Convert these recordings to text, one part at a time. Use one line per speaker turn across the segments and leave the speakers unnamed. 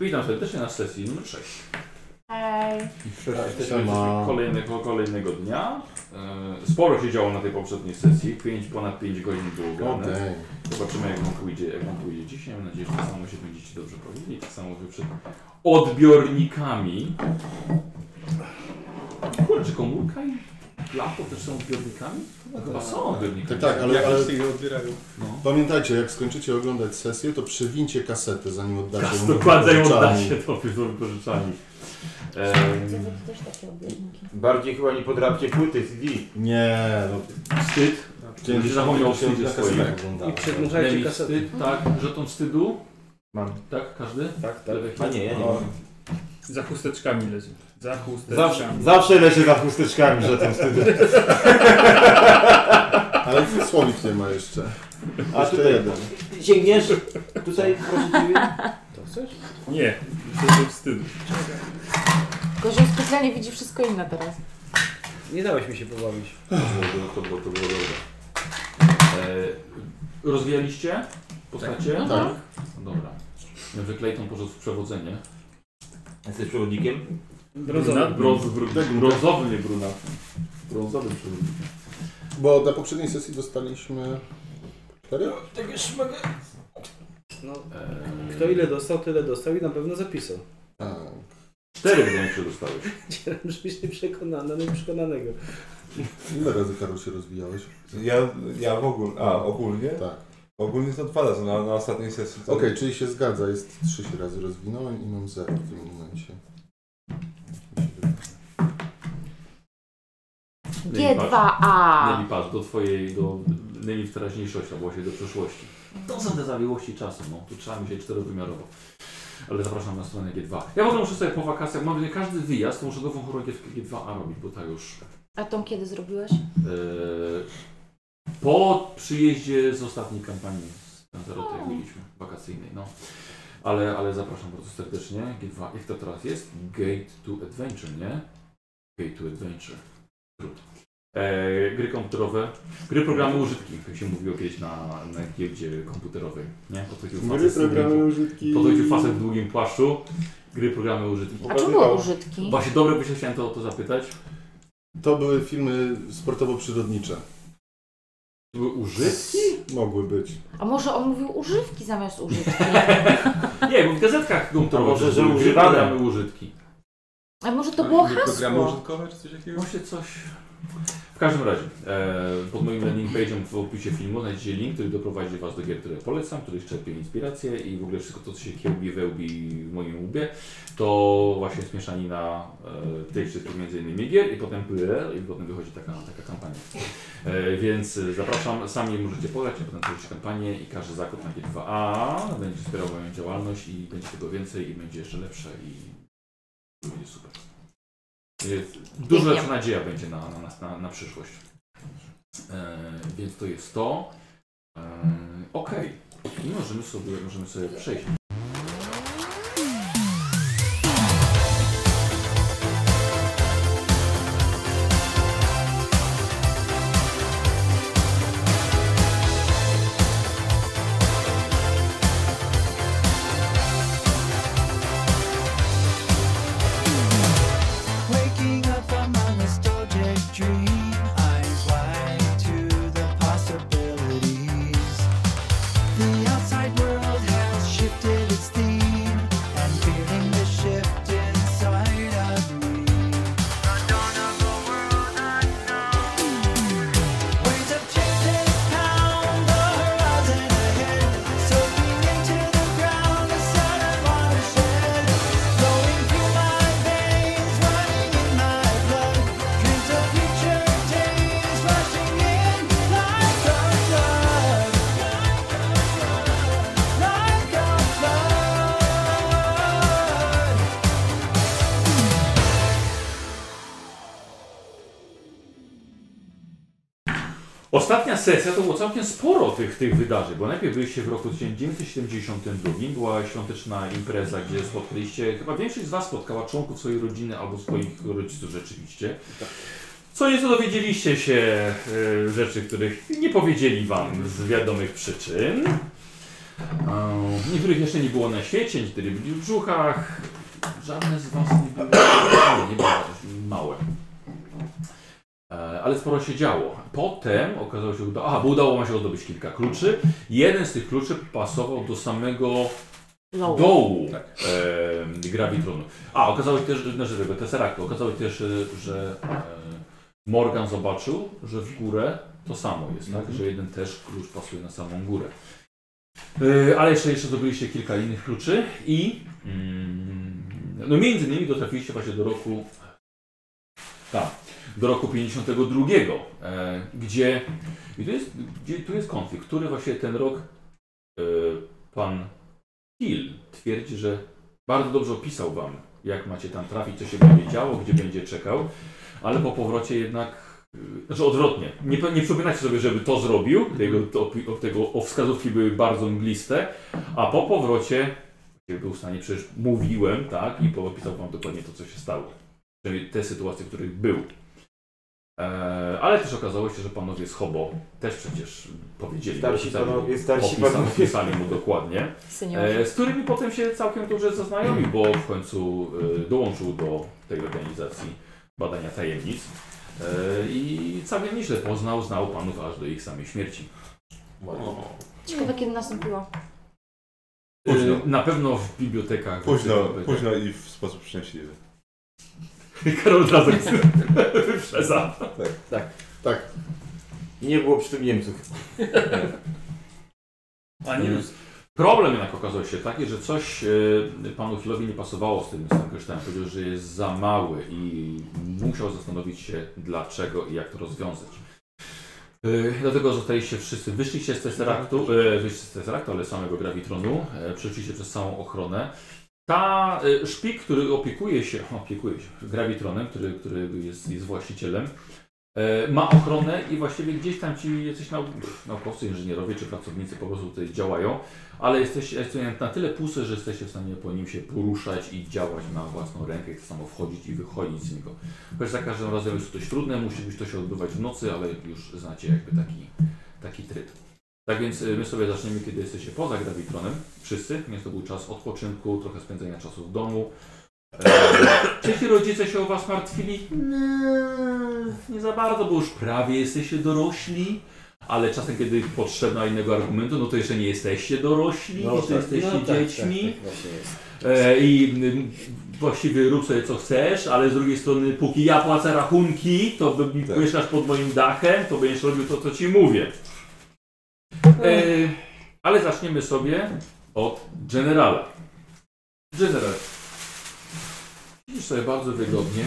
Witam serdecznie na sesji numer 6.
Hej.
Jesteśmy kolejnego, kolejnego dnia. E, Sporo się działo na tej poprzedniej sesji. Pięć, ponad 5 godzin było grane. Zobaczymy jak wam pójdzie, jak wam pójdzie dzisiaj. Mam nadzieję, że tak samo się będziecie dobrze powiedzieć. Tak samo wy przed odbiornikami. Kurczę, czy komórka i lapo też są odbiornikami? Chyba są odbiornikami.
Tak, tak, ale, ale
ich odbierają.
No.
pamiętajcie, jak skończycie oglądać sesję, to przewincie kasetę, zanim oddacie ją
Dokładnie ją
wypożyczalni.
oddacie do wypożyczalni.
Gdzie
Ehm,
wy też takie obiedniki?
Bardziej chyba nie podrapcie płyty CD.
Nie, no.
wstyd.
dzień
Będzie
się
zapomniał wstydzie
na kasetę
swoim.
oglądało.
I przedłuża- Słuchajcie,
Demi,
kasety.
wstyd, tak, żeton wstydu.
Mam.
Tak, każdy?
Tak,
tak.
A nie, ja nie
O.
mam.
Za chusteczkami leci. Za chusteczkami.
Zawsze, zawsze lecę za chusteczkami, że ten wtedy.
Ale słowik nie ma jeszcze.
A
jeszcze
tutaj
jeden.
sięgniesz? Tutaj proszę ciebie.
To chcesz? Nie, to jest wstyd.
Tylko, że specjalnie widzi wszystko inne teraz.
Nie dałeś mi się pobawić.
No to było, to było dobre. E, rozwijaliście postacie?
Tak.
Tak.
Dobra. Dobrze, Clayton poszedł w przewodzenie.
Jesteś przewodnikiem?
Brązowy.
Brąz, br- brązowy, nie brunat. Brązowy przewodnik.
Bo na poprzedniej sesji dostaliśmy... Cztery?
No,
E,
kto ile dostał, tyle dostał i na pewno zapisał.
Tak.
Cztery wydaje się dostałeś.
Chciałem, żebyś nie przekonany, no i przekonanego.
Ile razy, Karol, się rozwijałeś?
Ja, ja w ogóle, a ogólnie?
Tak.
Ogólnie to dwa razy na, na ostatniej sesji. to-
Okej, czyli się zgadza, jest trzy się razy rozwinąłem i mam zero w tym momencie.
G2A.
Nemi, patrz do twojej, do Nemi w teraźniejszości, albo właśnie do przeszłości. To są te zawiłości czasu, no. Tu trzeba myśleć czterowymiarowo. Ale zapraszam na stronę G2. Ja w ogóle muszę sobie po wakacjach, mam każdy wyjazd, to muszę nową chorągiewkę G2A robić, bo ta już
A tą kiedy zrobiłeś?
Eee, po przyjeździe z ostatniej kampanii z Lanzarote, jak byliśmy, wakacyjnej, no. Ale, ale zapraszam bardzo serdecznie. G2, jak to teraz jest? Gate to Adventure, nie? Gate to Adventure. Trud. Eee, gry komputerowe, gry programy użytki, jak się mówiło kiedyś na, na giełdzie komputerowej, nie? Podchodził facet, z długim-
użytki.
podchodził facet w długim płaszczu, gry programy użytki.
A czemu
Pokazywało.
użytki?
Właśnie dobre by się chciałem to, o to zapytać.
To były filmy sportowo-przyrodnicze.
To były użytki?
Mogły być.
A może on mówił używki zamiast użytki?
Nie, bo w gazetkach
A
komputerowych
może,
też
że
były
używane?
programy użytki.
A może to było
Programy
hasło?
użytkowe czy coś takiego?
Może coś... W każdym razie, e, pod moim landing page'em w opisie filmu znajdziecie link, który doprowadzi Was do gier, które polecam, których czerpię inspirację i w ogóle wszystko to, co się kiełbi, wełbi w moim łbie, to właśnie śmieszanina e, tej wszystkich między innymi gier i potem PL i potem wychodzi taka, taka kampania. E, więc e, zapraszam, sami możecie pograć, a potem tworzyć kampanię i każdy zakup na G2A będzie wspierał moją działalność i będzie tego więcej i będzie jeszcze lepsze i będzie super. Jest, dużo
Pięknie.
lepsza nadzieja będzie na, na nas, na, na przyszłość. E, więc to jest to. E, Okej, I możemy sobie, możemy sobie przejść.
Waking up from my nostalgic dream, eyes wide to the possibilities. The outside world has shifted its theme, and feeling the shift inside of me. Unknownable world unknown. Waves of changes pound the horizon ahead, soaking into the ground, a silent watershed. Flowing through my veins, running in my blood. Dreams of future days rushing in like a flood, like a flood.
Ostatnia sesja to było całkiem sporo tych, tych wydarzeń, bo najpierw byliście w roku 1972, była świąteczna impreza, gdzie spotkaliście, chyba większość z Was spotkała członków swojej rodziny albo swoich rodziców rzeczywiście. Co nieco dowiedzieliście się e, rzeczy, których nie powiedzieli Wam z wiadomych przyczyn. Um, niektórych jeszcze nie było na świecie, niektórzy byli w brzuchach. Żadne z was nie było, nie, nie było jakieś małe. E, Ale sporo się działo. Potem okazało się, uda- aha, bo udało wam się zdobyć kilka kluczy. Jeden z tych kluczy pasował do samego
No.
dołu e, gravitronu. A, okazało się też, że- znaczy tego Tesseractu, okazało się też, e, że e, Morgan zobaczył, że w górę to samo jest, tak? Że jeden też klucz pasuje na samą górę. E, ale jeszcze, jeszcze zdobyliście kilka innych kluczy i mm, no między innymi dotrafiliście właśnie do roku tak, do roku 52, e, gdzie i tu jest, gdzie, tu jest konflikt, który właśnie ten rok e, pan Hill twierdzi, że bardzo dobrze opisał wam, jak macie tam trafić, co się będzie działo, gdzie będzie czekał, ale po powrocie jednak. y, Znaczy odwrotnie. Nie, pe- nie przypominacie sobie, żeby to zrobił. Tego, to, opi- o- tego, o wskazówki były bardzo mgliste, a po powrocie jak był w stanie, przecież mówiłem, tak, i opisał wam dokładnie to, co się stało. Czyli te sytuacje, w których był. Eee, ale też okazało się, że panowie z Hobo też przecież powiedzieli.
Starsi
opisali mu-
panowie, starsi
opisali-
panowie.
Opisali mu dokładnie.
Seniorzy.
E, z którymi potem się całkiem dobrze zaznajomił, bo w końcu e, dołączył do tej organizacji badania tajemnic e, i całkiem nieźle poznał, znał panów aż do ich samej śmierci.
Ciekawe kiedy nastąpiło.
E,
Późno.
Na pewno w bibliotekach.
Późno,
w-
późno i w sposób szczęśliwy.
Karol od razu wyprzedza. Tak.
I Tak. nie było przy tym Niemców.
A nie Problem jednak okazał się taki, że coś e, panu Hillowi nie pasowało z tym, z tym kryształem. Powiedział, że jest za mały i musiał zastanowić się dlaczego i jak to rozwiązać. E, Dlatego zostaliście wszyscy, wyszliście z Tesseractu, e, wyszliście z Tesseractu, ale z samego Gravitronu, e, przeszliście przez całą ochronę. Ta e, szpik, który opiekuje się, opiekuje się Gravitronem, który, który jest, jest właścicielem, e, ma ochronę i właściwie gdzieś tam ci jacyś nau, naukowcy, inżynierowie czy pracownicy po prostu tutaj działają, ale jesteście jesteście na tyle pusy, że jesteście w stanie po nim się poruszać i działać na własną rękę i to samo wchodzić i wychodzić z niego. Choć za każdym razem jest to dość trudne, musi być to się odbywać w nocy, ale już znacie jakby taki, taki tryb. Tak więc y, my sobie zaczniemy, kiedy jesteście poza gravitronem, wszyscy, więc to był czas odpoczynku, trochę spędzenia czasu w domu. E, Czy ci rodzice się o was martwili? Nie, nie za bardzo, bo już prawie jesteście dorośli. Ale czasem, kiedy potrzebna innego argumentu, no to jeszcze nie jesteście dorośli, jeszcze jesteście dziećmi.
No Tak, tak, właśnie jest.
E, I mm, właściwie rób sobie co chcesz, ale z drugiej strony, póki ja płacę rachunki, to
Tak.
mieszkasz pod moim dachem, to będziesz robił to, co ci mówię. E, ale zaczniemy sobie od generala. General. Widzisz sobie bardzo wygodnie.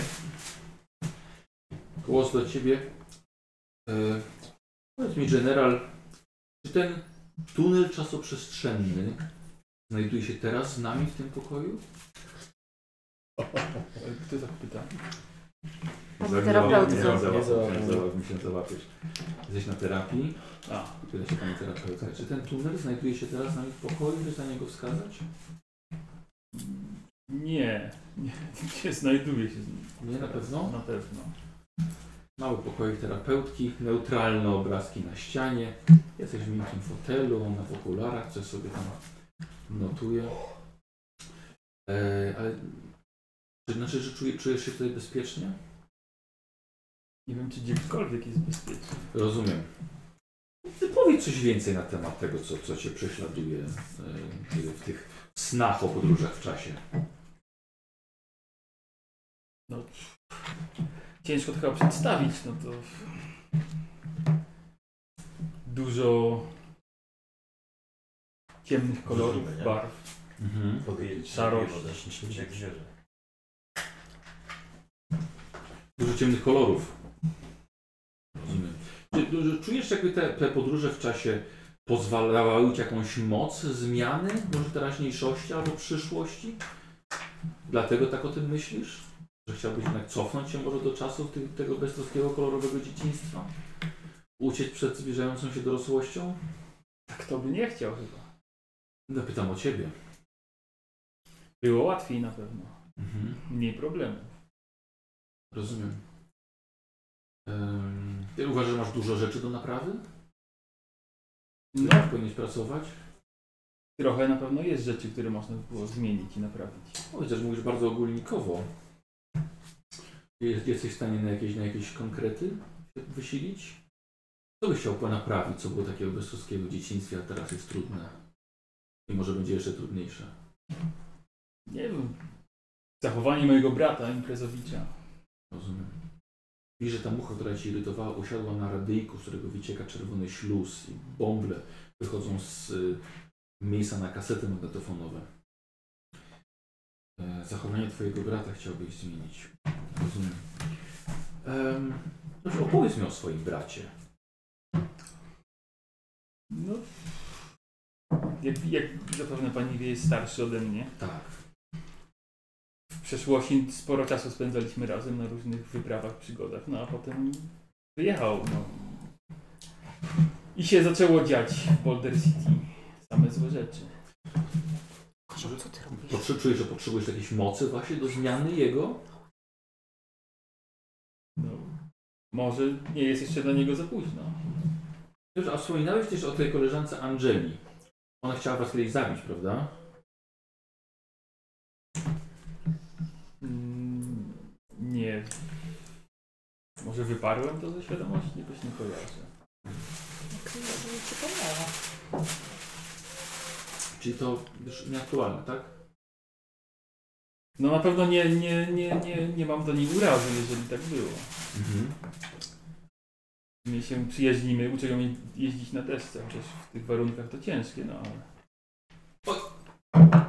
Głos do ciebie. E, powiedz mi, general, czy ten tunel czasoprzestrzenny znajduje się teraz z nami w tym pokoju? Kto tak pyta?
Pan terapeuty.
Nie załapał.
mi się załapiesz. Jesteś na terapii? A, pyta się pani terapeutka. Czy ten tunel znajduje się teraz z nami w pokoju? Czy na niego wskazać?
Mm, Nie, nie, nie znajduje się z nim.
Nie, na pewno.
Na pewno.
Mały pokoik terapeutki, neutralne obrazki na ścianie. Jesteś w miękkim fotelu, ona w okularach, coś sobie tam notuje. E, ale czy znaczy, że czuje, czujesz się tutaj bezpiecznie?
Nie wiem, czy gdziekolwiek jest bezpieczny.
Rozumiem. Ty powiedz coś więcej na temat tego, co, co cię prześladuje e, w tych snach o podróżach w czasie.
No, Ciężko to chyba przedstawić, no to... Dużo... ciemnych kolorów,
Zrozumienia.
barw.
Mhm.
Szarość.
Dużo ciemnych kolorów. Rozumiem. Czy, czy czujesz, jakby te, te podróże w czasie pozwalały ci jakąś moc zmiany, może teraźniejszości albo przyszłości? Dlatego tak o tym myślisz? Że chciałbyś jednak cofnąć się może do czasów ty, tego beztroskiego kolorowego dzieciństwa? Uciec przed zbliżającą się dorosłością?
Tak kto by nie chciał chyba.
No pytam o ciebie.
Było łatwiej na pewno.
Mhm.
Mniej problemów.
Rozumiem. Ym, Ty uważasz, że masz dużo rzeczy do naprawy?
No,
Nad którymi powinieneś pracować?
Trochę na pewno jest rzeczy, które można by było zmienić i naprawić.
No, chociaż mówisz bardzo ogólnikowo. Jest, jesteś w stanie na jakieś, na jakieś konkrety się wysilić? Co byś chciał naprawić, co było takiego beztroskiego w dzieciństwie, a teraz jest trudne? I może będzie jeszcze trudniejsze.
Nie wiem. Zachowanie mojego brata, imprezowicza.
Rozumiem. Widzisz, że ta mucha, która cię irytowała, usiadła na radyjku, z którego wycieka czerwony śluz i bąble wychodzą z y, miejsca na kasety magnetofonowe. E, zachowanie twojego brata chciałbyś zmienić. Rozumiem. Em, dobrze, opowiedz mi o swoim bracie.
No. Jak, jak zapewne pani wie, jest starszy ode mnie.
Tak.
W przeszłości sporo czasu spędzaliśmy razem na różnych wyprawach, przygodach, no a potem wyjechał. No. I się zaczęło dziać w Boulder City. Same złe rzeczy.
Kozioł, co ty robisz?
Potrze- Czujesz, że potrzebujesz jakiejś mocy właśnie do zmiany jego?
No. Może nie jest jeszcze dla niego za późno.
Dobrze, a wspominałeś też o tej koleżance Angeli. Ona chciała was kiedyś zabić, prawda?
Mm, nie. Może wyparłem to ze świadomości? Jakoś nie kojarzę.
Okej, ja to nie przypomniałam.
Czyli to już nieaktualne, tak?
No na pewno nie, nie, nie, nie, nie mam do niej urazy, jeżeli tak było.
Mhm.
My się przyjaźnimy, uczę ją jeździć na desce, chociaż w tych warunkach to ciężkie, no ale...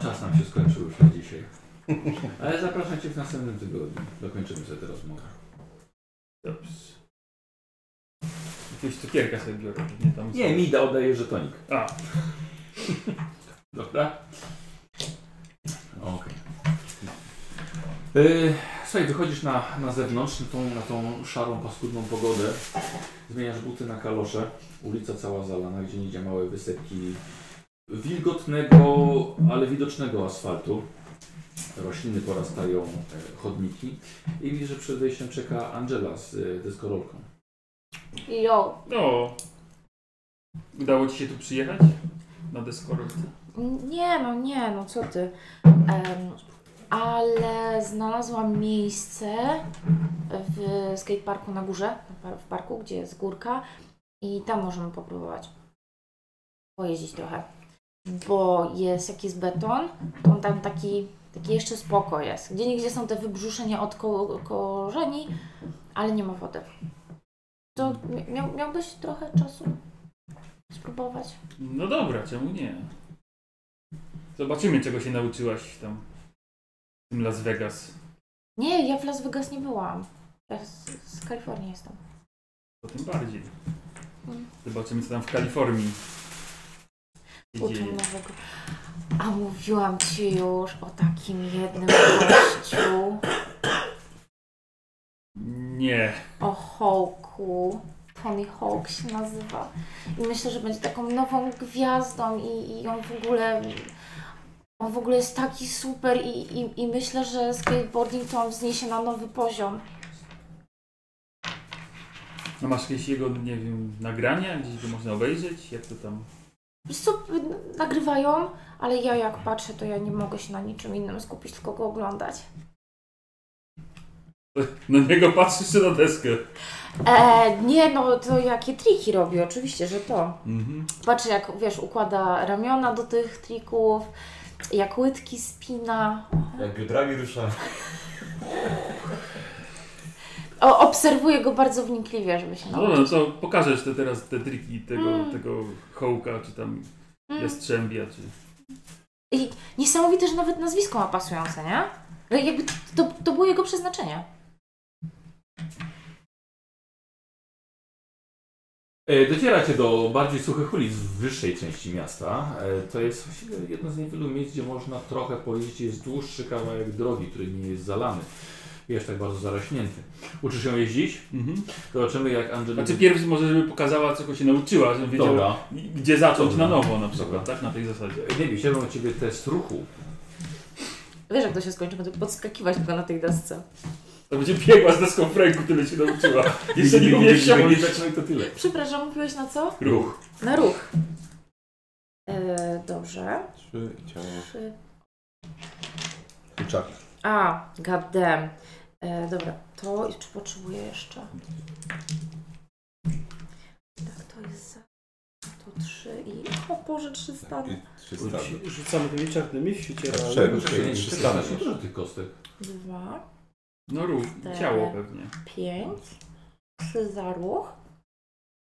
Czas nam się skończył już na dzisiaj. Ale zapraszam Cię w następnym tygodniu. Dokończymy sobie tę rozmowę.
Dobrze. Jakiegoś cukierka sobie biorę, nie tam...
Nie, Mida oddaje żetonik.
A.
Dobra? Okej. Yy, słuchaj, wychodzisz na, na zewnątrz, na tą, na tą szarą, paskudną pogodę. Zmieniasz buty na kalosze. Ulica cała zalana, gdzie nie małe wysepki wilgotnego, ale widocznego asfaltu. Rośliny porastają e, chodniki. I widzisz, że przed wejściem czeka Angela z y, deskorolką.
Jo,
No. Udało ci się tu przyjechać? Na deskorolce?
nie no, nie no, co ty. Em, ale znalazłam miejsce w skateparku na górze, na par- w parku, gdzie jest górka i tam możemy popróbować pojeździć trochę. Bo jest, jak jest beton, to on tam taki, taki jeszcze spoko jest. Gdzie nigdzie są te wybrzuszenia od ko- korzeni, ale nie ma wody. To miał, miałbyś trochę czasu spróbować?
No dobra, czemu nie? Zobaczymy, czego się nauczyłaś tam w tym Las Vegas.
Nie, ja w Las Vegas nie byłam. Ja z, z Kalifornii jestem.
To tym bardziej.
Mm.
Zobaczymy, co tam w Kalifornii się
Uczą
dzieje.
nowego. A mówiłam ci już o takim jednym gościu,
Nie.
o Hawku. Tony Hawk się nazywa. I myślę, że będzie taką nową gwiazdą i, i on w ogóle... On w ogóle jest taki super i, i, i myślę, że skateboarding to on wzniesie na nowy poziom.
A No masz jakieś jego, nie wiem, nagrania? Gdzieś go można obejrzeć? Jak to tam?
Wiesz co, n- nagrywają, ale ja jak patrzę, to ja nie mogę się na niczym innym skupić, tylko go oglądać.
Na niego patrzysz czy na deskę?
E, nie, no to jakie triki robi, oczywiście, że to.
Mhm.
Patrzę, jak wiesz, układa ramiona do tych trików, jak łydki spina.
Jak biodrami rusza.
O, obserwuję go bardzo wnikliwie, żeby się
No dobra,
nauczyć.
no to pokażesz te, teraz te triki tego,
Mm.
tego hołka, czy tam
Mm.
jastrzębia, czy...
I niesamowite, że nawet nazwisko ma pasujące, nie? Ale Jakby to, to, to było jego przeznaczenie.
E, Docieracie do bardziej suchych ulic w wyższej części miasta. E, To jest właściwie jedno z niewielu miejsc, gdzie można trochę pojeździć. Jest dłuższy kawałek drogi, który nie jest zalany. Jest tak bardzo zarośnięty. Uczysz ją jeździć?
Mhm.
Zobaczymy jak Angelina...
Znaczy pierwszy może, żeby pokazała, czego się nauczyła, żebym wiedział,
Dobra.
gdzie zacząć
Dobra.
na nowo na przykład,
Dobra. E,
tak? Na tej zasadzie.
Nie wiem, chciałbym od Ciebie test ruchu.
Wiesz, jak to się skończy, będę podskakiwać tylko na tej desce.
To będzie biegła z deską w ręku, tyle się nauczyła. Jeszcze nie umie wsiąść.
No to tyle.
Przepraszam, mówiłeś na co?
Ruch.
Na ruch. E, Dobrze.
Trzy ciała.
Trzy.
Kurczaki.
A, goddamn. E, dobra, to i czy potrzebuję jeszcze? Tak, to jest za... To trzy i... O Boże, trzy stany.
I trzy stany.
Rzucamy tymi czarnymi w świecie
A
realnym.
czemu?
Czekaj, nie,
Trzy
trzy
stany.
Dużo tych kostek.
Dwa,
No ruch,
Cztery.
ciało pewnie.
pięć, trzy za ruch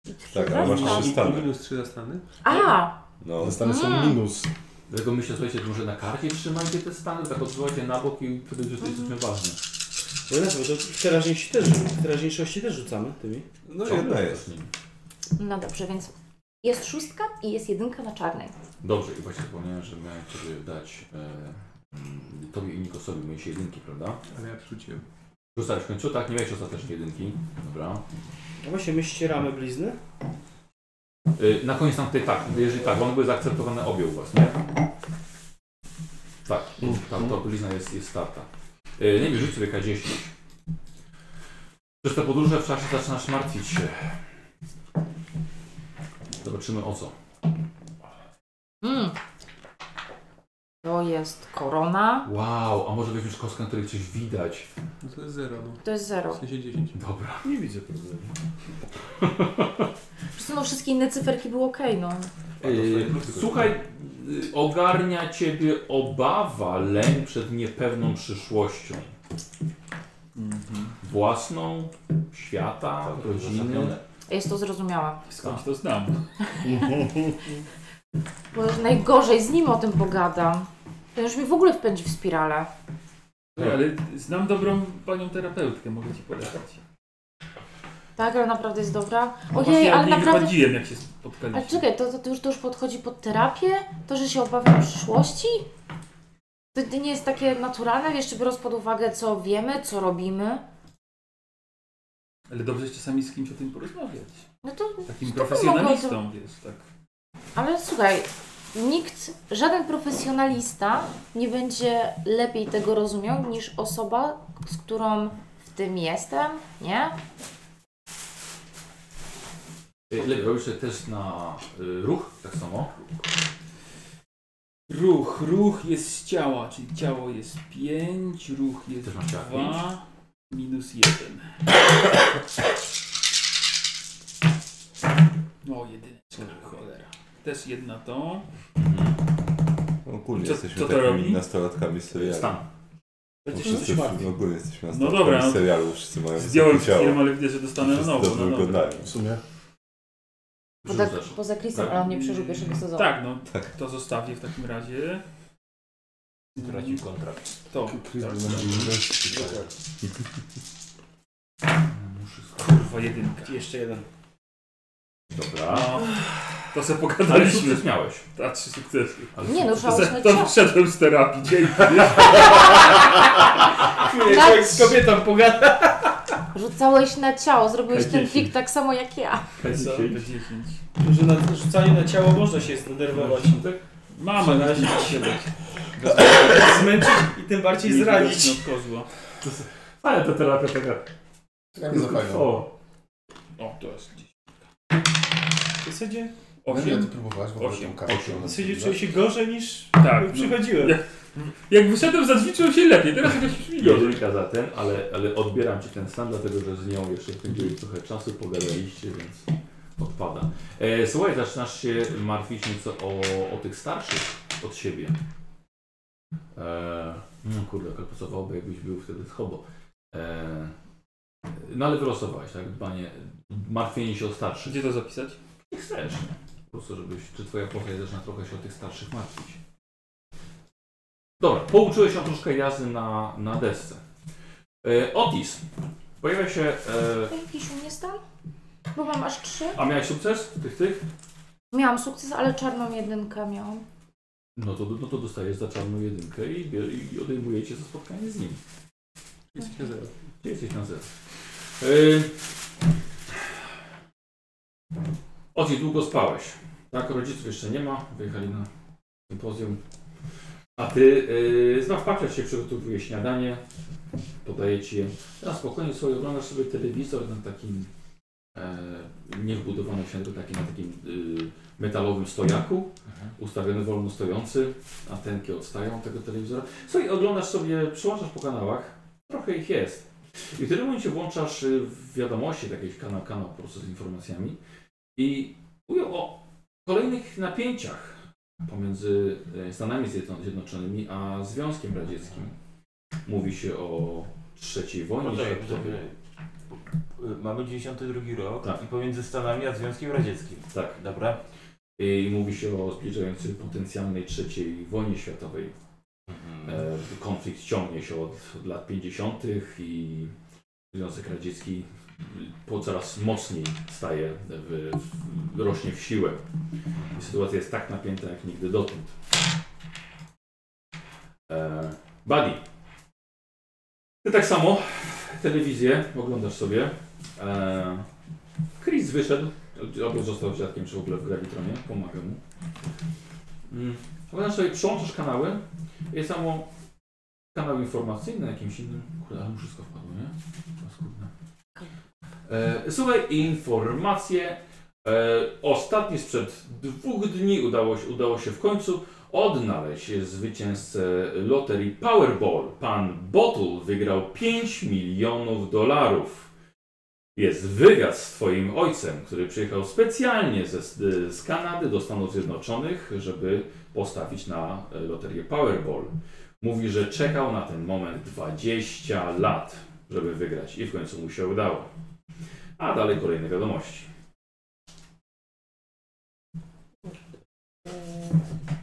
i trzy
Tak,
za
ale masz
stan.
trzy stany.
Minus 3 za stany.
A!
No.
Te stany są
Mm.
minus.
Dlatego myślę, słuchajcie, może na karcie trzymajcie te stany, tak odsuwajcie na bok i wtedy że to jest coś ważne.
Bo inaczej, No bo to w teraźniejszości też, w teraźniejszości też rzucamy tymi.
No jedna jest.
No dobrze, więc jest szóstka i jest jedynka na czarnej.
Dobrze, i właśnie zapomniałem, że miałem sobie dać e, mm, tobie i Nikosowi mieć jedynki, prawda?
Ale ja wrzuciłem.
Zostałeś w końcu, tak? Nie miałeś ostatecznie jedynki. Dobra.
No właśnie, my ścieramy blizny.
E, na koniec tam tutaj tak, jeżeli tak, one były zaakceptowane obie u was, nie? Tak, tam ta blizna jest, jest starta. E, nie wiem, rzuć sobie K10. Przez te podróże w czasie zaczynasz martwić się. Zobaczymy o co.
Mm. To jest korona.
Wow, a może weźmiesz kostkę, na której coś widać.
No to jest 0, no.
To jest
W
zero.
sensie 10.
Dobra.
Nie widzę problemu.
Po prostu no, wszystkie inne cyferki były ok, no.
Yy, Słuchaj, yy, ogarnia ciebie obawa, lęk przed niepewną przyszłością.
Mhm.
Własną, świata, rodziny.
Jest to zrozumiałe.
Skądś to znam.
Bo już najgorzej z nim o tym pogadam. To już mi w ogóle wpędzi w spiralę.
Ej, Ale znam dobrą panią terapeutkę, mogę ci polecić.
Tak, ale naprawdę jest dobra.
No
Ojej,
właśnie ja
ale
nie
naprawdę...
wychodziłem jak się
Ale
spotkaliśmy.
czekaj, to, to, to, już, to już podchodzi pod terapię? To, że się obawiam przyszłości? To, to nie jest takie naturalne, jeszcze biorąc pod uwagę, co wiemy, co robimy.
Ale dobrze jest czasami z kimś o tym porozmawiać.
No to
Takim
mogę
profesjonalistą, wiesz, tak.
Ale słuchaj, nikt, żaden profesjonalista nie będzie lepiej tego rozumiał niż osoba, z którą w tym jestem, nie?
Yy, Lepiej robisz sobie test na yy, ruch, tak samo.
Ruch, ruch jest z ciała, czyli ciało jest 5, ruch jest
Też masz ciała
2, minus 1. No, jedyneczka, cholera. Też jedna to.
Ogólnie
Co-
jesteśmy
co to
takimi
robi?
nastolatkami z serialu.
Stan.
No
Będziesz
Wszyscy
się martwić.
ogólnie jesteśmy
No
nastolatkami
dobra, no.
z serialu, wszyscy mają
Zdjąłem
wysokie ciało.
film, ale widzę, że dostanę na
Wszyscy
nowo.
dobrze
No dobra.
wyglądają.
W sumie.
Poza,
Rzucasz.
poza Chrisem,
Tak.
ale on nie przeżył pierwszego sezonu.
Tak, no,
Tak.
to zostawię w takim razie.
Tracił kontrakt.
To.
Chris
tak.
był na minus.
Muszę sk-
Kurwa, jedynka.
Jeszcze jeden.
Dobra.
No, to se
Ale
pogadaliśmy.
sukces miałeś.
A, trzy sukcesy.
Ale
Nie, no
sukces-
już
To, se,
mieć
to wszedłem z terapii, dzięki.
Jak z kobietą pogada.
Rzucałeś na ciało, zrobiłeś ten
Dziesięć.
fik tak samo jak ja.
Co?
Dziesięć.
10.
Że na rzucanie na ciało można się zdenerwować.
Mama na razie
Zmęczyć i tym bardziej zranić.
Kozła.
Ale to terapia taka.
Ja nie zapamiętam.
O,
O, to jest gdzieś.
W zasadzie,
Nie, ty
Osiem.
próbowałeś w ogóle
Osiem.
tą kartę.
Osiem.
w zasadzie czuję się gorzej niż
Tak. No.
przychodziłem.
Ja- Jak wyszedłem, zadźwiczyłem się lepiej, teraz jakoś już mi gorzej.
Jedynka za ten, ale, ale odbieram ci ten stan, dlatego że z nią jeszcze spędzili trochę czasu, pogadaliście, więc odpada. E, słuchaj, zaczynasz się martwić nieco o, o tych starszych od siebie. E, no kurde, jak pasowałoby, jakbyś był wtedy z hobo. E, no ale wylosowałeś, tak? Dbanie, martwienie się o starszych.
Gdzie to zapisać?
Nie chcesz. Po prostu, żebyś, czy twoja postać zaczyna trochę się o tych starszych martwić. Dobra, pouczyłeś się troszkę jazdy na, na desce. E, Otis, pojawia się, e,
To jakiś u mnie stan? Bo mam aż trzy.
a miałeś sukces w tych, tych?
Miałam sukces, ale czarną jedynkę miałam.
No to, no to dostajesz za czarną jedynkę i, bier- i odejmujecie za spotkanie z nim.
jesteś na 0.
Gdzie jesteś na zero? E, Otis, długo spałeś. Tak, rodziców jeszcze nie ma, wyjechali na sympozjum. A ty yy, znów patrzysz się, przygotowuje śniadanie, podaje ci je. Na spokojnie sobie oglądasz sobie telewizor na takim e, niewbudowane w siatkę, takie na takim y, metalowym stojaku, ustawiony wolno stojący, antenki odstają od tego telewizora. Słuchaj, oglądasz sobie, przełączasz po kanałach, trochę ich jest. I w tym momencie włączasz y, w wiadomości, taki kanał, kanał po prostu z informacjami i mówią o kolejnych napięciach pomiędzy e, Stanami Zjedno- Zjednoczonymi a Związkiem Radzieckim. Mówi się o III wojnie tak
Poczekaj,
światowej.
poczekaj. Y, Mamy 92 rok
Tak.
i pomiędzy Stanami a Związkiem Radzieckim.
Tak.
Dobra.
I mówi się o zbliżającej potencjalnej trzeciej wojnie światowej. E, Konflikt ciągnie się od, od lat 50. i Związek Radziecki po coraz mocniej staje, w, w, rośnie w siłę. I sytuacja jest tak napięta jak nigdy dotąd. E, Buddy, ty tak samo telewizję oglądasz sobie. E, Chris wyszedł, albo został świadkiem, czy w ogóle w Gravitronie, pomagam mu. Mm. Oglądasz sobie, przełączasz kanały, jest samo kanał informacyjny na jakimś innym. Kurde, ale mu wszystko wpadło, nie? Paskudne. E, słuchaj, informacje. E, ostatni sprzed dwóch dni udało się, udało się w końcu odnaleźć zwycięzcę loterii Powerball. Pan Bottle wygrał 5 milionów dolarów. Jest wywiad z twoim ojcem, który przyjechał specjalnie ze, z Kanady do Stanów Zjednoczonych, żeby postawić na e, loterię Powerball. Mówi, że czekał na ten moment 20 lat, żeby wygrać i w końcu mu się udało. A dalej kolejne wiadomości.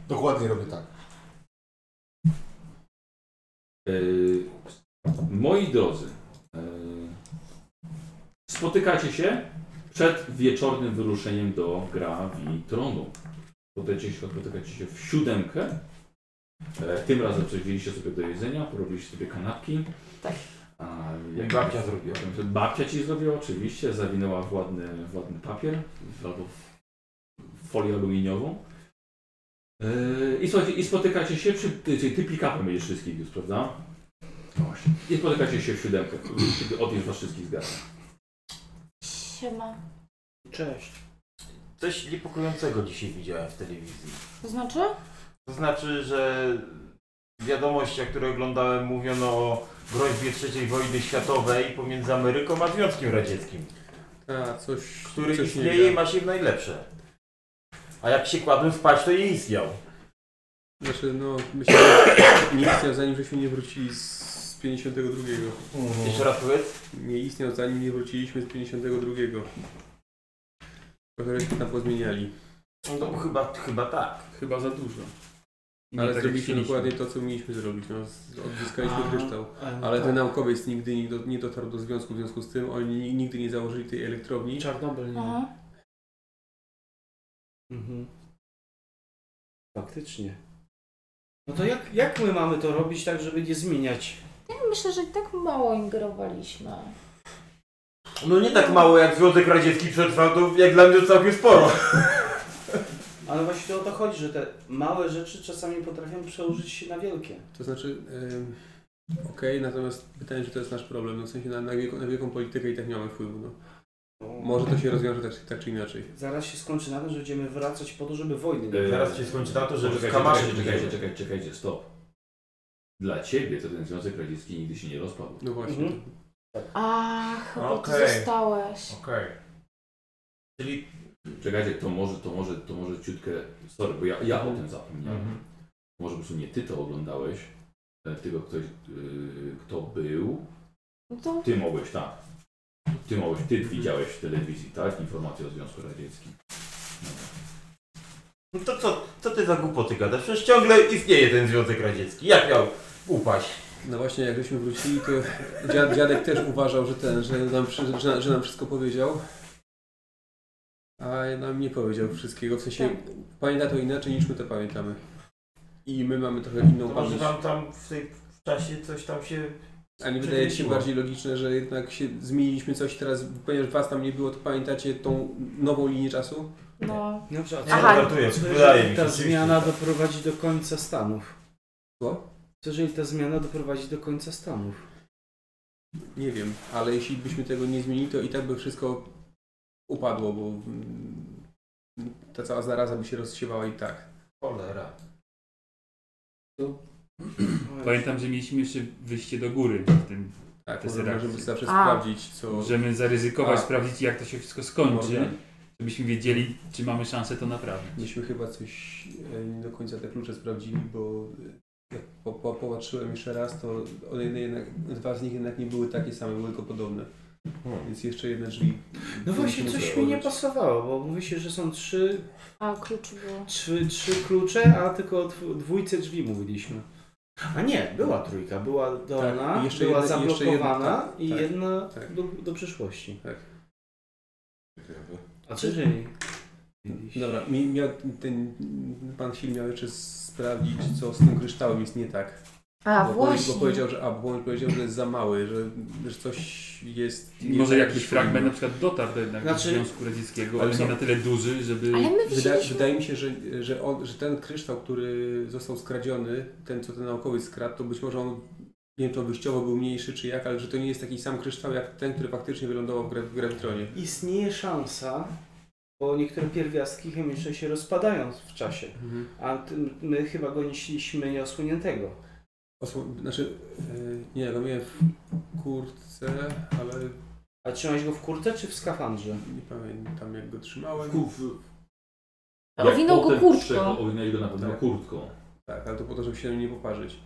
Dokładnie robię tak.
Yy, moi drodzy, yy, spotykacie się przed wieczornym wyruszeniem do Gravitronu. Spotykacie się, spotykacie się w siódemkę. E, tym razem coś wzięliście sobie do jedzenia, porobiliście sobie kanapki.
Tak.
A,
Jak babcia zrobiła.
Babcia ci zrobiła oczywiście, zawinęła w ładny, w ładny papier albo w folię aluminiową. Yy, I słuchajcie, i spotykacie się przy. Ty, czyli ty pick-upem będziesz wszystkich wiózł, prawda?
No
Właśnie. I spotykacie się w siódemkę, kiedy odjeżdżasz was wszystkich zgadza.
Siema.
Cześć.
Coś niepokojącego dzisiaj widziałem w telewizji.
To znaczy?
To znaczy, że w wiadomościach, które oglądałem, mówiono o groźbie III wojny światowej pomiędzy Ameryką a Związkiem Radzieckim,
A, coś...
który
wcześniej
istnieje i
wiem.
ma się w najlepsze. A jak się kładłem spać, to nie istniał.
Znaczy, no, myślę, że nie istniał zanim żeśmy nie wrócili z 52.
Jeszcze raz powiedz.
Nie istniał zanim nie wróciliśmy z 52. Trochęśmy tam pozmieniali.
No chyba, chyba tak.
Chyba za dużo. I nie
Ale
tak, jak
zrobiliśmy
chcieliśmy.
dokładnie to, co mieliśmy zrobić. No, z- odzyskaliśmy
A,
kryształ.
no
Ale
tak.
ten naukowiec nigdy nie, do, nie dotarł do związku, w związku z tym oni ni- nigdy nie założyli tej elektrowni.
Czarnobyl nie.
Aha.
Mhm. Faktycznie. No to jak, jak my mamy to robić tak, żeby nie zmieniać?
Ja myślę, że i tak mało ingerowaliśmy.
No nie tak mało jak Związek Radziecki przetrwał, to jak dla mnie to całkiem sporo.
Ale właśnie o to chodzi, że te małe rzeczy czasami potrafią przełożyć się na wielkie.
To znaczy, em, okej, natomiast pytanie, czy to jest nasz problem. No, w sensie na, na, wielką, na wielką politykę i tak nie mamy wpływu. No.
No,
Może to się rozwiąże tak, tak czy inaczej.
Zaraz się skończy na tym, że będziemy wracać po to, żeby wojny nie było.
Yy,
Zaraz się skończy na to, że w
Czekajcie,
Kamasze
czekajcie, czekajcie, czekajcie, czekajcie, stop. Dla ciebie to ten Związek Radziecki nigdy się nie rozpadł.
No właśnie.
Mhm.
Ach, chyba ty
No Okej.
zostałeś.
Okej. Czyli...
Czekajcie, to może, to może, to może ciutkę... Sorry, bo ja, ja o tym zapomniałem.
Mhm.
Może po prostu nie ty to oglądałeś, e, tylko ktoś, yy, kto był.
No to
Ty mogłeś, tak. Ty mogłeś, ty widziałeś w telewizji, tak? Informacje o Związku Radzieckim.
No to co, co ty za głupoty gadasz? Przecież ciągle istnieje ten Związek Radziecki. Jak miał upaść?
No właśnie, jak żeśmy wrócili, to dziad, dziadek też uważał, że ten, że nam, wszy- że, że nam wszystko powiedział. A nam nie powiedział wszystkiego. W sensie
Tak.
pamięta to inaczej niż my to pamiętamy. I my mamy trochę inną
To może
pamięć.
wam tam w tej w czasie coś tam się...
A nie wydaje ci się
Przekręciło.
bardziej logiczne, że jednak się zmieniliśmy coś i teraz, ponieważ was tam nie było, to pamiętacie tą nową linię czasu?
no.
Dobrze, a
Nie,
co-
Aha.
no, żartuję,
co
wydaje mi
jeżeli
się.
ta
oczywiście.
zmiana doprowadzi do końca Stanów?
Co?
Co jeżeli ta zmiana doprowadzi do końca Stanów?
Nie wiem, ale jeśli byśmy tego nie zmienili, to i tak by wszystko upadło, bo mm, ta cała zaraza by się rozsiewała i tak.
Cholera.
Pamiętam, że mieliśmy jeszcze wyjście do góry w tym.
Tak,
Te
można,
seraki.
żeby zawsze
A.
sprawdzić, co...
Możemy zaryzykować,
A.
sprawdzić jak to się wszystko skończy,
Można.
żebyśmy wiedzieli, czy mamy szansę to naprawić.
Myśmy chyba coś e, nie do końca te klucze sprawdzili, bo e, jak po, po, popatrzyłem jeszcze raz, to one jedne jednak, dwa z nich jednak nie były takie same, były tylko podobne. Więc jeszcze jedne drzwi.
No właśnie,
Musimy
coś mi
założyć.
nie pasowało, bo mówi się, że są trzy,
A klucz było.
trzy, trzy klucze, a tylko o dwu- dwójce drzwi mówiliśmy. A nie, była trójka, była dolna,
Tak, i jeszcze
była
jedna- i jeszcze jedna,
zablokowana
tak,
i
tak,
jedna
tak.
do, do przyszłości.
Ciekawe.
A czy jeżeli?
Dobra, mi, miał, ten pan Sil miał jeszcze sprawdzić, co z tym kryształem jest nie tak.
A
bo, powie-
właśnie.
bo powiedział, że a, bo on powiedział, że jest za mały, że, że coś jest.
I może
tak,
jakiś
że-
fragment na przykład dotarł do jednak
Znaczy-
do Związku Radzieckiego,
Ale
ale
co?
nie na tyle duży, żeby...
Ale my
Wyda,
wzięliśmy.
wydaje mi się, że, że, on, że ten kryształ, który został skradziony, ten co ten naukowiec skradł, to być może on, nie wiem czy on wyjściowo był mniejszy czy jak, ale że to nie jest taki sam kryształ jak ten, który faktycznie wylądował w, Gra- w Gravitronie.
Istnieje szansa, bo niektóre pierwiastki chemiczne się rozpadają w czasie,
Mhm.
a ty, my chyba go nieśliśmy nieosłoniętego.
Osło- znaczy, yy, nie, go miałem w kurtce, ale
A trzymałeś go w kurce czy w skafandrze?
nie pamiętam jak go trzymałem.
A owinął go kurtką.
Owinęli go na pewno
Tak.
kurtką.
Tak, ale to po to, żeby się nim nie poparzyć.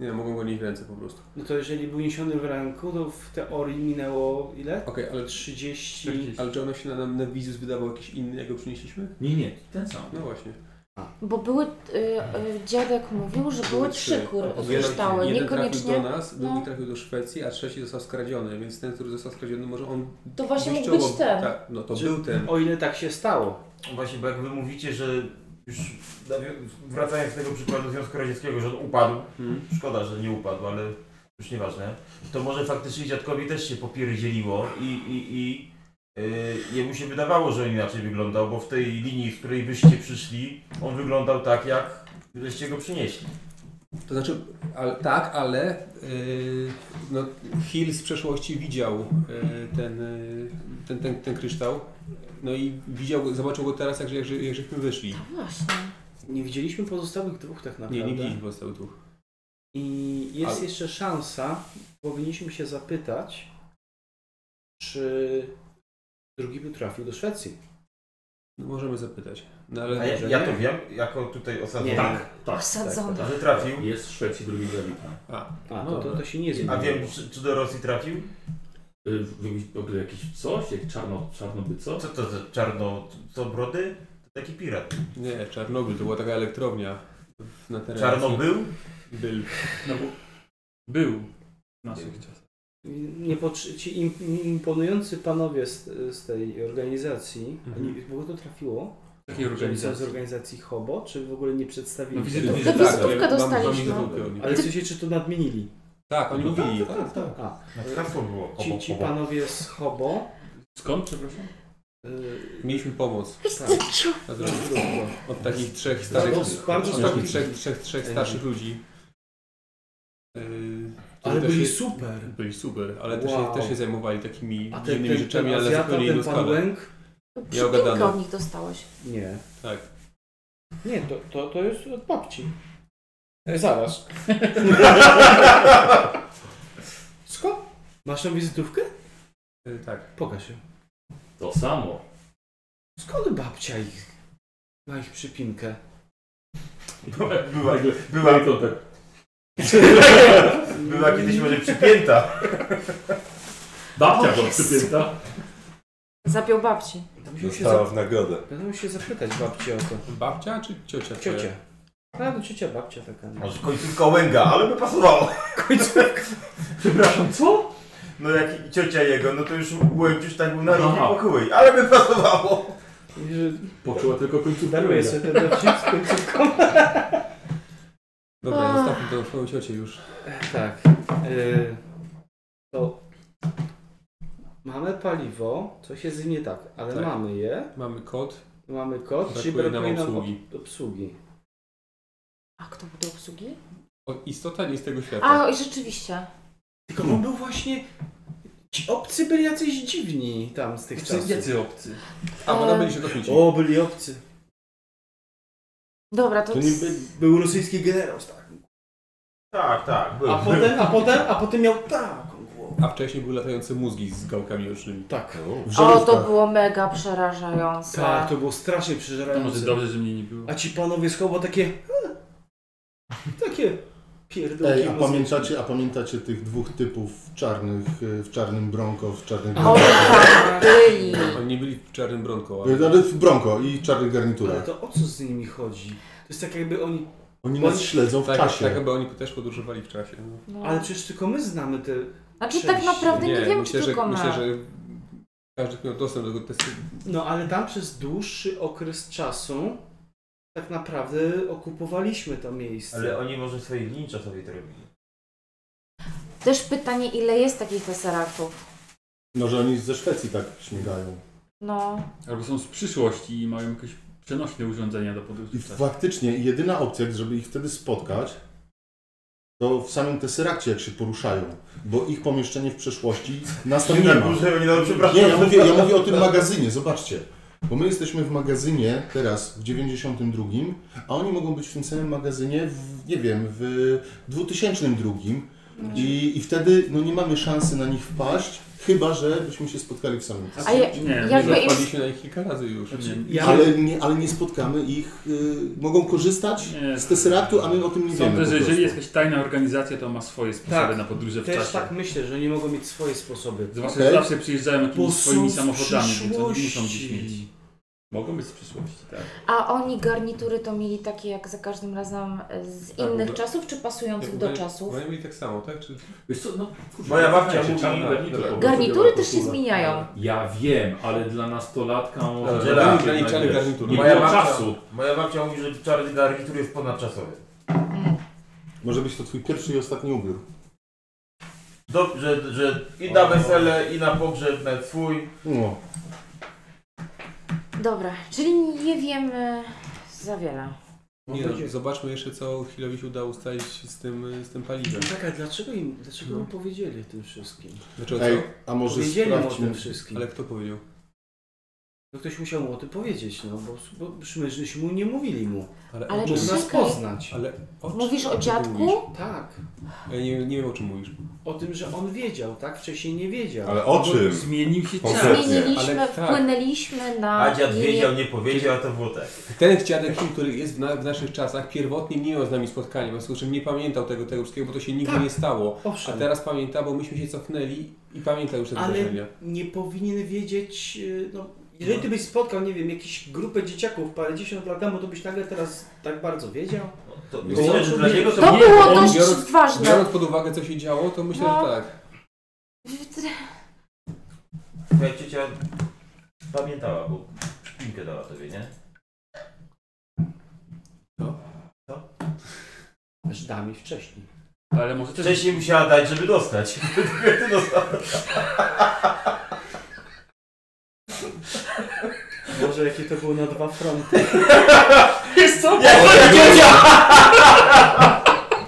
Nie, mogą go nieść w ręce po prostu.
No to jeżeli był niesiony w ręku, to w teorii minęło ile?
Okej, ale,
30.
ale czy ono się na, na, na wizję wydawał jakiś inny, jak go przynieśliśmy?
Nie, nie, ten sam.
No właśnie.
Bo były. Y, y, dziadek mówił, że były trzy kur-
Jeden-
kryształy.
Jeden trafił do
Niekoniecznie.
nas, drugi
No.
trafił do Szwecji, a trzeci został skradziony, więc ten, który został skradziony, może on
To właśnie mógł
wyjściowo-
być ten.
Tak, no to
Czy-
był ten.
O ile tak się stało.
Właśnie, bo jak wy mówicie, że już nawią- wracając do tego przykładu Związku Radzieckiego, że on upadł,
Hmm.
szkoda, że nie upadł, ale już nieważne, to może faktycznie dziadkowi też się popierdzieliło i, i, i yy, jemu się wydawało, że on inaczej wyglądał, bo w tej linii, z której wyście przyszli, on wyglądał tak, jak żeście go przynieśli.
To znaczy, ale, tak, ale yy, no, Hill z przeszłości widział yy, ten, yy, ten, ten, ten kryształ. No i widział, go- zobaczył go teraz, jak, jak, jak żeśmy wyszli.
Właśnie.
Nie widzieliśmy pozostałych dwóch tak naprawdę.
Nie, nie widzieliśmy pozostałych dwóch.
I jest
Ale-
jeszcze szansa, powinniśmy się zapytać, czy drugi by trafił do Szwecji.
No, możemy zapytać. No,
A
ale
ja,
że
ja
nie?
to wiem, jako tutaj osadzony,
Nie.
Tak, tak.
Osadzony.
że trafił,
Jest w Szwecji drugi grawitna.
A,
No
to, to,
dobra.
to się nie zmieni.
a wiem, czy, czy do Rosji trafił?
Y, w jakiś- w ogóle Jakiś coś? Jak czarno, czarnobyco?
Co to za czarno, co brody? To taki pirat.
nie, Czarnobyl, to była taka elektrownia w- na terenie.
Czarnobył?
Był.
No bo był w naszych czasach.
Nie potrzy- ci im, imponujący panowie z, z tej organizacji,
Mhm.
mhm. bo to trafiło,
Takiej
że są z
organizacji.
organizacji HOBO, czy w ogóle nie przedstawili
No
tego?
wizytówki.
To
Tak,
wizytówkę
ale mam- mam
dostaliśmy.
wizytówkę od nich.
Ale w sensie, czy to nadmienili?
Tak, oni mówili.
Tak, tak.
A,
Na hasło było.
ci,
obok,
ci
obok.
panowie z HOBO...
Skąd, przepraszam?
Yy,
Mieliśmy pomoc Tak.
Wystarczyło.
na drodze. od takich trzech starych,
bardzo, bardzo
od
starych-
takich trzech, trzech, trzech starszych ludzi. Yy, którzy
Ale byli
też się,
super.
byli super, ale też, się,
Wow.
też się zajmowali takimi
A ten,
dziwnymi
ten, ten
rzeczami, ale
Azjata,
zupełnie
ten
inną
pan
skalę.
Łęk?
Przypinkę
ogadane.
od nich dostałeś.
Nie.
Tak.
Nie, to, to, to jest od babci. E, zaraz. Skąd? Masz tą wizytówkę?
Yy, tak.
Pokaż ją.
To samo.
Skąd babcia ich? Ma ich przypinkę.
Była, była,
Była to tak.
była kiedyś może przypięta.
O
Babcia była
Jezu.
przypięta.
Zapiął babci.
Będę musiał się,
Dostała
zap...
w nagodę.
Będę musiał się zapytać babci o to.
Babcia czy ciocia? twoja?
Ciocia. A, no ciocia, babcia taka. No.
Może końcówka łęga, ale by pasowało.
Przepraszam, co?
No jak ciocia jego, no to już łęk już tak był na równi
Aha.
pokój, ale by pasowało.
I że
Poczuła tylko końcówkę.
Daruję sobie ten dowcip z końcówką.
Dobra,
A.
zostawmy to swoją ciocię już.
Tak. Y... To... Mamy paliwo, coś jest z nim nie tak, ale
Tak.
mamy je,
Mamy kod,
mamy kod, czyli
brakuje nam obsługi.
ob- obsługi.
A kto był do obsługi?
O, istota nie z tego świata.
A, i rzeczywiście.
Tylko on był właśnie Ci obcy byli jacyś dziwni tam z tych czasów.
Jacy obcy?
A bo tam byli się kotwici.
O, byli obcy.
Dobra, to...
To nie by, był rosyjski generał, tak.
Tak, tak, był.
A potem, a potem, a potem miał taką głowę.
A wcześniej były latające mózgi z gałkami ocznymi.
Tak.
No.
O, to było mega przerażające.
Tak, to było strasznie
To
przeżerające.
może dobrze, że mnie nie było.
A ci panowie z Hobo takie... Takie pierdolki.
Ej, a
mózgu.
pamiętacie, a pamiętacie tych dwóch typów w czarnych, y, w czarnym Bronco, w czarnym
Oni tam tak, byli.
Oni nie byli w czarnym bronko, ale...
Y, Ale w Bronco i czarnych
Ale
garniturach.
to o co z nimi chodzi? To jest tak jakby oni...
Oni nas
Oni-
śledzą w
Tak,
czasie.
tak, bo oni też podróżowali w czasie. No.
No.
Ale przecież tylko my znamy te...
Znaczy tak naprawdę nie, wiem,
myślę,
czy
że,
tylko my.
myślę, że każdy miał dostęp do tego testu.
No ale tam przez dłuższy okres czasu tak naprawdę okupowaliśmy to miejsce.
Ale oni może w swojej linii czasowej to robili.
Też pytanie, ile jest takich teseraktów?
No, że oni ze Szwecji tak śmigają.
No,
Albo są z przyszłości i mają jakieś przenośne urządzenia do podróży
I
w czasie.
faktycznie jedyna opcja, żeby ich wtedy spotkać, to w samym Tesseractie, jak się poruszają, bo ich pomieszczenie w przeszłości nas tam nie ma.
nie, no, przepraszam.
Nie, ja mówię, ja mówię o tym magazynie, zobaczcie. Bo my jesteśmy w magazynie teraz, w 92, a oni mogą być w tym samym magazynie, w, nie wiem, w 2002 i, i wtedy no, nie mamy szansy na nich wpaść, chyba że byśmy się spotkali w samym
a je,
Nie,
jakby
nie,
im...
Wpadliśmy na nich kilka razy już.
nie.
Ja-
Ale nie, ale nie spotkamy ich, y, mogą korzystać
Nie.
z Tesseractu, a my o tym nie wiemy
Sądzę,
po
że jeżeli
prostu.
jest jakaś tajna organizacja, to ma swoje sposoby
Tak,
na podróże w
Też
czasie.
tak myślę, że oni mogą mieć swoje sposoby.
Zwłaszcza,
Okej.
że zawsze przyjeżdżają
Bo
jakimiś swoimi
są w
samochodami, więc oni muszą gdzieś
przyszłości.
mieć. Mogą być z przyszłości, tak.
A oni garnitury to mieli takie jak za każdym razem e, z
Tak,
innych
ubrania-
czasów, czy pasujących do czasów?
Oni mieli tak samo, tak? Czy...
Wiesz co, no kurczę,
Moja babcia
ja się
mówi-
czarna garnitur
Gar-
powie.
Garnitury też się zmieniają.
Ja wiem, ale dla nastolatka może...
dla
tak,
graniczany
jednak, wiesz,
garnitur.
Nie
Moja
było
babcia-
czasu.
Moja babcia mówi, że czarny garnitur jest ponadczasowy.
Może być to twój pierwszy i ostatni ubiór.
Do, że, że i na wesele, i na pogrzeb, nawet swój.
No.
Dobra, czyli nie wiemy za wiele.
Nie, no, zobaczmy jeszcze, co Hilowi się udało ustalić z tym, z tym paliwem.
Tak, a dlaczego im, dlaczego
No.
im powiedzieli o tym wszystkim?
No. Znaczy, o co?
Ej, a może
Powiedzieli mu o tym
sprawdźmy...
wszystkim.
Ale kto powiedział?
No ktoś musiał mu o tym powiedzieć, no bo, bo przymierzyliśmy mu nie mówili mu.
Ale
o czym?
Mógł nas
czekaj.
poznać.
Ale o czym-
Mówisz
o
o
czym ty
dziadku?
mówisz?
Tak,
Ja nie, nie wiem, o czym mówisz.
o tym, że on wiedział, tak? Wcześniej nie wiedział.
Ale o czym?
Zmienił się czas.
Konkretnie.
Zmieniliśmy,
ale tak.
wpłynęliśmy na...
A dziad
jej-
wiedział, nie powiedział, a to było tak.
Ten dziadek, który jest w, na, w naszych czasach, pierwotnie nie miał z nami spotkania, w związku z czym nie pamiętał tego, tego wszystkiego, bo to się nigdy
Tak.
nie stało. A
Owszem,
teraz pamięta, bo myśmy się cofnęli i pamięta już te
Ale-
wydarzenia.
nie powinien wiedzieć, y, no... Jeżeli ty byś spotkał, nie wiem, jakieś grupę dzieciaków parędziesiąt lat temu, to byś nagle teraz tak bardzo wiedział?
To,
No,
myślę, że dla niego to,
To
nie,
było
on-
dość
biorąc-
ważne.
Biorąc pod uwagę, co się działo, to myślę,
No.
że tak.
Moja ciocia pamiętała, bo szpinkę dała tobie, nie?
Aż dami wcześniej.
Ale może też...
Wcześniej musiała dać, żeby dostać. Ty dostałeś.
Może jakie to było na dwa fronty.
Wiesz co?
Nie, moja ciocia!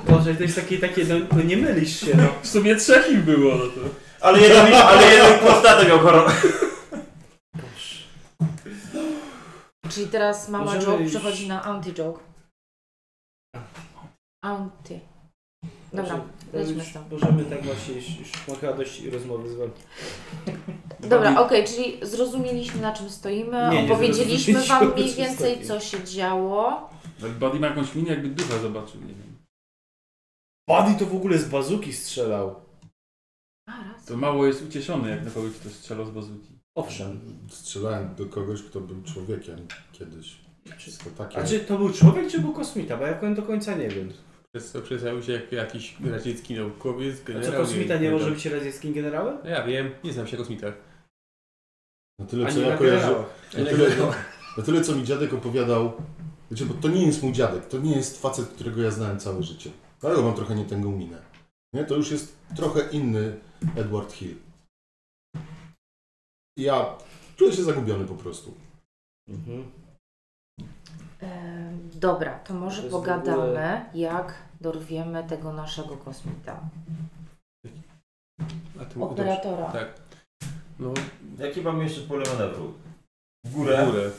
Boże, to jest takie, takie, no, no nie mylisz się, no.
W sumie trzech ich było, no to...
Ale jeden, ale jeden prostatę miał chorobę.
Czyli teraz mama
Możemy
joke
już-
przechodzi na anti-joke. Anty. Dobra,
To
lećmy
już
z tym.
Możemy tak właśnie już, już mogła dość rozmowy z wami.
Dobra, okej, czyli zrozumieliśmy na czym stoimy,
Nie, nie
opowiedzieliśmy
zrozumieliśmy,
Wam mniej
o czym
więcej
stoimy.
co się działo.
Tak Buddy ma jakąś minę, jakby ducha zobaczył, nie wiem.
Buddy to w ogóle z bazuki strzelał.
A, raz.
To mało jest ucieszony, jak na kogoś kto strzela z bazuki.
Owszem.
Strzelałem do kogoś, kto był człowiekiem kiedyś.
Znaczy-
Wszystko takie.
A czy to był człowiek, czy był kosmita? Bo ja powiem do końca nie wiem.
Przez co przedstawił się jak jakiś radziecki naukowiec,
A
generał.
co, kosmita nie może być radzieckim generałem?
No Ja wiem, nie znam się na kosmitach.
Na tyle,
Ani
co ja
na
kojarzę.
generałach.
Na tyle, na tyle, co mi dziadek opowiadał. Wiecie, bo to nie jest mój dziadek, to nie jest facet, którego ja znałem całe życie. Dlatego mam trochę nie tę minę. Nie? To już jest trochę inny Edward Hill. Ja czuję się zagubiony po prostu.
Mhm.
Em, dobra, to może
To jest w
pogadamy,
ogóle-
jak dorwiemy tego naszego kosmita.
A tym otoczeniu.
operatora.
Tak. No,
Jakie mamy jeszcze pole manewru? W
w
górę.
górę.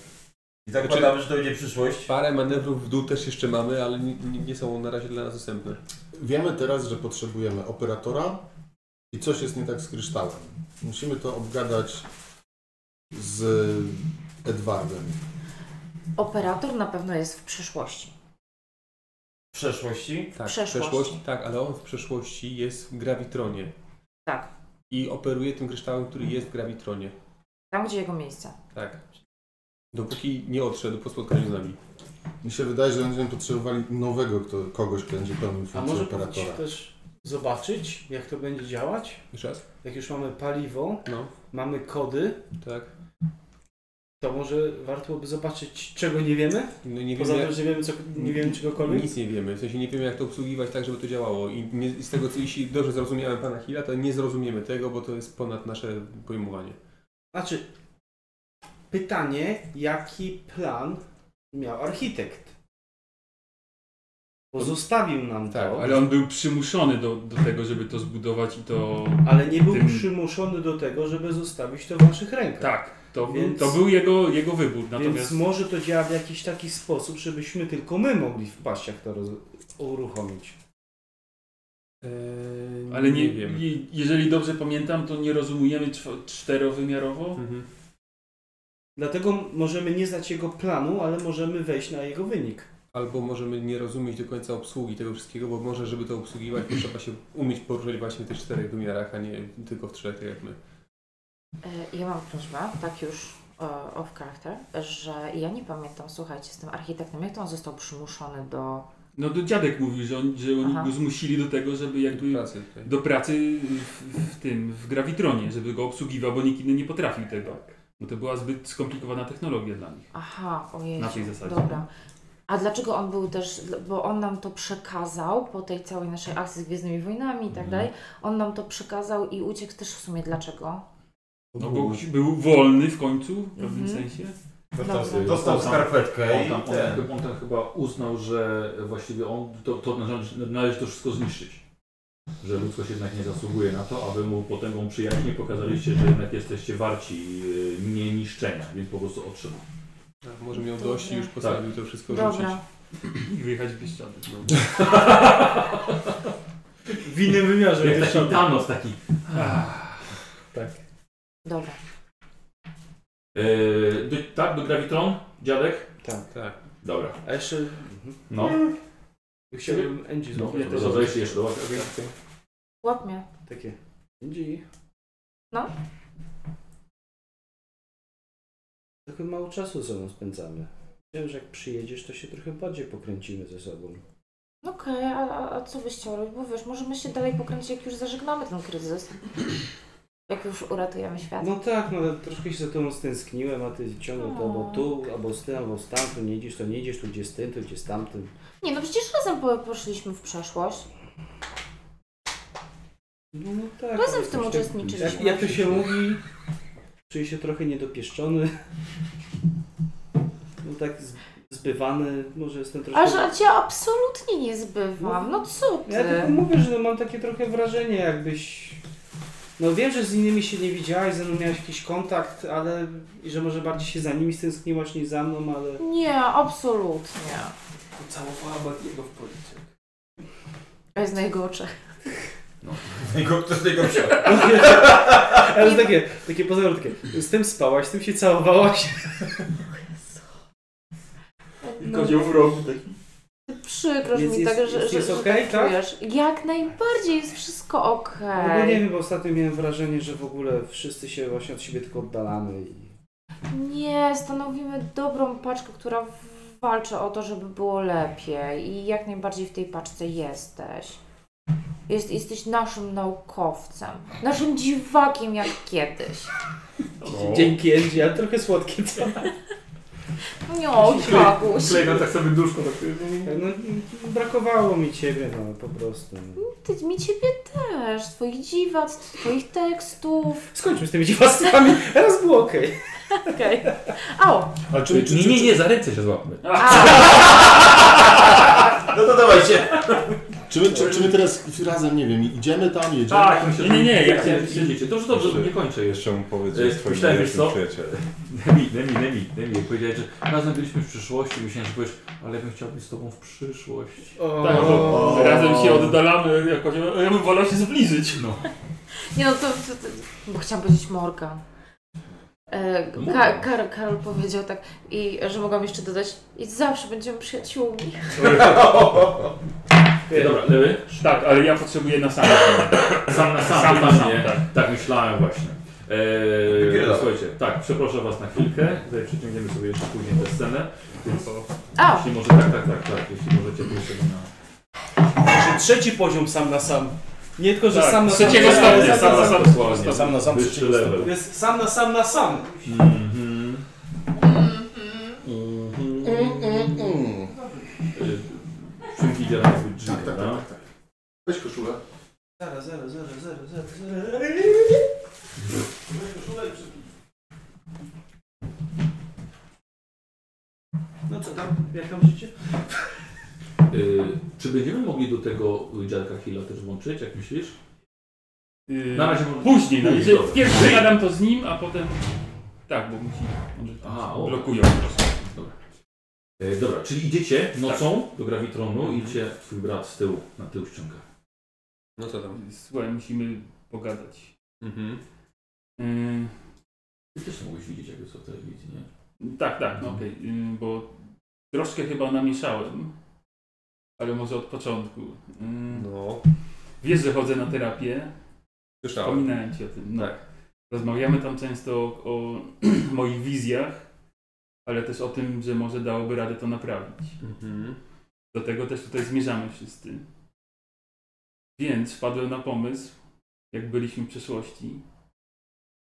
Znaczy,
I zakładamy, że to będzie przyszłość.
Parę manewrów w dół też jeszcze mamy, ale nie, nie, nie są na razie dla nas dostępne.
Wiemy teraz, że potrzebujemy operatora i coś jest nie tak z kryształem. Musimy to obgadać z Edwardem.
Operator na pewno jest w przyszłości.
W przeszłości.
Tak,
Przeszłość.
tak, ale on w przeszłości jest w gravitronie
Tak.
i operuje tym kryształem, który jest w gravitronie.
Tam, gdzie jego miejsce.
Tak. Dopóki nie odszedł po spotkaniu z nami.
Mi się wydaje, że będziemy potrzebowali nowego kto, kogoś, kto będzie pełnił
A
funkcję
może powinniśmy
operatora.
też zobaczyć, jak to będzie działać?
Jeszcze raz?
Jak już mamy paliwo,
No,
mamy kody,
tak.
to może warto byłoby zobaczyć, czego nie wiemy?
No nie
Poza
wiemy,
tym, że wiemy co, nie wiemy czegokolwiek?
Nic nie wiemy, w sensie nie wiemy jak to obsługiwać tak, żeby to działało i nie, z tego co jeśli dobrze zrozumiałem Pana Hilla, to nie zrozumiemy tego, bo to jest ponad nasze pojmowanie.
Znaczy, pytanie, jaki plan miał architekt? Pozostawił nam
Tak,
to,
Ale on był przymuszony do, do tego, żeby to zbudować i to...
ale nie był
tym-
przymuszony do tego, żeby zostawić to w naszych rękach.
Tak, to, był-
Więc-
to był jego, jego wybór, natomiast...
Więc może to działa w jakiś taki sposób, żebyśmy tylko my mogli w paściach to roz... uruchomić.
Eee,
Ale
Mm.
nie,
wiemy.
je, jeżeli dobrze Yy, pamiętam, to nie rozumiemy czw- czterowymiarowo?
Mhm.
Dlatego możemy nie znać jego planu, ale możemy wejść na jego wynik.
Albo możemy nie rozumieć do końca obsługi tego wszystkiego, bo może żeby to obsługiwać to trzeba się umieć poruszać właśnie w tych czterech wymiarach, a nie tylko w trzech, tak jak my.
E, Ja mam prośbę, tak już e, off character, że ja nie pamiętam, słuchajcie, z tym architektem, jak to on został przymuszony do...
No to dziadek mówił, że, on, że oni
Aha.
go zmusili do tego, żeby jakby
Pracy tutaj.
do pracy w, w tym, w gravitronie, żeby go obsługiwał, bo nikt inny nie potrafił tego.
Tak.
Bo to była zbyt skomplikowana technologia dla nich.
Aha, ojej.
Na tej zasadzie.
Dobra. A dlaczego on był też, bo on nam to przekazał po tej całej naszej akcji z Gwiezdnymi Wojnami i
Mhm.
tak dalej, on nam to przekazał i uciekł też w sumie dlaczego?
No bo był wolny w końcu, w pewnym
Mhm.
sensie.
Dostał,
Dobra.
dostał skarpetkę
On
i
tam, on,
ten.
on tam chyba uznał, że właściwie on to, to należy, należy to wszystko zniszczyć. Że ludzkość jednak nie zasługuje na to, aby mu potęgą przyjaźni pokazaliście, że jednak jesteście warci yy, nie niszczenia, więc po prostu Tak. odszedł.
A Tak, Może miał dość i już postawił to wszystko rzucić.
Dobra.
I wyjechać bez ściany.
W innym wymiarze.
Jak taki Thanos taki.
tak.
Dobra.
Yy, do, tak, do Gravitron? Dziadek?
Tak.
Dobra.
A jeszcze Mhm.
No,
chciałbym Angie
no
złapać.
to jeszcze jeszcze do
Łap mnie.
Takie. Angie.
No.
Trochę mało czasu ze sobą spędzamy. Wiem, że jak przyjedziesz, to się trochę bardziej pokręcimy ze sobą.
No Okej, a- a, a co byś chciał robić? Bo wiesz, możemy się dalej pokręcić, jak już zażegnamy ten kryzys. Jak już uratujemy świat.
No tak, no ale troszkę się za tobą stęskniłem, a ty ciągle to albo
O.
tu, albo z tym, albo z tamtym, nie idziesz, to nie idziesz, tu gdzie z tym, tu gdzie z tamtym.
Nie, no przecież razem po, poszliśmy w przeszłość.
No, no tak.
Razem
ale
w tym
coś tak- Jak,
uczestniczyliśmy.
jak to się mówi, czuję się trochę niedopieszczony. No tak z- zbywany, może jestem troszkę...
A że cię absolutnie nie zbywam. No co ty?
Ja tylko mówię, że no mam takie trochę wrażenie, jakbyś... No wiem, że z innymi się nie widziałaś, ze mną miałeś jakiś kontakt, ale... I że może bardziej się za nimi stęskniłaś niż za mną, ale...
Nie, absolutnie.
Całowała Batiego w policzek.
To jest na jego oczach.
Jego, to z niego wziął.
Ale takie, takie pozorutkie. Z tym spałaś, z tym się całowałaś.
No,
w rogu taki.
przykro
Więc
mi
jest-
tak, że,
jest-
że,
jest
że
okej,
tak
tak?
czujesz. Jak najbardziej jest wszystko
No bo nie
okej.
wiem, bo ostatnio miałem wrażenie, że w ogóle wszyscy się właśnie od siebie tylko oddalamy i...
Nie, stanowimy dobrą paczkę, która walczy o to, żeby było lepiej i jak najbardziej w tej paczce jesteś. Jest, jesteś naszym naukowcem, naszym dziwakiem jak kiedyś.
No.
Dzięki Angie, ale trochę słodkie co?
No, Kaguś.
Klejna tak sobie duszko tak.
No, brakowało mi ciebie, no po prostu.
Ty, mi ciebie też, twoich dziwactw, twoich tekstów.
Skończmy z tymi dziwactwami, teraz było okej.
Okej. Au!
Ale czy, czy,
Nie,
czy,
nie, nie, za ręce się złapmy.
Au!
No to dawajcie.
Czy my, czy, czy my teraz razem, nie wiem, idziemy tam, jedziemy?
Tak, myślę, że-
Nie, nie, nie, jak
tak,
się-
jak siedzicie. Dobrze, dobrze, nie kończę jeszcze.
Jeszcze mu powiedz,
E,
że jest twoim
myślałem, wiesz
najlepszym
co?
przyjacielem.
Nemi, Nemi, Nemi, Nemi. Powiedziałeś, że razem byliśmy w przyszłości. Myślałem, że powiesz, ale ja bym chciał być z tobą w przyszłości.
Tak, bo razem się oddalamy jakoś. Ja bym wolał się zbliżyć.
No.
Nie no, to, to, to bo chciałam powiedzieć Morgan. E,
No
Ka
Morgan.
Karol, Karol powiedział tak, i że mogłam jeszcze dodać, i zawsze będziemy przyjaciółmi.
Ej, Dobra, lewy.
Tak, ale ja potrzebuję na sam. Sam
Sam na sam,
na sam,
nie?
tak.
Tak myślałem właśnie. Eee,
Wypierdalaj.
słuchajcie, tak, przepraszam was na chwilkę. Tutaj przeciągniemy sobie jeszcze później tę scenę. Więc
A,
jeśli może tak, tak, tak, tak, jeśli możecie pójść sobie na.
Że trzeci poziom sam na sam. Nie tylko, że
Tak,
sam na sam.
trzeciego
sam,
stopnia,
na
sam na
sam.
sam.
Dokładnie.
Sam na sam,
Wyższy
trzeciego
level.
To tak, jest sam na sam na sam.
Mhm.
Mm, mm, mm.
Y, Szynki idzie na swój drzwi,
Tak, tak,
prawda?
tak, tak. Weź koszulę.
Zero, zero, zero, zero, zero, zero. No co tam? Jak tam życie?
Y, czy będziemy mogli do tego dziadka Hilla też włączyć, jak myślisz?
Yy,
Na razie może...
Później, no
Później,
jeżeli
dobra.
pierwszy gadam to z nim, a potem. Tak, bo musi. Może
Aha, o.
blokują po prostu.
Y, dobra, czyli idziecie nocą
Tak.
do Gravitronu
Mhm.
i cię twój brat z tyłu, na tył ściąga.
No co tam?
Słuchaj, musimy pogadać.
Mhm.
Yy,
Mm.
Ty też to mogłeś widzieć, jakby co w telewizji, nie? Mhm.
tak, tak, no okej, yy, bo troszkę chyba namieszałem, ale może od początku. Yy,
No.
wiesz, że chodzę na terapię.
Słyszałem. Tak.
Wspominałem ci o tym. No. Rozmawiamy tam często o, o moich wizjach, ale też o tym, że może dałoby radę to naprawić.
Mhm.
Do tego też tutaj zmierzamy wszyscy. Więc wpadłem na pomysł, jak byliśmy w przeszłości,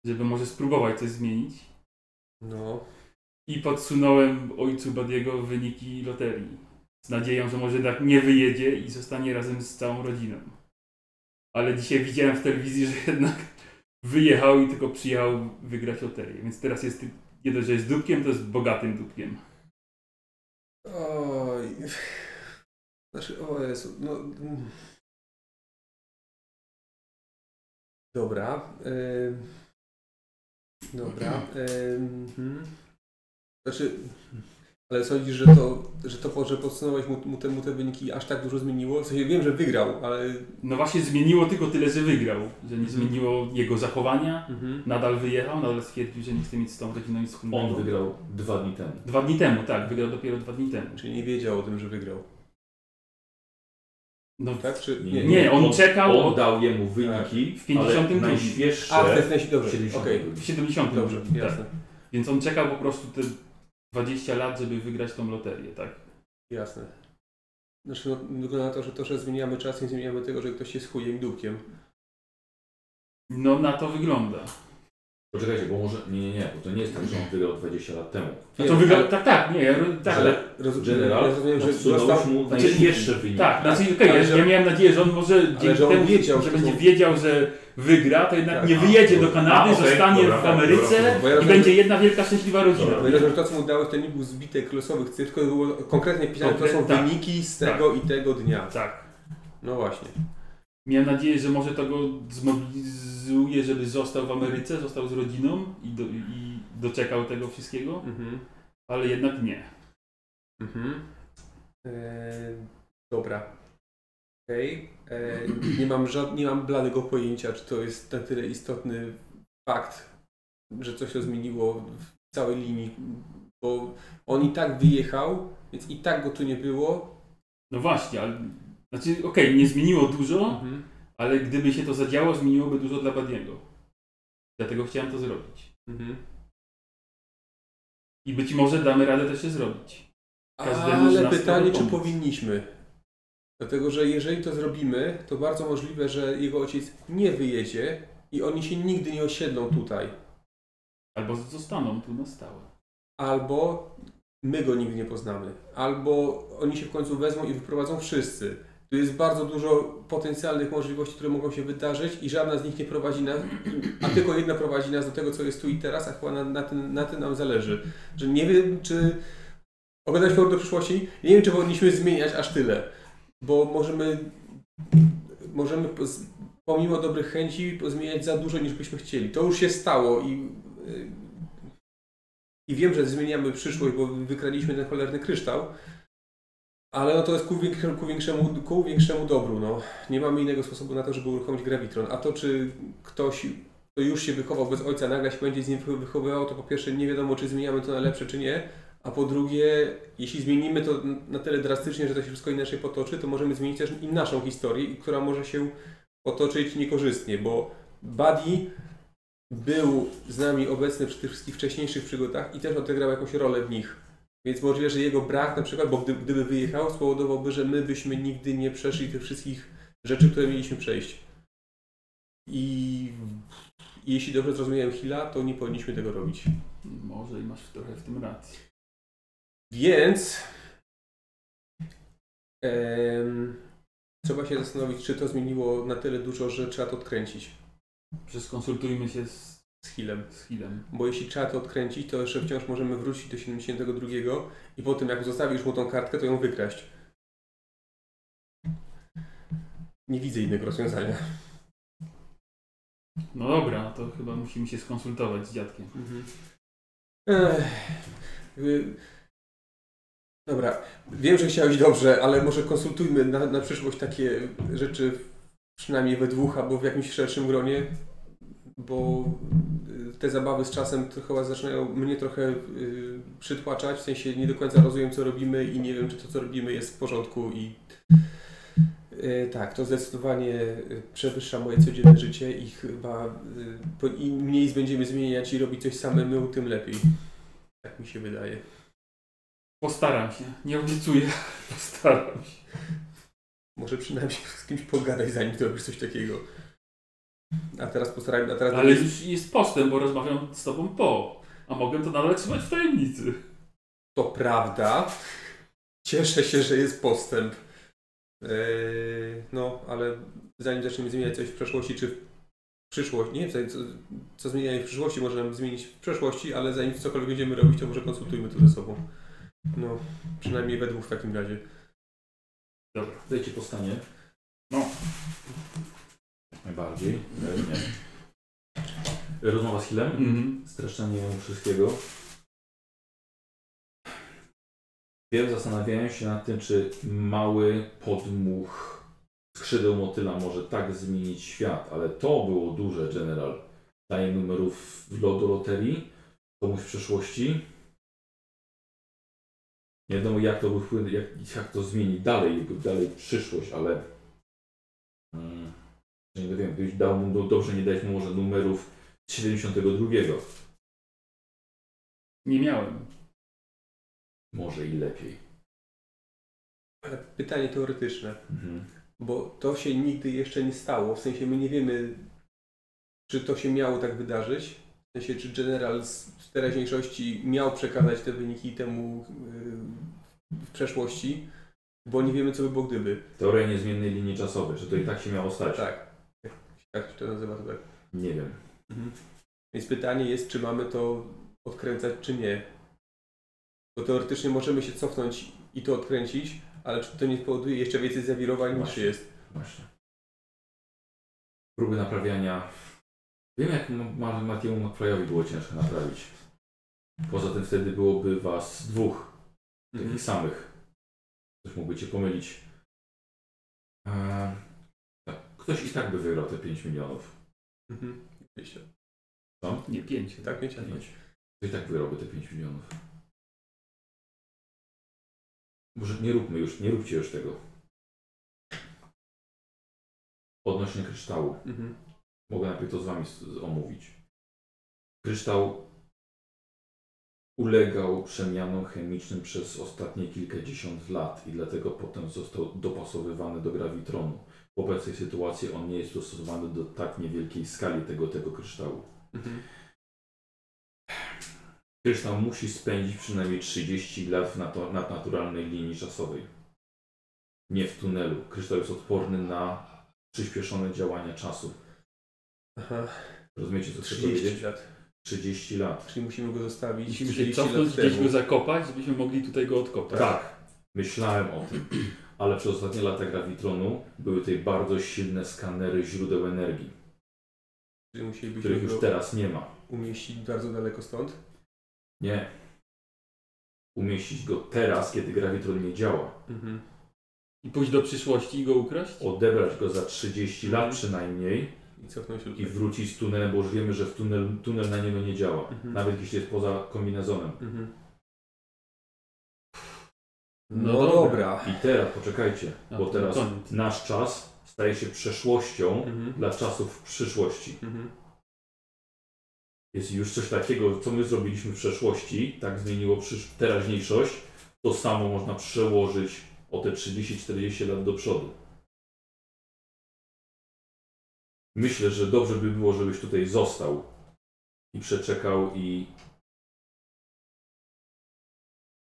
żeby może spróbować coś zmienić.
No.
I podsunąłem ojcu Badiego wyniki loterii. Z nadzieją, że może tak nie wyjedzie i zostanie razem z całą rodziną. Ale dzisiaj widziałem w telewizji, że jednak wyjechał i tylko przyjechał wygrać loterię. Więc teraz jest ty- nie dość, że jest dupkiem, to jest bogatym dupkiem.
Oj. Znaczy, o Jezu, no... mm. Dobra. em, Dobra. em, mhm. Znaczy, ale sądzisz, że to, że to, że podsunąłeś mu, mu, te, mu te wyniki aż tak dużo zmieniło? W sensie wiem, że wygrał, ale...
No właśnie zmieniło tylko tyle, że wygrał. Że
Mhm.
nie zmieniło jego zachowania.
Mhm.
Nadal wyjechał, nadal stwierdził, że nie chce mieć z tą rodziną nic wspólnego.
On wygrał dwa dni temu.
Dwa dni temu, tak. Wygrał dopiero dwa dni temu.
Czyli nie wiedział o tym, że wygrał.
No,
Tak? Czy...
Nie, on czekał
On
od-
dał jemu wyniki
W 50
ale
dni.
najświeższe.
Tak. A, w tej sensie, dobrze,
70
okej.
dni.
w 70.
Dobrze,
tak.
jasne.
Więc on czekał po prostu te 20 lat, żeby wygrać tą loterię, tak?
Jasne. Znaczy, no, wygląda na to, że to, że zmieniamy czas, nie zmieniamy tego, że ktoś jest chujem i dupkiem.
No na to wygląda.
Poczekajcie, bo może. Nie, nie, nie, bo to nie jest tak, że on wygrał 20 lat temu.
A to wygląda. Tak, tak, nie, ja, tak,
Że-
tak,
Roz...
General
rozumiem, że
odsunąłeś
dostał...
mu
znaczy,
najświeższe wyniki.
tak, znaczy okej,
Ale
ja,
że-
ja miałem nadzieję, że on może dzięki
że on
temu,
wiedział,
że
że
będzie
to-
wiedział, że wygra, to jednak
Tak,
nie
a,
wyjedzie do
dobra.
Kanady,
A, okej,
zostanie
dobra,
w
dobra,
Ameryce
dobra.
Bo ja
i
rozumiem-
będzie jedna wielka szczęśliwa rodzina.
Bo ja rozumiem, że to, co mu dałeś, to nie był zbitek losowych cyfr, tylko było konkretnie pisane, to są
Konkret- tak.
wyniki z tego i tego dnia.
Tak.
No właśnie.
Miałem nadzieję, że może to go zmobilizuje, żeby został w Ameryce, został z rodziną i, do, i doczekał tego wszystkiego,
Mhm.
ale jednak nie.
Mhm. Eee, dobra. Okej. Eee, nie mam żad... nie mam bladego pojęcia, czy to jest na tyle istotny fakt, że coś się zmieniło w całej linii, bo on i tak wyjechał, więc i tak go tu nie było.
No właśnie, ale znaczy okej, nie zmieniło dużo,
Mhm.
ale gdyby się to zadziało, zmieniłoby dużo dla Badiego. Dlatego chciałem to zrobić.
Mhm.
I być może damy radę też się zrobić. Każdemu z
Ale
nas
pytanie,
mogę
czy
pomóc.
Znaczy, powinniśmy? Dlatego, że jeżeli to zrobimy, to bardzo możliwe, że jego ojciec nie wyjedzie i oni się nigdy nie osiedlą tutaj.
Albo zostaną tu na stałe.
albo my go nigdy nie poznamy, albo oni się w końcu wezmą i wyprowadzą wszyscy. Tu jest bardzo dużo potencjalnych możliwości, które mogą się wydarzyć i żadna z nich nie prowadzi nas, a tylko jedna prowadzi nas do tego, co jest tu i teraz, a chyba na, na, tym, na tym nam zależy. Że nie wiem, czy oglądać powrót do przyszłości, nie wiem, czy powinniśmy zmieniać aż tyle, bo możemy możemy poz- pomimo dobrych chęci zmieniać za dużo niż byśmy chcieli. To już się stało i, y, i wiem, że zmieniamy przyszłość, bo wykradliśmy ten cholerny kryształ, ale no to jest ku, wiek- ku, większemu, ku większemu dobru. No. Nie mamy innego sposobu na to, żeby uruchomić Gravitron. A to, czy ktoś, kto już się wychował bez ojca, nagle się będzie z nim wy- wychowywał, to po pierwsze nie wiadomo, czy zmieniamy to na lepsze, czy nie. A po drugie, jeśli zmienimy to na tyle drastycznie, że to się wszystko inaczej potoczy, to możemy zmienić też i naszą historię, i która może się potoczyć niekorzystnie, bo Buddy był z nami obecny przy tych wszystkich wcześniejszych przygodach i też odegrał jakąś rolę w nich. Więc możliwe, że jego brak na przykład, bo gdy, gdyby wyjechał, spowodowałby, że my byśmy nigdy nie przeszli tych wszystkich rzeczy, które mieliśmy przejść. I jeśli dobrze zrozumiałem Hila, to nie powinniśmy tego robić.
Może i masz trochę w tym rację.
Więc em, trzeba się zastanowić, czy to zmieniło na tyle dużo, że trzeba to odkręcić
Przez konsultujmy się z,
z Hillem.
z Hillem.
Bo jeśli trzeba to odkręcić, to jeszcze wciąż możemy wrócić do 72 i po tym jak zostawisz mu tą kartkę, to ją wykraść. Nie widzę innego rozwiązania.
No dobra, to chyba musimy się skonsultować z dziadkiem.
Ech, y, Dobra, wiem, że chciałeś dobrze, ale może konsultujmy na, na przyszłość takie rzeczy przynajmniej we dwóch albo w jakimś szerszym gronie, bo y, te zabawy z czasem to chyba zaczynają mnie trochę y, przytłaczać, w sensie nie do końca rozumiem, co robimy i nie wiem, czy to, co robimy jest w porządku i y, tak, to zdecydowanie y, przewyższa moje codzienne życie i chyba y, po- im mniej będziemy zmieniać i robić coś samemu, tym lepiej. Tak mi się wydaje.
Postaram się, nie obiecuję, postaram się.
Może przynajmniej z kimś pogadać, zanim zrobisz coś takiego. A teraz postarajmy, a teraz...
Ale już jest postęp, bo rozmawiam z tobą po. A mogę to nadal trzymać w tajemnicy.
To prawda. Cieszę się, że jest postęp. Yy, no, ale zanim zaczniemy zmieniać coś w przeszłości, czy w przyszłości, nie wiem, co, co zmieniamy w przyszłości, możemy zmienić w przeszłości, ale zanim cokolwiek będziemy robić, to może konsultujmy to ze sobą. No, przynajmniej we dwóch w takim razie.
Dajcie po stanie. No. Najbardziej. E, Nie. Rozmowa z Hillem.
Mhm.
streszczenie wszystkiego. Wiem, zastanawiałem się nad tym, czy mały podmuch skrzydeł motyla może tak zmienić świat, ale to było duże, General. Daje numerów w lo- do loterii, komuś w przeszłości. Nie wiadomo, jak to, wpłynie, jak, jak to zmieni dalej, jakby dalej przyszłość, ale... Mm, nie wiem, gdybyś dał mu, no dobrze nie dać mu może numerów 72.
Nie miałem.
Może i lepiej.
Ale pytanie teoretyczne.
Mhm.
bo to się nigdy jeszcze nie stało. W sensie my nie wiemy, czy to się miało tak wydarzyć. W sensie, czy general z z teraźniejszości miał przekazać te wyniki temu yy, w przeszłości, bo nie wiemy, co by było gdyby.
Teoria niezmiennej linii czasowej, że to i tak się miało stać.
Tak. Tak się to nazywa to tak.
Nie wiem.
Więc pytanie jest, czy mamy to odkręcać, czy nie. Bo teoretycznie możemy się cofnąć i to odkręcić, ale czy to nie spowoduje jeszcze więcej zawirowań niż
Właśnie.
jest?
Właśnie. Próby naprawiania. Wiem, jak M- Ma- Matiemu McFlyowi było ciężko naprawić. Poza tym wtedy byłoby was dwóch, takich
Mhm.
samych. Ktoś mógłby cię pomylić. Eee, tak. Ktoś i tak by wygrał te 5 milionów.
Mhm. Oczywiście.
Nie, pięć.
Tak, wiecie?
To i tak wyrobię te 5 milionów. Może nie róbmy już, nie róbcie już tego. Odnośnie kryształu.
Mhm.
Mogę najpierw to z wami s- z- omówić. Kryształ ulegał przemianom chemicznym przez ostatnie kilkadziesiąt lat i dlatego potem został dopasowywany do grawitronu. W obecnej sytuacji on nie jest dostosowany do tak niewielkiej skali tego, tego kryształu. Kryształ musi spędzić przynajmniej 30 lat w natu- nadnaturalnej linii czasowej. Nie w tunelu. Kryształ jest odporny na przyspieszone działania czasu.
Aha,
Rozumiecie, co chcę
30
powiedzieć?
lat.
30 lat.
Czyli musimy go zostawić
Musimy się
30 lat
cofnąć, gdzieś
temu.
tak? go zakopać, żebyśmy mogli tutaj go odkopać.
Tak. Myślałem o tym. ale przez ostatnie lata Gravitronu były tutaj bardzo silne skanery źródeł energii,
Czyli musielibyśmy
których już
go
teraz nie ma.
umieścić bardzo daleko stąd.
Nie. Umieścić go teraz, kiedy Gravitron nie działa.
Mhm.
I pójść do przyszłości i go ukraść? Mhm.
Odebrać go za 30 lat przynajmniej
I cofnął się
i
tutaj.
wrócić z tunelem, bo już wiemy, że w tunel, tunel na niego nie działa.
Mhm.
Nawet jeśli jest poza kombinezonem.
Mhm.
No
No,
dobra.
dobra. No
I teraz, poczekajcie,
A,
bo
to
teraz
koniec.
nasz czas staje się przeszłością
Mhm.
dla czasów przyszłości.
Mhm.
Jest już coś takiego, co my zrobiliśmy w przeszłości, tak zmieniło przysz- teraźniejszość, to samo można przełożyć o te 30-40 lat do przodu. Myślę, że dobrze by było, żebyś tutaj został i przeczekał i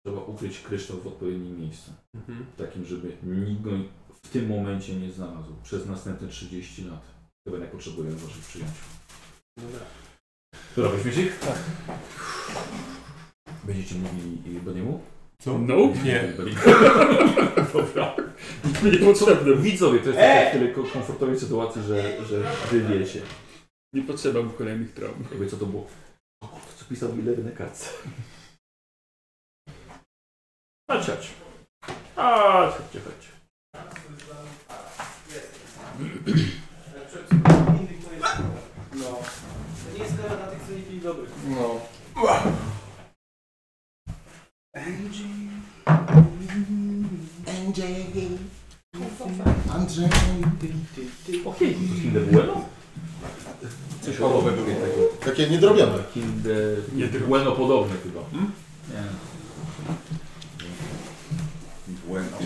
trzeba ukryć kryształ w odpowiednim miejscu
Mhm.
takim, żeby nikt go w tym momencie nie znalazł przez następne 30 lat. Chyba nie potrzebujemy waszych przyjaciół.
Dobra.
Dobra, weźmie się? Tak. Będziecie mówili y, Beniemu?
Co? No,
Nie. Dobra. Nie potrzebne. Widzowie, to jest na tyle ko- komfortowej sytuacji, że, że wy wiecie.
nie potrzeba mu kolejnych traum.
Jakby co to było? O, to co pisał mi lewy na kartce. Chodź, chodź. Chodź, chodź, chodź.
No. To nie jest kawa dla tych, co nie pili dobrych.
No.
Andrzej, Andrzej.
Okej, to jest Kinder Bueno?
Coś połowego jednego.
Takie niedrobione.
Kinder...
Nie tylko.
Bueno podobne chyba. Nie.
Błędno.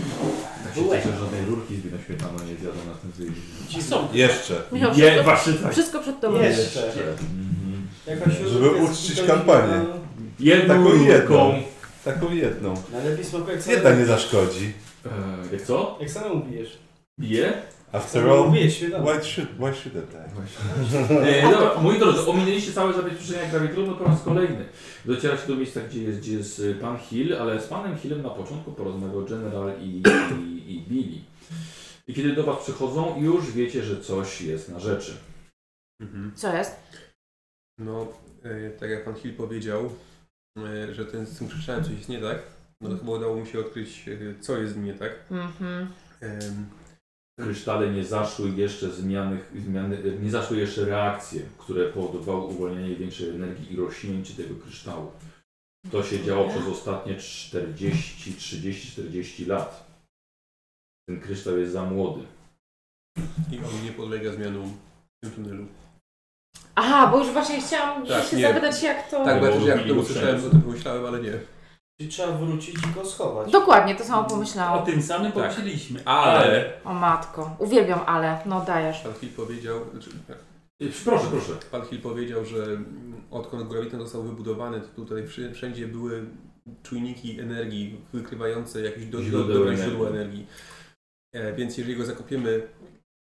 Tak się cieszę, że żadnej rurki z wina świetlaną nie zjadłem na tym zjeździe.
Ci są.
Jeszcze.
Michał,
Nie,
wszystko,
waszy tak.
wszystko przed tobą.
Jeszcze.
Mhm.
Jakaś
Żeby
środówka jest
uczcić
kilka
kampanię.
dni,
Jedną
Taką
rurką.
jedną. Taką jedną.
no, Najlepiej smakuje jak
Jedna
samemu,
nie zaszkodzi.
E,
Eee, jak co?
jak samemu bijesz.
Je?
After
Samemu
all,
bijesz, wiadomo.
why should, why should I die?
Eee, dobra, moi drodzy, ominęliście całe zabezpieczenia grawitonu no po raz kolejny. Docieracie do miejsca, gdzie jest, gdzie jest y, pan Hill, ale z panem Hillem na początku porozmawiał General i, i, i Billy. I kiedy do was przychodzą, już wiecie, że coś jest na rzeczy.
Mhm.
Co jest?
No, e, tak jak pan Hill powiedział, e, że ten z tym krzyczałem coś jest nie tak, no to chyba udało mu się odkryć, e, co jest z nim nie tak.
Mhm.
Em,
krysztale nie zaszły jeszcze zmiany, zmiany, nie zaszły jeszcze reakcje, które powodowały uwolnienie większej energii i rośnięcie tego kryształu. To się działo przez ostatnie 40, 30, 40 lat. Ten kryształ jest za młody.
I on nie podlega zmianom w tym tunelu.
Aha, bo już właśnie chciałam
Tak,
się
nie.
zapytać jak to...
Tak, bo ja też jak
robili
to
go
usłyszałem,
wszędzie.
to o tym pomyślałem, ale nie.
Czyli trzeba wrócić i go schować.
Dokładnie, to samo
O
pomyślałam.
tym samym
Tak.
pomyśleliśmy, ale...
Ale-
O matko, uwielbiam ale, no dajesz.
Pan Hill powiedział, znaczy, tak,
E,
Y, Proszę, proszę.
pan Hill powiedział, że mm, odkąd Graviton został wybudowany, to tutaj wszy- wszędzie były czujniki energii wykrywające jakieś do, do,
Źródeł
dobre
energii.
źródło energii. E, więc jeżeli go zakopiemy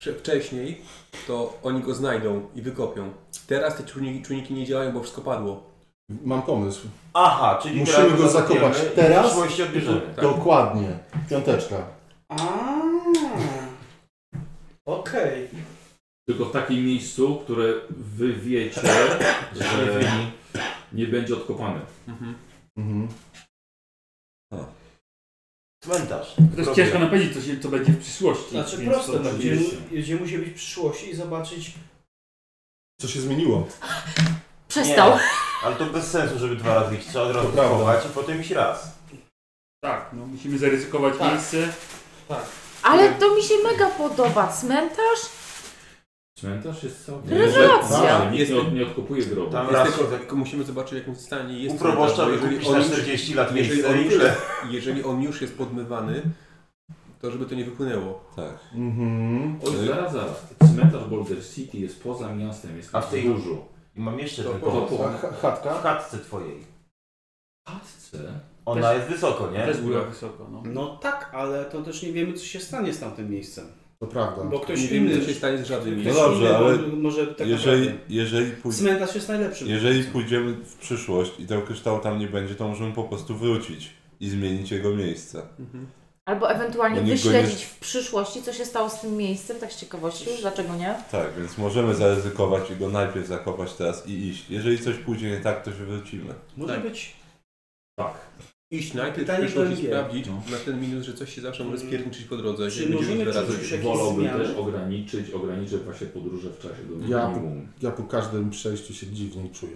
prze- wcześniej, to oni go znajdą i wykopią. Teraz te czujniki, czujniki nie działają, bo wszystko padło.
Mam pomysł.
Aha, czyli
Musimy
teraz
go
zakopiemy
zakopać
i w
teraz?
przyszłości odbierzemy.
Tak.
Dokładnie. Piąteczka.
Aaa. Okej.
Tylko w takim miejscu, które wy wiecie, że nie będzie odkopane.
Mhm.
Cmentarz.
To jest ciężko nam powiedzieć, co, się, co będzie w przyszłości.
Znaczy
więc
proste,
to- tak
no,
to-
będziemy, będziemy musieli być w przyszłości i zobaczyć.
Co się zmieniło?
Przestał.
Nie, ale to bez sensu, żeby dwa razy iść. Trzeba od razu
To prawda.
schować i potem iść raz.
Tak, no musimy zaryzykować
Tak.
miejsce.
Ale to mi się mega podoba. Cmentarz?
Cmentarz jest całkiem...
Rewelacja.
Nikt nie, od- nie odkopuje grobu.
Tam
Jest
raz
tylko, tylko musimy zobaczyć, w jakim stanie jest
u
bo
proboszcza wykupić na
on już-
40 lat
jeżeli
miejsce
on,
i
już,
tyle.
jeżeli on już jest podmywany, to żeby to nie wypłynęło.
Tak.
Mhm.
Oj, zaraz, zaraz. Cmentarz Boulder City jest poza miastem, jest
A w tej-
dużo.
I mam jeszcze
To
tylko
po-
A ch- chatka?
w chatce twojej.
Chatce?
Ona jest wysoko, nie?
Też była wysoko, no.
No tak, ale to też nie wiemy, co się stanie z tamtym miejscem.
To prawda.
Bo ktoś
Nie
inny.
wiemy, co się stanie z żadnym
ktoś
miejscem.
No dobrze,
inny
ale
mo- może tak
Jeżeli,
naprawdę.
jeżeli, pój-
Cmentarz jest najlepszy.
jeżeli pójdziemy w przyszłość i ten kryształ tam nie będzie, to możemy po prostu wrócić i zmienić jego miejsce.
Mhm.
Albo ewentualnie
Bo nikt go
wyśledzić w przyszłości, co się stało z tym miejscem, tak z ciekawości, dlaczego nie?
Tak, więc możemy zaryzykować i go najpierw zakopać teraz i iść. Jeżeli coś pójdzie nie tak, to się wrócimy.
Może
Tak.
być.
Iść najpierw,
Pytanie,
przyszłość i
kto wie.
sprawdzić na ten minut, że coś się zawsze może spierniczyć po drodze.
Hmm. Czy
że będziemy
możemy
dwa razy
czuć, że-
się-
Wolałbym
zmiany?
też ograniczyć, ograniczyć właśnie podróże w czasie do
Ja-
minimum.
Ja po każdym przejściu się dziwniej czuję.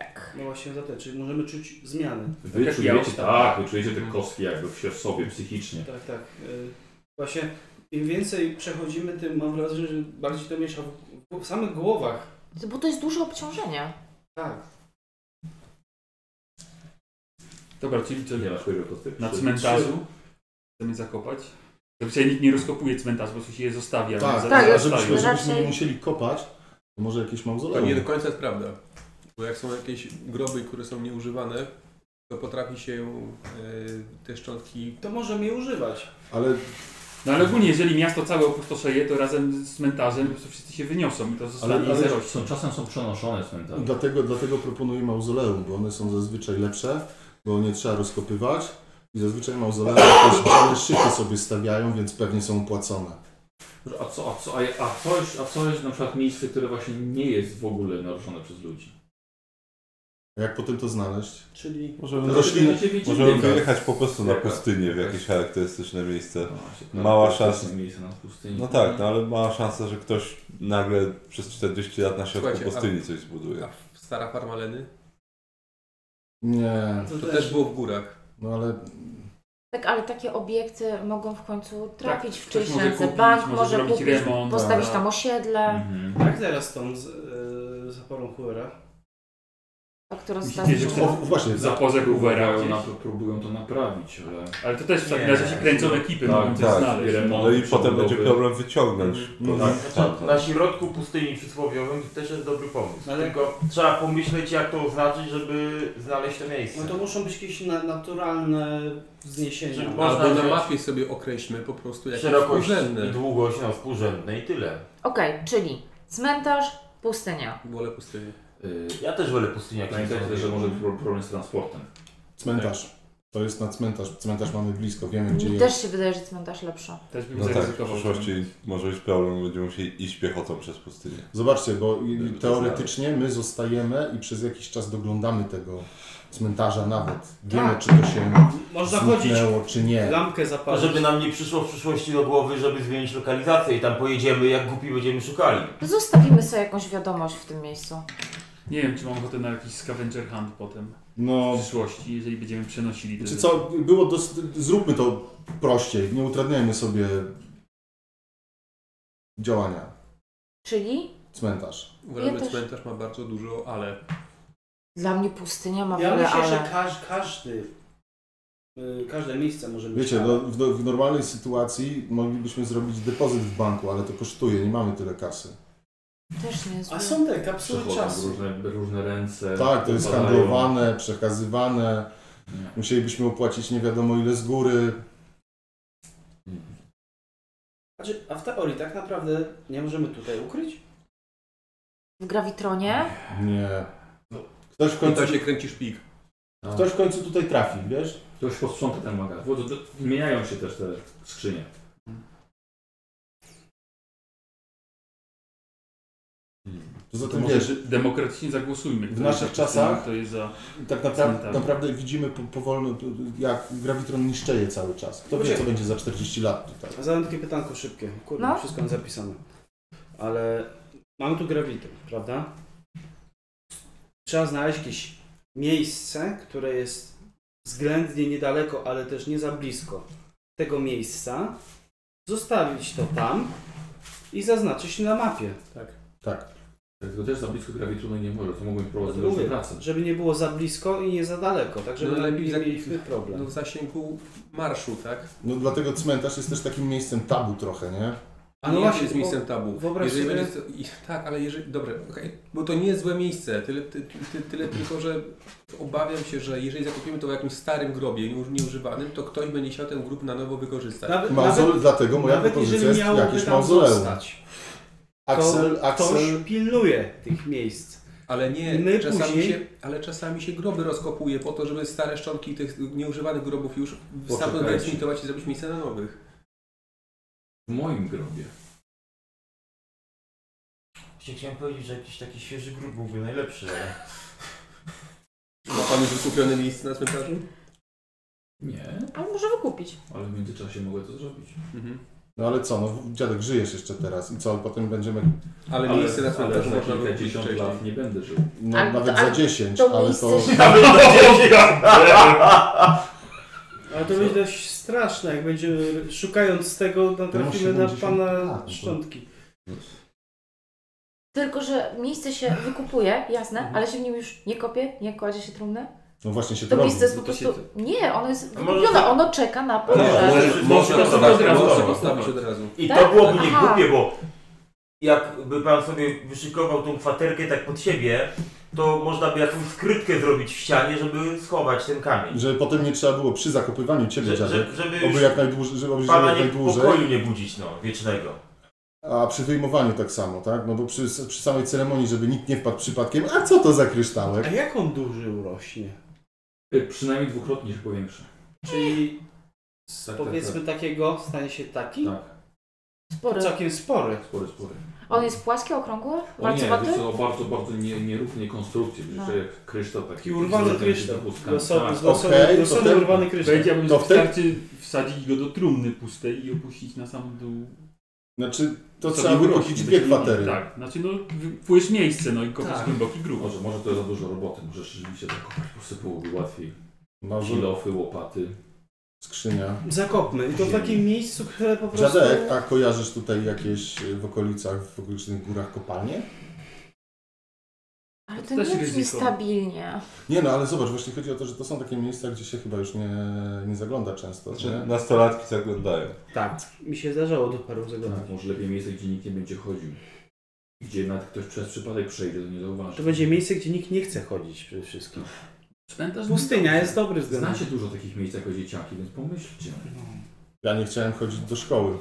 Tak.
No właśnie za te, czy możemy czuć zmiany.
Wy
Tak jak ja
czujecie,
ostatnio.
tak, wy czujecie te kostki jakby w się w sobie psychicznie.
Tak, tak. y, Właśnie im więcej przechodzimy, tym mam wrażenie, że bardziej to miesza w, w samych głowach.
Bo to jest duże obciążenie.
Tak.
Dobra, czyli co,
Nie masz powiedział kostek.
na cmentarzu chcemy zakopać? Zresztą nikt nie rozkopuje cmentarz, po prostu się je zostawia.
Tak,
Za-
tak,
a
zostają.
żebyśmy, żebyśmy
Raczej-
nie musieli kopać, to może jakieś
To nie do
mauzoleum.
końca jest prawda. Bo jak są jakieś groby, które są nieużywane, to potrafi się e, te szczątki
To możemy je używać.
Ale
No ale ogólnie, jeżeli miasto całe opustoszeje, to razem z cmentarzem po prostu wszyscy się wyniosą i to zostanie
ale-
zero.
Są, czasem są przenoszone cmentarze.
dlatego, dlatego proponuję mauzoleum, bo one są zazwyczaj lepsze, bo nie trzeba rozkopywać. I zazwyczaj mauzoleum też białe szyby sobie stawiają, więc pewnie są opłacone.
A co, a co, a, a, coś, a co jest na przykład miejsce, które właśnie nie jest w ogóle naruszone przez ludzi?
A jak potem to znaleźć?
Czyli
Możemy,
znaczy,
Rośliny-
Będziecie wiedzieli.
możemy
Tak.
wyjechać po prostu na
Tak.
pustynię w jakieś charakterystyczne miejsce.
No,
Mała
to jest
szansa.
takie Miejsce na pustyni.
No tak, no ale mała szansa, że ktoś nagle przez 40 lat na środku
Słuchajcie, a-
pustyni coś zbuduje.
a stara farma Leny.
No
Nie,
to,
To
też,
też było w górach.
no ale
Tak, ale takie obiekty mogą w końcu trafić w
ktoś
czyjeś
może
ręce.
kupić,
Bank
może
może
zrobić
kupić,
remont,
postawić
tak.
tam osiedle,
Mhm.
Jak teraz tą z, y, zaporą Huera?
o którą
Tak.
Myślicie,
teraz
że
o,
wtedy-
właśnie,
Za pozę Hoovera
Próbują, na,
gdzieś.
próbują to naprawić, ale...
Ale to też tak- w takim
Nie.
razie się kręcą ekipy, no,
Tak,
mogą coś
tak.
znaleźć.
Remont.
No i potem
przebudowy.
będzie problem wyciągnąć.
Mhm.
No
Tak, tak.
Znaczy, na środku pustyni przysłowiowym też jest dobry pomysł.
Ale-
Tylko trzeba pomyśleć jak to oznaczyć, żeby znaleźć to miejsce.
No to muszą być jakieś na, naturalne
Żeby
No,
wzniesienia.
było- Można
Albo na
wziąć-
mapie sobie określmy po prostu jakieś
Szerokość i
urzędne.
długość, no współrzędne i tyle.
Okej, czyli cmentarz, pustynia.
Wolę pustynię.
Y,
Ja też wolę pustyniaki.
Pamiętajcie też, że może być pro- problem z transportem.
cmentarz. To jest na cmentarz. Cmentarz mamy blisko, wiemy gdzie
Mi
jest.
No też się wydaje, że cmentarz lepszy.
Też bym
No tak, w
zaryzykował.
przyszłości może być problem, będziemy musieli iść piechotą przez pustynię.
Zobaczcie, bo i-
Żeby to
teoretycznie my zostajemy i przez jakiś czas doglądamy tego cmentarza nawet.
Tak.
Wiemy, czy to się
Można chodzić,
zniknęło, czy nie.
lampkę
A
zapalić.
żeby nam nie przyszło w przyszłości do głowy, żeby zmienić lokalizację i tam pojedziemy, jak głupi będziemy szukali.
Zostawimy sobie jakąś wiadomość w tym miejscu.
Nie wiem, czy mam ochotę na jakiś scavenger hunt potem.
No,
W przyszłości, jeżeli będziemy przenosili. te
czy
rzeczy.
co, było dos- zróbmy to prościej, nie utrudniajmy sobie działania.
Czyli
Cmentarz.
Uważam,
Ja
że
też.
cmentarz ma bardzo dużo, ale
dla mnie pustynia ma
Ja
wiele,
myślę, że
ale...
każ, każdy, y, każde miejsce może mieć.
Wiecie,
ale-
no, w, w normalnej sytuacji moglibyśmy zrobić depozyt w banku, ale to kosztuje, nie mamy tyle kasy.
Też nie jest
A
złe.
są te kapsuły
Przechodzą
czasu.
różne, różne ręce.
Tak, to jest
upadają.
handlowane, przekazywane.
Nie.
Musielibyśmy opłacić nie wiadomo ile z góry.
Znaczy, a w teorii tak naprawdę nie możemy tutaj ukryć?
W Gravitronie?
Nie. Ktoś w końcu, No.
tutaj
tak
się kręci szpik.
ktoś w końcu tutaj trafi, wiesz?
Ktoś posprząta ten magazyn. Bo to, to, zmieniają się też te skrzynie.
Poza
To
tym
może
wiesz,
demokratycznie zagłosujmy.
w
kto
naszych
jest za pustynią,
czasach-
Kto jest za...
tak naprawdę,
Cmentarz.
naprawdę widzimy po, powolno, jak grawitron niszczeje cały czas. Kto wie, co będzie za 40 lat tutaj.
A Zadam takie pytanko szybkie. Kurde,
No.
wszystko mam zapisane. Ale mamy tu grawity, prawda? Trzeba znaleźć jakieś miejsce, które jest względnie niedaleko, ale też nie za blisko tego miejsca. Zostawić to tam i zaznaczyć na mapie. Tak.
Tak.
Tylko też za blisko grawitronu nie może. To mogą prowadzić
To
do różnych
mówię.
pracy.
Żeby nie było za blisko i nie za daleko, tak żeby
No, lepiej
nie
tak-
mieliśmy problem.
No w zasięgu marszu, tak?
No dlatego cmentarz jest też takim miejscem tabu trochę, nie?
A no właśnie, jest miejscem tabu.
wyobraź
Jeżeli
sobie-
będzie, i- tak, ale jeżeli. Dobrze, okej. Bo to nie jest złe miejsce. Tyle, ty, ty, tyle tylko, że obawiam się, że jeżeli zakupimy to w jakimś starym grobie, nieuż- nieużywanym, to ktoś będzie chciał ten grób na nowo wykorzystać.
Nawet,
Mauzole,
nawet,
dlatego moja
nawet
propozycja
jeżeli
jest
miałoby
jakieś
tam
mauzoleum.
zostać, to
Axel,
ktoś
Axel,
pilnuje tych miejsc.
Ale nie,
My
czasami
później-
się, ale czasami się groby rozkopuje po to, żeby stare szczątki tych nieużywanych grobów już stamtąd
Poczekajcie.
wyeksploitować i zrobić miejsce na nowych.
W moim grobie.
Właśnie chciałem powiedzieć, że jakiś taki świeży grób byłby najlepszy, ale...
Ma pan już wykupione miejsce na cmentarzu?
Nie,
Ale może wykupić.
ale w międzyczasie mogę to zrobić.
Mhm.
No ale co, no dziadek żyjesz jeszcze teraz i co, potem będziemy,
Ale, miejsce na
ale
cmentarzu
za
można wykupić
kilkadziesiąt
wcześniej.
lat nie będę żył.
no
Ale to-
nawet za
ale
10,
to
ale
miejsce
to...
się-
Ale to będzie dość straszne, jak będzie szukając tego, natrafimy na
70
pana
lat, no to-
szczątki.
Tylko, że miejsce się wykupuje, jasne, ale się w nim już nie kopie, nie kładzie się trumny.
No właśnie się to
To
robi.
miejsce jest po
to się
prostu... Nie, ono jest
A może
wykupione, ono czeka na
Ale
pożar.
No, może-
Może- można
może- może-
postawić,
może-
można
może-
Postawić od razu.
I
Tak?
to byłoby niegłupie,
Aha.
bo jakby pan sobie wyszykował tą kwaterkę tak pod siebie, to można by jakąś skrytkę zrobić w ścianie, żeby schować ten kamień.
Żeby potem nie trzeba było przy zakopywaniu ciebie,
Że,
dziadek,
że, żeby
oby
już
jak najdłużej, żeby oby
pana
jak
nie,
najdłużej,
pokoju nie budzić, no, wiecznego.
a przy wyjmowaniu tak samo, tak? No bo przy, przy samej ceremonii, żeby nikt nie wpadł przypadkiem, a co to za kryształek?
A jak on duży urośnie?
Y, Przynajmniej dwukrotnie się powiększę.
Czyli
tak,
powiedzmy takiego stanie się taki?
Tak,
Spory.
Całkiem spory.
spory, spory.
On jest płaski, okrągły,
O nie, to
walcowaty?
są bardzo, bardzo nie- nierównej konstrukcji,
No.
że kryształ taki...
Taki urwany kryształ.
Pustka.
Losowy,
Tak.
losowy,
okej, to
losowy
ten-
urwany kryształ.
Powiedziałbym,
To
że
w tej-
wystarczy wsadzić go do trumny pustej i opuścić na sam dół.
Znaczy, to
Sobie
trzeba
wrócić
wykupić
do
dwie
trumny.
kwatery.
Tak, znaczy no, wpłyniesz miejsce, no i kopiesz
Tak.
głęboki grób.
Może, może to za dużo roboty, może rzeczywiście tak posypłoby łatwiej.
Może
Kilofy, łopaty.
skrzynia.
Zakopmy. I to w takim miejscu, które po prostu...
Dziadek,
tak.
a kojarzysz tutaj jakieś y, w okolicach, w okolicznych górach kopalnie?
Ale to
To też
nie brzmi
ryzyko.
stabilnie.
Nie no, ale zobacz, właśnie chodzi o to, że to są takie miejsca, gdzie się chyba już nie, nie zagląda często,
Znaczy,
nie?
nastolatki zaglądają.
Tak. Mi się zdarzało do paru zaglądać.
Tak, może lepiej miejsce, gdzie nikt nie będzie chodził. Gdzie nawet ktoś przez przypadek przejdzie, to nie zauważy.
To będzie miejsce, gdzie nikt nie chce chodzić przede wszystkim.
Cmentarz
Pustynia jest dobry względem.
Znacie dużo takich miejsc jako dzieciaki, więc pomyślcie.
Ja nie chciałem chodzić do szkoły.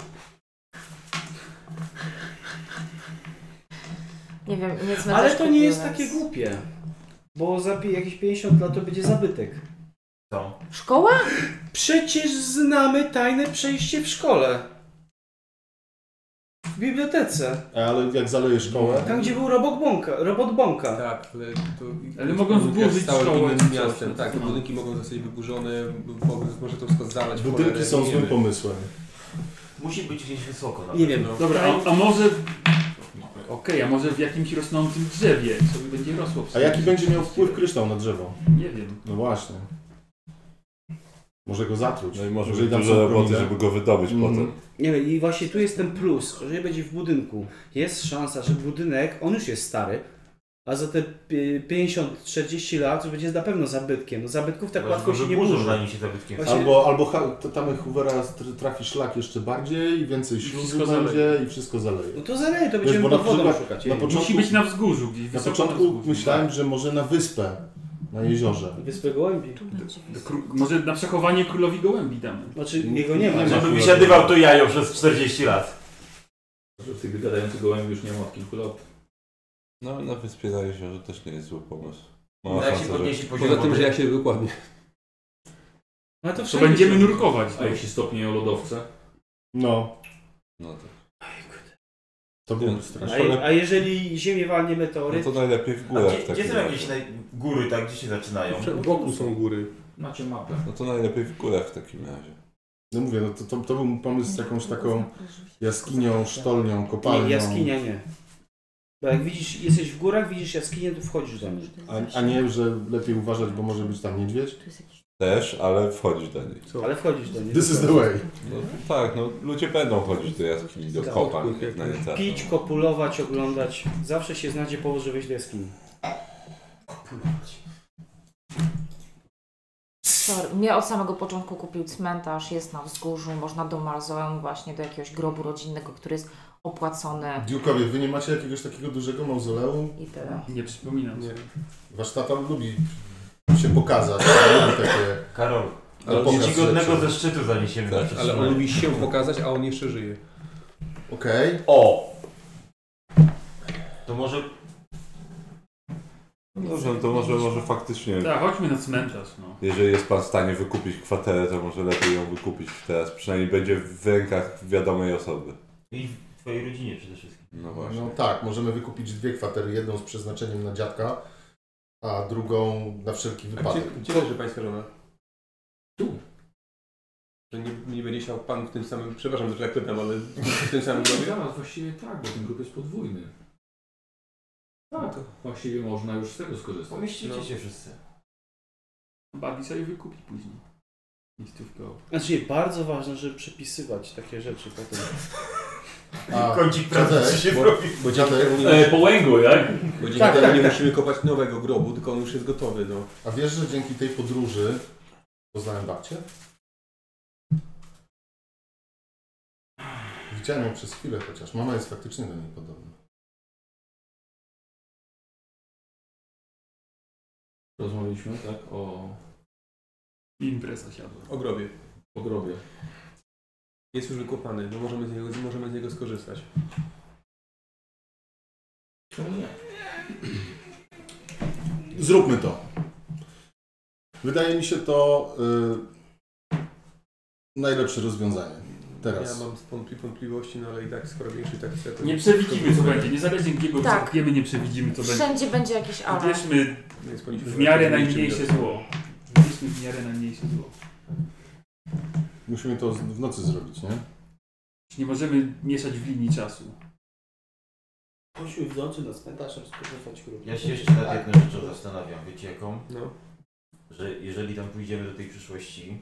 Nie wiem, nie cmentarz
Ale to nie jest
kupiłem.
takie głupie. Bo za pi- jakieś 50 lat to będzie zabytek.
Co?
Szkoła?
Przecież znamy tajne przejście w szkole. W bibliotece.
Ale jak zaleję szkołę,
Tam, gdzie był robot Bąka. Robot Bąka.
Tak, ale to...
Ale mogą zburzyć
stałe
szkołę
innym
czy coś,
miastem.
no.
Tak, te
No.
budynki mogą zostać wyburzone, bo- może to wszystko zalać.
budynki
cholerę,
są
nie
złym
wiemy.
pomysłem.
Musi być gdzieś wysoko. na
Nie wiem.
No.
Dobra, a, a może... Okej, a może w jakimś rosnącym drzewie sobie będzie rosło. w
A jaki
sensie-
będzie miał wpływ kryształ na drzewo?
Nie wiem.
No właśnie. Może go zatruć.
No i może
Jeżeli
być
tam
dużo
są
roboty,
promile.
żeby go wydobyć
Mhm.
potem.
Nie wiem, i właśnie tu jest ten plus, że jeżeli będzie w budynku, jest szansa, że budynek, on już jest stary, a za te pi- 50-40 lat będzie na pewno zabytkiem. No zabytków tak
Bo
łatwo się nie
wyburzysz,
burzy.
zanim się zabytkiem
Właśnie-
Albo, albo ha, to tam Hoovera str- trafi szlak jeszcze bardziej, więcej śluzu
wszystko
będzie
zaleje.
i wszystko zaleje.
No to zaleje, to
Wiesz,
będziemy
bo na
pod wodą
przykład-
szukać.
na
Jej.
początku-
Musi być na wzgórzu gdzieś.
Na
wysoko
początku
wzgórzu.
myślałem, że może na wyspę, na jeziorze.
Wyspę Gołębi.
Tu będzie.
Do kró- Może na przechowanie królowi gołębi damy.
Znaczy, jego nie ma.
Nie
Żeby
ma.
wysiadywał to jajo przez 40 lat.
Że tych gadających gołębi już nie ma od kilku lat.
No na wyspie na jeziorze też nie jest zły pomysł.
No,
Mała
jak się
szansa, że...
podniesie poziom
Poza tym, że
wody.
jak się dokładnie.
No to
To
wszędzie
będziemy
się-
nurkować.
A jak się stopnieje o lodowce?
No,
No to,
to był straszny.
A, je- a jeżeli ziemię walnie meteoryt,
no to najlepiej w
A
górach. w
gdzie,
takim
gdzie są
razie.
jakieś naj... góry, tak? Gdzie się zaczynają?
Znaczy,
Wokół są góry.
Macie mapę.
No to najlepiej w górach w takim razie.
No mówię, no to, to, to był pomysł z jakąś taką jaskinią, sztolnią, kopalnią.
Tak. nie, jaskinia nie. Bo jak widzisz, jesteś w górach, widzisz jaskinię, to wchodzisz do niej.
A, a nie, że lepiej uważać, bo może być tam niedźwiedź.
Tu jest jakiś-
Też, ale wchodzić do niej.
Ale wchodzisz do niej.
This is the way.
No tak, no ludzie będą chodzić do jaskini, do kopań, jak na nie trafią.
Pić, kopulować, oglądać. Zawsze się znajdzie powód, żeby wejść do jaskini.
Sorry, Mnie od samego początku kupił cmentarz, jest na wzgórzu, można do mauzoleum właśnie, do jakiegoś grobu rodzinnego, który jest opłacony
Dziukowie, wy nie macie jakiegoś takiego dużego mauzoleum?
i tyle.
Nie przypominam.
Nie.
Wasz tata lubi się pokazać, tak? lubi takie...
Karol,
Ale
do
pokaż
czcigodnego
rzeczy.
ze szczytu zaniesiemy
Tak,
na
Ale
przetrzymanie.
on lubi się pokazać, a on jeszcze żyje.
Okej.
O! To może
No dobrze, no to może, może faktycznie,
Tak, chodźmy na cmentarz, no.
jeżeli jest pan w stanie wykupić kwaterę, to może lepiej ją wykupić teraz. Przynajmniej będzie w rękach wiadomej osoby.
I w twojej rodzinie przede wszystkim.
No
No
właśnie.
tak, możemy wykupić dwie kwatery, jedną z przeznaczeniem na dziadka, a drugą na wszelki
A gdzie,
wypadek.
gdzie leży pańska żona? Tu. Że nie, nie będzie siał pan w tym samym, przepraszam, że tak pytam, ale w tym samym grobie?
Zaraz, właściwie tak, bo ten grup jest podwójny.
No to-
Właściwie można już z tego skorzystać.
Pomieścicie
No.
się wszyscy.
Babi sobie wykupi później. Listówkę o...
Znaczy, bardzo ważne, żeby przepisywać takie rzeczy potem.
A,
Kącik prawdy
Czadek,
czy się
bo-
robi.
Bo dziadek,
E, po łęgu, tak?
Bo dzięki
Tak,
temu
tak,
nie
tak.
musimy kopać nowego grobu, tylko on już jest gotowy, no.
a wiesz, że dzięki tej podróży poznałem babcię? Widziałem ją przez chwilę chociaż. Mama jest faktycznie do niej podobna.
Rozmawialiśmy, tak, o
I impreza siadła.
O grobie.
pogrobie.
Jest już wykopany, no możemy z niego, możemy z niego skorzystać.
Zróbmy to. Wydaje mi się to y, najlepsze rozwiązanie. Teraz.
Ja mam wątpli- wątpliwości, no ale i tak skoro większy tak chce, to...
Nie przewidzimy co będzie, niezależnie jakiego
Tak.
tak. wiemy, nie przewidzimy co będzie.
Wszędzie będzie jakiś alarm.
Wybierzmy
No jest
w
polityka,
miarę
to nie
najmniejsze
czym-
zło. Wybierzmy w miarę najmniejsze zło.
Musimy to z- w nocy zrobić, nie?
Nie możemy mieszać w linii czasu.
Chodźmy w nocy na cmentarzem skorzystać grób.
Ja się jeszcze nad jedną rzeczą zastanawiam, wiecie jaką?
No.
Że jeżeli tam pójdziemy do tej przyszłości,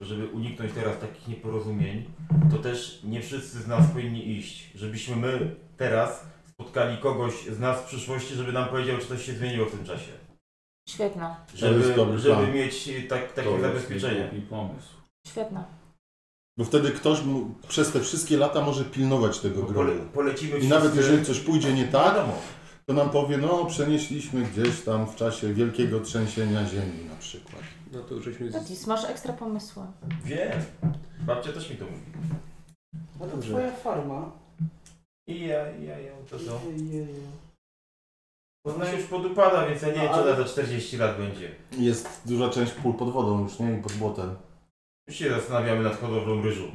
to żeby uniknąć teraz takich nieporozumień, to też nie wszyscy z nas powinni iść. Żebyśmy my teraz spotkali kogoś z nas w przyszłości, żeby nam powiedział, czy coś się zmieniło w tym czasie.
Świetna,
Żeby,
jest dobry
żeby
plan.
mieć tak, takie zabezpieczenie.
I pomysł.
świetna.
Bo wtedy ktoś mu, przez te wszystkie lata może pilnować tego
Bo No, pole,
grobu.
polecimy
I
wszyscy... No,
nawet jeżeli coś pójdzie nie tak,
Wiadomo.
to nam powie, no przenieśliśmy gdzieś tam w czasie wielkiego trzęsienia ziemi na przykład.
No to już żeśmy... Z...
Tatis, masz ekstra pomysły.
Wiem. Babcia też mi to mówi.
A No to
Dobrze.
twoja farma.
I ja, i ja, i ja, to co?
Je, je, je.
Bo ona już podupada, więc ja nie wiem,
No,
czy ona
ale-
za 40 lat będzie.
Jest duża część pól pod wodą już, nie? I pod błotem.
Już się zastanawiamy nad hodowlą ryżu.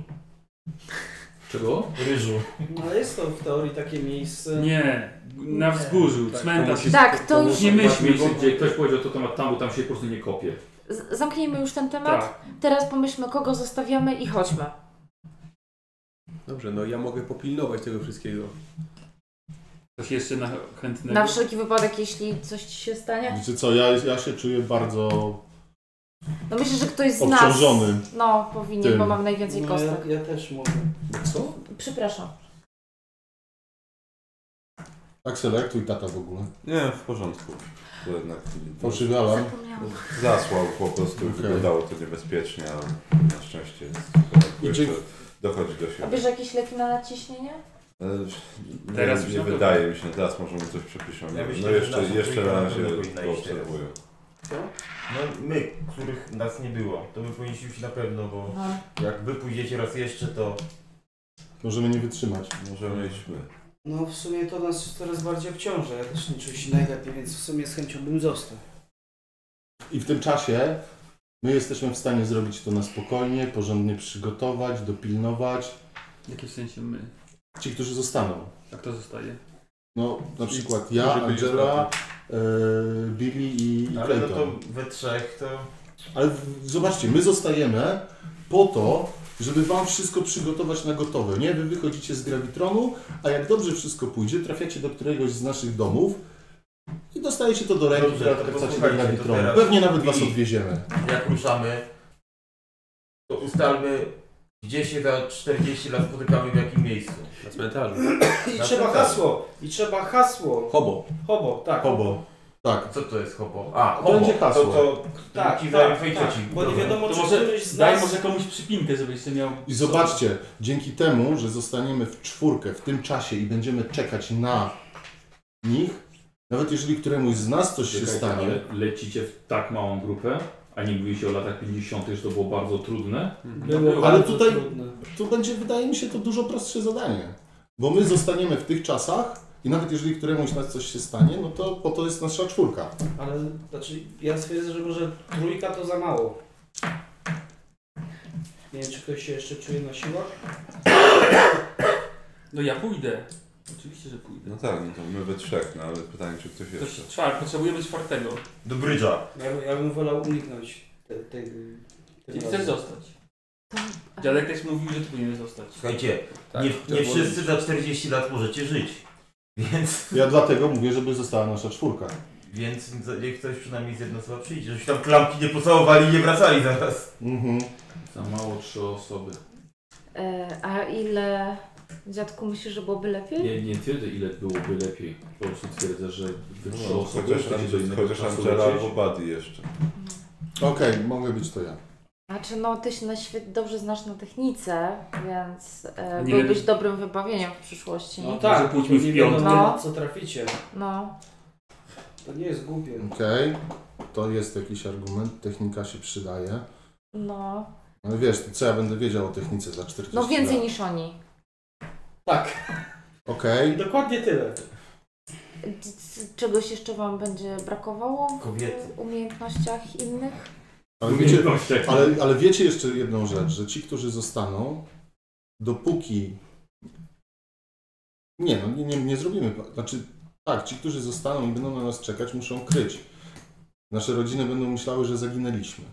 Czego?
Ryżu.
No, ale jest to w teorii takie miejsce.
Nie, na
Nie.
wzgórzu,
Tak,
cmentarz
to
jest...
Tak, to już
Nie myślmy,
Właśnie, gdzie ktoś powiedział to temat tam, bo tam się po prostu nie kopie.
z- zamknijmy już ten temat.
Tak,
Teraz pomyślmy, kogo zostawiamy i chodźmy.
Dobrze, no ja mogę popilnować tego wszystkiego.
coś jeszcze na chętnego.
Na wszelki wypadek, jeśli coś ci się stanie.
Wiecie co, ja, ja się czuję bardzo
No myślę, że ktoś z nas.
obciążony.
No, powinien,
Tym.
bo mam najwięcej
No, ja,
kostek.
ja też mogę.
Co?
Przepraszam.
Aksel, jak Tak, twój tata w ogóle?
Nie, w porządku. To jednak
Fałszywy alarm?
Zapomniałam.
zasłał po prostu i
Okej.
wyglądało to niebezpiecznie, ale na szczęście jest-
I dzięki-
dochodzi do
A
siebie.
bierze jakieś leki na nadciśnienie?
E,
Teraz
nie,
już
nie
na pewno.
wydaje mi się, teraz może mu coś przepiszą. Nie
Ja
wiem.
myślę,
No
że
jeszcze,
nasza
jeszcze
trójka
na
na
razie
pewno powinna
go
iść teraz.
obserwują.
No my, których nas nie było, to my powinniśmy iść na pewno, bo
No.
jak wy pójdziecie raz jeszcze, to
Możemy nie wytrzymać.
Możemy iść my.
No w sumie to nas coraz bardziej obciąża. Ja też nie czuję się najlepiej, więc w sumie z chęcią bym został.
I w tym czasie my jesteśmy w stanie zrobić to na spokojnie, porządnie przygotować, dopilnować.
Jakie w sensie my?
Ci, którzy zostaną.
A kto zostaje?
No, na
Ci,
przykład
którzy
ja,
byli
Angela, y, Billy i, i
ale no
Clayton.
to we trzech to...
Ale w- zobaczcie, my zostajemy po to, żeby wam wszystko przygotować na gotowe, nie? Wy wychodzicie z gravitronu, a jak dobrze wszystko pójdzie, trafiacie do któregoś z naszych domów i dostajecie to do ręki,
Dobrze,
która
to
tak
wracacie do
posłuchajcie, to
gravitronu.
teraz
Pewnie nawet was
Billy.
odwieziemy.
jak ruszamy, to ustalmy, gdzie się za 40 lat spotykamy, w jakim miejscu.
Na cmentarzu.
I
Na
trzeba
cmentarz.
hasło! I trzeba hasło!
Hobo.
Hobo, tak.
Hobo. Tak.
Co to jest hobo? A,
To
hobo.
będzie hasło.
To, to,
Tak,
ci
tak,
tak,
tak,
tak,
Bo nie wiadomo,
To
czy
może
któryś z
Daj
nas...
może komuś przypinkę, żeby jeszcze miał...
I zobaczcie, dzięki temu, że zostaniemy w czwórkę w tym czasie i będziemy czekać na nich, nawet jeżeli któremuś z nas coś się
Czekajcie,
stanie,
ale lecicie w tak małą grupę, a nie mówiliście o latach 50., że to było bardzo trudne.
Mhm. Było
Ale
bardzo
tutaj-
trudne.
to będzie, wydaje mi się, to dużo prostsze zadanie. Bo my zostaniemy w tych czasach I nawet jeżeli któremuś z nas coś się stanie, no to po to jest nasza czwórka.
Ale znaczy, ja stwierdzę, że może trójka to za mało. Nie wiem, czy ktoś się jeszcze czuje na siłach.
No ja pójdę. Oczywiście, że pójdę.
No tak, no to my we trzech, no ale pytanie, czy ktoś
Ktoś
jeszcze.
czwar, potrzebujemy czwartego.
Do brydża.
Ja, bym- ja bym wolał uniknąć tej. Te, te,
Ty chcesz zostać. Dziadek też mówił, że ty powinieneś zostać.
Słuchajcie,
Tak,
nie, nie wszyscy za 40 lat możecie żyć. Więc,
Ja dlatego mówię, żeby została nasza czwórka.
więc niech ktoś przynajmniej z jedna osoba przyjdzie, żebyś tam klamki nie pocałowali i nie wracali zaraz.
Mhm.
Za mało trzy osoby.
E, a ile dziadku myślisz, że byłoby lepiej?
Ja nie twierdzę ile byłoby lepiej. Po prostu twierdzę, że wy trzy
No,
osoby
chociaż
chcecie do
Andrzej-
innego
chociaż
czasu
Angela
lecieć.
albo Buddy jeszcze.
Okej, mogę być to ja.
Znaczy, no ty się na świet dobrze znasz na technice, więc e,
Nie
byłbyś
wiem.
dobrym wybawieniem w przyszłości.
No
No.
tak,
Może pójdźmy w
nie wiadomo,
piątkę.
na co traficie.
No,
To nie jest głupie.
Okej, to jest jakiś argument, technika się przydaje.
No,
No wiesz, co ja będę wiedział o technice za 40
no więcej
lat?
niż oni.
Tak,
Okej,
dokładnie tyle.
D- d- Czegoś jeszcze Wam będzie brakowało
Kobiety.
w umiejętnościach innych?
ale wiecie, Ale, ale wiecie jeszcze jedną rzecz, że ci, którzy zostaną, dopóki. Nie, no nie, nie, nie zrobimy. Znaczy, tak, ci, którzy zostaną i będą na nas czekać, muszą kryć. Nasze rodziny będą myślały, że zaginęliśmy.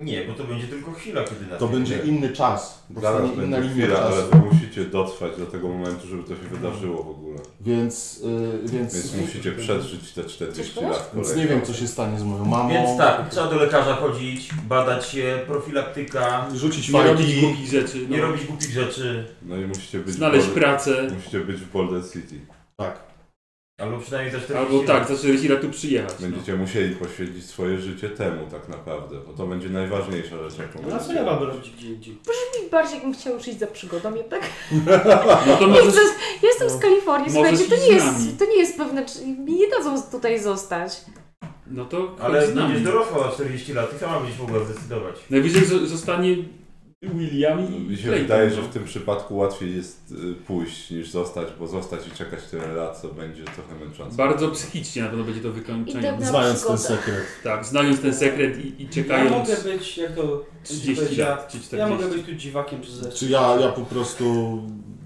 Nie, bo to będzie tylko chwila, kiedy nas
To
nie
będzie
będzie.
inny czas.
Zaraz
Powstanie inna
będzie
linia
chwila, ale
czasu.
wy musicie dotrwać do tego momentu, żeby to się wydarzyło w ogóle.
Więc, y, więc,
Więc musicie przeżyć te 40
Coś
lat
więc
kolejne.
nie wiem, co się stanie z moją mamą.
Więc tak, trzeba do lekarza chodzić, badać się, profilaktyka,
Rzucić
Nie robić
fajki.
głupich rzeczy.
nie
no.
robić głupich rzeczy,
No i musicie być,
Znaleźć
w
pracę.
Boulder, musicie być w Boulder City.
Tak.
albo przynajmniej za 40
Albo tak,
lat.
za 40 lat tu przyjechać. No.
Będziecie musieli poświęcić swoje życie temu tak naprawdę, bo to będzie najważniejsza rzecz, jaką
No a co
będziecie
ja mam
robić.
robić gdzie indziej?
No I bardziej bym chciała ruszyć za przygodą jednak.
no to
Nie
możesz...
chcę, ja jestem z Kalifornii,
Możesz
słuchajcie, to
iść
nie,
z nami.
jest, to nie jest pewne, czy mi nie dadzą tutaj zostać.
No to
Ale
chodź z
będziesz
nami.
dorosła za 40 lat i sama będziesz mogła zdecydować.
Najwyżej zo- zostanie William i
Mi się
Clayton,
wydaje,
no.
że w tym przypadku łatwiej jest y, pójść niż zostać, bo zostać i czekać tyle lat, to będzie trochę męczące.
Bardzo psychicznie na pewno będzie to wykończenie.
Idę-
Znając ten
przygodę.
sekret.
Tak, znając ten sekret i, i
Ja
czekając
mogę być, jak to
30 lat czy 40.
Ja mogę być tu dziwakiem czy zresztą.
Czy ja, ja po prostu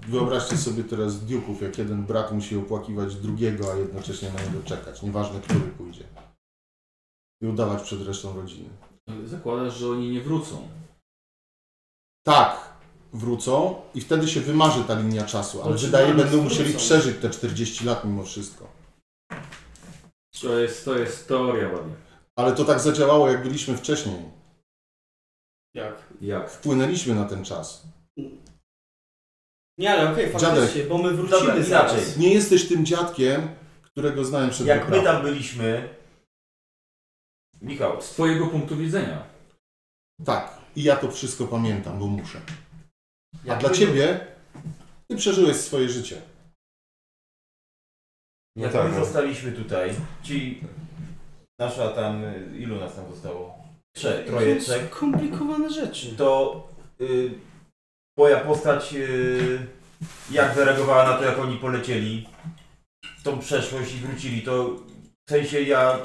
wyobraźcie sobie teraz diuków, jak jeden brat musi opłakiwać drugiego, a jednocześnie na niego czekać, nieważne który pójdzie. I udawać przed resztą rodziny.
Zakładasz, że oni nie wrócą.
Tak, wrócą i wtedy się wymarzy ta linia czasu, ale
Oczywiście,
wydaje
ale
będą musieli
wrócą.
przeżyć te 40 lat mimo wszystko.
To jest, to jest teoria ładnie.
Ale to tak zadziałało, jak byliśmy wcześniej.
Jak?
Jak?
Wpłynęliśmy na ten czas.
Nie, ale okej,
Dziadek.
faktycznie, bo my wrócimy
Dobra,
zaraz.
inaczej.
Nie jesteś tym dziadkiem, którego znałem przed
Jak my
wyprawą.
tam byliśmy... Michał,
Z twojego punktu widzenia.
Tak, i ja to wszystko pamiętam, bo muszę. A
Jak
dla
my-
ciebie, ty przeżyłeś swoje życie.
No
jak
tak,
my
no.
zostaliśmy tutaj, ci... Nasza tam... y, Ilu nas tam zostało? Trzech, troje,
To są
trzech.
Skomplikowane rzeczy.
to y, moja postać y, jak zareagowała na to, jak oni polecieli w tą przeszłość i wrócili, to w sensie ja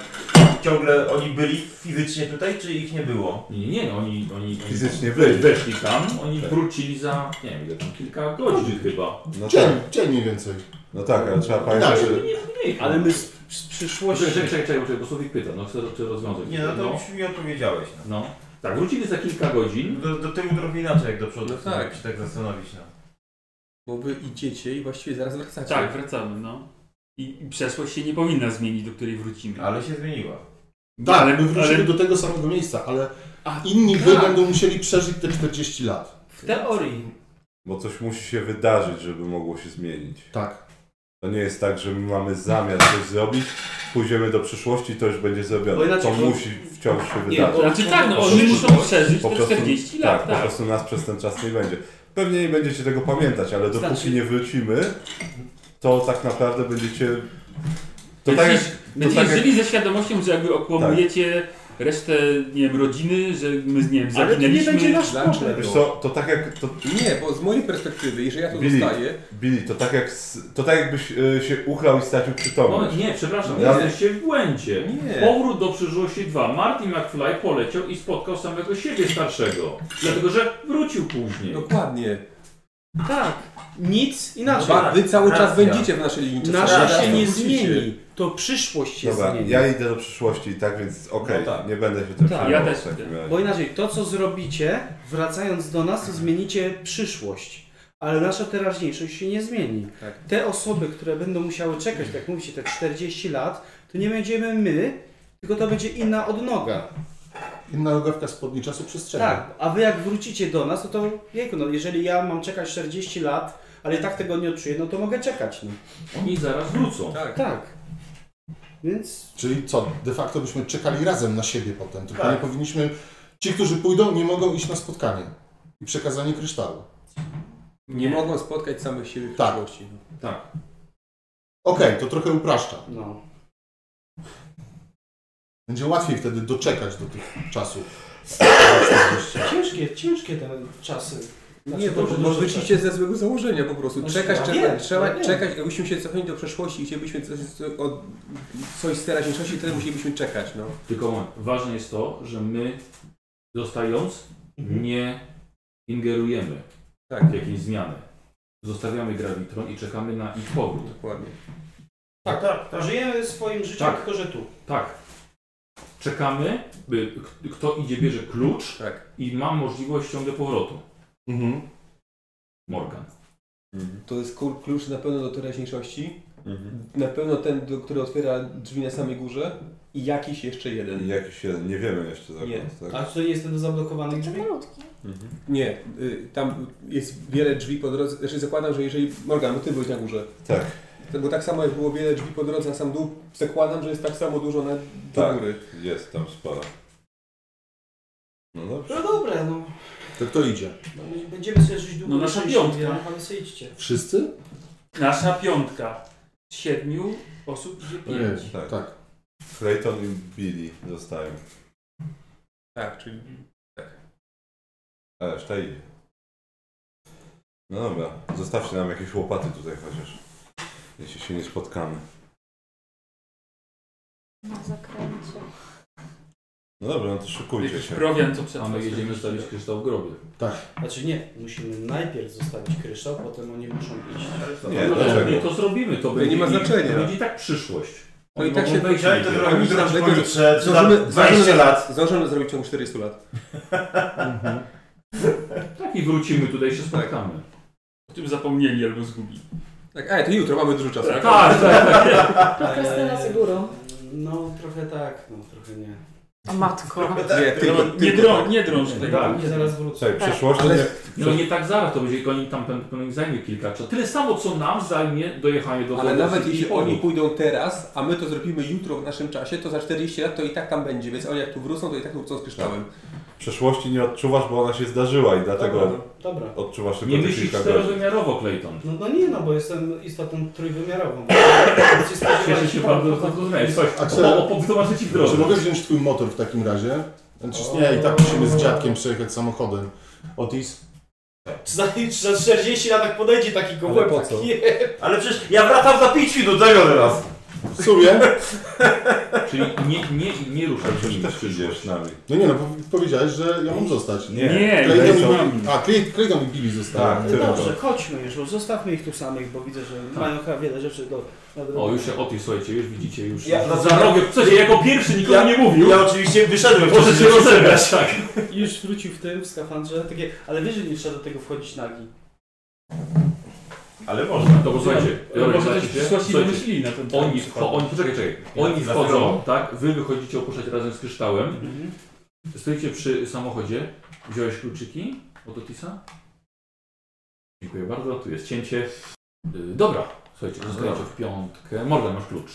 ciągle oni byli fizycznie tutaj, czy ich nie było?
Nie, nie, nie no, oni, oni, oni
Fizycznie
we-
byli.
weszli tam, oni
Tak.
wrócili za, nie wiem, ile tam, kilka godzin chyba.
No tak,
Dzień, dzień mniej więcej.
no tak, ale trzeba pamiętać,
Nie,
że
nie, nie.
Ale my z, z przyszłości...
Czekaj, czekaj, czekaj, czekaj, bo Słowik pyta, no chcę chcę rozwiązać.
Nie, no to
no,
już mi odpowiedziałeś. No.
no. Tak, wrócili za kilka godzin.
Do, do tyłu trochę inaczej jak do przodu,
No tak.
jak się tak zastanowić. No.
Bo wy idziecie i właściwie zaraz wracacie.
Tak, wracamy, no. I, I przeszłość się nie powinna zmienić, do której wrócimy.
Ale się zmieniła.
Tak,
ale,
my wrócimy
ale
do tego samego miejsca, ale
A,
inni wy
tak.
będą musieli przeżyć te 40 lat.
W teorii.
bo coś musi się wydarzyć, żeby mogło się zmienić.
Tak.
To nie jest tak, że my mamy zamiar coś zrobić, pójdziemy do przyszłości i to już będzie
Bo
zrobione.
inaczej
to
to-
musi wciąż się
Nie,
wydarzyć.
bo-
Znaczy tak, no
Po
oni
prostu-
muszą przeżyć te
po prostu-
40
tak,
lat,
po
tak.
prostu nas przez ten czas nie będzie. Pewnie nie będziecie tego pamiętać, ale dopóki
Znaczy-
nie wrócimy, to tak naprawdę będziecie... To tak
Będziecie-
jak, to
Będziecie
tak jak
żyli ze świadomością, że jakby okłamujecie resztę, nie wiem, rodziny, że my, nie wiem,
Ale to nie
zaginęliśmy.
będzie nasz
zaczynaliśmy-
problem.
Wiesz co, to tak jak... To,
Nie, bo z mojej perspektywy, jeżeli ja to
Billy.
dostaję,
Billy, to tak jak... s- To tak jakbyś e, się uchlał i stracił
No
przytomność.
nie, przepraszam,
Nie.
jesteście w błędzie.
Nie.
Powrót do przyszłości 2. Martin McFly poleciał i spotkał samego siebie starszego. Dlatego, że wrócił później.
dokładnie. No
Tak, nic inaczej.
Ba, wy cały czas
Racja.
będziecie w naszej linii czasowej.
Nasza
Racja.
się nie
Wrócicie.
zmieni. To przyszłość się
Dobra,
zmieni.
ja idę do przyszłości, tak więc okej,
No tak.
nie będę się tym
Tak,
przejmował
ja też
w takim razie.
Bo inaczej, to co zrobicie, wracając do nas, to zmienicie przyszłość. Ale nasza teraźniejszość się nie zmieni.
Tak.
Te osoby, które będą musiały czekać, tak jak mówicie, te 40 lat, to nie będziemy my, tylko to będzie inna odnoga.
Inna logawka spodni czasu przestrzeni.
Tak, a wy jak wrócicie do nas, to to, wieku, no jeżeli ja mam czekać 40 lat, ale i tak tego nie odczuję, no to mogę czekać, no.
Oni zaraz wrócą.
Tak.
Tak. Więc
Czyli co, de facto byśmy czekali razem na siebie potem, tylko
Tak.
nie powinniśmy... Ci, którzy pójdą, nie mogą iść na spotkanie i przekazanie kryształu.
Nie mogą spotkać samych siebie w
Tak.
przyszłości. no.
Okej, to trochę upraszcza.
Tak. no.
Będzie łatwiej wtedy doczekać do tych czasów.
Ciężkie, ciężkie te czasy. Znaczy,
Nie, bo,
dobrze,
bo
dobrze,
wyciście ze złego założenia po prostu.
Znaczy,
Czekać,
ja wiem,
czekać,
ja wiem.
trzeba czekać. Jakbyśmy się cofnęli do przeszłości i chcielibyśmy coś, od, coś z teraźniejszości, wtedy musielibyśmy czekać, no.
Tylko moment. ważne jest to, że my dostając
Mhm.
nie ingerujemy
Tak.
w jakieś zmiany. Zostawiamy grawitron i czekamy na ich powrót.
Dokładnie.
Tak, tak, tak. Żyjemy swoim życiem,
Tak.
tylko że tu.
Tak. Czekamy, by k- kto idzie bierze klucz
Tak.
i ma możliwość ciągle powrotu.
Mhm.
Morgan.
Mhm. To jest kur- klucz na pewno do teraźniejszości.
Mhm.
Na pewno ten, do, który otwiera drzwi na samej górze. I jakiś jeszcze
I
jeden.
Jakiś jeden, nie wiemy jeszcze za
Nie.
bardzo,
A
tak?
czy to nie jest ten do zablokowanych
Czy
drzwi?
malutki?
Mhm.
Nie, y, tam jest wiele drzwi po drodze. Znaczy zakładam, że jeżeli... Morgan, bo ty byłeś na górze.
Tak.
To- Bo tak samo jak było wiele drzwi po drodze na sam dół, zakładam, że jest tak samo dużo na do
Tak.
góry.
Jest tam spora. No dobrze.
No dobra, no.
To kto idzie?
Będziemy sobie żyć długo.
No nasza
szczęśliwie,
piątka.
Ale sobie idźcie.
Wszyscy?
Nasza piątka. Z siedmiu osób idzie pięć.
Nie,
Tak.
tak.
Clayton i Billy zostają.
Tak, czyli...
A reszta idzie. No dobra, zostawcie nam jakieś łopaty tutaj chociaż. Jeśli się nie spotkamy.
Na zakręcie.
No dobra, no to szykujcie
Jakiś
się. Tak.
prowiant, co przed
A my
nas
jedziemy
robiliście.
stawić kryształ w grobie.
Znaczy nie, musimy najpierw zostawić kryształ, potem oni muszą iść.
Nie,
No,
dlaczego?
to zrobimy, to
To
będzie.
nie ma
ich-
znaczenia.
To będzie i tak przyszłość.
No
Oni
i tak
mogą
się
wejść
Chciałem to
najpierw.
zrobić na
Zdążymy-
pojutrze, czy tam
zdążymy-
20 lat.
Zdążymy zrobić w ciągu 400 lat.
Tak i wrócimy tutaj, się spotkamy.
O tym zapomnieli albo zgubili.
Tak, a to jutro mamy dużo czasu.
Tak, tak, tak.
Prokrastynacja górą.
No trochę tak, no trochę nie.
O matko.
Nie, tylko,
Nie,
tylko
drą, nie drąż
Tak.
tego.
Tak.
Nie zaraz wrócę.
Słuchaj, przeszłość
Ale-
nie...
No nie tak zaraz, to będzie oni tam pewnie- pewnie zajmie kilka czas. Tyle samo, co nam zajmie dojechanie do
Ale
Wodosy
nawet
i
jeśli
powrót.
oni pójdą teraz, a my to zrobimy jutro w naszym czasie, to za 40 lat to i tak tam będzie, więc oni jak tu wrócą, to i tak tu wrócą z kryształem.
Przeszłości nie odczuwasz, bo ona się zdarzyła i dlatego
Dobra, no, dobra.
odczuwasz tylko
Nie
te
myślisz
kilka godzin.
czterowymiarowo, Clayton.
No, no nie, no bo jestem istotą trójwymiarową.
Cieszę się bardzo, że to znajdziesz. Coś,
Axel?
o, o, wytłumaczę ci w drodze.
Czy mogę wziąć twój motor w takim razie? Znaczy, nie, i tak musimy z dziadkiem przejechać samochodem. Otis?
Czy za, czy za 40 lat tak podejdzie taki
Ale
gołąb?
po co? Tak,
Nie.
Ale przecież ja wracam za 5 minut do tego teraz.
Suje?
Czyli nie, nie, nie ruszaj się nim w
Też idziesz z
przyszłość.
nami.
No nie no, pow- powiedziałeś, że ja mam zostać.
Nie.
Nie,
Clayton
nie
i
są-
Billy- A, Clay- Clayton i Billy zostały.
Tak,
No
tylko.
Dobrze, chodźmy już, zostawmy ich tu samych, bo widzę, że mają chyba wiele rzeczy do
O, już się o tym słuchajcie, już widzicie, już
Ja-
za robię. Co się jako pierwszy nikomu
Ja-
nie mówił?
Ja oczywiście wyszedłem.
Może
wcześniej,
się
żeby
rozebrać, tak.
Już wrócił w tym, w skafandrze, takie, ale wiesz, że nie trzeba do tego wchodzić nagi.
Ale można.
To posłuchajcie,
Ale
dobra,
Może coś
słuchajcie,
przyszłości
słuchajcie.
wymyślili na ten temat.
Oni, wcho- oni, poczekaj, czekaj. Oni
Za
wchodzą,
stroną.
tak? Wy wychodzicie opuszczać razem z kryształem.
Mhm.
Stoicie przy samochodzie. Wziąłeś kluczyki od Otisa? Dziękuję bardzo, tu jest cięcie. Yy, dobra, słuchajcie, zostajecie w piątkę. Morgan, masz klucz.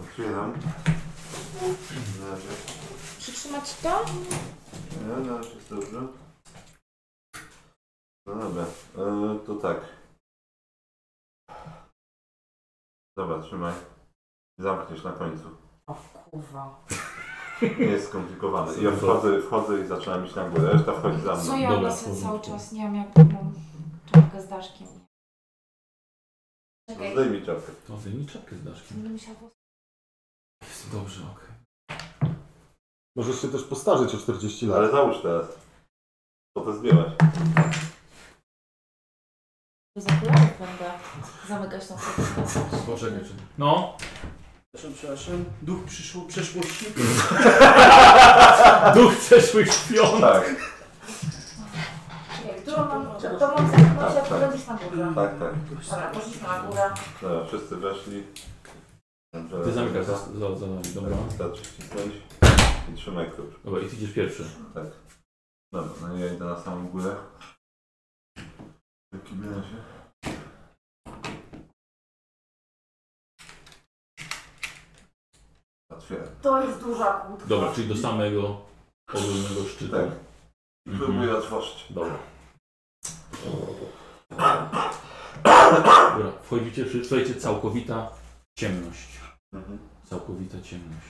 Otwieram.
Przytrzymać to?
No, no, jest dobrze. No dobra, e, to tak.
Dobra, trzymaj. Zamkniesz na końcu.
O kurwa.
Nie jest skomplikowane. I ja wchodzę, wchodzę i zaczynam iść na górę. Reszta wchodzi za mną.
Co ja
Dobra,
lecę
porządku.
cały czas? Nie wiem jak to mam czapkę z daszkiem. Czekaj,
Zdejmij czapkę.
To wyjmij czapkę z daszkiem.
będę musiała włosy-
Jest dobrze, okej.
Możesz się też postarzeć o 40 lat.
Ale załóż teraz. Po to zdjęłaś.
bez okularów będę zamykać tą sobie.
Poczekaj, czy... No,
Przepraszam, przepraszam. Duch przyszło, przeszłości.
duch przeszłych śpion.
Tak,
Czekaj, którą mam? To mam sobie
Tak, tak.
podrobić na górę.
tak, tak.
Dobra, poszliśmy na górę.
Dobra, wszyscy weszli. Dobrze,
Ty zamykasz
tak,
za, za, za nami, dobra.
Wystarczy wcisnąć i trzymaj klucz.
Dobra, i ty idziesz pierwszy.
Dobra, no i ja idę na samą górę. W takim razie. Otwieram.
To jest duża kłódka.
Dobra, czyli do samego ogólnego szczytu.
Tak. I
Mhm.
próbuję otworzyć.
Dobra. Dobra, wchodzicie, wszyscy, słuchajcie, całkowita ciemność.
Mhm.
Całkowita ciemność.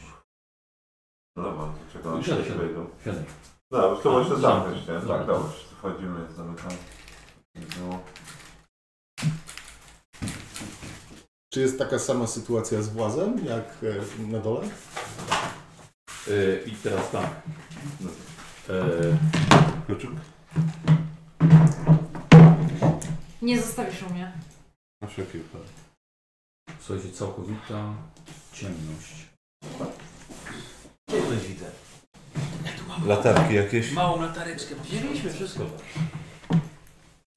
Dobra, to czekam, aż
No. Siadaj,
się
siadaj.
wejdą.
Siadaj.
No, już to
A,
może
zamknąć,
zamknąć, nie?
zamknąć.
Tak, dobrze. wszyscy Wchodzimy, zamykamy. Tak było.
Czy jest taka sama sytuacja z włazem, jak e, na dole?
E, I teraz tak.
No.
E,
Kluczyk?
Nie zostawisz u mnie.
Na wszelki wypadek.
słuchajcie, całkowita ciemność.
Ciemność widzę.
Latarki jakieś?
Małą latareczkę
Wzięliśmy wszystko.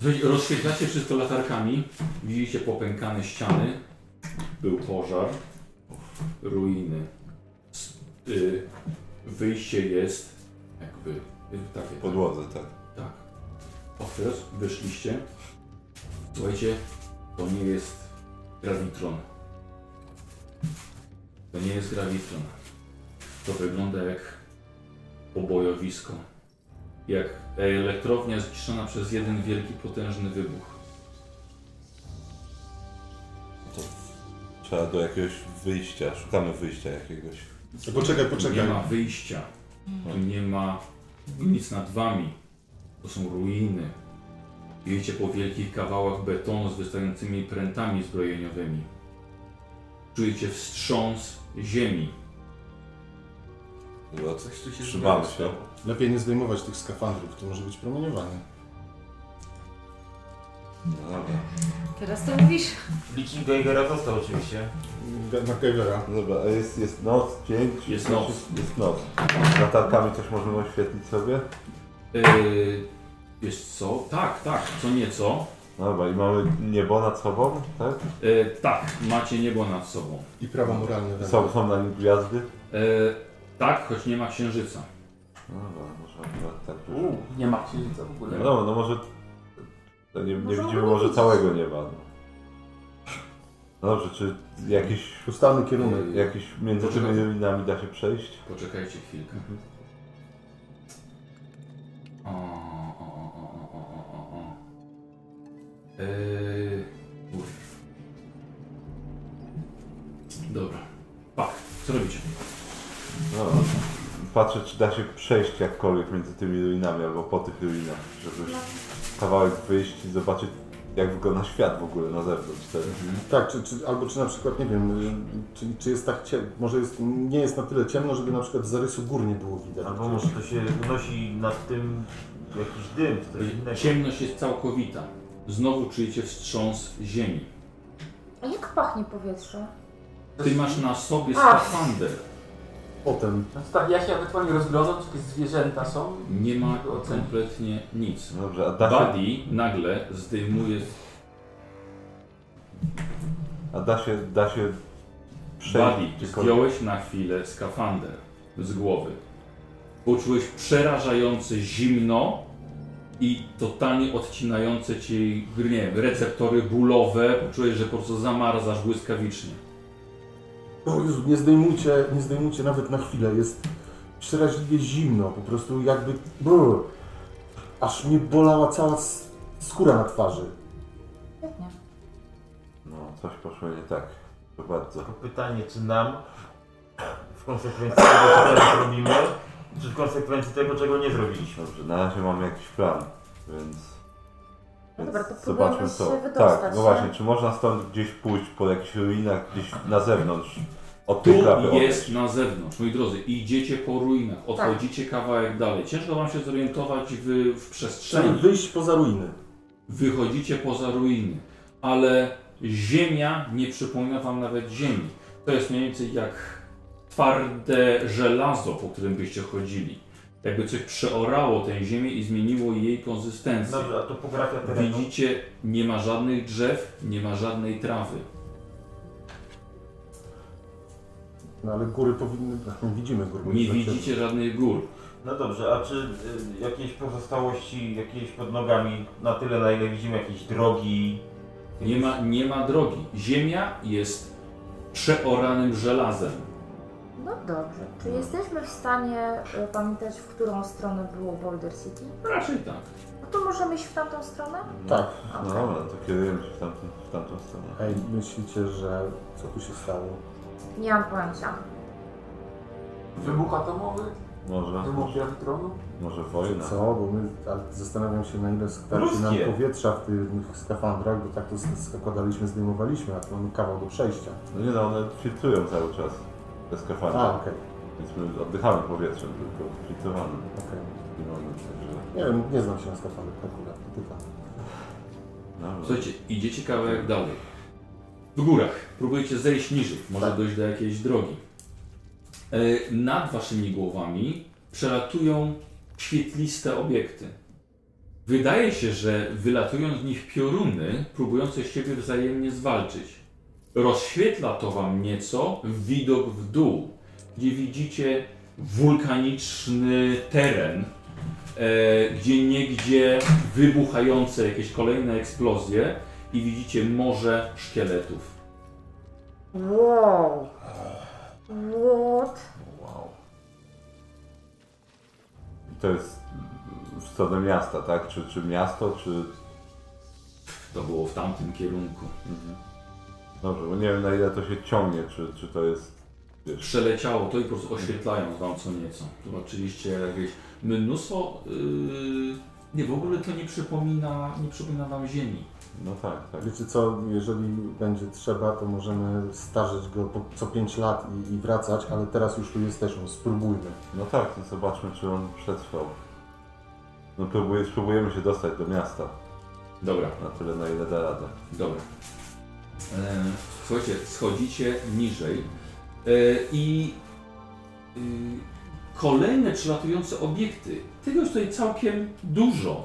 Słuchajcie, rozświetlacie wszystko latarkami. Widzicie popękane ściany. Był pożar. Ruiny. S- y, wyjście jest jakby y, takie.
W podłodze, tak.
Tak. O, teraz wyszliście. Słuchajcie, to nie jest grawitron. To nie jest grawitron. To wygląda jak obojowisko. Jak elektrownia zniszczona przez jeden wielki, potężny wybuch.
Trzeba do jakiegoś wyjścia, szukamy wyjścia jakiegoś.
E, Poczekaj,
Nie
poczekaj.
ma wyjścia. Tu nie ma nic nad wami. To są ruiny. Jedziecie po wielkich kawałach betonu z wystającymi prętami zbrojeniowymi. Czujecie wstrząs ziemi.
Chyba co-
Coś tu się
Trzymamy się.
stało.
Lepiej nie zdejmować tych skafandrów, to może być promieniowanie.
No dobra.
Teraz to mówisz?
Liking Geigera został oczywiście.
Ga- MacGyvera.
No Dobra, a jest, jest noc, dzień? czy
Jest
coś
noc.
Jest noc. Latarkami też możemy oświetlić sobie?
Yy, wiesz co? Tak, tak, co nieco.
No Dobra, i mamy niebo nad sobą, tak?
Yy, tak, macie niebo nad sobą.
I prawa moralne. tak.
Są, są na nim gwiazdy?
Yy, tak, choć nie ma księżyca.
No Dobra, może akurat tak.
Nie ma księżyca w
No
ogóle.
dobra, no może... to Nie, nie
Może
widzimy
on
może
widzi.
całego nieba. No. no dobrze, czy jakiś...
Ustalmy kierunek.
Jakiś między tymi
Poczekaj.
ruinami da się przejść? Mhm.
Poczekajcie chwilkę. O, o, o, o, o, o, o, o, o. Yy, kurw. Dobra. Pak, co robicie?
No, patrzę, czy da się przejść jakkolwiek między tymi ruinami, albo po tych ruinach, żeby kawałek wyjść i zobaczyć, jak wygląda świat w ogóle na zewnątrz. Ten.
Tak, czy, czy, albo czy na przykład, nie wiem, y, czy, czy jest tak ciemno, może jest, nie jest na tyle ciemno, żeby na przykład zarysu gór nie było widać.
Albo może to się unosi nad tym jakiś dym, czy coś innego.
Ciemność jest całkowita. Znowu czujecie wstrząs ziemi.
A jak pachnie powietrze?
Ty masz na sobie
Ach.
skafander.
Potem,
No tak, ja się ewentualnie rozglądam, czy jakieś zwierzęta są.
Nie ma kompletnie nic.
No Dobrze, a da się,
Buddy nagle zdejmuje.
a da się, da się przejść
Buddy,
gdziekolwiek?
zdjąłeś na chwilę skafander z głowy. Poczułeś przerażające zimno i totalnie odcinające ci nie, wiem, receptory bólowe. Poczułeś, że po prostu zamarzasz błyskawicznie.
o No, Jezu, nie zdejmujcie, nie zdejmujcie nawet na chwilę, jest przeraźliwie zimno, po prostu jakby, brr, aż mnie bolała cała s- skóra na twarzy.
Pewnie.
No, coś poszło nie tak. To bardzo.
Tylko pytanie, czy nam w konsekwencji tego, co robimy, czy w konsekwencji tego, czego nie zrobiliśmy.
Dobrze, na razie mamy jakiś plan, więc.
No
więc
dobra, to
zobaczmy
próbujmy
co.
się wydostać,
Tak, no
nie?
właśnie, czy można stąd gdzieś pójść po jakichś ruinach, gdzieś na zewnątrz? Od
Tu
tej klapy
jest na zewnątrz, moi drodzy, idziecie po
Tak.
ruinach, odchodzicie kawałek dalej. Ciężko wam się zorientować w, w przestrzeni.
Czyli wyjść poza ruiny.
Wychodzicie poza ruiny, ale ziemia nie przypomina wam nawet ziemi. To jest mniej więcej jak twarde żelazo, po którym byście chodzili. Jakby coś przeorało tę ziemię i zmieniło jej konsystencję.
Dobrze, a topografia terenu?
Widzicie, nie ma żadnych drzew, nie ma żadnej trawy.
No ale góry powinny... No, widzimy góry.
Nie widzicie żadnych gór.
No dobrze, a czy y, jakieś pozostałości, jakieś pod nogami, na tyle na ile widzimy jakieś drogi?
Nie ma, nie ma drogi. Ziemia jest przeoranym żelazem.
No dobrze. Czy jesteśmy w stanie y, pamiętać, w którą stronę było Boulder City?
Raczej tak.
No to możemy iść w tamtą stronę?
Tak.
No dobra, to kierujemy się w, tamtą w tamtą stronę.
Ej, myślicie, że co tu się stało?
Nie mam pojęcia.
Wybuch atomowy?
Może,
Wybuch grawitronu?
może wojna.
No Co? Bo my, ale zastanawiam się na ile starczy
Ruskie.
nam powietrza w tych skafandrach, bo tak to składaliśmy, zdejmowaliśmy, a tu mamy kawał do przejścia.
No nie no, one filtrują cały czas te skafandry,
A, okej,
więc my oddychamy powietrzem, tylko filtrowanym.
okej.
Nie mamy, także...
Nie wiem, nie znam się na skafandrach akurat, pytam.
Dobra.
Słuchajcie, idziecie kawałek dalej. W górach. Próbujecie zejść niżej. Może dojść do jakiejś drogi. E, Nad waszymi głowami przelatują świetliste obiekty. Wydaje się, że wylatują z nich pioruny, próbujące siebie wzajemnie zwalczyć. Rozświetla to wam nieco widok w dół, gdzie widzicie wulkaniczny teren, e, gdzie niegdzie wybuchające jakieś kolejne eksplozje i widzicie morze szkieletów.
Wow. What?
I to jest w stronę miasta, tak? Czy, czy miasto, czy...
To było w tamtym kierunku.
Mhm. Dobrze, bo nie wiem na ile to się ciągnie, czy, czy to jest... Wiesz, Mhm.
Przeleciało to i po prostu oświetlając wam co nieco. Zobaczyliście jakieś mnóstwo... Yy... Nie, w ogóle to nie przypomina, nie przypomina wam ziemi.
no tak, tak.
Wiecie co, jeżeli będzie trzeba, to możemy starzeć go po, co 5 lat i, i wracać, ale teraz już tu jesteśmy, spróbujmy.
No tak, to zobaczmy, czy on przetrwał. No próbuję, spróbujemy się dostać do miasta,
Dobra,
na tyle na ile da radę.
Dobra. E, słuchajcie, schodzicie niżej e, i y, kolejne przelatujące obiekty. Tego jest tutaj całkiem dużo.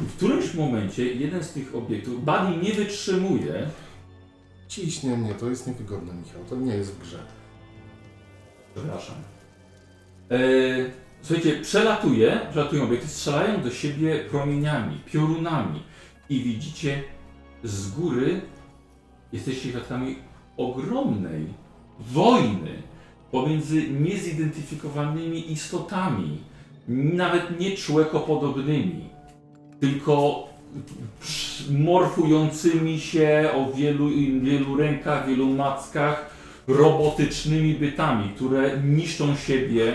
W którymś momencie jeden z tych obiektów, Buddy nie wytrzymuje,
Ciśnie mnie, to jest niewygodne, Michał, to nie jest w grze.
przepraszam, e, słuchajcie, przelatuje, przelatują obiekty, strzelają do siebie promieniami, piorunami i widzicie z góry jesteście świadkami ogromnej wojny pomiędzy niezidentyfikowanymi istotami, nawet nie człekopodobnymi, tylko psz- morfującymi się o wielu, wielu rękach, wielu mackach, robotycznymi bytami, które niszczą siebie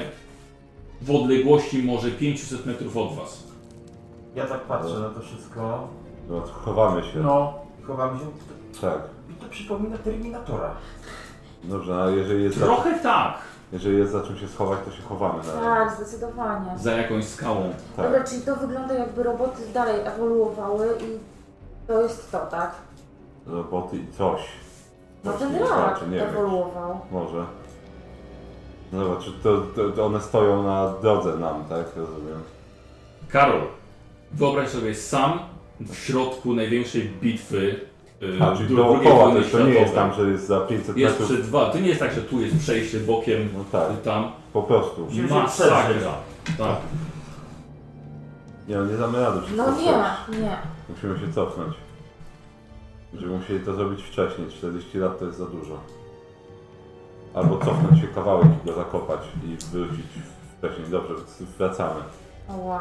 w odległości może 500 metrów od was.
Ja tak patrzę na to wszystko
No, chowamy się,
No.
i chowam się.
tak.
I to przypomina Terminatora.
Dobrze, a jeżeli jest, za,
Trochę tak,
jeżeli jest za czym się schować, to się chowamy na razie.
Tak, zdecydowanie.
za jakąś skałą.
Tak.
Dobra, czyli to wygląda jakby roboty dalej ewoluowały i to jest to, tak?
Roboty i coś.
No
Właśnie
ten
nie
rak
znaczy, nie wiem.
ewoluował.
Może. No dobra, czy to, to, to one stoją na drodze nam, tak? Rozumiem.
Karol, wyobraź sobie sam w środku największej bitwy yy,
A, Tak, czyli
dru-
dookoła też, to nie jest tam, że jest za 500
Jest
metrów.
przed dwa. To nie jest tak, że tu jest przejście bokiem y,
No tak,
tam.
po prostu.
Musimy się przeżyć.
Masakra. Tak.
Nie, no nie damy rady wszystko
No nie,
przejść.
nie.
Musimy się cofnąć. Będziemy musieli to zrobić wcześniej, 40 lat to jest za dużo. Albo cofnąć się kawałek i go zakopać i wrócić wcześniej. Dobrze, wracamy
Wow.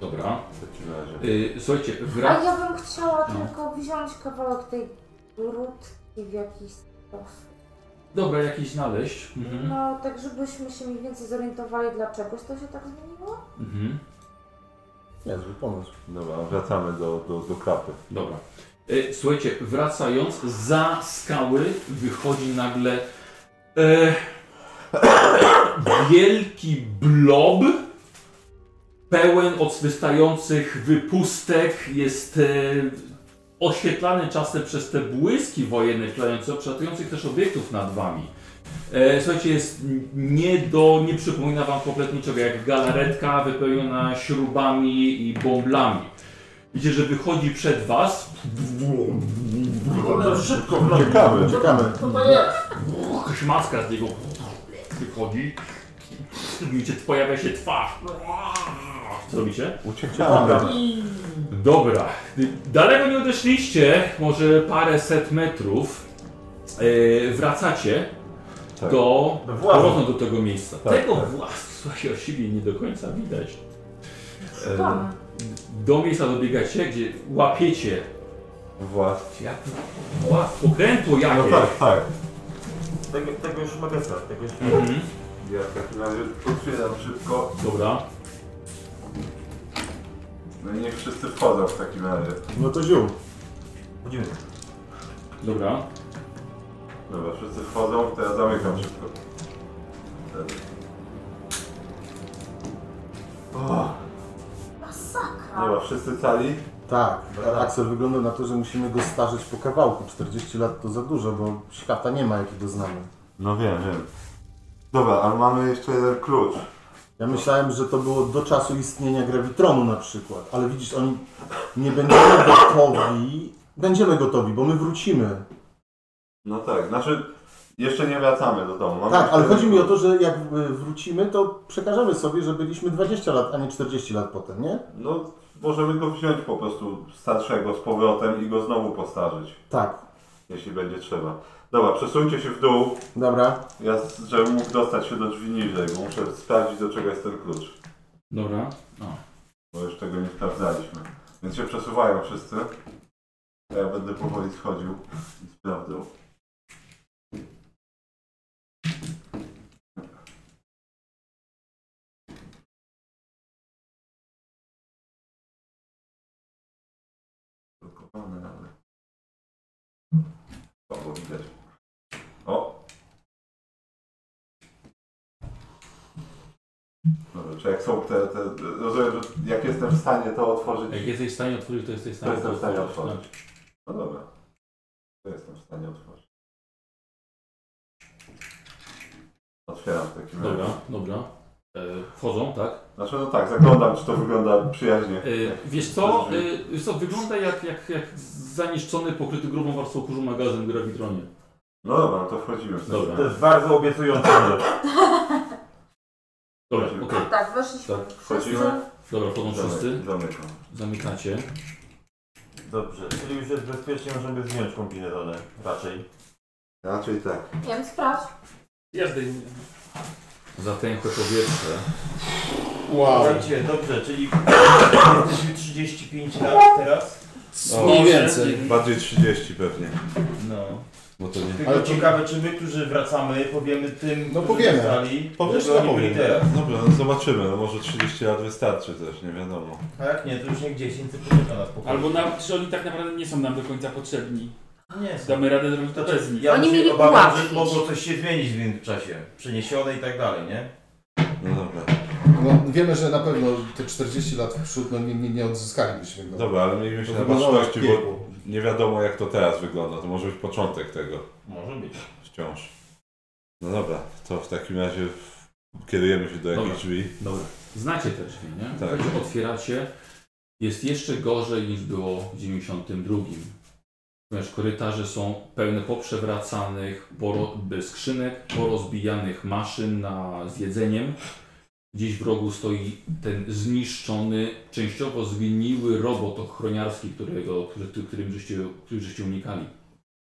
Dobra.
w takim razie.
Yy, słuchajcie,
A
wrac...
ja bym chciała
No.
tylko wziąć kawałek tej grudki w jakiś sposób.
Dobra, jakiś znaleźć. Mhm.
No, tak żebyśmy się mniej więcej zorientowali, dlaczegoś to się tak zmieniło.
Mhm.
Niezły pomysł.
Dobra, wracamy do, do, do klapy.
Dobra. E, Słuchajcie, wracając za skały wychodzi nagle e, wielki blob pełen odwystających wypustek jest e, oświetlany czasem przez te błyski wojenne wklejające, przelatujących też obiektów nad wami. E, słuchajcie, jest n- nie do, nie przypomina wam kompletnie niczego, jak galaretka wypełniona śrubami i bąblami. Widzicie, że wychodzi przed was,
Cholera, szybko, w nogi.
Ciekawe.
Czekamy.
Co to jest?
jakaś maska z niego wychodzi. Widzicie, pojawia się twarz. Co robicie?
Uciekamy.
Dobra, daleko nie odeszliście, może parę set metrów. E, wracacie
Tak.
do
Do władzy.
powrotem do tego miejsca.
Tak,
tego
tak.
włas, słuchaj, o siebie nie do końca widać. E,
Kłamę.
Do miejsca dobiegacie, gdzie łapiecie
Włas.
jak włas, pokrętło jakie.
No tak, tak.
Tego, tego już magazyna, tego już...
Mhm.
Ja w takim razie otwieram szybko.
Dobra.
No i niech wszyscy wchodzą w takim razie.
No to ziół.
Chodzimy.
Dobra.
Dobra, wszyscy wchodzą, to ja zamykam szybko. Wtedy. O,
Masakra.
dobra, wszyscy cali.
Tak, Axel wygląda na to, że musimy go starzeć po kawałku. 40 lat to za dużo, bo świata nie ma, jakiego znamy.
No wiem, wiem. Dobra, ale mamy jeszcze jeden klucz.
Ja myślałem, że to było do czasu istnienia Gravitronu na przykład, ale widzisz, oni nie będziemy gotowi. Będziemy gotowi, bo my wrócimy.
No tak, znaczy jeszcze nie wracamy do domu. Mamy
Tak,
jeszcze
ale chodzi
jeden
mi o
klucz.
to, że jak y, wrócimy, to przekażemy sobie, że byliśmy 20 lat, a nie 40 lat potem, nie?
No, możemy go wziąć po prostu starszego z powrotem i go znowu postarzyć,
Tak,
jeśli będzie trzeba. Dobra, przesuńcie się w dół,
dobra.
ja, z- żebym mógł dostać się do drzwi niżej, bo muszę sprawdzić do czego jest ten klucz.
Dobra.
Bo już tego nie sprawdzaliśmy. Więc się przesuwają wszyscy. A ja będę powoli schodził i sprawdzał. Blokowane, ale... Słabo widać. O! Dobra, czy No jak są te, te... Rozumiem, że jak jestem w stanie to otworzyć...
Jak jesteś w stanie otworzyć, to jesteś w
To
stanie
jestem w stanie
otworzyć.
otworzyć. No dobra. To jestem w stanie otworzyć. Otwieram w takim razie.
Dobra, dobra. E, wchodzą, tak?
Znaczy no tak, zaglądam czy to wygląda przyjaźnie.
E, wiesz co, e, wiesz co, wygląda jak, jak, jak zaniszczony, pokryty grubą warstwą kurzu magazyn w Gravitronie.
No dobra, no to wchodzimy w
Dobra,
To jest bardzo obiecujące.
dobra, okej.
Tak, weszliśmy
Tak,
wszyscy.
wchodzimy.
Dobra, wchodzą wszyscy,
Zamyk- Zamykam.
zamykacie.
Dobrze, czyli już jest bezpiecznie, możemy zdjąć kombinezonę. Raczej.
Raczej tak.
Nie wiem, sprawdź.
Ja zdejmuję.
Zatęchłe powietrze.
Wow.
Słuchajcie, dobrze, czyli jesteśmy 35 lat teraz.
Mniej więcej.
Bardziej 30 pewnie.
No.
Bo to nie.
Tylko
Ale
ciekawe, czy my, którzy wracamy, powiemy tym,
No
którzy
powiemy.
zostali,
Powiesz,
żeby
to
oni byli
powiem.
teraz.
Dobra, no zobaczymy. No może 30 lat wystarczy też, nie wiadomo.
A jak nie, to już niech 10 poczeka nas po
Albo na, czy oni tak naprawdę nie są nam do końca potrzebni.
Nie,
Damy radę zrobić to
To
bez nich.
ja
Oni
się
mieli
obawiam,
ułatwić.
że mogło coś się zmienić w międzyczasie. Przeniesione i tak dalej, nie?
No dobra.
No, wiemy, że na pewno te 40 lat w przód no, nie, nie, nie odzyskalibyśmy go.
Dobra, ale miejmy się na
To wyglądało jak
baczności, bo
piekło.
nie wiadomo jak to teraz wygląda. To może być początek tego
Może być.
wciąż. No dobra, to w takim razie w- kierujemy się do jakichś
Dobra.
drzwi.
Dobra, znacie te drzwi, nie?
Tak.
Także otwieracie. Jest jeszcze gorzej niż było w 92. Ponieważ korytarze są pełne poprzewracanych poro- skrzynek, porozbijanych maszyn na z jedzeniem. Gdzieś w rogu stoi ten zniszczony, częściowo zwiniły robot ochroniarski, którego, który, którym żeście, którym żeście unikali.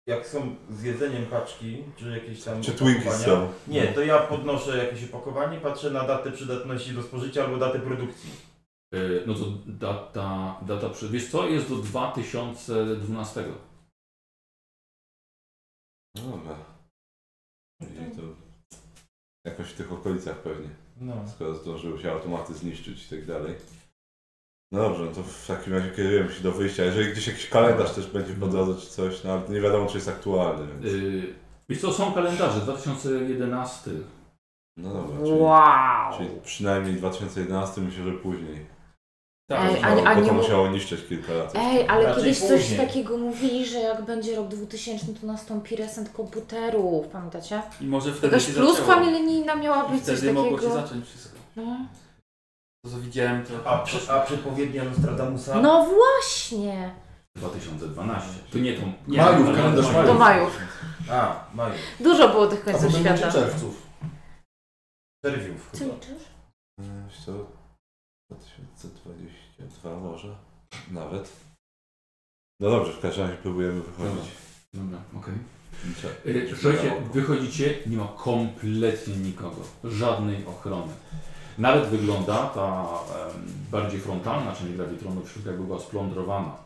Jak są z jedzeniem paczki, czy jakieś tam
Czy Twinkies
opakowania-
są? No.
Nie, to ja podnoszę jakieś opakowanie, patrzę na datę przydatności do spożycia albo datę produkcji.
Yy, No to data, data przy... Wiesz co? Jest do 2012.
No dobra.
I to jakoś w tych okolicach pewnie.
No.
Skoro zdążyły się automaty zniszczyć i tak dalej. No dobrze, no to w takim razie kierujemy się do wyjścia. Jeżeli gdzieś jakiś kalendarz też będzie po drodze czy coś, no ale nie wiadomo czy jest aktualny, więc...
Yy, wiesz co, są kalendarze 2011.
No dobra, czyli,
Wow.
czyli przynajmniej 2011 myślę, że później.
Tak. Ej,
no, Bo to
a- a nie mu-
musiało niszczyć kilka lat.
Ej, ale
Raczej
kiedyś coś
później.
takiego mówili, że jak będzie rok 2000, to nastąpi reset komputerów, pamiętacie?
I może wtedy
Jakaś
się
pluskwa
zaczęło.
milenijna miała
I
być coś
wtedy mogło się
takiego.
zacząć wszystko.
No.
To co widziałem to...
A, przy, a przepowiednia Nostradamusa?
no właśnie.
2012. To nie tą...
Nie, Majów,
ale-
kalendarz
Do majów.
A, Maju.
tak- Dużo było tych
A
końców
potem będzie
świata.
czerwców.
Czerwiów
Co
chyba.
liczysz?
E, Wiesz co? 2022 może? Nawet. No dobrze, w każdym razie próbujemy wychodzić.
Dobra, okej.
Cze-
Yy, Słuchajcie, wychodzicie, nie ma kompletnie nikogo, żadnej ochrony. Nawet wygląda ta em, bardziej frontalna część grawitronu wśród jakby była splądrowana.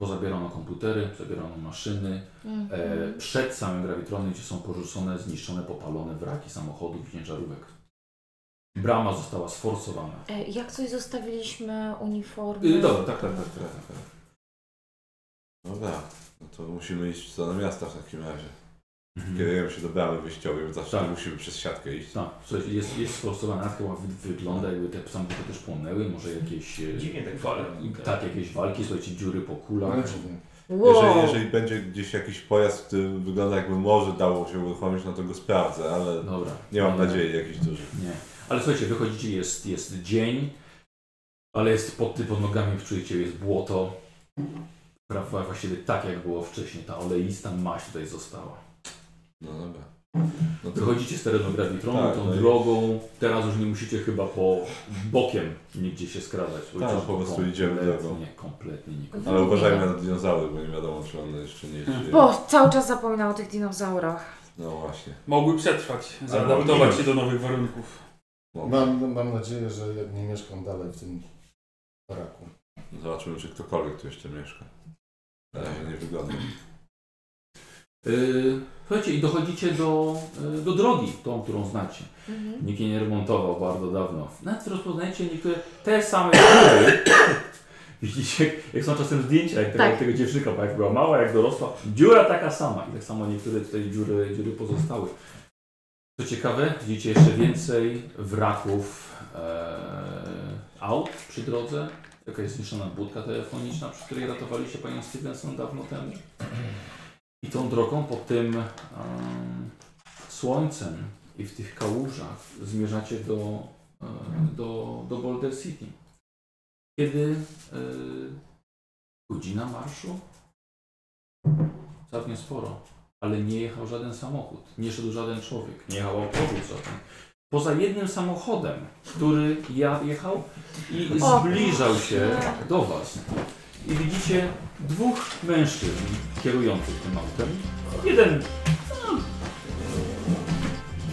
Pozabierano komputery, zabierano maszyny. E,
Mhm.
przed samym grawitronem, gdzie są porzucone, zniszczone, popalone wraki samochodów i ciężarówek. Brama została sforsowana.
E, jak coś zostawiliśmy uniformy.
Yy, dobra, tak, tak, tak.
Tak, tak. Dobra, no to musimy iść co do miasta w takim razie.
Mhm.
Kierujemy się do bramy wyjściowej, więc zawsze
Tak.
musimy przez siatkę iść.
Tak, słuchajcie, jest, jest sforsowana, chyba wy- wygląda jakby te samochody też płonęły, może jakieś... e,
Dziwnie tak
Wal-
wygląda.
tak, jakieś walki, słuchajcie, dziury po kulach.
Wow.
Jeżeli, No, jeżeli będzie gdzieś jakiś pojazd, który wygląda jakby może dało się uruchomić, no to go sprawdzę, ale
Dobra.
nie mam
Nie.
nadziei jakichś dużych.
Nie. Ale słuchajcie, wychodzicie, jest, jest dzień, ale jest pod, pod nogami czujecie, jest błoto. Pra- Właściwie tak jak było wcześniej, ta oleista maść tutaj została.
No dobra. No to
Wychodzicie z terenu grawitronu,
Tak,
tą
no i-
drogą, teraz już nie musicie chyba po bokiem nigdzie się skradać. bo
Tak,
już
po prostu
kompletnie,
idziemy drogą.
Nie, kompletnie nikogo.
Ale uważajmy na dinozaury, bo nie wiadomo, czy one jeszcze nie żyje.
Bo cały czas zapominam o tych dinozaurach.
No właśnie.
Mogły przetrwać, zaadaptować się do nowych warunków.
No, Mam, mam nadzieję, że jak nie mieszkam dalej w tym baraku.
Zobaczymy, czy ktokolwiek tu jeszcze mieszka. Na razie nie wygląda.
Yy, słuchajcie, i dochodzicie do, yy, do drogi, tą, którą znacie.
Mhm.
Nikt jej nie remontował bardzo dawno. Nawet rozpoznajecie niektóre te same dziury. Widzicie, jak- jak są czasem zdjęcia, jak tego,
Tak.
tego dziewczynka, bo jak była mała, jak dorosła, dziura taka sama. I tak samo niektóre tutaj dziury, dziury pozostały. Co ciekawe, widzicie jeszcze więcej wraków e, aut przy drodze. Jaka jest zniszczona budka telefoniczna, przy której ratowali się panią Stevenson dawno temu. I tą drogą pod tym em, słońcem i w tych kałużach zmierzacie do, e, do, do Boulder City. Kiedy e, godzina marszu? Całkiem sporo, ale nie jechał żaden samochód, nie szedł żaden człowiek, nie jechał autobus żaden. Poza jednym samochodem, który ja jechał i
O!
zbliżał się do Was. I widzicie dwóch mężczyzn kierujących tym autem. Jeden no,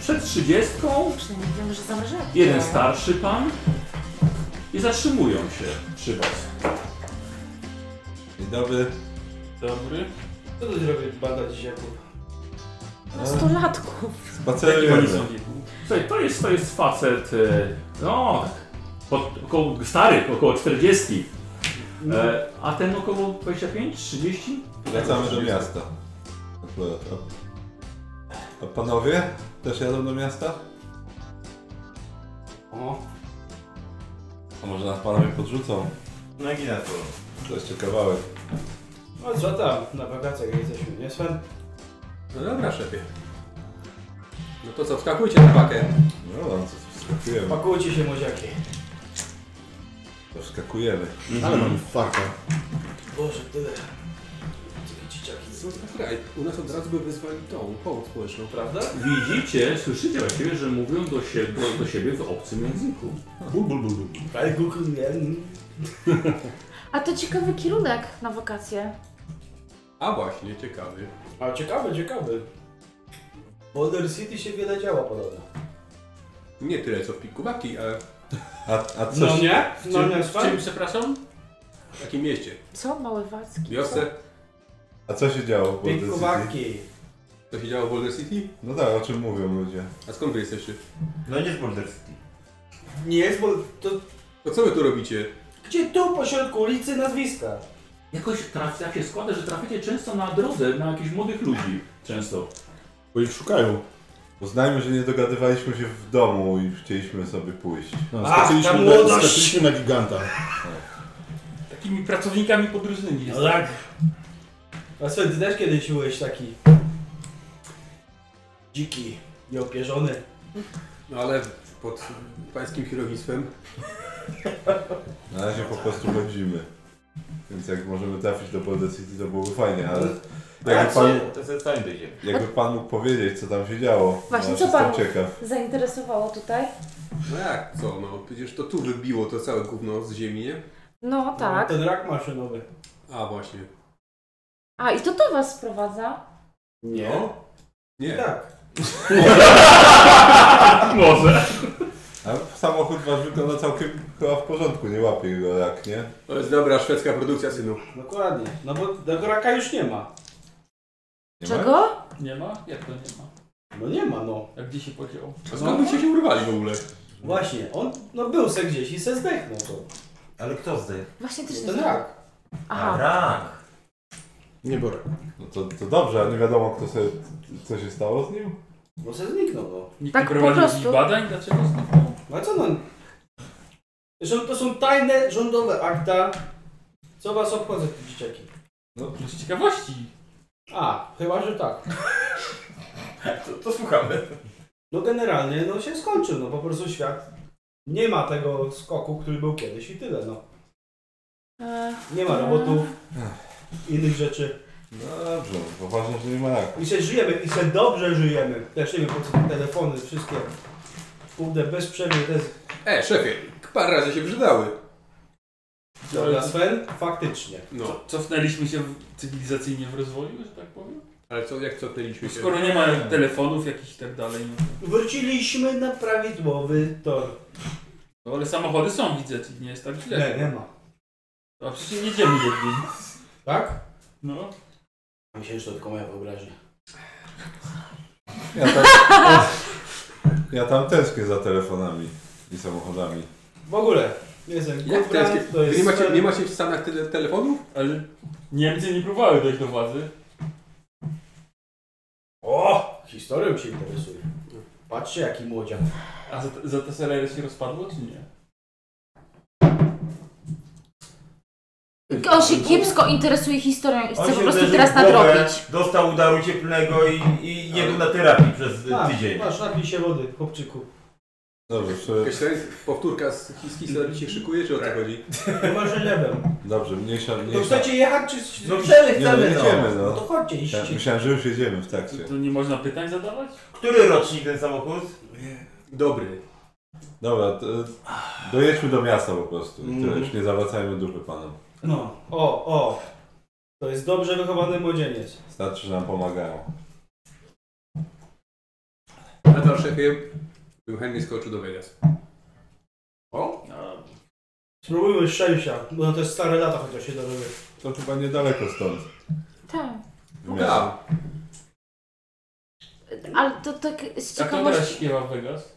przed trzydziestką,
Przynajmniej wiemy, że zamrażają.
jeden starszy pan i zatrzymują się przy was.
Dzień dobry.
Dobry.
Co tu zrobię badać ziemów?
Nastolatków.
Jakie
Spacerujemy.
oni są wieku?
Słuchaj, to jest, to jest facet, e, no, pod, około, stary, około 40, e, a ten około 25, 30?
Wracamy do miasta. Akurat, A, a panowie też jadą do miasta?
O,
A może nas panowie podrzucą?
Nogi na to.
To jeszcze kawałek.
no co tam? Na wakacjach jesteśmy, nie Sven?
No dobra, szefie. No to co, wskakujcie na pakę.
No, no co, wskakujemy.
Pakujcie się młodziaki.
To wskakujemy.
Mhm.
Ale mam farta.
Boże, tyle. Tyle dzieciaki.
No Słuchaj, u nas od razu by wezwali tą pomoc społeczną.
Prawda?
Widzicie, słyszycie właściwie, że mówią do siebie, do siebie w obcym języku.
Bul, bul, bul, bul.
Ale Google nie.
A to ciekawy kierunek na wakacje.
A właśnie, ciekawy.
A ciekawy, ciekawy. Boulder City się wiele działa podobno.
Nie tyle co w piku babki, ale
A, a coś...
No nie? No nie,
W czym,
Sven?
przepraszam?
w takim mieście.
Co? Małe Wacki.
Wiosce.
A co się działo w Boulder City?
Pikowaki.
To się działo w Boulder City?
No tak, o czym mówią ludzie.
A skąd wy jesteście?
No nie z Boulder City.
Nie, bo to... To co wy tu robicie?
Gdzie tu pośrodku ulicy nazwiska?
Jakoś traf, tak się składa, że traficie często na drodze na jakichś młodych ludzi. Często.
Bo ich szukają.
Uznajmy, że nie dogadywaliśmy się w domu i chcieliśmy sobie pójść.
No,
Ach,
skoczyliśmy,
ta
na,
młodość!
skoczyliśmy na giganta.
Takimi pracownikami podróżnymi jest.
tak. A Sven, ty też kiedyś byłeś taki... Dziki, nieopierzony.
No ale pod pańskim kierownictwem.
Na razie po prostu chodzimy. Więc jak możemy trafić do Boulder City, to byłoby fajnie, ale jakby pan,
To sobie sami dojdziemy.
jakby pan mógł powiedzieć, co tam się działo.
Właśnie,
Ja
co
No, jestem
panu
ciekaw.
zainteresowało tutaj?
No jak co, no przecież to tu wybiło to całe gówno z ziemi, nie?
No tak.
Ten rak maszynowy.
A właśnie.
A i to to was sprowadza?
Nie.
No? Nie.
Tak.
Może.
A samochód wasz wygląda całkiem chyba w porządku, nie łapie go jak, nie?
To jest dobra szwedzka produkcja, synu.
Dokładnie. No bo tego raka już nie ma.
nie ma?
Czego?
Nie ma? Jak to nie ma?
No nie ma, no.
A gdzie się podział?
A skąd byście się urwali w ogóle?
Właśnie, on no był se gdzieś i se zdechnął to.
Ale kto zdechł?
Właśnie też nie
Ten
wiem.
rak.
A
Aha.
rak.
Nie biorę.
No to, to dobrze, a nie wiadomo kto sobie, co się stało z nim?
No se zniknął, no.
Nikt
Tak
nie
po
prowadził
prostu.
jakichś badań? Dlaczego zniknął?
No a co no? Zresztą to są tajne rządowe akta. Co was obchodzą te dzieciaki?
No, Z ciekawości.
A, chyba, że tak.
To, to słuchamy.
No generalnie, no się skończył, no po prostu świat nie ma tego skoku, który był kiedyś i tyle, no.
E,
Nie ma robotów, innych rzeczy.
No dobrze, poważnie, że nie ma jak.
I się żyjemy, i się dobrze żyjemy. Też nie wiem po co te telefony, wszystkie. Kurde, bez przerwy, to jest...
E, szefie, parę razy się przydały.
Dobra, Sven, faktycznie.
No,
Cofnęliśmy się w- cywilizacyjnie w rozwoju, że tak powiem?
ale co, jak cofnęliśmy się?
Skoro nie ma telefonów jakichś i tak dalej. no to-
Wróciliśmy na prawidłowy tor.
No ale samochody są, widzę, czyli nie jest tak źle.
Nie, nie ma.
A przecież jedziemy jednym.
Tak?
No.
Myślę, że to tylko moja wyobraźnia.
Ja tam, ja tam tęsknię za telefonami i samochodami.
W ogóle, nie jestem
Jak
kufrant,
teraz,
to jest...
nie, macie,
super.
nie macie w Stanach tyle telefonów?
Ale Niemcy nie próbowały dojść do władzy.
O! Historią się interesuje. Patrzcie, jaki młodziak.
A za, za te serwery się rozpadło, czy nie?
On się kiepsko interesuje historią i chce
On się
po prostu
uderzył
teraz
w głowę,
nadrobić.
Dostał udaru cieplnego i, i nie był na terapii przez y,
Masz,
tydzień.
masz, napij się wody, chłopczyku.
Dobrze, czy,
Jakaś to jest powtórka z his- historii się szykuje, czy o co chodzi?
Tak. Chyba, że nie wiem.
dobrze, mniejsza,
To
mniejsza.
chcecie jechać, czy...
No
chcemy,
nie, no, jedziemy,
No.
no.
to chodźcie, iść.
Ja myślałem, że już jedziemy w
To,
trakcie.
to nie można pytań zadawać?
Który rocznik ten samochód?
Dobry.
Dobra, to, dojedźmy do miasta po prostu. i Tyle,
Mhm.
już nie zawracajmy dupy panom.
No. O, o. To jest dobrze wychowany młodzieniec.
Starczy, że nam pomagają.
Nadal szefie, bym chętnie skoczył do Vegas.
No,
Spróbujmy szczęścia, bo no to jest stare lata, chociaż się dorobię.
To chyba niedaleko stąd.
Tak.
w miasto.
Ale to tak z
a kto teraz
ciekawości.
śpiewa w Vegas?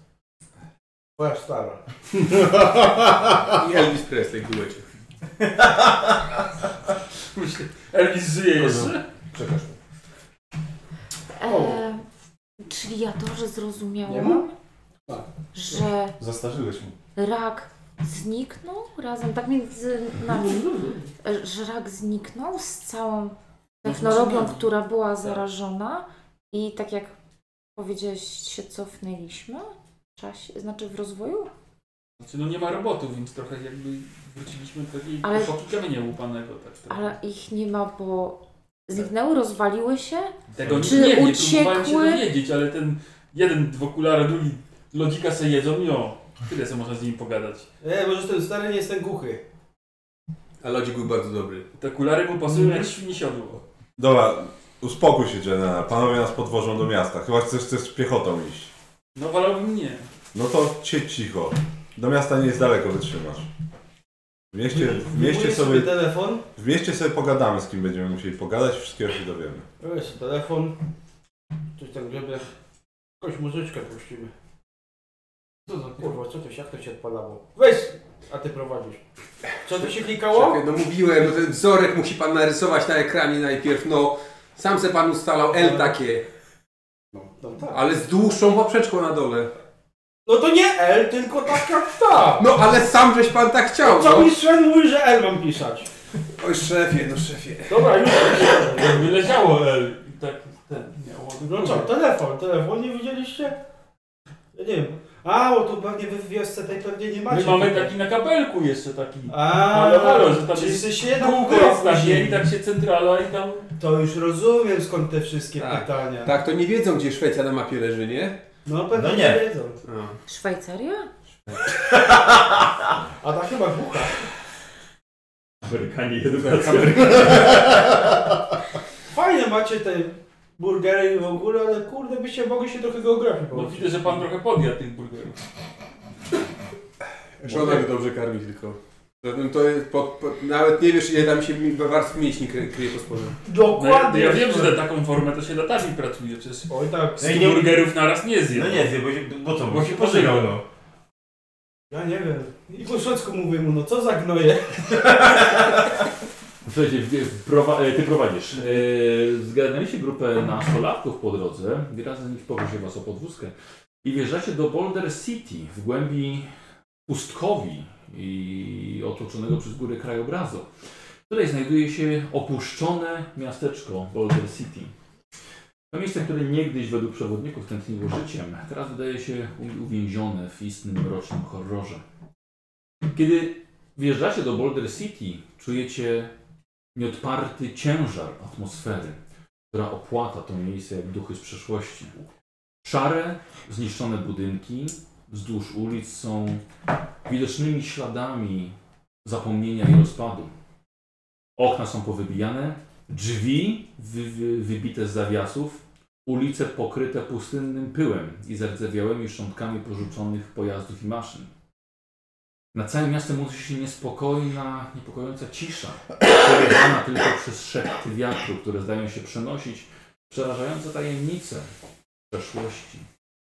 Twoja stara.
I Elvis Presley w duecie.
Myślę, Elvis żyje jeszcze?
E, czyli ja dobrze
Nie
zrozumiałam,
ma? Tak.
że
Zastarzyłeś mu.
rak zniknął razem, tak między nami, e, że rak zniknął z całą technologią, która była
Tak.
zarażona i tak jak powiedziałeś, się cofnęliśmy w czasie, znaczy w rozwoju?
Znaczy, no nie ma robotów, więc trochę jakby wróciliśmy do takiej
Ale-
epoki kamienia łupanego. Tak, trochę.
Ale ich nie ma, bo
Tak.
zniknęły, rozwaliły się.
Tego
Czy
nie wiem, nie próbowałem się
uciekły?
dowiedzieć, ale ten jeden w okularach, drugi lodzika se jedzą i o, tyle co można z nimi pogadać.
Nie, może E, ten stary nie jestem głuchy.
A lodzik był bardzo dobry.
Te okulary mu pasują
Mhm.
jak świni siodło.
Dobra, uspokój się, General. Panowie nas podwożą do miasta. Chyba chcesz, chcesz piechotą iść.
No wolałbym nie.
No to siedź cicho. Do miasta nie jest daleko, wytrzymasz. W mieście, w mieście,
Wyjmuję
sobie,
telefon.
w mieście sobie pogadamy, z kim będziemy musieli pogadać, wszystkiego się dowiemy.
Wiesz, telefon. Coś tak grzebie. Jakąś muzyczkę puścimy. Co za Kurwa, co to się, jak to się odpalało? Weź! A ty prowadzisz. Co to się klikało?
Szefie, No mówiłem, no ten wzorek musi pan narysować na ekranie najpierw, no. Sam se pan ustalał L takie. No, Ale z dłuższą poprzeczką na dole.
tak. No to nie L, tylko taka ta.
No ale sam żeś pan tak chciał.
Co
no.
mi Sven mówi, że L mam pisać?
Oj szefie, no szefie.
Dobra, już.
Jakby leciało L i tak ten miało.
No co, telefon, telefon nie widzieliście? Ja nie wiem. A, bo tu pewnie wy w wiosce tej pewnie nie macie.
My mamy taki na kabelku jeszcze taki.
A,
ale halo, no, że tam
czyli
jest
się jednak
kółko jest na
później.
niej i tak się centrala i tam...
To już rozumiem skąd te wszystkie
Tak.
pytania.
Tak, to nie wiedzą gdzie Szwecja na mapie leży, nie?
No pewnie No nie. nie wiedzą.
No.
Szwajcaria?
A ta chyba głucha.
Amerykanie
Fajne macie te burgery i w ogóle, ale kurde byście mogli się trochę geografii
No
połączyć.
widzę, że pan trochę podjadł tych burgerów.
Żona go tak dobrze karmi tylko. Zatem to jest po, po, nawet nie wiesz ile tam się mi- warstw mięśni kry, kryje po sporze.
No ja, ja wiem, że na taką formę to się latami pracuje, przecież
Oj tak.
stu burgerów naraz nie zje.
No nie zje, bo się- bo co, bo się
pożygał,
pożygał, no.
Ja nie wiem. I po szwedzku mówię mu, no co za gnoje.
Słuchajcie, w- w- prowa- e, ty prowadzisz. E, Zgadaliście grupę nastolatków po drodze. Wyraźnie z nich poprosi was o podwózkę. I wjeżdżacie do Boulder City w głębi pustkowi i otoczonego przez góry krajobrazu, w której znajduje się opuszczone miasteczko Boulder City. To miejsce, które niegdyś według przewodników tętniło życiem, teraz wydaje się u- uwięzione w istnym mrocznym horrorze. Kiedy wjeżdżacie do Boulder City, czujecie nieodparty ciężar atmosfery, która opłata to miejsce jak duchy z przeszłości. Szare, zniszczone budynki wzdłuż ulic są widocznymi śladami zapomnienia i rozpadu. Okna są powybijane, drzwi wy, wy, wybite z zawiasów, ulice pokryte pustynnym pyłem i zardzewiałymi szczątkami porzuconych pojazdów i maszyn. Na całym miastem unosi się niespokojna, niepokojąca cisza, przerywana tylko przez szepty wiatru, które zdają się przenosić przerażające tajemnice przeszłości.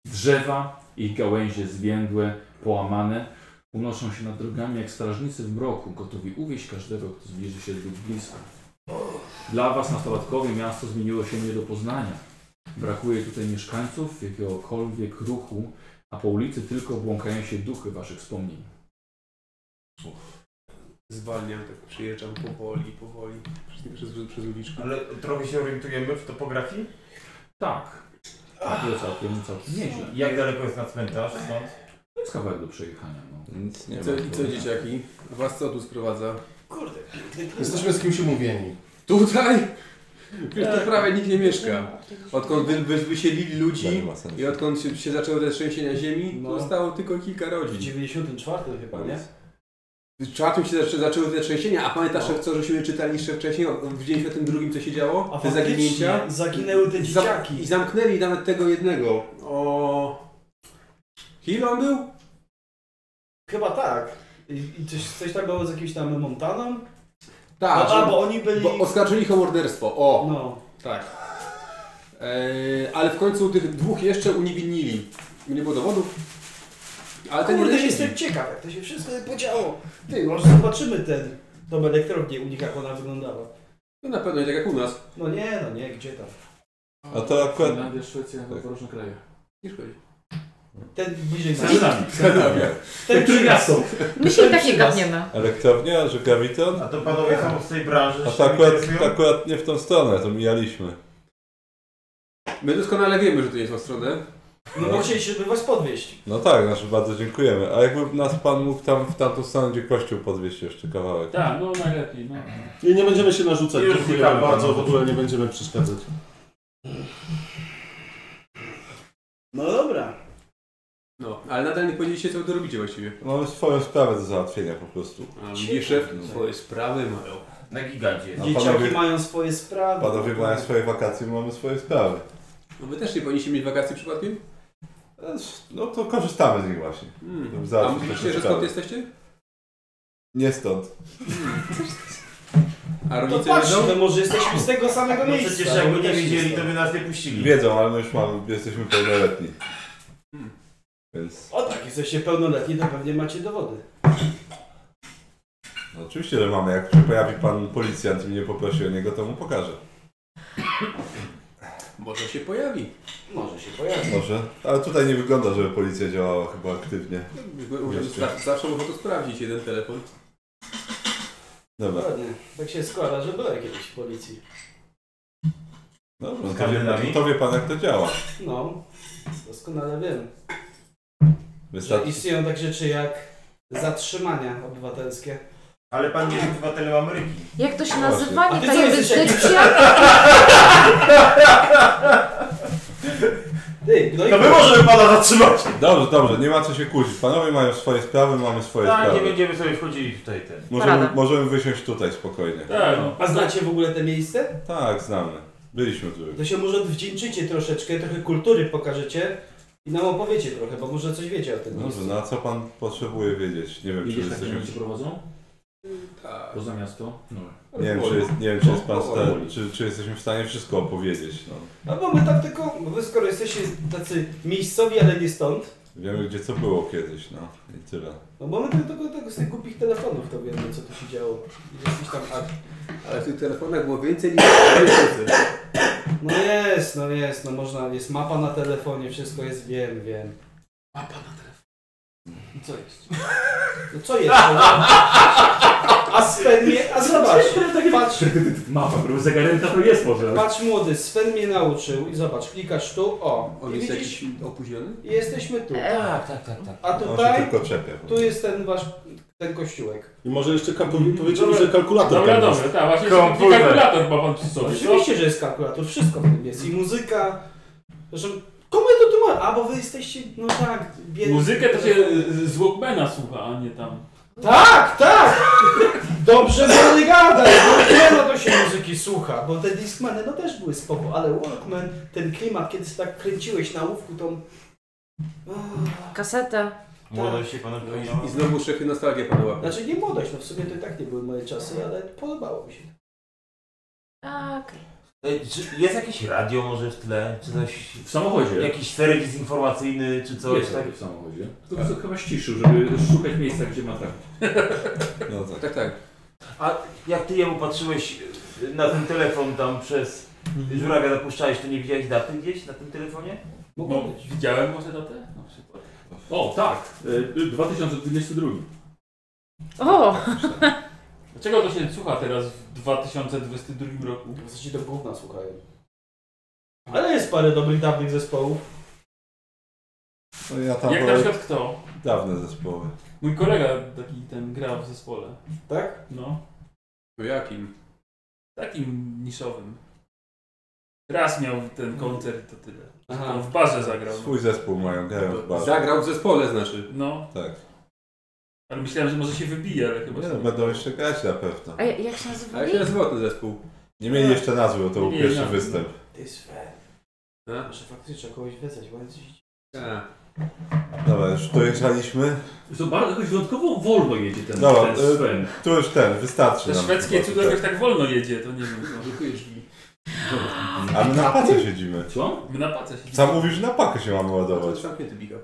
Drzewa, ich gałęzie zwiędłe, połamane, unoszą się nad drogami jak strażnicy w mroku, gotowi uwieść każdego, kto zbliży się zbyt blisko. Dla was, nastolatkowie, miasto zmieniło się nie do poznania. Brakuje tutaj mieszkańców, jakiegokolwiek ruchu, a po ulicy tylko błąkają się duchy waszych wspomnień. No
Zwalniam, tak przyjeżdżam powoli, powoli. Przez, przez, przez uliczkę.
Ale trochę się orientujemy w topografii?
Tak. Tak, jest całkiem, całkiem nieźle.
Jak daleko jest na cmentarz stąd?
To jest kawałek do przejechania. No.
Nic
I co, I co dzieciaki? Was co tu sprowadza? Kurde,
Jesteśmy z kimś umówieni.
Tutaj? Przecież
Tak.
tu prawie nikt nie mieszka. Odkąd wy, wy, wysiedlili ludzi i odkąd się, się zaczęło te trzęsienia ziemi,
No.
zostało tylko kilka rodzin.
W 94 chyba, nie?
W czwartym się zaczę, zaczęły te trzęsienia, a pamiętasz co żeśmy czytali jeszcze wcześniej, o- w 92 co się działo?
No. A
te
faktycznie,
zaginięcia?
zaginęły te
I zam-
dzieciaki.
I zamknęli nawet tego jednego. O... Hill on był?
Chyba tak. I, i coś, coś tak było z jakimś tam Montaną?
Tak.
A,
że-
bo No, oni byli...
Bo oskarżyli ich o morderstwo, o.
No.
Tak. Eee, ale w końcu tych dwóch jeszcze uniewinili. Nie było dowodów. Ale ten
Kurde,
jeden
jestem
siedzi.
ciekaw, jak to się wszystko podziało. Ty, może zobaczymy ten, tą elektrownię u nich, jak ona wyglądała.
No na pewno nie tak jak u nas.
No nie, no nie, gdzie tam.
A to akurat...
Finlandia, Szwecja, tak. różne kraje.
Nie szkodzi.
Ten bliżej
Skandynawia. Skandynawia.
Ten przy nas.
My się i
Ten
tak
przy
nie
nas.
gadniemy.
Elektrownia, że Graviton?
A to panowie są z tej branży,
A
się
to akurat,
interesują?
to akurat nie w tą stronę, to mijaliśmy.
My doskonale wiemy, że to jest stronę.
No bo chcieliśmy was podwieźć.
No tak, znaczy bardzo dziękujemy. A jakby nas pan mógł tam w tamtą stronę, gdzie kościół podwieźć jeszcze kawałek.
Tak, no najlepiej, no.
I nie będziemy się narzucać.
Już
dziękujemy
tak
panu,
bardzo,
w ogóle nie będziemy przeszkadzać.
No dobra.
No, ale nadal nie powiedzieliście co wy tu robicie właściwie.
Mamy swoją sprawę do załatwienia po prostu. No.
A widzisz, szef, swoje sprawy mają.
Na gigancie.
A
Dzieciaki
panowie-
mają swoje sprawy.
Panowie mają swoje wakacje, my mamy swoje sprawy.
No wy też nie powinniście mieć wakacji przypadkiem?
No to korzystamy No, z nich właśnie.
Hmm.
Żeby
A
załatwić
mówiliście,
nasze
że
sprawy.
Hmm. skąd jesteście?
Nie stąd.
To patrz, to No może jesteśmy z tego samego
No
miejsca.
przecież jakby
bo
nie
też
wiedzieli,
jest
to by nas nie puścili.
Wiedzą, ale my już mamy, jesteśmy pełnoletni.
Hmm.
Więc
O tak, jesteście pełnoletni, to pewnie macie dowody.
no, oczywiście, że mamy. Jak się pojawi pan policjant i mnie poprosi o niego, to mu pokażę.
Może się pojawi.
Może się pojawi.
Może. Ale tutaj nie wygląda, żeby policja działała chyba aktywnie.
Możemy
Jeszcze.
No
spra- Zawsze można to sprawdzić, jeden telefon.
Dobra.
Ładnie. Tak się składa, że była kiedyś w policji.
Dobra,
Z
to wie,
Skandynawii?
to wie pan jak to działa.
No, doskonale wiem. Że
Wystarczy.
istnieją tak rzeczy jak zatrzymania obywatelskie.
Ale pan nie jest obywatelem Ameryki.
Jak
No
to się
No Właśnie.
nazywa?
A
Nie
ty
ta
co jesteś
jurysdykcja?
Tak,
Ty, no i-
To my możemy pana zatrzymać!
Dobrze, dobrze, nie ma co się kłócić. Panowie mają swoje sprawy, mamy swoje
Tak, nie
sprawy.
będziemy sobie wchodzili tutaj ten. Tak, no.
Możemy, możemy wysiąść tutaj spokojnie.
A znacie w ogóle te miejsce?
Tak, znamy. Byliśmy tu
No
już.
To się może odwdzięczycie troszeczkę, trochę kultury pokażecie i nam opowiecie trochę, bo może coś wiecie o tym
Dobrze,
miejscu.
no a co pan potrzebuje wiedzieć? Nie wiem, czy
Widzisz, tak
jesteśmy...
jak cię prowadzą?
Tak.
Poza miasto? No.
Nie wiem, czy, jest, nie wiem, czy, jest pan sta... czy, czy jesteśmy w stanie wszystko opowiedzieć. No.
No bo my tak tylko, bo wy skoro jesteście tacy miejscowi, ale nie stąd,
Wiemy, gdzie co było kiedyś, no i tyle.
no bo my tak tylko tak z tych głupich telefonów to wiemy, co tu się działo. Jest Jakiś tam akt.
Ale w tych telefonach było więcej niż w
Tak.
polityce.
No jest, no jest, no można, jest mapa na telefonie, wszystko jest, wiem, wiem. Mapa na telefonie. Co jest? No co jest? A Sven mnie, a zobacz, patrz.
Mapa, próbuj zagarenta to jest może.
Patrz młody, Sven mnie nauczył i zobacz, klikasz tu, o.
On
i
jest
widzisz,
jakiś opóźniony?
i jesteśmy tu.
Tak, tak, tak, tak.
A
On się
tutaj,
tylko czepia po
tu jest ten wasz, ten kościółek.
I może jeszcze kalku... powiedzieli, że kalkulator
No, Dobra,
tam
dobra,
jest.
tak, właśnie
Komputer.
kalkulator ma pan przy sobie. no. Oczywiście, że jest kalkulator, wszystko w tym jest. I muzyka. Zresztą, komu to tu ma? A, bo wy jesteście, no tak, biedni.
Muzykę to się z- z Walkmana słucha, a nie tam.
Tak, tak! Dobrze młody gada, no to się muzyki słucha, bo te Discmany no też były spoko, ale Walkman, ten klimat, kiedy tak kręciłeś na łówku tą...
Kasetę.
Młodość się panu
No I znowu szefie nostalgia padła.
Znaczy nie młodość, no w sumie to i tak nie były moje czasy, ale podobało mi się.
Tak.
Ej, E, czy Jest jakieś radio może w tle? Czy coś...
W samochodzie.
Jakiś serwis informacyjny czy coś?
Jest
tak?
w samochodzie. To tak. chyba ściszył, żeby szukać miejsca, gdzie ma trafić.
No tak.
Tak, tak.
A jak ty jemu patrzyłeś y, na ten telefon tam przez
Mhm.
żurawia dopuszczałeś, to nie widziałeś daty gdzieś na tym telefonie?
No, widziałem może datę? Na przykład.
O, tak. Y, 2022.
O!
Dlaczego to się słucha teraz w 2022 roku?
W zasadzie do gówna słuchają. Ale jest parę dobrych, dawnych zespołów.
No ja tam
Jak na
wolę
przykład kto?
Dawne zespoły.
Mój kolega taki ten gra w zespole.
Tak?
No.
No jakim?
Takim niszowym. Raz miał ten koncert, to tyle.
Aha.
Aha. W barze zagrał.
Swój zespół mają, grają w barze.
Zagrał w zespole, znaczy.
No,
Tak.
ale myślałem, że może się wybije, ale chyba
Nie,
się...
no, będą jeszcze grać na pewno.
A jak się nazywa?
A jak się nazywał ten zespół?
Nie mieli jeszcze nazwy, bo to był
Nie,
pierwszy
nie,
występ.
Ty Sven. Może faktycznie trzeba kogoś wezwać, bo jest...
Dobra, już tu jechaliśmy.
To bardzo jakoś wyjątkowo wolno jedzie ten,
Dobra,
ten
y,
Sven.
tu już ten, wystarczy
Te
nam
szwedzkie
chyba
cudo
tutaj.
jakoś tak wolno jedzie, to nie wiem. no.
A my na pace siedzimy.
Co?
My na pace siedzimy.
Sam mówisz, że na pakę się mamy ładować.
Zamknięty bigał.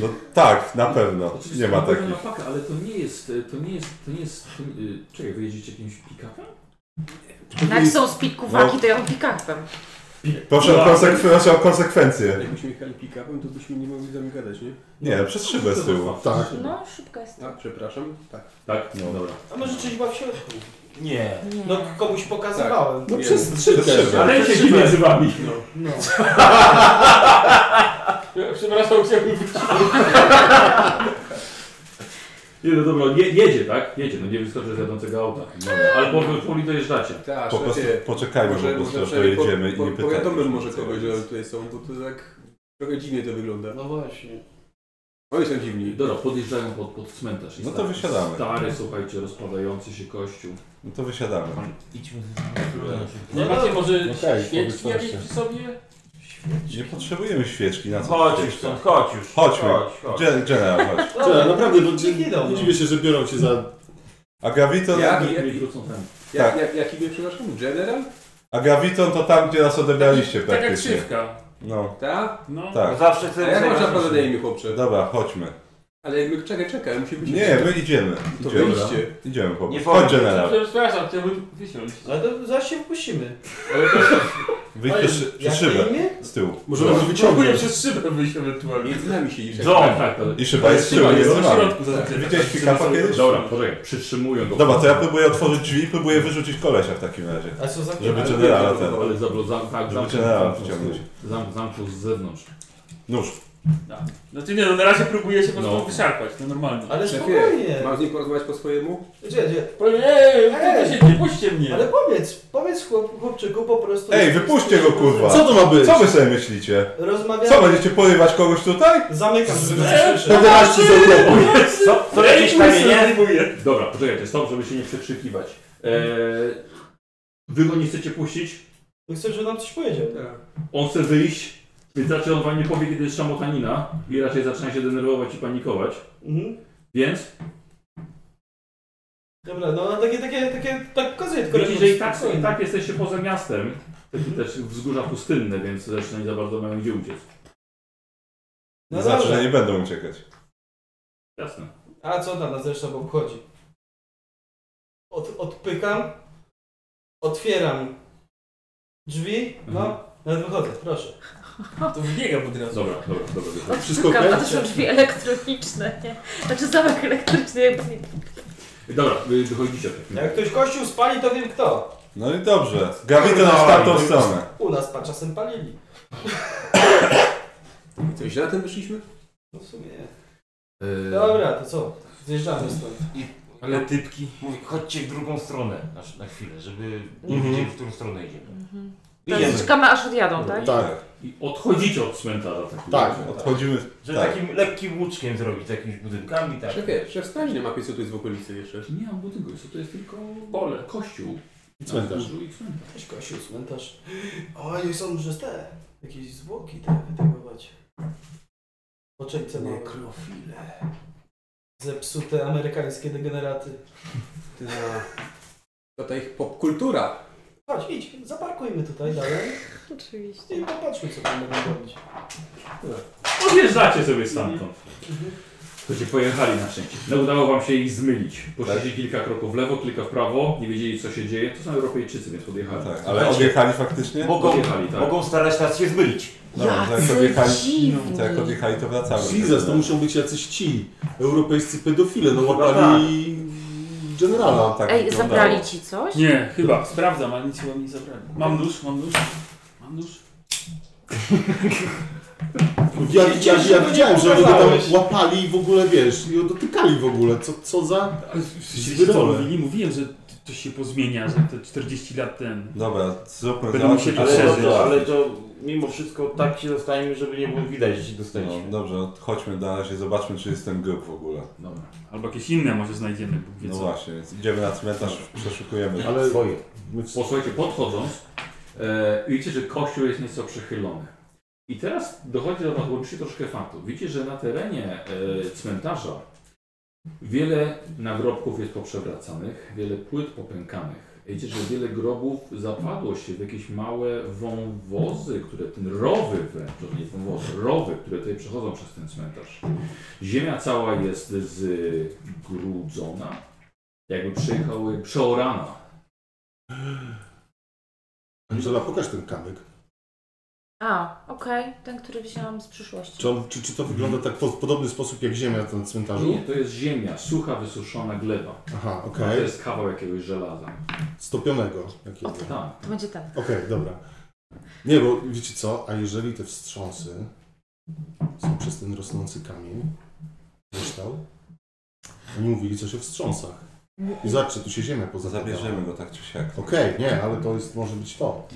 No tak, na pewno. Nie ma
Oczywiście,
takich.
na pakę, Ale to nie jest, y, to nie jest, to nie jest... To, y, czekaj, wyjedziecie jakimś pick-upem?
No jak są z pikkuwaki, to ja mam pick-upem.
Proszę o, konsek- proszę o konsekwencje.
Jakbyśmy jechali pick-upem, to byśmy nie mogli z nami gadać, nie?
Nie, no, przez szybę z tyłu.
Tak.
No, szybko jest.
A, przepraszam. Tak.
Tak? No dobra.
A może czyś była w środku?
Nie.
No komuś
Tak.
pokazywałem.
No przez skrzynkę.
Ale ja się dziwię z wami.
No.
Przepraszam, chciałbym wrócić.
Nie, no dobra, je, jedzie, tak? Jedzie, no nie wyskoczę z jadącego auta. No, ale po, po poli dojeżdżacie.
Tak,
Po prostu
szefie,
poczekajmy po prostu, aż
przynajmniej
dojedziemy i
po,
nie
po,
pytajmy
Powiadomym
już
może
więcej.
kogoś, że oni tutaj są, bo to tak trochę dziwnie to wygląda.
No właśnie.
Oni są dziwni.
Dobra, podjeżdżają pod, pod cmentarz. i
No to
stary-
wysiadamy.
Stary, słuchajcie, rozpadający się kościół.
No to wysiadamy.
Idźmy.
No,
Nie macie no, może
Okej,
świeczki
powiedz
jakieś
proszę.
przy sobie?
Nie potrzebujemy świeczki na co?
Chodź już
świeczka?
stąd, chodź już.
Chodźmy.
Chodź, chodź.
Gen- General, chodź.
Cześć, naprawdę, bo
Nikt nie dał,
nie
no.
dziwię się, że biorą się za...
A Gravito...
Ja-
Nie wrócą tam.
Jak,
Tak.
jak, jaki był, przepraszam? General?
A graviton to tam, gdzie nas odebraliście
Tak jak- tak jak
praktycznie.
krzywka.
No.
Ta? No.
Tak.
Zawsze chcę A jak zajmować można się. podać imię,
chłopcze? Dobra, chodźmy.
Ale jakby, czekaj, czekaj, musi być...
Nie, my idziemy.
To
Idziemy.
wyjście.
Idziemy po prostu. Chodź generał.
Przepraszam, chciałbym wysiąść.
Ale to zaraz się wpuścimy.
Wyjdź przez szy- przez szybę. Z tyłu.
Możemy
Dobra.
go wyciągnąć. Próbuję przez szybę wyjść ewentualnie.
Między nami się idzie.
John, tak, to-
I szyba jest z tyłu,
Szyba
nie
jest
za
w
nami.
środku
Tak.
zazwyczaj.
Widziałeś pick-upa
Szyba-
kiedyś?
Dobra,
poczekaj, przytrzymują go.
Dobra, to ja próbuję otworzyć drzwi i próbuję wyrzucić kolesia w takim razie.
A co za-
Żeby
Ale-
generała ten.
ale zablo- zam- tak,
żeby
zamknął
generała
po prostu.
wciągnąć.
Zam, zamknął z zewnątrz.
Nóż.
Tak. Znaczy nie, no na razie próbuję się po prostu
No.
wyszarpać, to normalnie.
Ale spokojnie.
Mam z nim porozmawiać po swojemu?
Gdzie, gdzie?
Powiem, ej,
Ej!
ej, się, nie puśćcie mnie.
Ale powiedz, powiedz chłop, chłopczyku po prostu...
Ej, wypuśćcie go kurwa!
Co to ma być?
Co wy sobie myślicie?
Rozmawiamy.
Co, będziecie porywać kogoś tutaj?
Zamykam.
Co? Co jakieś
Ej,
kamienie?
Próbuję.
Dobra, poczekajcie, stop, żeby się nie przekrzykiwać. Eee, wy go nie chcecie puścić?
No chcę, żeby nam coś powiedział.
On chce wyjść, więc raczej on wam nie powie, kiedy jest szamotanina i raczej zaczyna się denerwować i panikować.
Mhm.
Więc
Dobra, no takie, takie, takie, tak pokazuję tylko.
widzicie, że i tak, i tak jesteście poza miastem. Takie też wzgórza pustynne, więc zresztą nie za bardzo mają gdzie uciec.
No
znaczy,
dobra.
że nie będą uciekać.
Jasne.
A co tam nas zresztą obchodzi? Od, odpykam, otwieram drzwi, no, nawet wychodzę, proszę.
To wybiegam od razu.
Mhm. Dobra, dobra, dobra. dobra.
okej?
A No, to są drzwi elektroniczne, nie? Znaczy zamek elektryczny. jakby-
Dobra, wy wychodzicie.
Jak ktoś kościół spali, to wiem kto.
No i dobrze. Gawito na
Kurwa,
tamtą
oj.
stronę.
U nas pa, czasem palili.
Co, źle na tym wyszliśmy?
No w sumie.
Eee,
Yy,
Dobra, to co? Zjeżdżamy stąd.
I,
Ale
typki. Mówi, chodźcie w drugą stronę na, na chwilę, żeby nie
Mhm.
wiedzieli, w którą stronę idziemy.
Teraz
Idziemy.
czekamy aż odjadą, tak?
I odchodzicie od cmentarza. w takim
Tak,
razie.
Że takim lekkim łuczkiem zrobić, z jakimiś budynkami, tak.
Że wiesz, że w straży nie ma piecu, tu jest w okolicy jeszcze.
Nie mam budynku, jest to jest tylko pole, kościół.
I cmentarz.
Na wzgórzu I cmentarz.
Ktoś kościół, cmentarz. O, nie są że te. Jakieś zwłoki te wytypować. Poczęce małe. Nekrofile. Zepsute amerykańskie degeneraty.
Ty, To ta ich popkultura.
Chodź, idź, zaparkujmy tutaj dalej.
Oczywiście.
I popatrzmy, co tam będą robić.
Odjeżdżacie sobie stamtąd. To się pojechali na szczęście. No udało wam się ich zmylić. Poszliście
Tak.
kilka kroków w lewo, kilka w prawo, nie wiedzieli co się dzieje. To są Europejczycy, więc podjechali.
Tak, ale odjechali faktycznie?
Mogą,
Odjechali, tak.
mogą starać nas się zmylić.
Dobra, to jak odjechali, to jak odjechali to wracamy.
Jesus, to muszą być jacyś ci europejscy pedofile, no
łapali
łapali tak generala.
Ej, zabrali ci coś?
Nie, chyba. Sprawdzam, ale nic chyba mi nie zabrali. Mam nóż, mam nóż. Mam nóż.
Ja, ja, ja widziałem, że oni go tam łapali i w ogóle, wiesz, i dotykali w ogóle, co, co za...
Ale
Zbyt
co
dole.
mówili? Mówiłem, że to się pozmienia, że te 40 lat ten...
Dobra, zróbmy
Będą musieli
Ale,
przeżyć.
to, No, ale to mimo wszystko tak się dostaniemy, żeby nie było widać, że się
No,
dostaliśmy.
dobrze, no, chodźmy na razie, zobaczmy czy jest ten grób w ogóle.
Dobra.
Albo jakieś inne może znajdziemy, Bóg wie
No
co.
właśnie, więc idziemy na cmentarz, przeszukujemy.
Ale-
swoje.
Posłuchajcie, podchodząc, e, widzicie, że kościół jest nieco przechylony. I teraz dochodzi do Was łączy troszkę faktu. Widzicie, że na terenie e, cmentarza wiele nagrobków jest poprzewracanych, wiele płyt popękanych. Widzicie, że wiele grobów zapadło się w jakieś małe wąwozy, które ten rowy wręcz, to nie wąwozy, rowy, które tutaj przechodzą przez ten cmentarz. Ziemia cała jest zgrudzona, jakby przyjechały przeorana.
Angela, pokaż ten kamyk.
A, okej, ten, który wzięłam z przyszłości.
Czy, on, czy, czy to wygląda tak po, w podobny sposób jak ziemia na cmentarzu?
Nie, to jest ziemia, sucha, wysuszona gleba.
Aha,
To
okej.
jest kawał jakiegoś żelaza.
Stopionego jakiego.
Tak.
To będzie ten.
Okej, dobra. Nie, bo wiecie co, a jeżeli te wstrząsy są przez ten rosnący kamień, kryształ, oni mówili coś o wstrząsach. I zobaczcie, tu się ziemia poza
Zabierzemy go tak czy siak.
Okej, nie, ale to jest, może być to.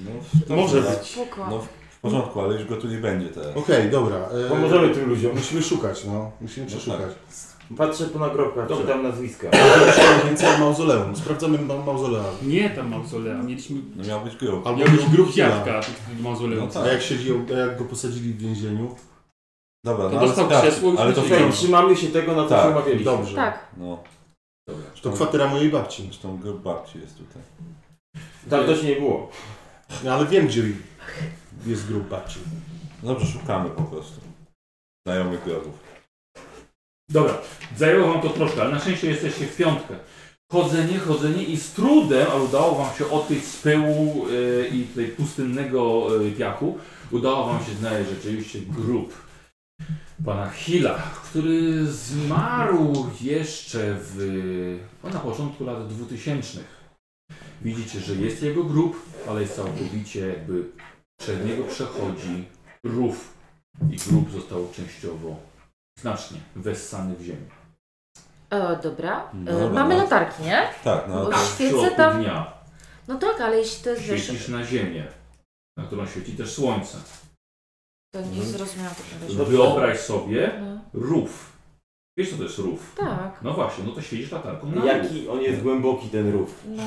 No,
Może
dobra.
być.
No w porządku, ale już go tu nie będzie teraz.
Okej, dobra. e,
Pomożemy tym ludziom.
Musimy szukać, no. Musimy
No
przeszukać.
Patrzę po nagrobkach,
Dobra.
czytam nazwiska.
Musimy więcej mauzoleum. Sprawdzamy ma mauzolea.
Nie tam mauzolea, mieliśmy...
No miał być grób.
Miał być grób
killa.
dziadka w mauzoleum.
No tak.
A jak siedzi, a jak go posadzili w więzieniu?
Dobra,
To
no ale
dostał
sprawdź,
krzesło i
ale to
wrócił.
wciąż-
Trzymamy się tego, na co
Tak,
się umawialiśmy.
Dobrze.
Tak.
No. Dobra.
To kwatera mojej babci.
Zresztą go babci jest tutaj.
Tam też nie było.
No, ale wiem, gdzie jest grób babci.
Dobrze, szukamy po prostu. Znajomych grobów.
Dobra, zajęło wam to troszkę, ale na szczęście jesteście w piątkę. Chodzenie, chodzenie i z trudem, ale udało wam się odpić z pyłu y, i tutaj pustynnego y, piachu, udało wam się znaleźć rzeczywiście grób pana Hilla, który zmarł jeszcze w, o, na początku lat 2000. Widzicie, że jest jego grób, ale jest całkowicie jakby przez niego przechodzi rów i grób został częściowo znacznie wessany w ziemię.
E, dobra.
No
e,
dobra,
mamy
no.
latarki, nie?
Tak, no,
Bo
tak, w
świece
środku
tam.
dnia.
No tak, ale jeśli to jest wiesz,
Świecisz na ziemię, na którą świeci też słońce.
to nie
Mhm.
zrozumiałam tego.
Wyobraź sobie
No.
rów. Wiesz co to jest rów?
Tak.
No właśnie, no to świecisz latarką na
Jaki
rów. Mhm.
on jest głęboki, ten rów?
No.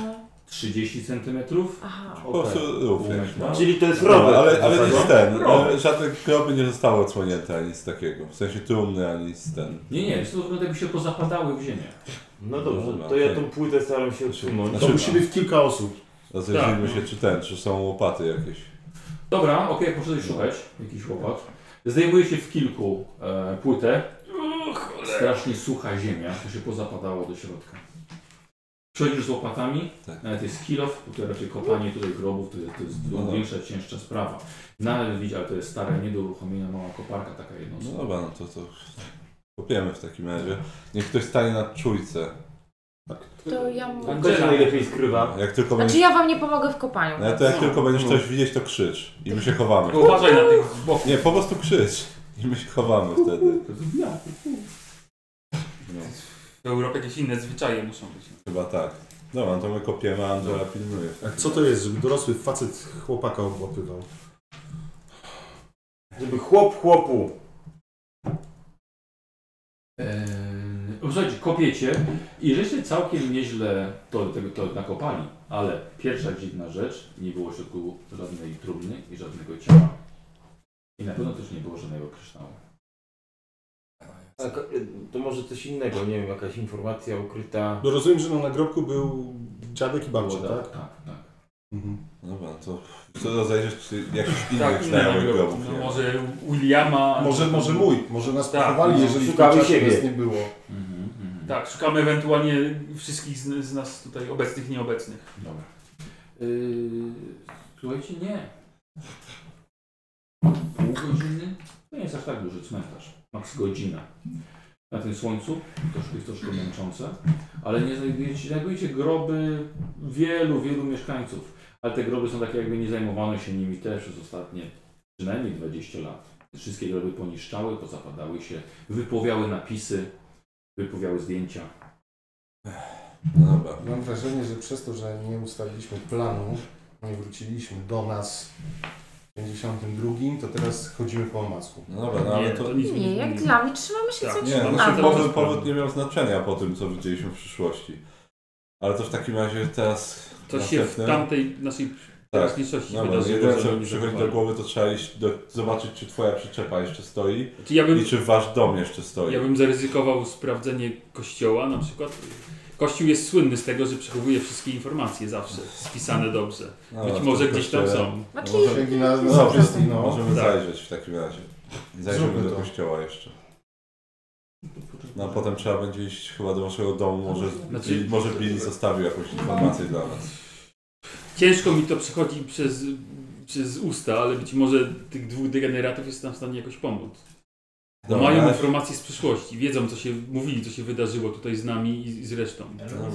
30 centymetrów?
Aha.
Po prostu rów. no. jakiś
tak?
mały.
Czyli to jest
No,
no,
Dobra,
rower.
Ale, ale nic ten.
Rower.
Rower. Żadne groby nie zostały odsłonięte, ani nic takiego. W sensie trumny, ani nic ten.
Nie, nie, to wygląda jakby się pozapadały w ziemię.
No dobrze,
Dobra,
to ja
okej.
tą płytę staram się
No,
odsunąć.
Znaczy-
Dobra.
kilka osób.
Rozejrzyjmy
Tak.
się, czy ten, czy są łopaty jakieś.
Dobra, okej, poszedłeś szukać jakiś łopat. Zdejmuje się w kilku e, płytę. Strasznie sucha ziemia, to się pozapadało do środka. Przechodzisz z łopatami, nawet jest kilof, bo to raczej kopanie tutaj grobów to jest, to jest
Tak. No tak.
większa, cięższa sprawa. Nadal widać, ale to jest stare, nie do uruchomienia, mała koparka taka jedna.
No dobra, no to, to kopiemy w takim razie. Niech ktoś stanie na czujce.
To ja mu-
Pan też najlepiej skrywa.
Jak tylko
Znaczy
będziesz,
ja wam nie pomogę w kopaniu.
no, to jak
No.
tylko będziesz coś widzieć, to krzycz. I my się chowamy.
Tylko uważaj na tych
z boku. Nie, po prostu krzycz. I my się chowamy wtedy. No,
W Europie jakieś inne zwyczaje muszą być.
chyba tak. Dobra, no to my kopiemy, a Angela pilnuje.
A co to jest, żeby dorosły facet chłopaka obłapywał?
Żeby chłop chłopu.
Eee, słuchajcie, kopiecie i żeście całkiem nieźle to, tego- to nakopali, ale pierwsza dziwna rzecz, nie było w środku żadnej trumny i żadnego ciała. I na pewno też nie było żadnego kryształu.
A ko- Tak, To może coś innego, nie wiem, jakaś informacja ukryta.
No rozumiem, że na nagrobku był dziadek i babcia,
Było
tak?
tak, tak, tak.
Mhm.
Dobra, to co rozejrzysz, czy jakichś innych
Tak,
tak,
inne
znajomych
nagrobki.
grobów.
No
nie?
może Williama.
Może,
albo-
może mój, może nas
Tak,
pochowali,
no,
jeżeli w tym
szukamy
czasie
siebie.
nas nie było.
Tak, szukamy ewentualnie wszystkich z, z nas tutaj obecnych, nieobecnych.
Dobra. Y, słuchajcie, nie. Pół godziny? To nie jest aż tak duży cmentarz. Max godzina. Na tym słońcu troszkę jest troszkę męczące, ale nie znajdujecie, znajdujecie groby wielu, wielu mieszkańców. Ale te groby są takie jakby nie zajmowano się nimi też przez ostatnie przynajmniej 20 lat. Wszystkie groby poniszczały, pozapadały się, wypowiały napisy, wypowiały zdjęcia.
No dobra.
Mam wrażenie, że przez to, że nie ustaliliśmy planu, nie wróciliśmy do nas w 52, to teraz chodzimy po omacku.
No dobra, no ale to...
Nie, jak dla mnie trzymamy się cały
Nie,
czas
no
planu.
się powód, powód nie miał znaczenia po tym, co widzieliśmy w przyszłości. Ale to w takim razie teraz...
To się w
następnym-
tamtej naszej
Tak.
teraźniejszości
no,
wydarzyło,
Jedyne
że
co
oni
mi przychodzi do
zakopali.
głowy to trzeba iść do, zobaczyć czy twoja przyczepa jeszcze stoi
Znaczy, ja bym-
i czy wasz dom jeszcze stoi.
Ja bym zaryzykował sprawdzenie kościoła na przykład. Kościół jest słynny z tego, że przechowuje wszystkie informacje zawsze, spisane dobrze.
No,
Być
w
może
tym
gdzieś tam
kościele.
są.
No,
Znaczy-
może-
Księgi na- na
no, dobrze,
zapiski, no.
Możemy
Tak.
zajrzeć w takim razie. Zajrzymy
Zróbmy
do
to.
kościoła jeszcze. No a potem trzeba będzie iść chyba do waszego domu, może,
Znaczy-
i może Billy zostawił jakąś informację dla nas.
Ciężko mi to przechodzi przez, przez usta, ale być może tych dwóch degeneratów jest nam w stanie jakoś pomóc. Bo
Dobra,
mają
ale-
informacje z przyszłości, wiedzą co się mówili, co się wydarzyło tutaj z nami i, i z resztą.
Dobra,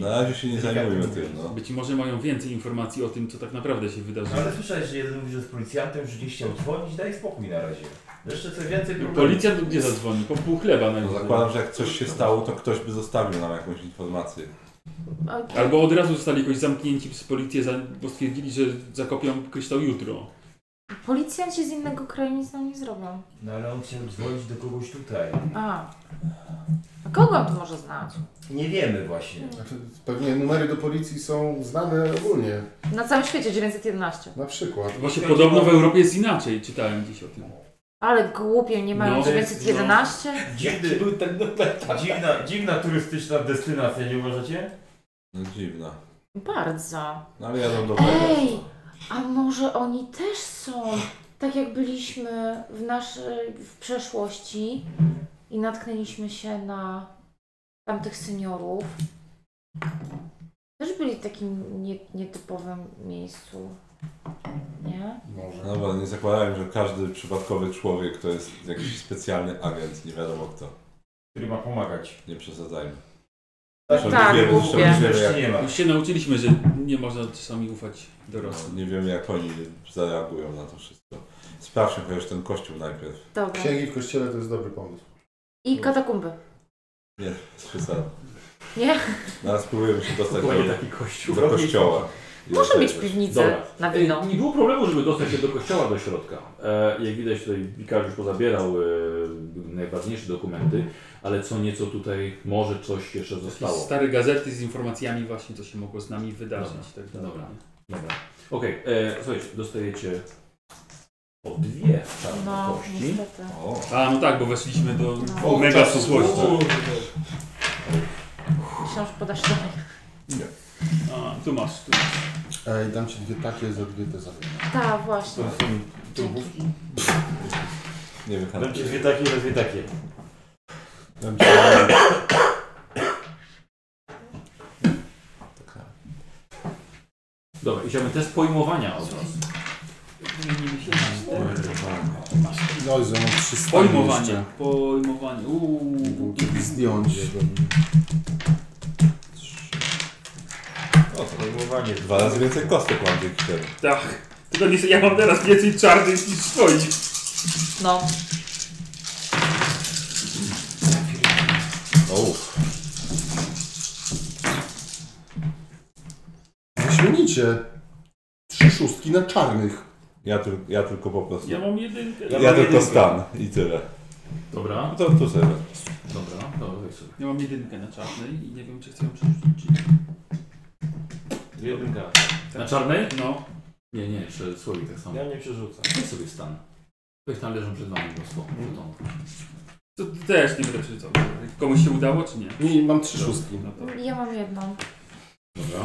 na razie się nie zajmujmy tym, no.
Być może mają więcej informacji o tym, co tak naprawdę się wydarzyło.
No Ale słyszałeś, że jeden mówi, że z policjantem, że nie chciał dzwonić, daj spokój na razie. No Jeszcze co więcej problemów.
Policjant nie zadzwoni, po pół chleba
No,
najwyżej.
zakładam, że jak coś się stało, to ktoś by zostawił nam jakąś informację.
Albo od razu zostali jakoś zamknięci przez policję, za, bo stwierdzili, że zakopią kryształ jutro.
Policjanci z innego kraju nic nam nie zrobią.
No ale on chciał dzwonić do kogoś tutaj.
A. A kogo on tu może znać?
Nie wiemy właśnie.
Znaczy, Pewnie numery do policji są znane ogólnie,
Na całym świecie 911.
na przykład.
Właśnie podobno w Europie jest inaczej, czytałem dziś o tym.
Ale głupio, nie mają
No,
911?
no. Dziwny, dziwna, dziwna turystyczna destynacja, nie uważacie?
No dziwna.
Bardzo.
No ale jadą do
Ej, a może oni też są? Tak jak byliśmy w naszej w przeszłości i natknęliśmy się na tamtych seniorów. Też byli w takim nie, nietypowym miejscu. Nie?
No dobra, nie zakładałem, że każdy przypadkowy człowiek to jest jakiś specjalny agent, nie wiadomo kto.
Który ma pomagać.
Nie przesadzajmy.
Tak,
Zresztą
tak,
nie wiemy,
głupie.
zresztą nie wiemy, jak,
Jeszcze nie ma.
Już się nauczyliśmy, że nie można czasami ufać dorosłym.
nie wiemy jak oni zareagują na to wszystko. Sprawdźmy chociaż ten kościół najpierw.
Dobra.
Księgi w kościele to jest dobry pomysł.
I katakumby.
Nie, przesadzam.
Nie?
Teraz spróbujemy się dostać do,
Dokładnie taki kościół.
do kościoła.
Może mieć
piwnicę
piwnicę na
Ej,
wino.
Nie było problemu, żeby dostać się do kościoła do środka. E, jak widać tutaj Wikar już pozabierał e, najważniejsze dokumenty, ale co nieco tutaj może coś jeszcze
Jakieś
zostało.
stare gazety z informacjami właśnie, co się mogło z nami wydarzyć.
Dobra.
Tak dalej.
Dobra. Dobra. Okej, e, słuchajcie, dostajecie o dwie czarne
No,
kości.
niestety.
O.
A no tak, bo weszliśmy do
No.
o, mega
Czasu.
susłości.
Kurde.
Książ podasz dalej.
Nie.
A, tu masz. Tu.
Ej, dam ci dwie takie za dwie te za
Tak, właśnie.
Turbówki?
Nie wiem,
Dam ci dwie takie, i dwie takie.
Dam ci dwie
Dobra, i chciałbym test pojmowania od was.
No i ze mną trzy
Pojmowanie. Pojmowanie. Uuu.
Zdjąć.
O, to pojmowanie. Dwa razy więcej kostek mam dzięki temu.
Tak. Tylko nie, ja mam teraz więcej czarnych niż twoich.
No.
O,
Wyśmienicie. Trzy szóstki na czarnych.
Ja, tyl- ja tylko po prostu.
Ja mam jedynkę.
Ja,
Ja mam
tylko
jedynkę.
stan i tyle. No
Dobra.
To, to sobie.
Dobra, dobra, weź sobie.
Ja mam jedynkę na czarnej i nie wiem, czy chcę ją przerzucić.
Jedynka. Na czarnej?
No.
Nie, nie, jeszcze słowik tak samo.
Ja nie przerzucam.
Weź sobie stan. Weź tam leżą przed wami mnóstwo żetonów.
To też nie będę przeczytał. Komuś się udało, czy nie?
Nie, mam trzy szóstki.
No to...
Ja mam jedną.
Dobra.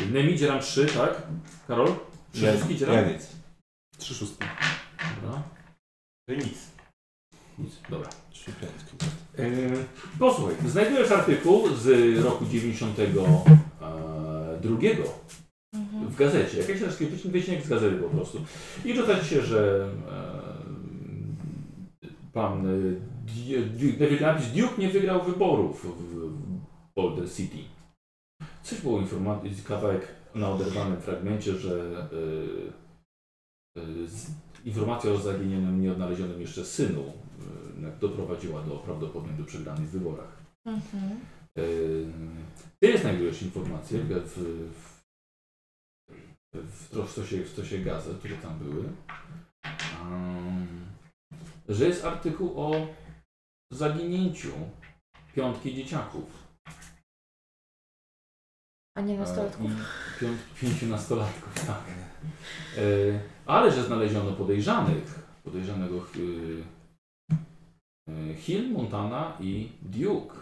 Yy, Nemi dzieram 3, tak? Karol? Trzy
Ja-
szóstki dzieram?
ja nic.
Trzy szóstki.
Dobra.
To nic.
Nic. Dobra.
Trzy piątki.
Yy, Posłuchaj, znajdujesz artykuł z roku 92 w gazecie. Jakiś taki wycinek z gazety po prostu. I czytać się, że e, pan e, Di- Di- David Lapis Duke nie wygrał wyborów w Boulder City. Coś było informacji, kawałek na oderwanym fragmencie, że e, e, z- informacja o zaginionym, nieodnalezionym jeszcze synu e, doprowadziła do prawdopodobnie do przegranych wyborach.
Mhm.
Yy, Ty znajdujesz informacje w, w, w, w troszce w stosie gazet, które tam były, Ym, że jest artykuł o zaginięciu piątki dzieciaków.
A nie
Yy,
nastolatków.
I Piąt, pięciu nastolatków, tak. Yy, ale że znaleziono podejrzanych, podejrzanego yy, yy, Hill, Montana i Duke.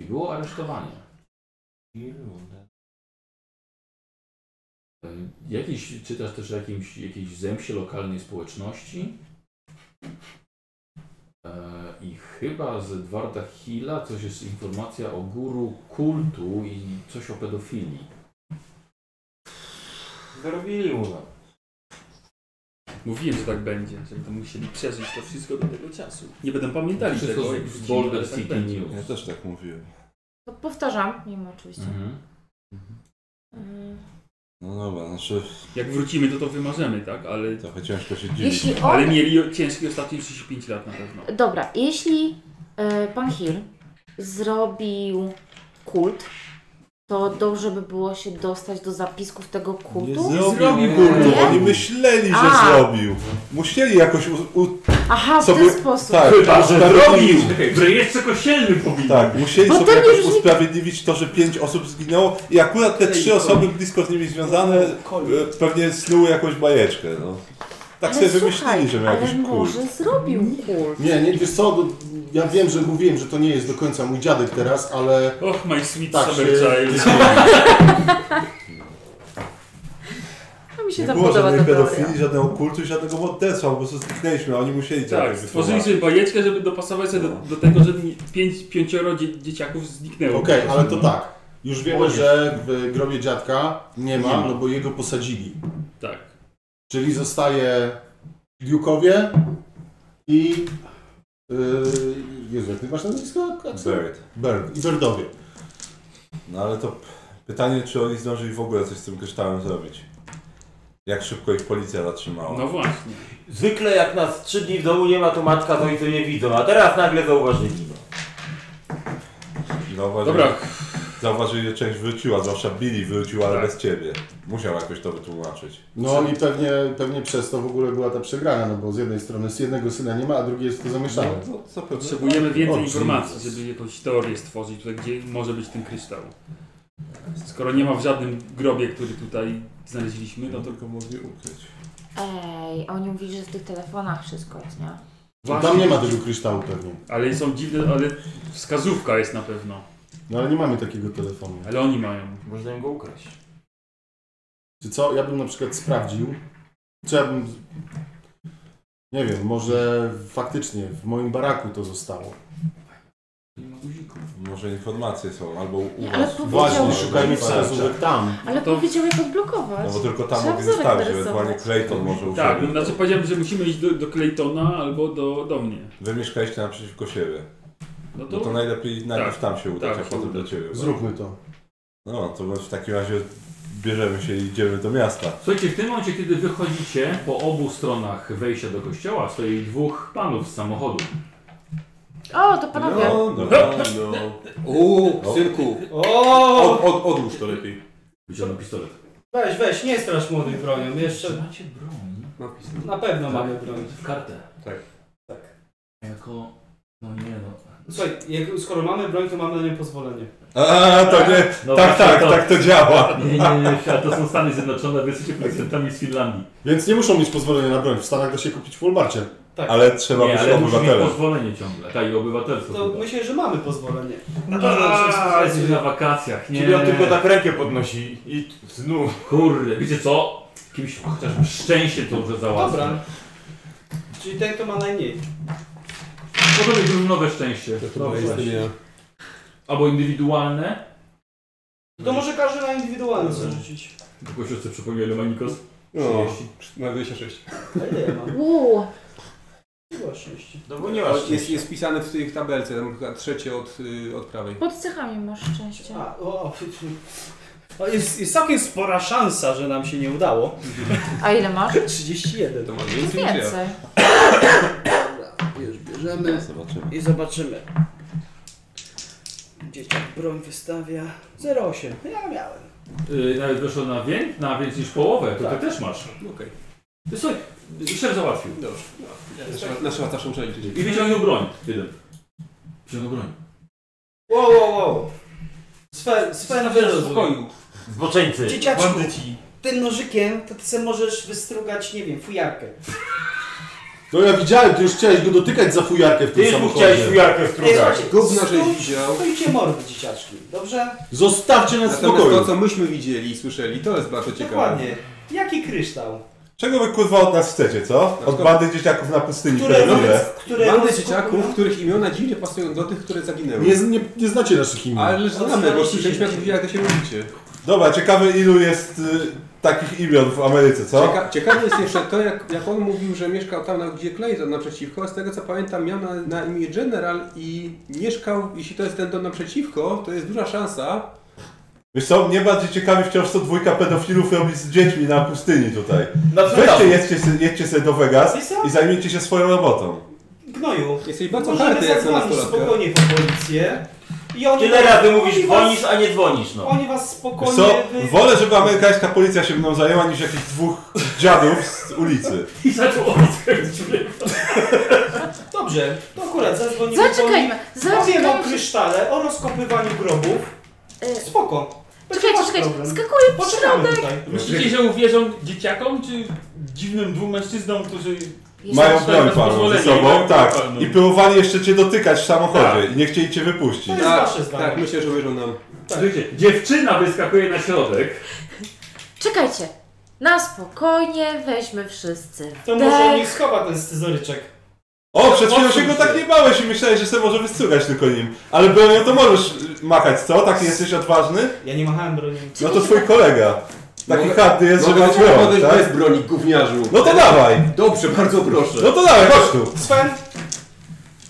I było aresztowanie. Jakiś, czytasz też o jakimś, jakiejś zemście lokalnej społeczności E, i chyba z Edwarda Hilla coś jest informacja o guru kultu i coś o pedofilii.
Zarobili mu nam.
Mówiłem, że tak będzie, że będą musieli przeżyć to wszystko do tego czasu. Nie będą pamiętali
Wszystko
tego,
z-
jak
z
wrócimy,
Boulder
ale tak
City
będzie.
News.
Ja też tak mówiłem.
To powtarzam, mimo oczywiście.
Mhm.
Mm.
No dobra, znaczy
Jak wrócimy, to to wymarzymy, tak? Ale,
trochę ciężko się dziwić.
Jeśli on-
ale mieli ciężkie ostatnie 35 lat na pewno.
Dobra, jeśli e, pan Hill zrobił kult, to dobrze by było się dostać do zapisków tego kultu.
zrobił kultu,
Nie?
oni myśleli, że
A.
zrobił. Musieli jakoś u, u,
Aha, w
sobie-
ten sposób.
Tak,
Chyba, że
usprawiedliwić-
zrobił. W rejestrze kościelnym powinien.
Tak, musieli
Potem
sobie jakoś
już nikt-
usprawiedliwić to, że pięć osób zginęło i akurat te trzy osoby blisko z nimi związane e, pewnie snuły jakąś bajeczkę. No. Tak
Ale
sobie
słuchaj,
wymyślili, że miał
ale
jakiś kult.
może zrobił kult.
Nie, nie, wiesz co, do- ja wiem, że mówiłem, że to nie jest do końca mój dziadek teraz, ale...
Och, my sweet
tak
summer
się-
child.
No mi się
Nie
tam
było
podoba ta
żadnej
teoria.
pedofilii, żadnego kultu i żadnego morderstwa, po prostu zniknęliśmy, a oni musieli to
Tak,
jakoś
stworzyli
wytłumaczyć.
sobie bajeczkę, żeby dopasować się do, do tego, że nie- pięć, pięcioro dzie, dzieciaków zniknęło.
Okej,
Po prostu,
ale to
no.
tak. Już wiemy,
Młodzież.
że w grobie dziadka nie ma,
Nie ma.
no bo jego posadzili.
Tak.
Czyli zostaje Duke'owie i... Yy, Jezu, jak ty masz nazwisko? Axel?
Bird.
Bird. I Birdowie.
No ale to p- pytanie, czy oni zdążyli w ogóle coś z tym kryształem zrobić. Jak szybko ich policja zatrzymała.
No właśnie.
Zwykle jak nas trzy dni w domu nie ma, to matka z ojcem nie widzą, a teraz nagle zauważyli.
Zauważyli,
Dobra.
zauważyli, że część wróciła, zwłaszcza Billy wrócił, ale
Tak.
bez ciebie. Musiał jakoś to wytłumaczyć.
No i pewnie, pewnie przez to w ogóle była ta przegrana, no bo z jednej strony z jednego syna nie ma, a drugi jest w to zamieszany.
No, to zapewne.
Potrzebujemy więcej
O,
informacji, żeby jakąś teorię stworzyć, tutaj, gdzie może być ten kryształ. Skoro nie ma w żadnym grobie, który tutaj znaleźliśmy, no to
tylko mogli ukryć.
Ej, a oni mówili, że w tych telefonach wszystko jest, nie?
No Tam nie ma tego kryształu pewnie.
Ale są dziwne, ale wskazówka jest na pewno.
No ale nie mamy takiego telefonu.
Ale oni mają.
Można im go ukraść.
Czy co? Ja bym na przykład sprawdził, czy ja bym... Nie wiem, może faktycznie w moim baraku to zostało.
Może informacje są, albo u
Nie,
was.
ale powiedział- Właśnie,
szukajmy
Tak, tak.
wskazówek tam.
Ale powiedział jak odblokować.
No bo tylko tam
Trzeba
mogli
wzorek
zostawić,
narysować.
ewentualnie Clayton może u
Tak,
siebie.
no, znaczy powiedziałem, że musimy iść do, do Claytona albo do, do mnie.
Wy mieszkaliście naprzeciwko siebie.
No
No
to-
to, najlepiej najpierw
tak,
tam się udać,
tak,
a
się
potem do
udać.
ciebie.
Zróbmy to.
No, to w takim razie bierzemy się i idziemy do miasta.
Słuchajcie, w tym momencie, kiedy wychodzicie po obu stronach wejścia do kościoła, stoi dwóch panów z samochodu.
O, to panowie.
No, no, no. Uuu, synku. Od, od, odłóż to lepiej.
Wyciągnął pistolet.
Weź, weź, nie strasz młodych bronią, jeszcze...
macie
No.
broń?
Na pewno mamy broń.
W kartę.
Tak.
Tak.
Jako... No nie no.
Słuchaj, jak, skoro mamy broń, to mamy na nią pozwolenie.
A, to nie- tak, tak, tak to działa.
Nie, nie, nie, nie, to są Stany Zjednoczone, wy jesteście policjantami z Finlandii.
Więc nie muszą mieć pozwolenia na broń. W Stanach da się kupić w Walmarcie.
Tak.
Tak.
nie, ale musi mieć pozwolenie ciągle, tak i obywatelstwo.
To
chyba.
myślę, że mamy pozwolenie.
A, jesteś na wakacjach, nie.
Czyli on tylko tak rękę podnosi i znów.
Kurde, wiecie co? Kimś chociaż szczęście to dobrze załatwi.
Dobra. Czyli ten, kto ma najmniej.
Może być nowe szczęście.
chyba jestem
właśnie.
ja.
Albo indywidualne.
To może każdy na indywidualny zarzucić.
Tylko się przypomniał, ile ma Nikos?
No,
30.
na 26.
A ile ja mam?
Uuu.
Chyba 30.
No bo nie masz
jest,
szczęścia.
jest pisane w tej tabelce, tam chyba trzecie od, y, od prawej.
Pod cechami masz szczęście.
A, o, o, jest, jest całkiem spora szansa, że nam się nie udało.
A ile masz?
31. To ma
Więcej.
Już bierzemy
Zobaczymy.
i No, zobaczymy. Dzieciak broń wystawia. 08. Ja miałem.
Yy, nawet weszło na, wię, na więcej niż połowę, to ty też masz.
Tak. Okej.
Ty słuchaj, szef załatwił.
Dobrze. Nasza- Nasza łata muszę liczyć.
I wyciągnął broń. Jeden. Wyciągnął broń.
Wow, wow, wow. Swe, swe na
Spokoju.
Zboczeńcy.
Dzieciaczku,
Bandyci.
tym nożykiem to ty se możesz wystrugać, nie wiem, fujarkę.
No ja widziałem, ty już chciałeś go dotykać za fujarkę w tym
Ty już mu
samochodzie.
chciałeś fujarkę wtrugać.
Gówno, żeś widział.
Stójcie mordy, dzieciaczki, dobrze?
Zostawcie nas w
Natomiast
spokoju.
to, co myśmy widzieli i słyszeli, to jest bardzo ciekawe.
Dokładnie. Jaki kryształ?
Czego wy kurwa od nas chcecie, co? Od bandy dzieciaków na pustyni
Które
pedofile.
Które
Bandy
rozkupują-
dzieciaków, których imiona dziwnie pasują do tych, które zaginęły.
Nie, nie, nie znacie naszych imion.
Ale
No,
znamy, bo
Odzywaliście
słyszeliśmy,
się.
jak- jak to się robicie.
Dobra, ciekawe ilu jest y, takich imion w Ameryce, co?
Cieka ciekawe jest jeszcze to, jak, jak on mówił, że mieszkał tam, na- gdzie Clayton naprzeciwko. Z tego co pamiętam, miał na, na imię General i mieszkał, jeśli to jest ten dom naprzeciwko, to jest duża szansa.
Wiesz co, mnie bardziej ciekawi wciąż co dwójka pedofilów robi z dziećmi na pustyni tutaj.
Na cmentarzu.
Weźcie, jedźcie, se- jedźcie sobie do Vegas
Wiesz co?
i zajmijcie się swoją robotą.
Gnoju.
Jesteś bardzo
Możemy
hardy jak na
zadzwonić
nastolatkę.
spokojnie po policję. I oni-
Tyle razy mówisz,
oni
dzwonisz,
was-
a nie dzwonisz, no.
Oni was spokojnie...
Co?
wy-
Wolę, żeby amerykańska policja się mną zajęła niż jakichś dwóch dziadów z ulicy.
I zaczął odkręcić
Dobrze, to akurat zadzwonimy.
Zaczekajmy,
po-
zaczekajmy.
Powiem o krysztale, o rozkopywaniu grobów.
E,
Spoko.
Czekajcie,
masz
czekajcie,
problem.
skakuję w
Poczekamy
środek.
tutaj.
Myślicie, że uwierzą dzieciakom, czy dziwnym dwóm mężczyznom, którzy...
Mają
Są
broń
bez
palną ze
pozwolenia
sobą,
i
tak.
palną. Tak.
I próbowali jeszcze cię dotykać w samochodzie i nie chcieli cię wypuścić.
Tak, myślę, że wierzą nam.
Słuchajcie, dziewczyna wyskakuje na środek.
Czekajcie, na spokojnie weźmy wszyscy.
To może
wdech.
niech schowa ten scyzoryczek.
O, przed chwilą się
Odsuń
go tak nie bałeś i myślałeś, że sobie może wystukać tylko nim. Ale bronią to możesz y, machać, co? Tak jesteś odważny?
Ja nie machałem broni.
No to twój kolega. Taki chadny jest, że
mogę
ma
sobie
broń,
podejść
tak?
bez broni, gówniarzu.
No to dawaj!
Dobrze, bardzo proszę.
No to dawaj, chodź tu!
Sven,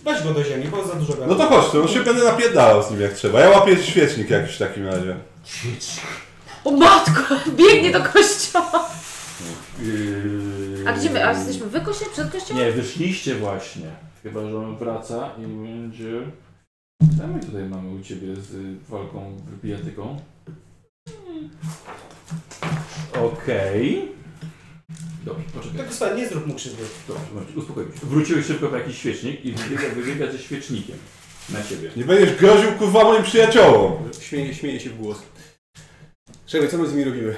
weź go do ziemi, bo za dużo gada.
No to chodź tu, no się będę napierdalał z nim jak trzeba. Ja łapię świecznik jakiś w takim razie.
O matko, biegnie do kościoła.
Yy...
A gdzie my, a jesteśmy w kościele, przed kościołem?
Nie, wyszliście właśnie. Chyba, że on wraca i będzie... A my tutaj mamy u Ciebie z y, walką bijatyką. Okej. Dobrze, poczekaj.
Tylko Sven, Tak, nie zrób mu krzywdy.
Dobrze, Marcin, uspokój się. Wróciłeś szybko po jakiś świecznik i wybiega, wybiega ze świecznikiem na Ciebie.
Nie będziesz groził kurwa moim przyjaciołom.
Śmieje, śmieje się w głos. Czekaj, co my z nimi robimy?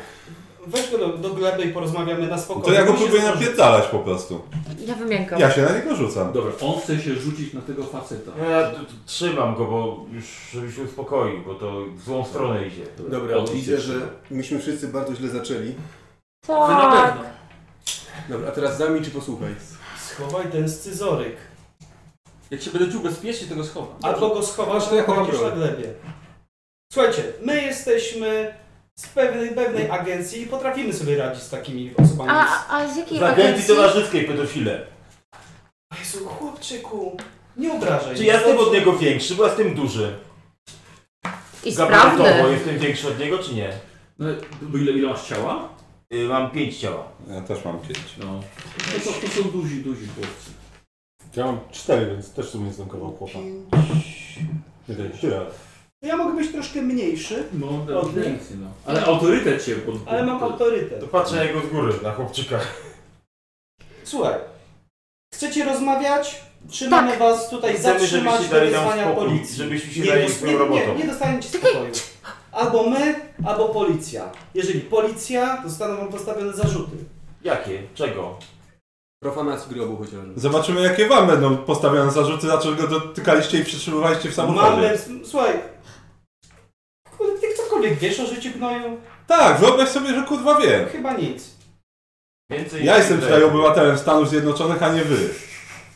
Weź go do, do gleby i porozmawiamy na
No
spokojnie.
to ja go
Bo się
próbuję
zdarzy.
napierdalać po prostu.
Ja wymiękam.
Ja się na niego rzucam.
Dobra, on chce się rzucić na tego faceta.
Ja t- t- trzymam go, bo już żeby się uspokoił, bo to w złą stronę idzie.
Dobra,
Odbić
widzę,
się.
że tak. No myśmy wszyscy bardzo źle zaczęli.
Wy na pewno.
Tak.
Dobra, a teraz za mi czy posłuchaj?
Schowaj ten scyzoryk.
Jak się będę czuł bezpiecznie, tego schowam.
Albo go schowasz,
to ja chowam
będziesz
broń.
na glebie. Słuchajcie, my jesteśmy z pewnej, pewnej agencji i potrafimy sobie radzić z takimi osobami.
A, a z jakiej
W agencji
agencji?
towarzyskiej pedofile.
Jezu, chłopczyku, nie obrażaj.
Czy ja jestem od niego większy, bo ja jestem duży.
I
Gabarytowo
sprawny.
jestem większy od niego, czy nie?
No, bo ile, ile masz ciała? E,
Y, mam pięć ciała.
Ja też mam pięć.
No. No to, to są duzi, duzi chłopcy.
Ja mam cztery, więc też w sumie jestem kawał chłopa. Pięć.
No Ja mogę być troszkę mniejszy,
No,
Od nich?
ewidentnie, no. Ale autorytet cię pod...
ale mam autorytet.
To patrzę na jego z góry, na chłopczyka.
Słuchaj, chcecie rozmawiać? Trzymamy
Tak.
was tutaj,
Chcemy,
zatrzymać
żebyście
do
dali nam
wezwania
spokój,
policji.
żebyśmy się
nie,
zajęli
dos-
swoją
nie, nie,
robotą.
nie dostaniecie spokoju. Albo my, albo policja. Jeżeli policja, zostaną wam postawione zarzuty.
Jakie? Czego?
Profanacji grobu chociażby.
Zobaczymy jakie wam będą postawione zarzuty, dlaczego go dotykaliście i przytrzymywaliście w
No Mamy,
samochodzie.
słuchaj, kurde, ty cokolwiek wiesz o życiu gnoju?
Tak, wyobraź sobie, że kurwa wiem.
Chyba nic.
Więcej
Ja
nie
jestem
wiem.
tutaj obywatelem Stanów Zjednoczonych, a nie wy.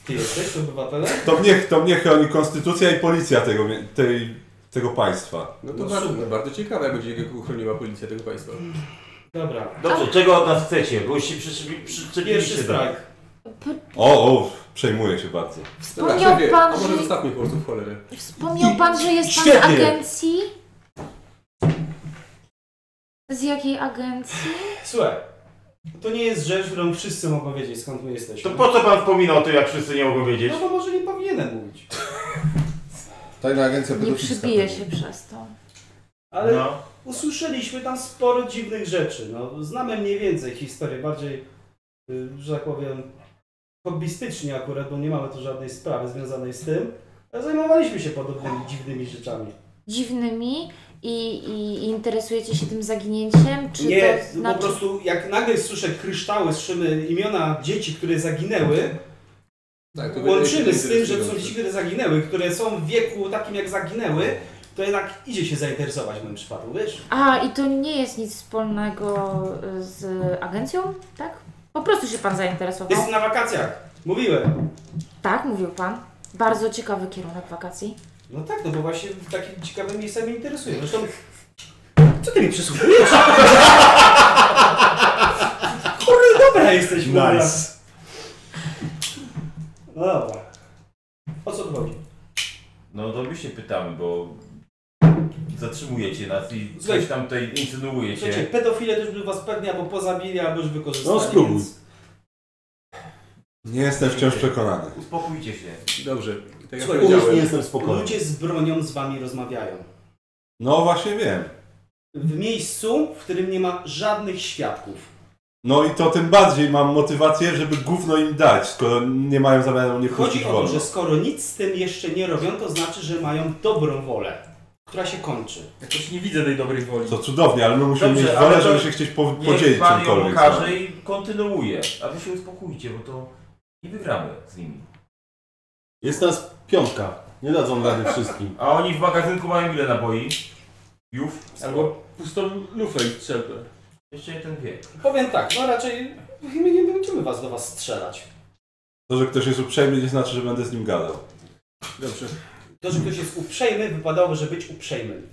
Ty jesteś obywatelem?
To mnie, to mnie chroni konstytucja i policja tego, mie- tej, tego państwa.
No to
No
bardzo,
super.
bardzo ciekawe, jak będzie go chroniła policja tego państwa.
Dobra.
Dobrze, czego od nas chcecie? Bo już się przyczepi- przyczepiliście
Pierwszy
do-
strajk.
O, o, przejmuję się bardzo.
Dobra,
Wspomniał
szefie,
pan,
a może
że-
zostawmy po prostu w cholerę.
Wspomniał pan, że jest pan z
Świetnie.
agencji? Z jakiej agencji?
Słuchaj, to nie jest rzecz, którą wszyscy mogą wiedzieć, skąd my jesteśmy.
To po co pan wspomina o tym, jak wszyscy nie mogą wiedzieć?
No bo może nie powinienem mówić.
Tajna agencja
Nie
pedofilska.
przybije się przez to.
Ale
No.
usłyszeliśmy tam sporo dziwnych rzeczy. No, znamy mniej więcej historię, bardziej, y, że tak powiem, hobbystycznie akurat, bo nie mamy tu żadnej sprawy związanej z tym. Ale zajmowaliśmy się podobnymi dziwnymi rzeczami.
Dziwnymi i, i interesujecie się tym zaginięciem? Czy
nie,
to znaczy...
po prostu jak nagle słyszę kryształy, słyszymy imiona dzieci, które zaginęły,
Tak,
łączymy
wydaje się
z tym, że to są
interesujące.
dzieci, które zaginęły, które są w wieku takim jak zaginęły, to jednak idzie się zainteresować w moim przypadku, wiesz?
A, i to nie jest nic wspólnego y, z agencją, tak? Po prostu się pan zainteresował.
Jestem na wakacjach, mówiłem.
Tak, mówił pan. Bardzo ciekawy kierunek wakacji.
No tak, no bo właśnie takie ciekawe miejsca mnie interesują. Zresztą... Co ty mi przysłuchujesz?
No
Kurde, dobra jesteś, kurwa.
Nice.
No dobra. O co tu chodzi?
No to my się pytamy, bo zatrzymujecie nas i coś
Słuchajcie.
tam tutaj
Słuchajcie,
insynuujecie.
pedofile też by was pewnie albo pozabili, albo już wykorzystali.
No, spróbuj.
więc-
Nie jestem wciąż przekonany.
Uspokójcie się.
Dobrze,
Tak jak
Słuchaj,
powiedziałem,
ludzie-
nie jestem spokojny.
Ludzie z bronią z wami rozmawiają.
No właśnie wiem.
W miejscu, w którym nie ma żadnych świadków.
No i to tym bardziej mam motywację, żeby gówno im dać, skoro nie mają zamiaru mnie puścić
Chodzi o to,
wolno.
że skoro nic z tym jeszcze nie robią, to znaczy, że mają dobrą wolę, która się kończy. Jakoś nie widzę tej dobrej woli.
To cudownie, ale my musimy
Dobrze,
mieć
ale
wolę,
to
żeby się chcieć po,
niech
podzielić
pan ją
czymkolwiek. no.
ukaże i kontynuuje. A wy się uspokójcie, bo to nie wygramy z nimi.
Jest nas piątka. Nie dadzą rady wszystkim.
A oni w magazynku mają ile naboi? Jów?
Albo pustą lufę i strzelbę.
Jeszcze ten wie.
Powiem tak, no raczej my nie będziemy was do was strzelać.
To, że ktoś jest uprzejmy, nie znaczy, że będę z nim gadał.
Dobrze. To, że ktoś jest uprzejmy, wypadałoby, że być uprzejmym.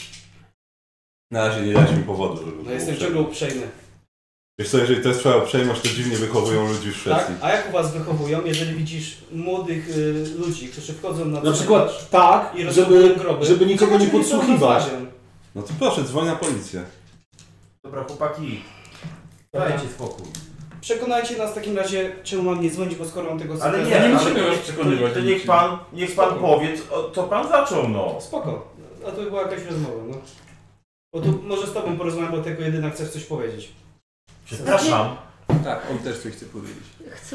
Na razie nie dać mi powodu, żeby
No
był
jestem
uprzejmy.
ciągle uprzejmy.
Wiesz co, jeżeli to jest twoja uprzejmość, to dziwnie wychowują ludzi w Szwecji.
Tak? A jak u was wychowują, jeżeli widzisz młodych y, ludzi, którzy wchodzą na
Na przykład tak,
i
żeby,
rozkopują groby?
żeby nikogo nie
Czekaj, czekaj, są
podsłuchiwać.
rozmawiają.
No to proszę, dzwoń na policję.
Dobra, chłopaki, dajcie spokój.
Przekonajcie nas w takim razie, czemu mam nie dzwonić, bo skoro on tego
Ale
zakazał-
nie, ale to- To, to niech pan, niech pan powie, co- co pan zaczął, no.
Spoko. A to była jakaś rozmowa, no. Bo tu może z tobą porozmawiam, bo tego jedyna chcesz coś powiedzieć.
Przepraszam.
Tak, on też coś chce powiedzieć.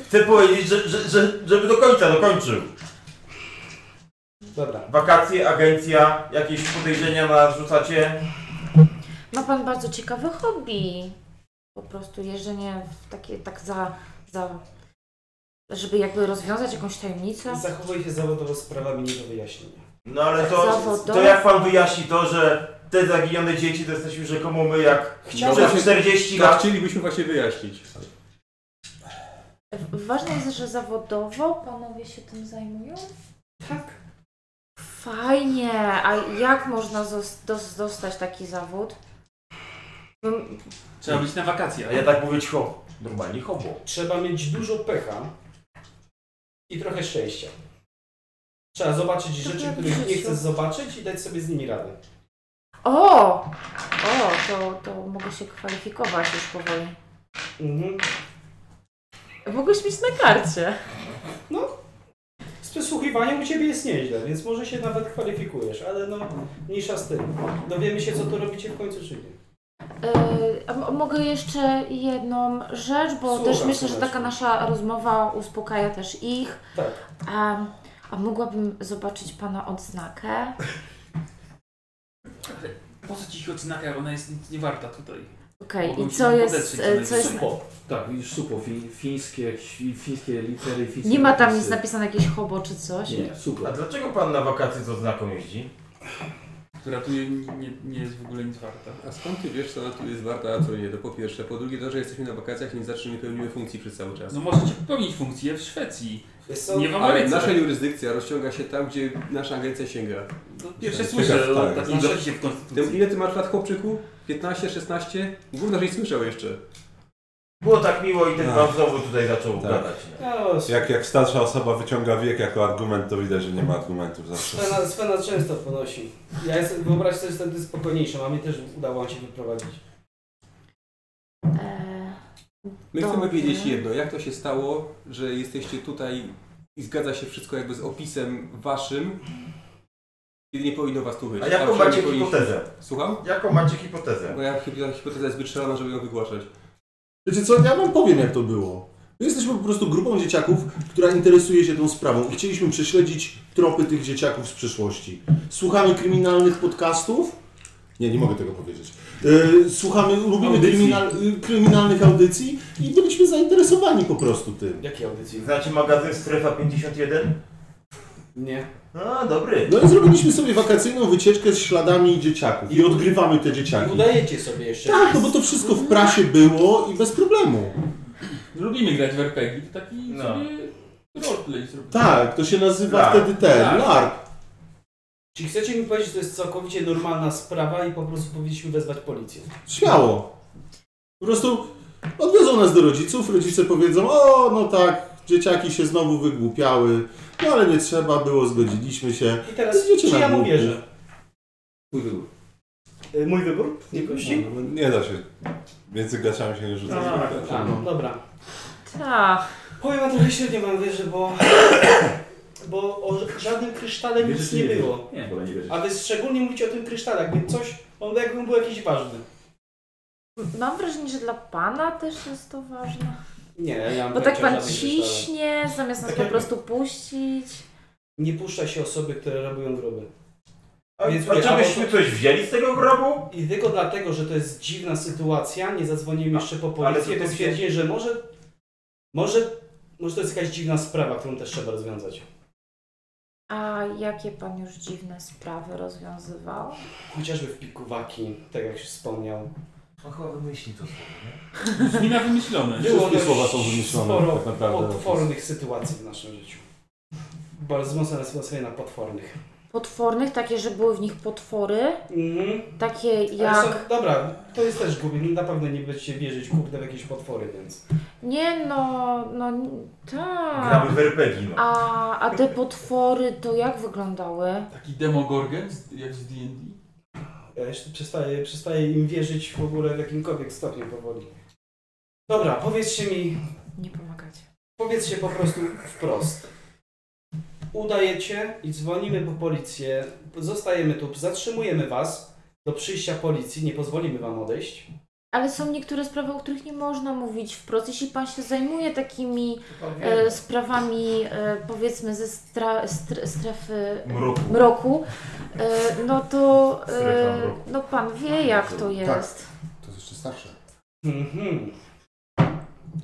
Chcę powiedzieć, że, że, że, żeby do końca no, dokończył.
Dobra.
Wakacje, agencja, jakieś podejrzenia na nas rzucacie?
Ma pan bardzo ciekawe hobby. Po prostu jeżdżenie w takie, tak za, za... Żeby jakby rozwiązać jakąś tajemnicę.
Zachowuj się zawodowo z prawami nie do wyjaśnienia.
No ale to,
Zawodowo.
to jak pan wyjaśni to, że te zaginione dzieci to jesteśmy rzekomo my jak
Chciałbym-
przez 40
To
lat.
chcielibyśmy właśnie wyjaśnić.
W- Ważne jest, że zawodowo panowie się tym zajmują?
Tak.
Fajnie. A jak można zos- dos- dostać taki zawód? Bym-
Trzeba być na wakacje. tak-
A ja tak mówię cicho. Normalnie hobo.
Trzeba mieć dużo pecha i trochę szczęścia. Trzeba zobaczyć
To
rzeczy,
jak w
których nie
życiu.
chcesz zobaczyć i dać sobie z nimi radę.
O! O, to, to mogę się kwalifikować już powoli.
Mhm.
Mogłeś mieć na karcie.
No, z przesłuchiwaniem u Ciebie jest nieźle, więc może się nawet kwalifikujesz, ale no, mniejsza z tym. Dowiemy się, co tu robicie w końcu, czy nie.
Yy, a m- mogę jeszcze jedną rzecz, bo
Słucham,
też myślę, że
słucham.
taka nasza rozmowa uspokaja też ich.
Tak.
A, a mogłabym zobaczyć pana odznakę?
Po co ci ich odznaka? Ona jest nic nie warta tutaj.
Okej,
Mogą
i
ci
co
tam
jest,
podetrzeć
e,
co najwyżej.
jest- Supo.
Tak, widzisz, supo, fi, fińskie, jakieś- fi, fińskie litery, fińskie
Nie ma tam
napisy.
nic napisane jakieś hobo czy coś?
Nie, super.
A dlaczego pan na wakacje z oznaką jeździ?
Która tu nie, nie, nie jest w ogóle nic warta.
A skąd ty wiesz, co na tu jest warta, a co nie? To po pierwsze. Po drugie to, że jesteśmy na wakacjach i nie zawsze nie pełnimy funkcji przez cały czas.
No możecie pełnić funkcję w Szwecji.
Jest
Nie w
Ale
Ameryce.
nasza jurysdykcja rozciąga się tam, gdzie nasza agencja sięga. Tak,
To No, pierwsze słyszę o takim zapisie w konstytucji.
Ile ty masz lat, chłopczyku? 15, 16? Gówno, żeś słyszał jeszcze.
Było tak miło i ten
Ach.
pan znowu tutaj zaczął
Tak.
gadać.
No,
Jak, jak starsza osoba wyciąga wiek jako argument, to widać, że nie ma argumentów zawsze.
Svena, Svena często ponosi. Ja jestem, wyobraź sobie, że jestem wtedy spokojniejszy, a mnie też udało się wyprowadzić.
My
Dobrze.
chcemy wiedzieć jedno, jak to się stało, że jesteście tutaj i zgadza się wszystko jakby z opisem waszym, kiedy nie powinno was tu być.
A jaką
Albo
macie
przynajmniej
hipotezę?
Słucham?
Jaką macie hipotezę?
Bo ja hip- hipoteza jest zbyt szalona, żeby ją wygłaszać.
Wiecie co, ja wam powiem jak to było. My jesteśmy po prostu grupą dzieciaków, która interesuje się tą sprawą i chcieliśmy prześledzić tropy tych dzieciaków z przeszłości. Słuchamy kryminalnych podcastów. Nie, nie mogę tego powiedzieć. Yy, słuchamy, lubimy
Audycji.
kryminal, yy, kryminalnych audycji i byliśmy zainteresowani po prostu tym.
Jakie audycje?
Znacie magazyn Strefa 51?
Nie.
A, dobry.
No i zrobiliśmy sobie wakacyjną wycieczkę z śladami dzieciaków i odgrywamy te dzieciaki.
Udajecie sobie jeszcze.
Tak, no bo to wszystko w prasie było i bez problemu.
Lubimy grać w RPG, to taki
No.
sobie roleplay zrobić.
Tak, to się nazywa wtedy ten,
tak,
LARP.
Czy chcecie mi powiedzieć, że to jest całkowicie normalna sprawa i po prostu powinniśmy wezwać policję?
Śmiało. Po prostu odwiozą nas do rodziców, rodzice powiedzą, o no tak, dzieciaki się znowu wygłupiały, no ale nie trzeba było, zgodziliśmy się.
I teraz,
Idziecie
czy
na
ja mu
głupków.
wierzę?
Twój wybór.
Y, Mój wybór? Nie gości?
No, nie da się. Między graczami się nie rzuca.
Tak, tak, dobra.
Tak.
Powiem wam trochę średnio mam wierzę, bo bo o żadnym krysztale nic
Wierzycie,
nie
nie wierzę.
było.
Nie, wolę nie wierzyć.
A wy szczególnie mówicie o tym kryształach, więc coś, on jakby był jakiś ważny.
Mam wrażenie, że dla pana też jest to ważne.
Nie, ja mam
Bo tak
pojęcia
pan
żadnych
ciśnie, zamiast
Tak
nas po prostu puścić.
Nie puszcza się osoby, które robią groby.
A- a czy myśmy coś wzięli z tego grobu?
I tylko dlatego, że to jest dziwna sytuacja, nie zadzwoniłem jeszcze po policję,
to
to
się-
stwierdziłem, że może, może, może to jest jakaś dziwna sprawa, którą też trzeba rozwiązać.
A jakie pan już dziwne sprawy rozwiązywał?
Chociażby w pikuwaki, tak jak się wspomniał.
On chyba wymyśli to słowo,
nie?
Brzmi na wymyślone.
Było
Wszystkie
dość
słowa są wymyślone,
Sporo
tak naprawdę.
potwornych sytuacji w naszym życiu. Bardzo mocno nastawione na potwornych.
Potwornych, takie, że były w nich potwory. Takie
Mhm. Ale
jak.
są, dobra, to jest też głupie, na pewno nie będziecie wierzyć kurde w jakieś potwory, więc...
Nie no, no tak.
Gramy w RPG, no.
A, a te potwory to jak wyglądały?
Taki demogorgen, jak z D&D? Ja jeszcze przestaję, przestaję im wierzyć w ogóle w jakimkolwiek stopniu powoli. Dobra, powiedzcie mi...
Nie pomagacie.
Powiedzcie po prostu wprost. Udajecie i dzwonimy po policję. Zostajemy tu, zatrzymujemy was do przyjścia policji, nie pozwolimy wam odejść.
Ale są niektóre sprawy, o których nie można mówić wprost. Jeśli pan się zajmuje takimi
Powiem.
e, sprawami, e, powiedzmy, ze stra, str, strefy
Mroku.
mroku, e, no to
Strefa
e,
mroku.
no pan wie, jak to jest.
Tak, to jest jeszcze starsze.
Mhm.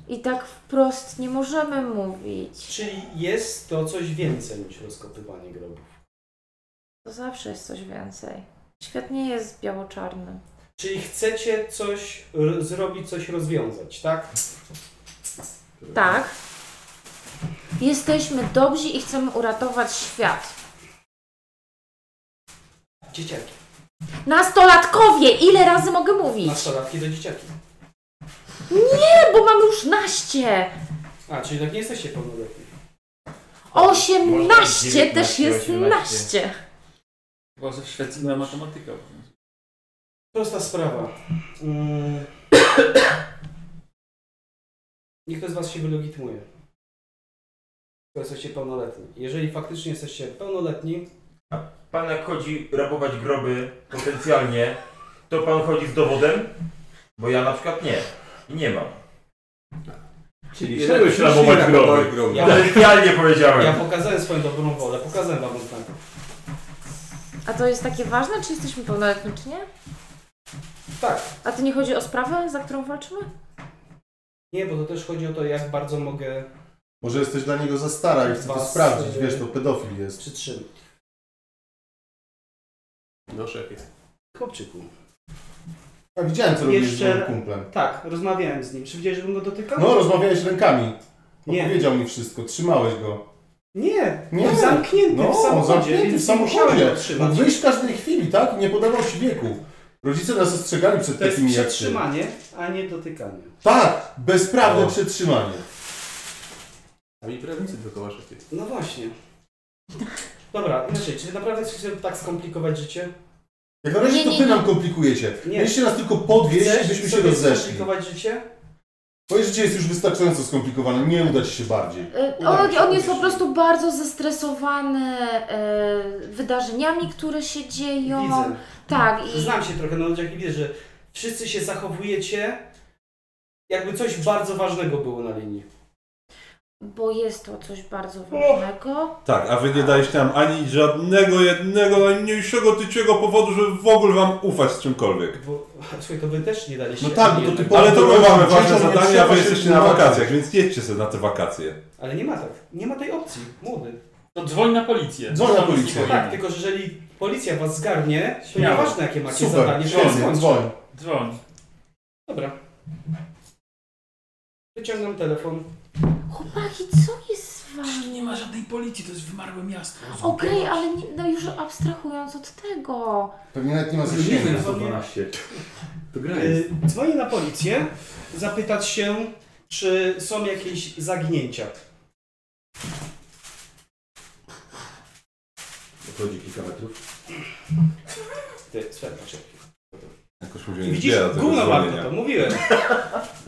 I tak wprost nie możemy mówić.
Czyli jest to coś więcej niż rozkopywanie grobów.
To zawsze jest coś więcej. Świat nie jest biało-czarny.
Czyli chcecie coś r- zrobić, coś rozwiązać, tak?
Tak. Jesteśmy dobrzy i chcemy uratować świat.
Dzieciaki.
Nastolatkowie! Ile razy mogę mówić?
Nastolatki do dzieciaki.
Nie, bo mamy już naście!
A, czyli tak nie jesteście pełnoletni.
18 też
19,
jest
18.
naście.
Chyba, że w Szwecji na matematyka.
Prosta sprawa.
Yy,
Mm. Niech ktoś z Was się wylegitymuje. Skoro jesteście pełnoletni. Jeżeli faktycznie jesteście pełnoletni,
Pan jak chodzi rabować groby potencjalnie, to pan chodzi z dowodem? Bo ja na przykład nie. I nie mam.
Czyli
szedłeś
jednak
rabować
szli
groby.
rabować
Ja potencjalnie powiedziałem.
Ja pokazałem swoją dobrą wolę, pokazałem Wam znak.
A to jest takie ważne, czy jesteśmy pełnoletni, czy nie?
Tak.
A to nie chodzi o sprawę, za którą walczymy?
Nie, bo to też chodzi o to, jak bardzo mogę
Może jesteś dla niego za stara i chce to
Was,
sprawdzić,
y,
wiesz, to pedofil jest.
przytrzymać.
No szefie.
Chłopczyku.
A widziałem, co robisz z moim kumplem.
Tak, rozmawiałem z nim. Czy widziałeś, żebym go dotykał?
No, rozmawiałeś rękami. No,
Nie.
Powiedział mi wszystko, trzymałeś go.
Nie,
Nie,
nie. zamknięty
no,
w samochodzie.
zamknięty w
więc nie musiałem
samochodzie.
go trzymać.
Mógł wyjść w każdej chwili, tak? I nie podawał się wieku. Rodzice nas ostrzegali przed
To jest
takimi jak ty.
przetrzymanie, a nie dotykanie.
Tak, bezprawne przetrzymanie.
A mi prawnicy dookoła szefie.
No właśnie. Dobra, inaczej, czy naprawdę chcecie sobie tak skomplikować życie?
Jak na razie
Nie,
to
nie,
wy
nie.
nam komplikujecie.
Nie.
Mieliście nas tylko podwieźć,
Chcesz
byśmy się
sobie
rozeszli.
skomplikować życie?
Twoje życie jest już wystarczająco skomplikowane, nie uda ci się bardziej.
E,
Uda mi
On,
się,
on
uda
jest
się.
po prostu bardzo zestresowany e, wydarzeniami, które się dzieją.
Widzę.
Tak, i
Znam się trochę na ludziach i widzę, że wszyscy się zachowujecie, jakby coś bardzo ważnego było na linii.
bo jest to coś bardzo ważnego.
Tak, a wy nie daliście nam ani żadnego jednego, najmniejszego tyciego powodu, żeby w ogóle wam ufać z czymkolwiek.
Bo, słuchaj, to wy też nie daliście.
No tak,
ani
bo to ty
jednego.
po-
Ale to my
Dzieciom
mamy
nie
ważne
trzeba
zadanie, a wy
się
jesteście na
tłumaczyć.
wakacjach, więc jedźcie sobie na te wakacje.
Ale nie ma tak, nie ma tej opcji, młody.
No dzwoń na policję.
Dzwoń na policję.
Tak, tylko że jeżeli policja was zgarnie, to
Śmiało.
nieważne jakie macie
Super,
zadanie, to
dzwoń,
jest skończy.
dzwoń.
Dzwoń.
Dobra. Wyciągam telefon.
Chłopaki, co jest z wami?
Nie ma żadnej policji, to jest wymarłe miasto.
Okej, ale nie, no już abstrahując od tego.
Pewnie nawet nie ma
Różnica
zasięgu.
jest 112. To gra jest.
Y, Dzwonię na policję, zapytać się, czy są jakieś zaginięcia.
Odchodzi kilka metrów.
Ty, słuchaj, poczekaj.
Jakoś mówię, nie
Widzisz,
zbiera tego
gówno
dzwonienia.
Bartek, to mówiłem.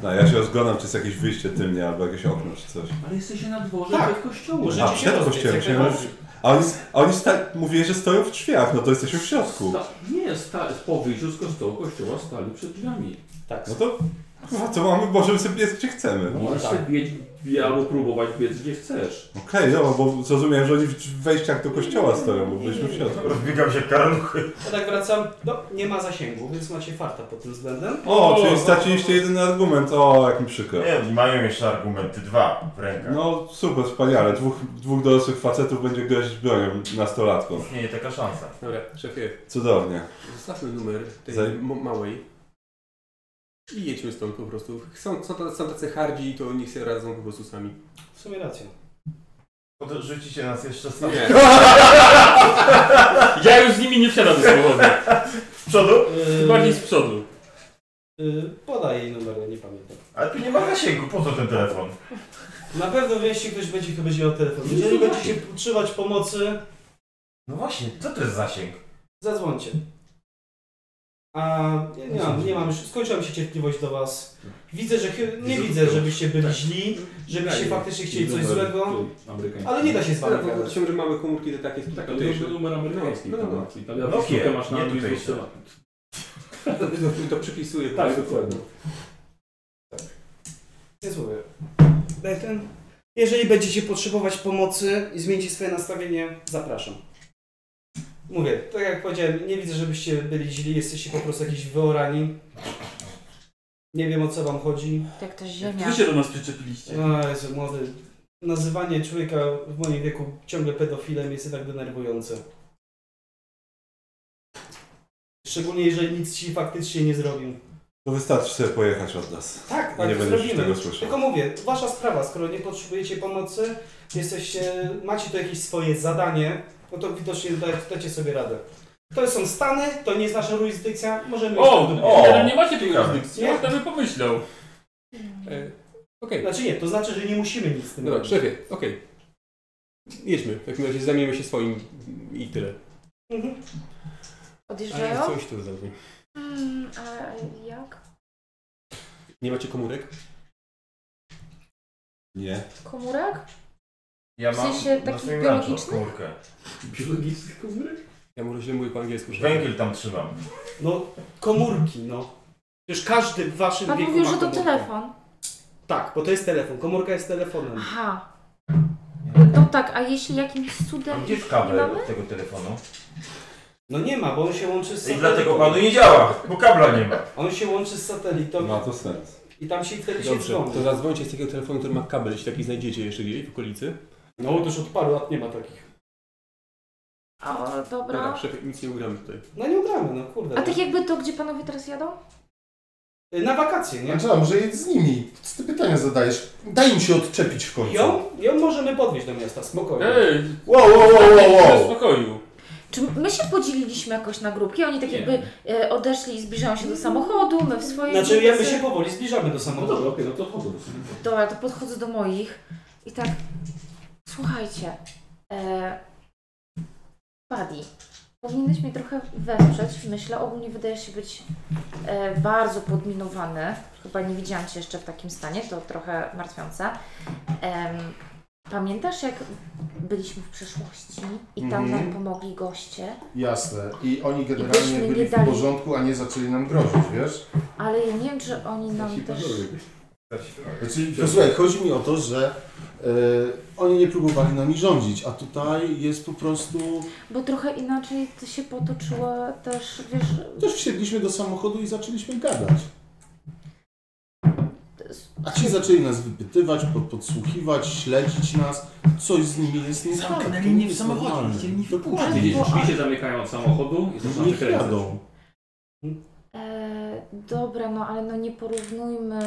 No, ja się rozglądam, czy jest jakieś wyjście tylnie, albo jakieś okno, czy coś.
Ale jesteście na dworze
Tak.
przed kościołem.
Możecie
A,
się
przed
rozbiec,
kościołem
jak
się...
najbardziej.
A oni, a oni sta... mówili, że stoją w drzwiach, no to jesteśmy w środku.
Sta- nie, sta- po wyjściu z kościoła, kościoła stali przed drzwiami.
Tak.
No to, kurwa, to mamy, możemy sobie biec gdzie chcemy.
No, Możesz
tak.
się biec, bie- albo próbować biec gdzie chcesz.
Okej, no, bo zrozumiałem, że oni w drzw- wejściach do kościoła stoją, bo byliśmy w środku.
Rozbiegam się karluchy.
Ja tak wracam, no nie ma zasięgu, więc macie farta pod tym względem.
O, czyli straciliście jeden argument, o, jak mi przykro.
Nie, mają jeszcze argumenty, dwa w rękach.
No super, wspaniale. Dwóch, dwóch dorosłych facetów będzie grozić bronią nastolatką.
Istnieje taka szansa.
Dobra, szefie.
Cudownie.
Zostawmy numer tej
Zaj-
mo- małej. I jedźmy stąd po prostu. Są, są, ta- są tacy hardzi, to niech sobie radzą po prostu sami.
W sumie rację.
Bo to rzucicie nas jeszcze sam.
Nie.
Ja już z nimi nie wsiadam do samochodu.
Z przodu?
Tym Bardziej z przodu.
Yy, podaj jej numer, ja nie pamiętam.
Ale tu nie ma zasięgu, po co ten telefon?
Na pewno wie, jeśli ktoś będzie, kto będzie miał telefon. Jeżeli będziecie potrzebować pomocy,
No właśnie, co to jest zasięg?
zadzwońcie. A ja nie mam, nie mam już, skończyła mi się cierpliwość do was. Widzę, że chy- nie widzę, żebyście byli źli, żebyście faktycznie chcieli coś złego, ale nie da się z wami
No,
gadać.
się, że mamy komórki te takie
Tak, ale
tutejsze.
to numer amerykański.
No, no, no.
Tam, ja
Nokia,
wizytówkę masz na
nie
mnie
tutaj się.
To, to przypisuję. po
Tak,
prostu.
dokładnie.
Więc mówię. Daj ten. Jeżeli będziecie potrzebować pomocy i zmienicie swoje nastawienie, zapraszam. Mówię, tak jak powiedziałem, nie widzę, żebyście byli źli, jesteście po prostu jakiś wyorani. Nie wiem o co wam chodzi.
Jak ta ziemia.
Wy się do nas przyczepiliście.
A, Jezu, młody. Nazywanie człowieka w moim wieku ciągle pedofilem jest jednak denerwujące. Szczególnie jeżeli nic ci faktycznie nie zrobił.
To wystarczy sobie pojechać od nas.
Tak,
I
tak,
Nie
to
będziesz już
zrobimy.
tego słyszał.
Tylko mówię, wasza sprawa, skoro nie potrzebujecie pomocy, jesteście, macie tu jakieś swoje zadanie, no to widocznie da- dacie sobie radę. To są Stany, to nie jest nasza jurysdykcja, możemy...
O,
iść do-
o,
no
no
ale nie macie tej jurysdykcji,
Nie?
ja bym pomyślał.
Hmm.
E, Okej,
Znaczy nie, to znaczy, że nie musimy nic z tym
dobra,
robić.
szefie, okej. Jedźmy. W takim razie zajmiemy się swoim i tyle.
Mhm.
Odjeżdżają?
Ale coś tu zrobi.
Mm, a jak?
Nie macie komórek?
Nie.
Komórek?
Ja
W
mam
sensie
na
takich
swoim
biologicznych?
lunchu komórkę.
Biologiczny komórek?
Ja mu źle mówię po angielsku. szefie.
Węgiel tam trzymam.
No, komórki, no. Przecież każdy w waszym
Pan
wieku
mówił,
ma
że to
komórkę.
telefon.
Tak, bo to jest telefon, komórka jest telefonem.
Aha. No tak, a jeśli jakimś
A
cudem
gdzie jest
ich nie
kabel
mamy?
od tego telefonu?
No nie ma, bo on się łączy z
I
satelitą.
dlatego panu nie działa, bo kabla nie ma.
On się łączy z satelitą
Ma to sens.
i tam się wtedy się
Dobrze,
dzwoni.
to zadzwońcie z takiego telefonu, który ma kabel, jeśli taki znajdziecie jeszcze gdzieś w okolicy.
No, to już od paru lat nie ma takich.
O,
Dobra,
dobra.
szefie, nic nie ugramy tutaj.
No nie ugramy, no kurde.
A tak jakby to, gdzie panowie teraz jadą?
Na wakacje, nie?
Angela, może jedź z nimi. Co ty pytania zadajesz? Daj im się odczepić w końcu.
Ją, ją możemy podwieźć do miasta, spokojnie.
Ej,
Wow, wow, wow, wow,
bez
wow.
spokoju.
Czy my się podzieliliśmy jakoś na grupki? Oni tak
Nie.
jakby e, odeszli i zbliżają się do samochodu, my w swojej
Znaczy, ja my
grupce.
się powoli zbliżamy do
No dobra,
samochodu.
okej, no to chodzę do sobie.
Dobra, to podchodzę do moich i tak. Słuchajcie, e, Buddy, powinieneś mnie trochę wesprzeć. Myślę, ogólnie wydajesz się być e, bardzo podminowany. Chyba nie widziałam Cię jeszcze w takim stanie, to trochę martwiące. Em, pamiętasz, jak byliśmy w przeszłości i tam
Mhm.
nam pomogli goście,
Jasne. I oni
byśmy
generalnie
nie
byli w
dali.
porządku, a nie zaczęli nam grozić, wiesz?
ale ja nie wiem, czy oni nam też.
Znaczy, to słuchaj, chodzi mi o to, że e, oni nie próbowali nami rządzić, a tutaj jest po prostu...
Bo trochę inaczej to się potoczyło też, wiesz,
Też wsiedliśmy do samochodu i zaczęliśmy gadać. A ci zaczęli nas wypytywać, pod- podsłuchiwać, śledzić nas. Coś z nimi jest nie tak.
Zamknęli
to
mnie
nie
w
jest
samochodzie,
normalne.
chcieli mnie
Dokładnie.
Widzisz, drzwi się zamykają od samochodu i zaczyna się
Niech
kręcać.
jadą.
E, dobra, no ale no nie porównujmy,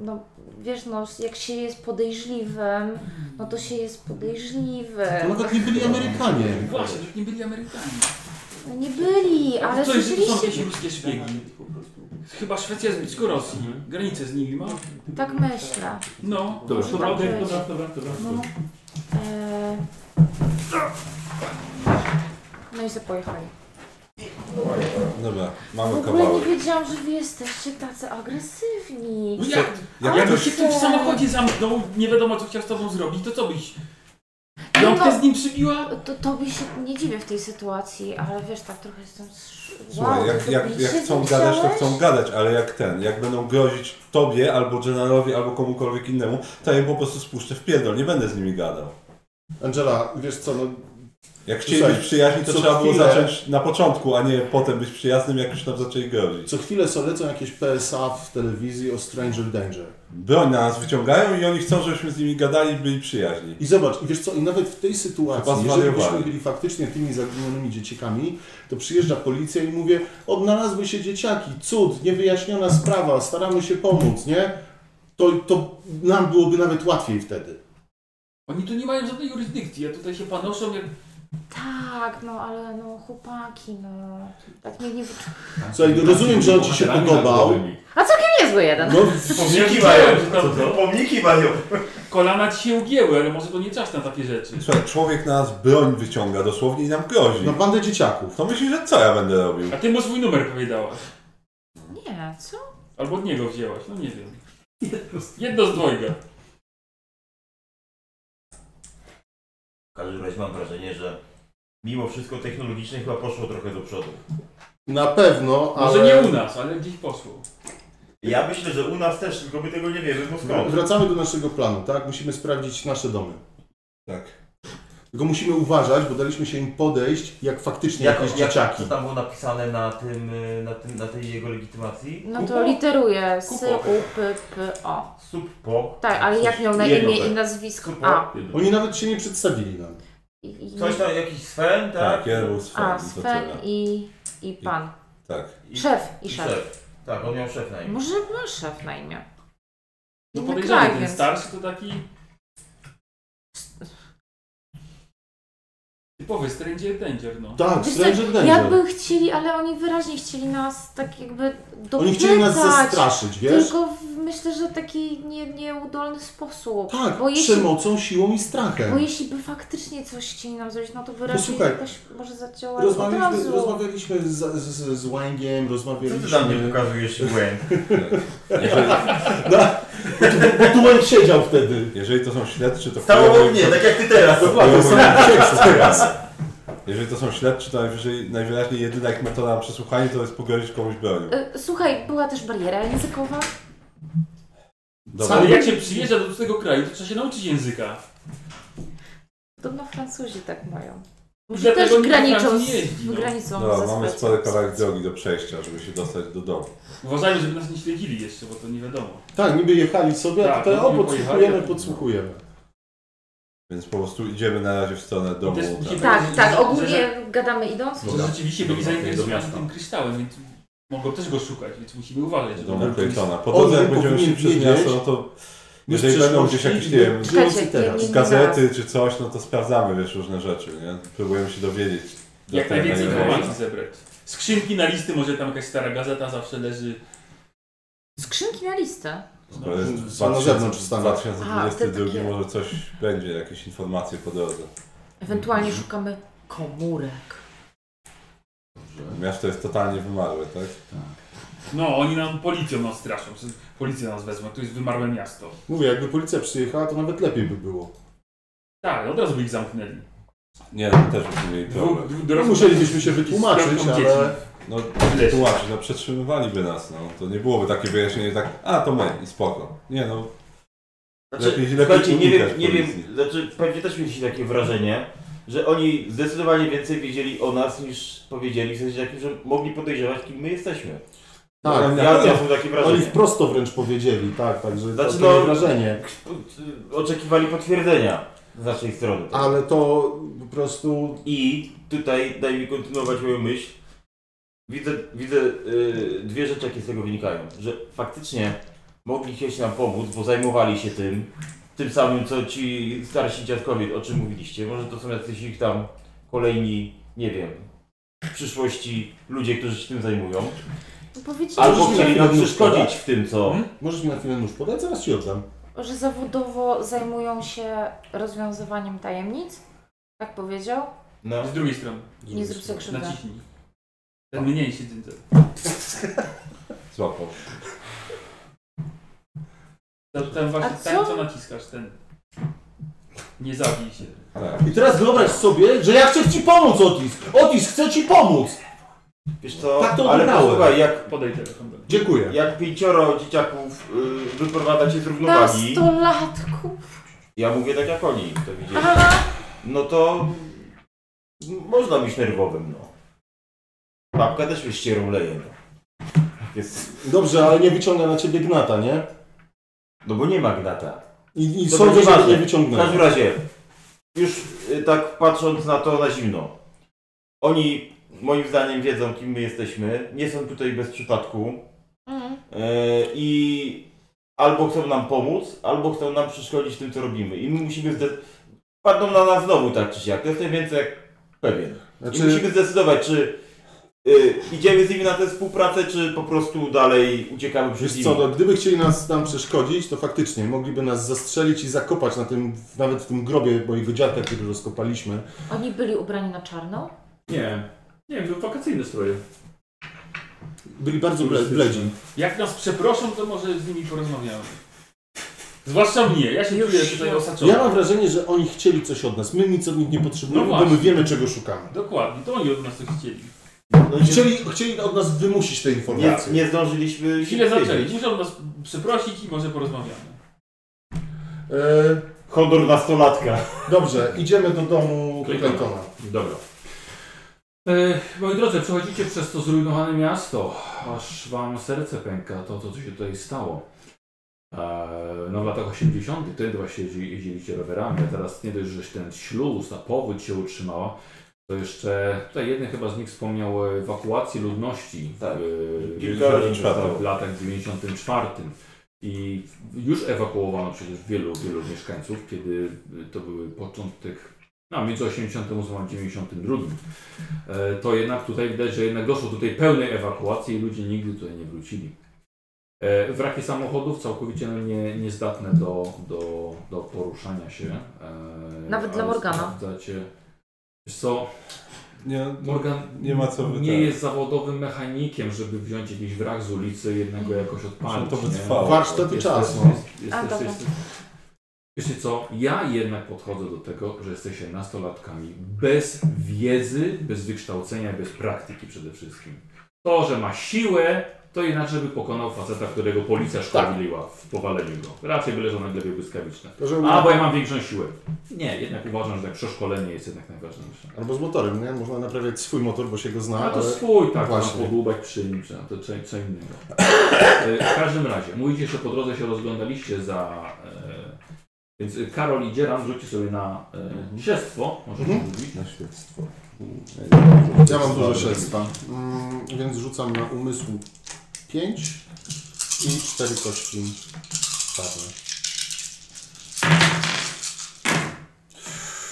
no wiesz, no jak się jest podejrzliwym, no to się jest
To
No
podejrzliwym.
tak,
nawet nie byli Amerykanie.
Właśnie, żeby nie byli Amerykanie.
No nie byli, ale
to jest, to są jakieś
rzeczywiście
ruskie szpiegi. Chyba Szwecja jest blisko
Mhm.
Rosji. Granicę z nimi ma.
tak myślę.
No,
Dobra,
Może
dobra,
tak
dobra,
być.
dobra, dobra, dobra.
No. E, no i sobie pojechali.
Dobra,
W
mamy
ogóle nie
kawałek.
wiedziałam, że wy jesteście tacy agresywni.
No Jak, jak,
Ale
jakby się ktoś w
co?
samochodzie zamknął, nie wiadomo co chciał z tobą zrobić, to co byś?
Nie
Jąbkę
no,
z nim przybiła?
To, to by się nie dziwię w tej sytuacji, ale wiesz, tak trochę jestem... sz-
Słuchaj,
wow,
jak,
ty
jak,
byś
jak
się
chcą gadać, to
zadziałeś?
chcą gadać, ale jak ten, jak będą grozić tobie, albo generalowi, albo komukolwiek innemu, to ja im po prostu spuszczę w pierdol, nie będę z nimi gadał.
Angela, wiesz co, no...
Jak chcieli być przyjaźni, to
co
trzeba było
chwilę-
zacząć na początku, a nie potem być przyjaznym, jak już nam zaczęli grozić.
Co chwilę sobie lecą jakieś PSA w telewizji o Stranger Danger.
Broń na nas wyciągają i oni chcą, żebyśmy z nimi gadali i byli przyjaźni.
I zobacz, i wiesz co, i nawet w tej sytuacji,
Chyba
jeżeli byśmy
zwariowali.
byli faktycznie tymi zaginionymi dzieciakami, to przyjeżdża policja i mówię, odnalazły się dzieciaki, cud, niewyjaśniona sprawa, staramy się pomóc, nie? To, to nam byłoby nawet łatwiej wtedy.
Oni tu nie mają żadnej jurysdykcji, a tutaj się panoszą jak...
Tak, no ale no chłopaki, no... Tak mnie nie... wyczu-
Słuchaj, rozumiem, że on ci się podobał.
A całkiem niezły jeden.
No,
Pomniki mają, że tam co? Pomniki mają. Kolana ci się ugięły, ale może to nie czas na takie rzeczy.
Słuchaj, człowiek na nas broń wyciąga dosłownie i nam grozi.
No bandę dzieciaków.
To myślisz, że co ja będę robił?
A ty mu swój numer powiedziałaś.
Nie, co?
Albo od niego wzięłaś, no nie wiem. Jedno z dwojga.
W każdym razie mam wrażenie, że mimo wszystko technologicznie chyba poszło trochę do przodu.
Na pewno, ale...
Może nie u
nas, ale gdzieś poszło.
Ja myślę, że u nas też, tylko my tego nie wiemy, bo skąd?
Wracamy do naszego planu, tak? Musimy sprawdzić nasze domy.
Tak.
Tylko musimy uważać, bo daliśmy się im podejść jak faktycznie
Jak,
jakieś
jak,
dzieciaki.
co tam było napisane na, tym, y, na, tym, na tej jego legitymacji?
No to literuje s,
Kupo.
u, p, p, o.
Sup, po.
Tak, ale jak miał na
Jedno
tak.
imię
P.
i nazwisko?
Supo.
A.
Oni nawet się nie przedstawili nam.
I-
Coś tam, jakiś Sven, tak?
Tak, jeden był
A,
to
Sven
tyle.
i, i pan.
Tak.
Szef i szef.
Tak, on miał szef na imię.
Może ma szef na imię.
No
Inny
podejrzany
kraj,
ten
więc-
starszy to taki... Typowy Stranger Danger, no.
Tak,
Wiesz co,
Stranger Danger.
Jakby chcieli, ale oni wyraźnie chcieli nas tak jakby dopytać.
Oni chcieli nas zastraszyć, wiesz?
Tylko w, myślę, że taki nie, nieudolny sposób.
Tak,
bo jeśli,
przemocą, siłą i strachem.
Bo jeśli by faktycznie coś chcieli nam zrobić, no to wyraźnie
Posłuchaj,
jakoś może zadziałać od
Rozmawialiśmy,
razu.
rozmawialiśmy z, z, z Łęgiem, rozmawialiśmy...
Co ty na mnie pokazujesz, Łęk?
Jeżeli-
no, bo tu- bo tu Łęk siedział wtedy.
Jeżeli to są śledczy, to...
Stało
chujowo-
obok mnie, tak jak ty teraz.
To chujowo
Dokładnie,
im
tak.
siedzą teraz. Jeżeli to są śledczy, to najwyżej, najwyraźniej jedyna jak metoda na przesłuchanie to jest pogodzić komuś bronią.
Y, Słuchaj, była też bariera językowa.
Dobra.
Ale jak się przyjeżdża do tego kraju, to trzeba się nauczyć języka.
Podobno Francuzi tak mają. Może
Dlatego
też
nikt do
graniczą
Francji
z
nie jeździ, no.
granicą
No,
ze
mamy
Szwecją.
spory kawałek drogi do przejścia, żeby się dostać do domu.
Uważajmy, żeby nas nie śledzili jeszcze, bo to nie wiadomo.
Tak, niby jechali sobie, a
Tak,
tutaj o,
niby
podsłuchujemy,
pojechali.
podsłuchujemy.
Więc po prostu idziemy na razie w stronę
No
domu.
Też musimy-
Tak, tak, ogólnie
Że-
gadamy idąc.
Że rzeczywiście byli
Dobra, do
zainteresowani
miasta.
tym kryształem, więc mogą też go szukać, więc musimy uważać. żeby-
Domu Claytona. Po drodze jak będziemy szli przez miasto, no to
już
jeżeli będą
przeszłości
gdzieś jakieś, nie
nie
wiem,
Czekajcie, żyjący nie, teraz. nie, nie
gazety
zaraz.
czy coś, no to sprawdzamy, wiesz, różne rzeczy, nie? Próbujemy się dowiedzieć. do
Jak
tego,
najwięcej
nie wiem.
informacji zebrać. Skrzynki na listy, może tam jakaś stara gazeta zawsze leży.
Skrzynki na listę.
To jest
Są No, na zewnątrz
2000
stale.
A, te
2022
takie-
może coś będzie, jakieś informacje po drodze.
Ewentualnie
Mhm.
szukamy komórek.
Miasto jest totalnie wymarłe, tak?
No, oni nam policją nas straszą. Policja nas wezmą, to jest wymarłe miasto.
Mówię, jakby policja przyjechała, to nawet lepiej by było.
Tak, od razu by ich zamknęli.
Nie, no też byśmy mieli problem.
Dwóch-
No, musielibyśmy się wytłumaczyć,
Z piątką
ale...
dzieci.
No, wytłumaczyć, no przetrzymywaliby nas, no. To nie byłoby takie wyjaśnienie, tak, a to my i spoko. Nie no.
Znaczy,
lepiej
słuchajcie,
lepiej
nie wiem,
unikać
nie wiem,
policji.
znaczy pewnie też mieliście takie wrażenie, że oni zdecydowanie więcej wiedzieli o nas niż powiedzieli, w sensie takim, że mogli podejrzewać, kim my jesteśmy.
Tak,
ja, ja mam takie wrażenie.
oni wprost to wręcz powiedzieli, tak, także to-
Znaczy,
to
no,
no, wrażenie.
Oczekiwali potwierdzenia z naszej strony.
Ale to po prostu...
I tutaj daj mi kontynuować moją myśl. Widzę, widzę y, dwie rzeczy, jakie z tego wynikają. Że faktycznie mogli chcieć nam pomóc, bo zajmowali się tym, tym samym, co ci starsi dziadkowie, o czym mówiliście. Może to są jacyś ich tam kolejni, nie wiem, w przyszłości ludzie, którzy się tym zajmują.
Powiedzieliśmy,
Albo
że-
chcieli nam przeszkodzić w tym, co...
Hmm?
Możesz mi na chwilę nóż podać? Zaraz ci oddam.
Że zawodowo zajmują się rozwiązywaniem tajemnic. Tak powiedział.
No.
Z drugiej strony.
Nie zrób sobie krzywdy.
Naciśnij.
Tak.
Mniej siedzimy.
Złapał.
Ten, ten właśnie, ten co naciskasz, ten. Nie zabij się.
I teraz wyobraź sobie, że ja chcę ci pomóc, Otis! Otis, chcę ci pomóc!
Wiesz co,
Tak to
ale
odebrałem.
posłuchaj, jak...
Podaj telefon.
Dziękuję.
Jak pięcioro dzieciaków y, wyprowadza cię z
No
Na
tak,
równowagi,
stolatku.
ja mówię tak jak oni to widzieli,
Aha.
no to można być nerwowym, no. Babka też już ścierą leje, no. Jest...
Dobrze, ale nie wyciąga na ciebie gnata, nie?
No bo nie ma gnata.
I, i
To
sądzę,
będzie
że
ważne.
nie wyciągnę.
W każdym razie, już y, tak patrząc na to na zimno, oni moim zdaniem wiedzą, kim my jesteśmy. Nie są tutaj bez przypadku.
Mhm.
Y, I albo chcą nam pomóc, albo chcą nam przeszkodzić w tym, co robimy. I my musimy zdecydować. Padną na nas znowu tak czy siak. To jest najwięcej jak pewien. I
Znaczy-
musimy zdecydować, czy y, idziemy z nimi na tę współpracę, czy po prostu dalej uciekamy przed
Wiesz
nimi.
co, no, gdyby chcieli nas nam przeszkodzić, to faktycznie mogliby nas zastrzelić i zakopać na tym, nawet w tym grobie mojego dziadka, który rozkopaliśmy.
Oni byli ubrani na czarno?
Nie. Nie, to wakacyjne stroje.
Byli bardzo ble- bledzi.
Jak nas przeproszą, to może z nimi porozmawiamy. Zwłaszcza mnie, ja się czuję
no.
tutaj osaczony.
Ja mam wrażenie, że oni chcieli coś od nas. My nic od nich nie potrzebujemy,
No
bo my
właśnie.
wiemy, czego szukamy. No
Dokładnie, to oni od nas coś chcieli.
Chcieli, chcieli od nas wymusić te informacje.
nie zdążyliśmy
Chwilę zaczęli, muszą nas przeprosić i może porozmawiamy.
E,
Hodor nastolatka.
Dobrze, idziemy do domu
Claytona.
Claytona.
Dobra. E, moi drodzy, przechodzicie przez to zrujnowane miasto, aż wam serce pęka, to, to co się tutaj stało. E, no w latach 80. wtedy właśnie jeździ- jeździliście rowerami, a teraz nie dość, że się ten śluz, ta powódź się utrzymała, to jeszcze, tutaj jeden chyba z nich wspomniał o ewakuacji ludności tak. w,
Kilka rodzin
w latach 94. I już ewakuowano przecież wielu, wielu mieszkańców, kiedy to były początek no, między 88 a 92. E, To jednak tutaj widać, że jednak doszło do tej pełnej ewakuacji i ludzie nigdy tutaj nie wrócili. E, Wraki samochodów całkowicie no, nie, niezdatne do, do, do poruszania się. e,
Nawet dla
ale
Morgana.
Sprawdzacie. Wiesz co?
Nie,
Morgan
nie ma co
Nie
wydawać.
jest zawodowym mechanikiem, żeby wziąć jakiś wrak z ulicy, jednego jakoś odpalić.
to by
nie?
trwało.
Warsztat i
Jest-
czas,
jest-
no.
jest- jest-
A,
jest-
dobra.
jest- Wiecie co, ja jednak podchodzę do tego, że jesteście nastolatkami bez wiedzy, bez wykształcenia, bez praktyki przede wszystkim. To, że ma siłę, to inaczej by pokonał faceta, którego policja
Tak.
szkodliła w powaleniu go. Raczej by leżał na glebie błyskawiczne.
To, że-
A, bo ja mam większą siłę. Nie, jednak uważam, że tak przeszkolenie jest jednak najważniejsze.
Albo z motorem, nie? Można naprawiać swój motor, bo się go zna.
A to
ale...
swój, tak,
Właśnie.
właśnie. podłubać przy nim, czy to co, co innego. E, W każdym razie, mówicie, że po drodze się rozglądaliście za... E, więc Karol i Dzieran rzućcie sobie na e, śledztwo, możecie
Mhm.
mówić.
Na śledztwo.
Ja mam dużo śledztwa, mm, więc rzucam na umysł 5 i 4 kości czarne.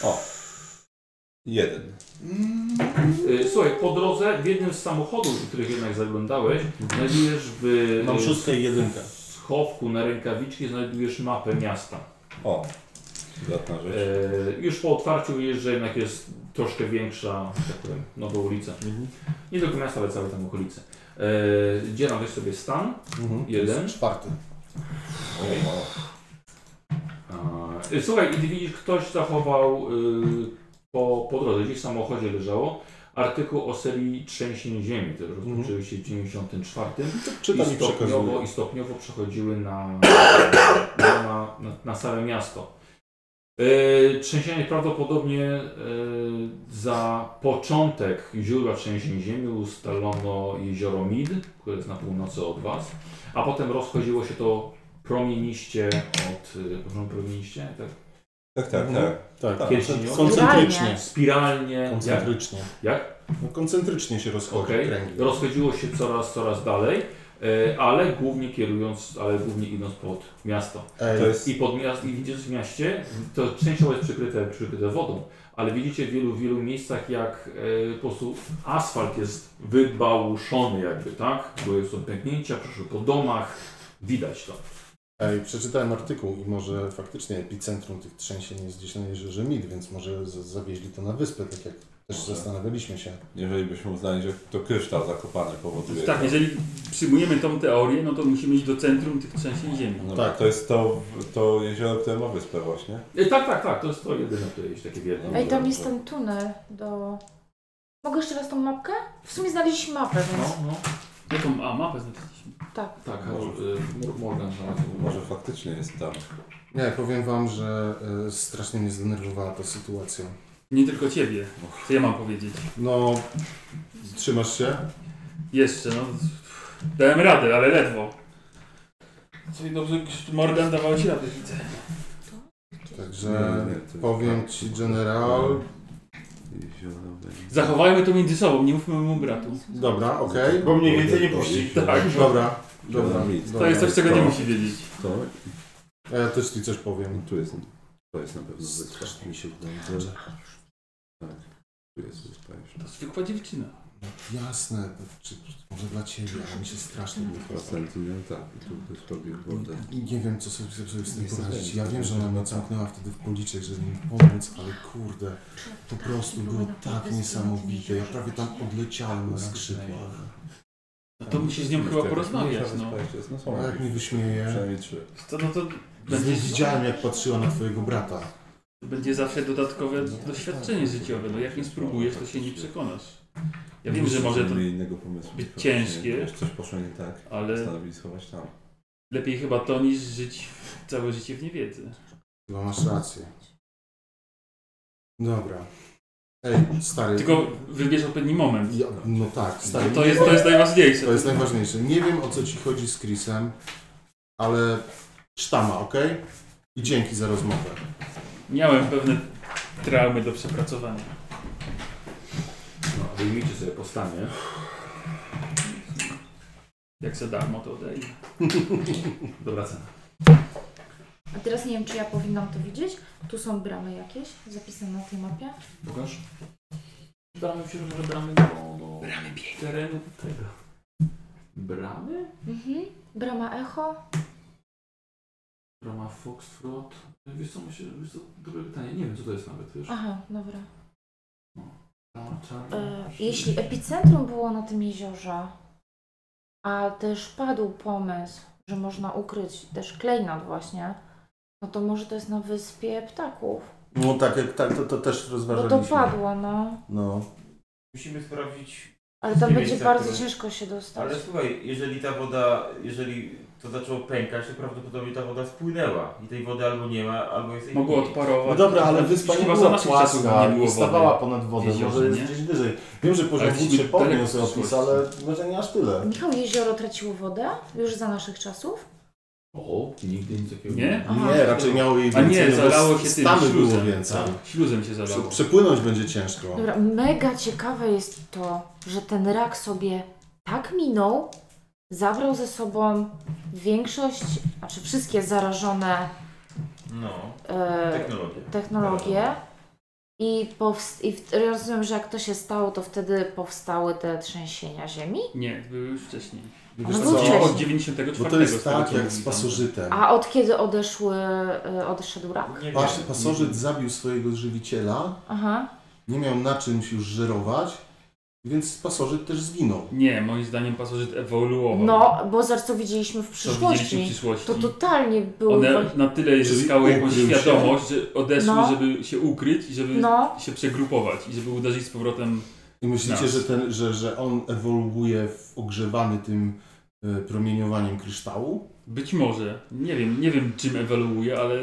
O. Jeden.
E, Słuchaj, po drodze w jednym z samochodów, do których jednak zaglądałeś, znajdujesz w... y,
Mam szóstkę i jedynkę.
W schowku na rękawiczki znajdujesz mapę miasta.
O, przydatna rzecz.
E, już po otwarciu widzisz, że jednak jest troszkę większa, że tak powiem, nowa ulica.
Mhm.
Nie tylko miasta, ale całe tam okolice. E, Dzielam weź sobie stan.
Mhm.
Jeden.
Czwarty.
E, Słuchaj, i ty widzisz, ktoś zachował y, po, po drodze, gdzieś w samochodzie leżało, artykuł o serii Trzęsień Ziemi, które rozpoczęły się w 94.
czytam i
i, stopniowo,
przekazuję.
I stopniowo przechodziły na, na, na, na całe miasto. E, Trzęsienie prawdopodobnie e, za początek źródła trzęsień ziemi ustalono jezioro Mid, które jest na północy od Was, a potem rozchodziło się to promieniście od... e, Możemy promieniście? Tak,
Tak, tak,
Mhm.
tak.
Tak,
Pierścieniowo?
koncentrycznie.
Spiralnie.
Koncentrycznie.
Jak? jak?
No, koncentrycznie się rozchodzi
Okej.
kręgi.
Rozchodziło się coraz, coraz dalej, e, ale głównie kierując, ale głównie idąc pod miasto.
Ej.
To jest-
I pod miast, i widzisz w mieście, to częściowo jest przykryte, przykryte wodą, ale widzicie w wielu, wielu miejscach jak e, po prostu asfalt jest wybałuszony jakby, tak? Były są pęknięcia, przeszły po domach, widać to.
Ej, przeczytałem artykuł i może faktycznie epicentrum tych trzęsień jest gdzieś na jeziorze Mid, więc może z- zawieźli to na wyspę, tak jak też zastanawialiśmy się.
Jeżeli byśmy uznali, że to kryształ zakopany powoduje.
Tak,
to.
jeżeli przyjmujemy tą teorię, no to musimy iść do centrum tych trzęsień ziemi.
No, tak. To jest to, to jezioro, które ma wyspę właśnie.
E, tak, tak, tak, to jest to jedyne, które jest takie
No
wielkie.
Ej,
tak,
tam jest ten tunel do... Mogę jeszcze raz tą mapkę? W sumie znaleźliśmy mapę, więc...
No, no. Jaką a, mapę znaleźliśmy?
Tak.
Tak, może, Morgan
Może faktycznie jest tam.
Nie, powiem wam, że e, strasznie mnie zdenerwowała ta sytuacja.
Nie tylko ciebie. Co ja mam powiedzieć?
No, trzymasz się?
Jeszcze, no. Dałem radę, ale ledwo.
Czyli dobrze, Krzysztof- Morgan dawałeś radę, widzę.
Także powiem ci, general.
Zachowajmy to między sobą, nie mówmy mu bratu.
Dobra, okej.
Bo mniej więcej nie puści.
Tak.
Dobra, dobra.
To jest coś, czego nie musi wiedzieć.
To?
A ja też ci coś powiem.
Tu jest, to jest na pewno wyspa. Mi się wydaje, że... Tak. Tu jest wyspa jeszcze.
To zwykła dziewczyna.
Jasne, to czy, może dla ciebie, ale mi się strasznie nie
Dwa sentymenty, tak. I tu ktoś robił wodę.
I Nie wiem, co sobie, sobie z tym
Nie tak.
poradzić.
jestem
Ja
pewien.
wiem, że ona mnie zamknęła wtedy w policzek, żeby mi pomóc, ale kurde, po prostu było tak niesamowite. Ja prawie tam odleciałem na skrzydłach.
No to musisz z nią chyba porozmawiać, no.
A jak mnie wyśmieje?
Przynajmniej trzy.
To, no to
Nie
będzie,
widziałem, jak patrzyła na twojego brata. No, tak,
będzie zawsze dodatkowe doświadczenie życiowe. No jak nie spróbujesz, to się nie przekonasz. Ja wiem, że może to
Mieli innego pomysłu.
być
Faktycznie,
ciężkie,
Coś poszło nie tak.
Ale-
Postanowili schować tam.
Lepiej chyba to niż żyć całe życie w niewiedzy.
Chyba masz rację. Dobra. Ej, stary.
Tylko wybierz odpowiedni moment.
Ja, no tak, stary.
To jest- to jest najważniejsze.
To jest najważniejsze. Nie wiem o co ci chodzi z Chrisem, ale sztama, okej? I dzięki za rozmowę.
Miałem pewne traumy do przepracowania.
No, wyjmijcie sobie postanie.
Jak za darmo to odejdę.
Dobra cena.
A teraz nie wiem, czy ja powinnam to widzieć. Tu są bramy jakieś zapisane na tej mapie.
Pokaż. Bramy się, że bramy do... do... Bramy Terenu tego. Bramy?
Mhm. Brama Echo.
Brama Foxtrot. Wiesz co, myślę, wiesz co, dobre pytanie. Nie wiem, co to jest nawet, wiesz.
Aha, dobra.
No,
Brama Czarna.
E, jeśli epicentrum było na tym jeziorze, a też padł pomysł, że można ukryć też klejnot właśnie, no to może to jest na wyspie ptaków.
No tak, jak tak, to, to też
No
rozważaliśmy.
to padło, no.
No.
Musimy sprawdzić.
Ale tam
Nie
będzie
miejsca,
bardzo
które-
ciężko się dostać.
Ale słuchaj, jeżeli ta woda, jeżeli to zaczęło pękać, to prawdopodobnie ta woda spłynęła. I tej wody albo nie ma, albo jest jej
Mogło
mniej.
odparować.
No dobra, ale wyspa nie
Chyba za
była
naszych czasów
płaska,
nie było
nie stawała
wody.
ponad wodę,
Jezioro,
może jest
nie?
gdzieś wyżej. Wiem, że poziom
Ale
wód się
jesteśmy daleko
podniósł
w
opis,
przyszłości.
ale może nie aż tyle.
Michał, jezioro traciło wodę już za naszych czasów?
O, nigdy nic takiego
Nie?
Aha.
Nie, raczej miało jej
A
więcej,
nie,
no bo
zalało się tym
stamy
śluzem.
było więcej.
Tak, śluzem się zalało.
Przepłynąć będzie ciężko.
Dobra, mega ciekawe jest to, że ten rak sobie tak minął, zabrał ze sobą większość, znaczy wszystkie zarażone
No.
e,
Technologie.
technologie. I, powst- I w- rozumiem, że jak to się stało, to wtedy powstały te trzęsienia ziemi.
Nie, były już wcześniej.
Wiesz
No wcześniej.
Od 94
Bo to jest
z tego, co
tak jak
mówi
z
tam.
pasożytem.
A od kiedy odeszły, e, odszedł rak?
Pas, pasożyt zabił swojego żywiciela,
Aha.
nie miał na czymś już żerować, więc pasożyt też zginął.
Nie, moim zdaniem pasożyt ewoluował.
No, bo zobacz, co widzieliśmy w przyszłości.
widzieliśmy w przyszłości.
To totalnie było.
One na tyle
Czyli
zyskały jakąś
ukrył się.
świadomość, że odeszły,
No.
żeby się ukryć i żeby
No.
się przegrupować i żeby uderzyć z powrotem.
I myślicie,
nas.
że, ten, że, że on ewoluuje w ogrzewany tym e, promieniowaniem kryształu?
Być może. Nie wiem, nie wiem czym ewoluuje, ale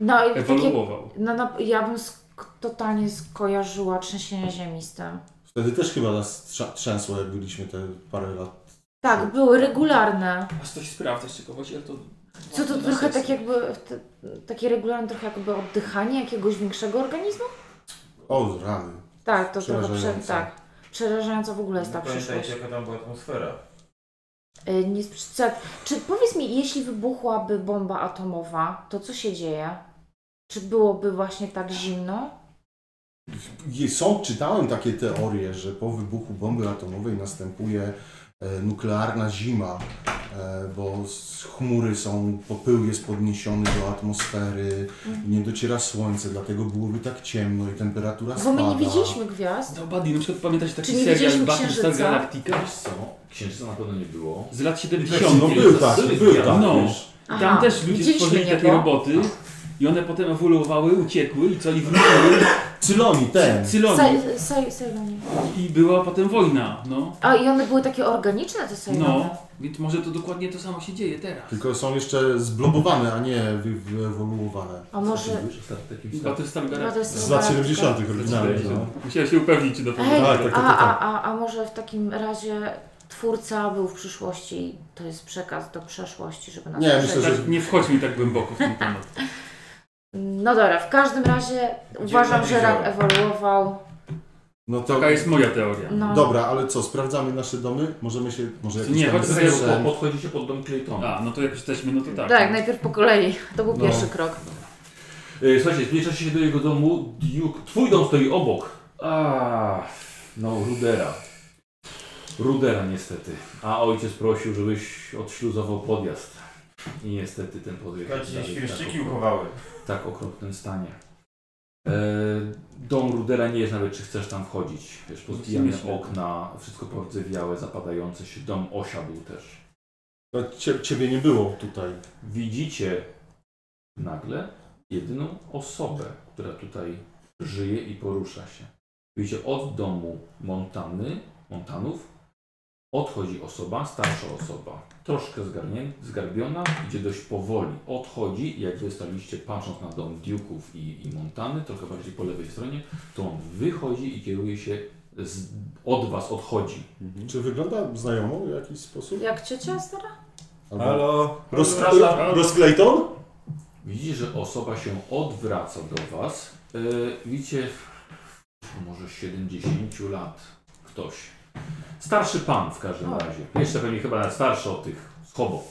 No, i
ewoluował.
Takie, no, no, ja bym sk- totalnie skojarzyła trzęsienie ziemi z tym.
Wtedy też chyba nas trza- trzęsło, jak byliśmy te parę lat.
Tak, były regularne.
Aż to się sprawdza z ciekawości, ale to...
Co to
na
trochę
sesji.
tak jakby, te, takie regularne trochę jakby oddychanie jakiegoś większego organizmu?
O, rany.
Tak, to trochę prze,
Przerażające.
tak. Przerażająca w ogóle jest ta
No
przyszłość.
Pamiętajcie, jaka tam była atmosfera.
Y, Nie, co, czy powiedz mi, jeśli wybuchłaby bomba atomowa, to co się dzieje? Czy byłoby właśnie tak zimno?
Je- Są, czytałem takie teorie, że po wybuchu bomby atomowej następuje e, nuklearna zima, e, bo s- chmury są, popył jest podniesiony do atmosfery,
Mhm.
nie dociera słońce, dlatego byłoby tak ciemno i temperatura
Bo
spada.
my nie widzieliśmy gwiazd.
No, Buddy, na przykład pamiętasz taki
Czy nie
serial
widzieliśmy
Battlestar
księżyca?
Galactica?
Wiesz co? Księżyca na pewno nie było.
Z lat
Tak,
70.
no był tak, był tak,
No.
wiesz.
I
Aha,
tam też ludzie
widzieliśmy
tworzyli
niebo.
takie roboty i one potem ewoluowały, uciekły i co i wróciły.
Cyloni, ten.
Cyloni.
Saj- saj- Sajloni.
I była potem wojna, no.
A i one były takie organiczne te sajlony.
No, więc może to dokładnie to samo się dzieje teraz.
Tylko są jeszcze zblobowane, a nie wy- wyewoluowane.
A może-
Battlestar Galactica.
Z lat 70. oryginalnie. No.
Musiałem się upewnić, czy to
Ej,
Tak, tak, tak, tak,
a,
tak.
a, a, a może w takim razie twórca był w przyszłości i to jest przekaz do przeszłości, żeby nas
Nie,
uprzedzić.
myślę, że... Nie wchodźmy tak głęboko w ten temat.
No dobra, w każdym razie uważam, że rak ewoluował.
No to...
Taka jest moja teoria.
No.
Dobra, ale co, sprawdzamy nasze domy? Możemy się... Może jakiś
Nie,
tam
chodźmy
sprzęt-
sobie po-
Podchodzicie pod dom Claytona.
A, no to jak jesteśmy, no to tak.
Tak, najpierw po kolei. To był
No.
pierwszy krok.
E, Słuchajcie, zbliżacie się do jego domu. Duke, twój dom stoi obok. A, no Rudera. Rudera niestety. A ojciec prosił, żebyś odśluzował podjazd. I niestety ten podjazd...
Chodź,
dalej
świerszczyki
okropny-
uchowały.
Tak okropnym stanie. E, dom Rudera nie jest nawet, czy chcesz tam wchodzić. Wiesz, pozbijane
Myślę.
okna, wszystko pordzewiałe, zapadające się. Dom osiadł też.
No, cie, ciebie nie było tutaj.
Widzicie nagle jedyną osobę, która tutaj żyje i porusza się. Widzicie, od domu Montany, Montanów odchodzi osoba, starsza osoba, troszkę zgarnię, zgarbiona, idzie dość powoli. Odchodzi i jak wy staliście patrząc na dom Duke'ów i, i Montany, trochę bardziej po lewej stronie, to on wychodzi i kieruje się z, od was, odchodzi.
Mhm. Czy wygląda znajomo w jakiś sposób?
Jak ciocia stara?
Albo-
Halo?
Roz, Roz Clayton?
Widzicie, że osoba się odwraca do was. Yy, widzicie, może 70 lat ktoś. Starszy pan w każdym
O.
razie. Jeszcze pewnie chyba nawet starszy od tych schobo.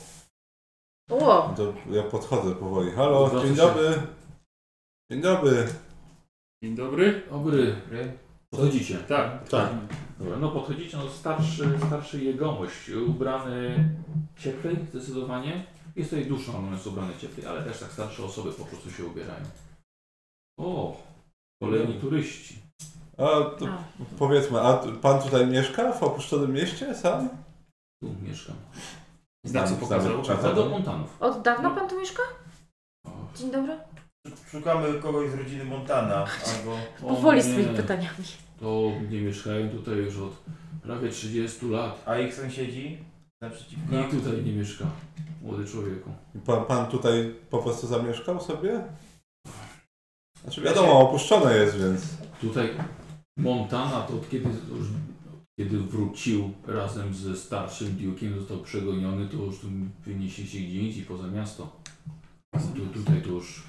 O,
To ja podchodzę powoli. Halo,
Zwraca
dzień
się.
dobry. Dzień dobry.
Dzień dobry.
Dobry. Podchodzicie.
Tak.
tak. Dobra, no podchodzicie, no starszy, starszy jegomość, ubrany cieplej zdecydowanie. Jest tutaj duszno, on jest ubrany cieplej, ale też tak starsze osoby po prostu się ubierają. O, kolejni turyści.
A, to powiedzmy, a t- pan tutaj mieszka w opuszczonym mieście sam?
Tu mieszkam.
Znaczy
Znamy-
pokazał.
znamy-
Pokazał.
do Montanów.
od dawna pan tu mieszka? Dzień dobry.
Szukamy kogoś z rodziny Montana albo...
Powoli z tymi pytaniami.
To nie mieszkają tutaj już od prawie 30 lat.
A ich sąsiedzi? Naprzeciwko?
Nikt tutaj nie mieszka, młody człowieku.
I Pan, pan tutaj po prostu zamieszkał sobie? Znaczy wiadomo, opuszczone jest, więc...
Tutaj Montana to od kiedy, już, kiedy wrócił razem ze starszym Duke'iem, został przegoniony, to już tu wynieśli się gdzie indziej, poza miasto. A Tu, tutaj to już...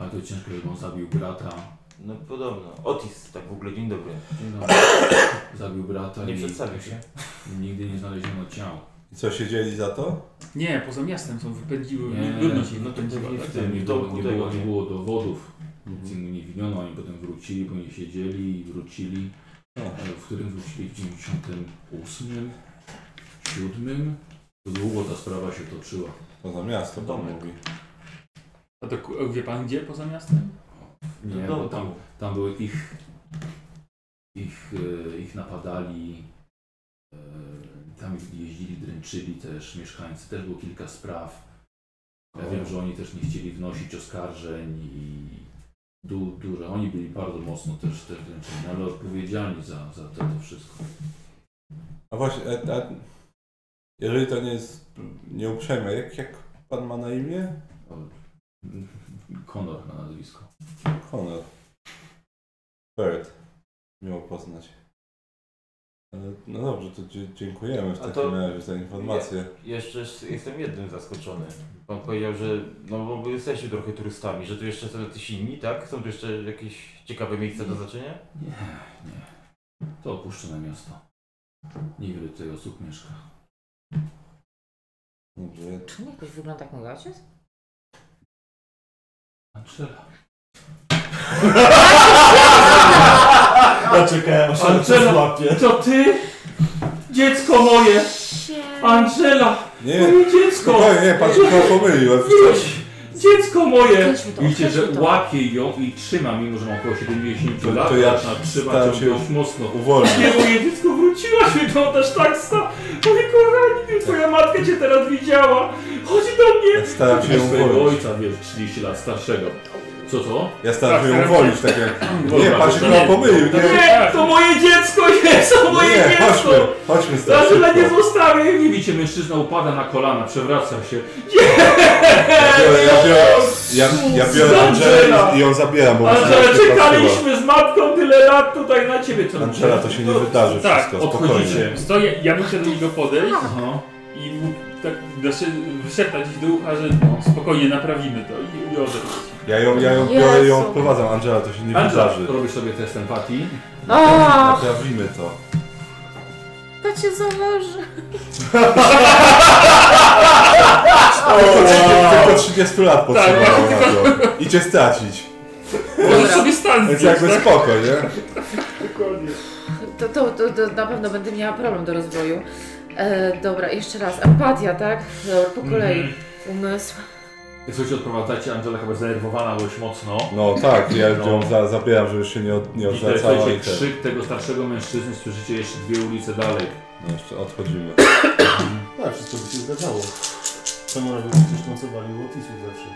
Ale to ciężko, żeby on zabił brata.
No podobno. Otis, tak w ogóle, dzień dobry.
Dzień dobry. Zabił brata
Nie
i...
przedstawił się.
Nigdy nie znaleziono ciał.
I co się dzieli za to?
Nie, poza miastem są wypędziły, nie, ludność ich wypędziła. tak?
nie, no w tym, nie, było, nie,
tego
było,
nie.
nie było dowodów, nic
Mhm.
im nie winiono, oni potem wrócili, bo nie siedzieli i wrócili,
No.
ale w którym wrócili w 98, 7, to długo ta sprawa się toczyła.
Poza miasto, pan
Domek.
mówi.
A to ku- wie pan gdzie poza miastem?
Nie,
Do
bo
domu.
tam, tam były ich, ich, e, ich napadali, e, tam jeździli, dręczyli też mieszkańcy, też było kilka spraw. Ja
O.
wiem, że oni też nie chcieli wnosić oskarżeń i du, dużo, oni byli bardzo mocno też, też dręczeni, ale odpowiedzialni za, za to, to wszystko.
A właśnie, a, a, jeżeli to nie jest nieuprzejme, jak, jak pan ma na imię?
Konor na nazwisko.
Connor. Bird. Miło poznać. E, No dobrze, to dzie- dziękujemy w
A
takim
to-
razie za informację.
Je, jeszcze s- jestem jednym zaskoczony. Pan powiedział, że no bo wy jesteście trochę turystami, że tu jeszcze są jacyś inni, tak? Są tu jeszcze jakieś ciekawe miejsca do zobaczenia?
Nie, nie. To opuszczone miasto. Niewiele tutaj osób mieszka.
Dobrze.
Czy on jakoś wygląda jak mój ojciec?
Angela.
Ja
Angela, to ty?
Dziecko moje! Angela!
Nie,
moje dziecko!
spokojnie, nie, pan się chyba pomylił, ale
Wróć! Dziecko moje!
Widzicie, że łapie ją i trzyma, mimo że ma około 70
To-
lat.
to ja
zaczyna
staram
trzymać
się
ją dość mocno.
uwolnić.
Nie, moje dziecko, wróciłaś, wyglądasz tak sta. Moje kochanie, twoja matka cię teraz widziała. Chodź do mnie!
Staram się
Widzisz
ją
swojego
uwolnić.
ojca, wiesz, 30 lat starszego. Co to?
Ja staram się ją uwolnić, tak jak... Nie, pan się
to
chyba pomylił, nie? No
Nie, to moje dziecko jest, to moje
Nie,
dziecko!
chodźmy, chodźmy stąd
Angela, nie
szybko.
zostawię!
Nie widzicie, mężczyzna upada na kolana, przewraca się.
Ja, ja biorę, ja, ja biorę Angelę i, i ją zabieram, bo
Angela,
myślałem, że
czekaliśmy z matką tyle lat tutaj na ciebie. Co
Angela, to się nie wydarzy
tak,
wszystko, spokojnie.
Stoję, ja bym chciał do niego podejść i mu tak wysze- wyszeptać do ucha, że no, spokojnie naprawimy to i, i odejść.
Ja ją, ja ją biorę i ją odprowadzam, Angela, to się nie
Angela,
wydarzy.
robisz sobie test empatii.
Ach.
Naprawimy to.
To cię zależy.
Tylko 30, tylko 30 lat potrzebowało
Tak.
na to. I cię stracić.
Możesz sobie stan
Więc
zdjąć,
Znaczy, jakby
tak?
spoko, nie?
Dokładnie.
To, to, to, to na pewno będę miała problem do rozwoju. E, dobra, jeszcze raz. Empatia, tak? Dobra, po
Mhm.
kolei. Umysł.
Słuchajcie, odprowadzacie, Angela chyba zdenerwowana dość mocno.
No tak, ja
No.
ją za, zabieram, żeby się nie, od, nie
I teraz
odwracała.
słuchajcie,
i ten.
krzyk tego starszego mężczyzny słyszycie jeszcze dwie ulice dalej.
No jeszcze odchodzimy.
Tak, wszystko by się zgadzało. Seniorzy przecież nocowali u Otisów zawsze.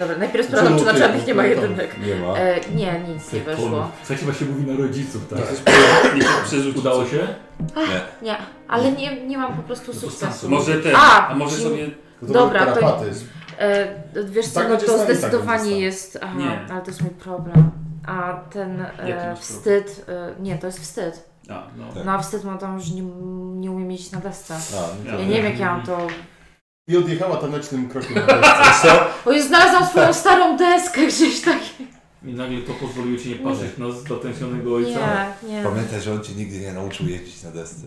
Dobra, najpierw sprawdzam, czy na czarnych nie ma jedynek.
Nie ma.
E, nie, nic nie weszło.
Słuchajcie, właśnie mówi na rodziców, tak? Udało
Udało
się?
Ach, nie, ale nie, nie mam po prostu sukcesu.
Może ten,
A,
a może
nie-
sobie-
To
Dobra,
był
to.
tarapatyzm.
E, wiesz co,
Tak
no
będzie
to
stał i tak
zdecydowanie
będzie
jest. Aha,
Nie.
ale to jest mój problem. A ten
Jaki
e,
masz
wstyd. E, nie, to jest wstyd.
A, no.
no a wstyd mam tam, że nie, nie umiem mieć na desce.
Tak. A, no
ja
to-
nie wiem, jak ja mam to.
Mhm.
I odjechała tanecznym krokiem. na desce.
O, ja znalazłam swoją
Tak.
starą deskę gdzieś tak.
I nagle to pozwoliło ci nie patrzeć na zatensionego ojca.
Nie, nie.
Pamiętaj, że on cię nigdy nie nauczył jeździć na desce.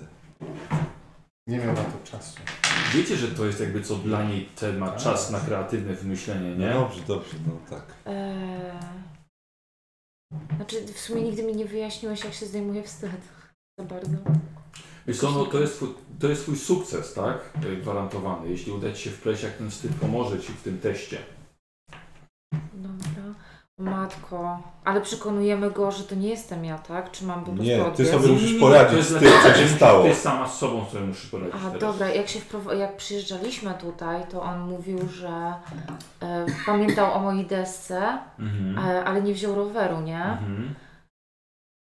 Nie miał na to czasu. Tak.
Wiecie, że to jest jakby co dla niej temat, czas na kreatywne wymyślenie, nie?
No dobrze, dobrze, no tak.
E,
Eee... Znaczy, w sumie nigdy mi nie wyjaśniłeś, jak się zdejmuje wstyd. Za bardzo.
Wiesz co, no to jest, twój, to jest twój sukces, tak? E, Gwarantowany. Jeśli uda ci się wpleść, jak ten wstyd pomoże ci w tym teście.
Dobra. Matko, ale przekonujemy go, że to nie jestem ja, tak? Czy mam po prostu
Nie, ty
odbiec?
sobie musisz
Nie,
poradzić
to jest
z tym,
dlatego,
co się
że
stało.
Ty sama z sobą sobie musisz poradzić
A
teraz.
dobra, jak się wprowo- jak przyjeżdżaliśmy tutaj, to on mówił, że e, pamiętał o mojej desce,
Mhm.
e, ale nie wziął roweru, nie?
Mhm.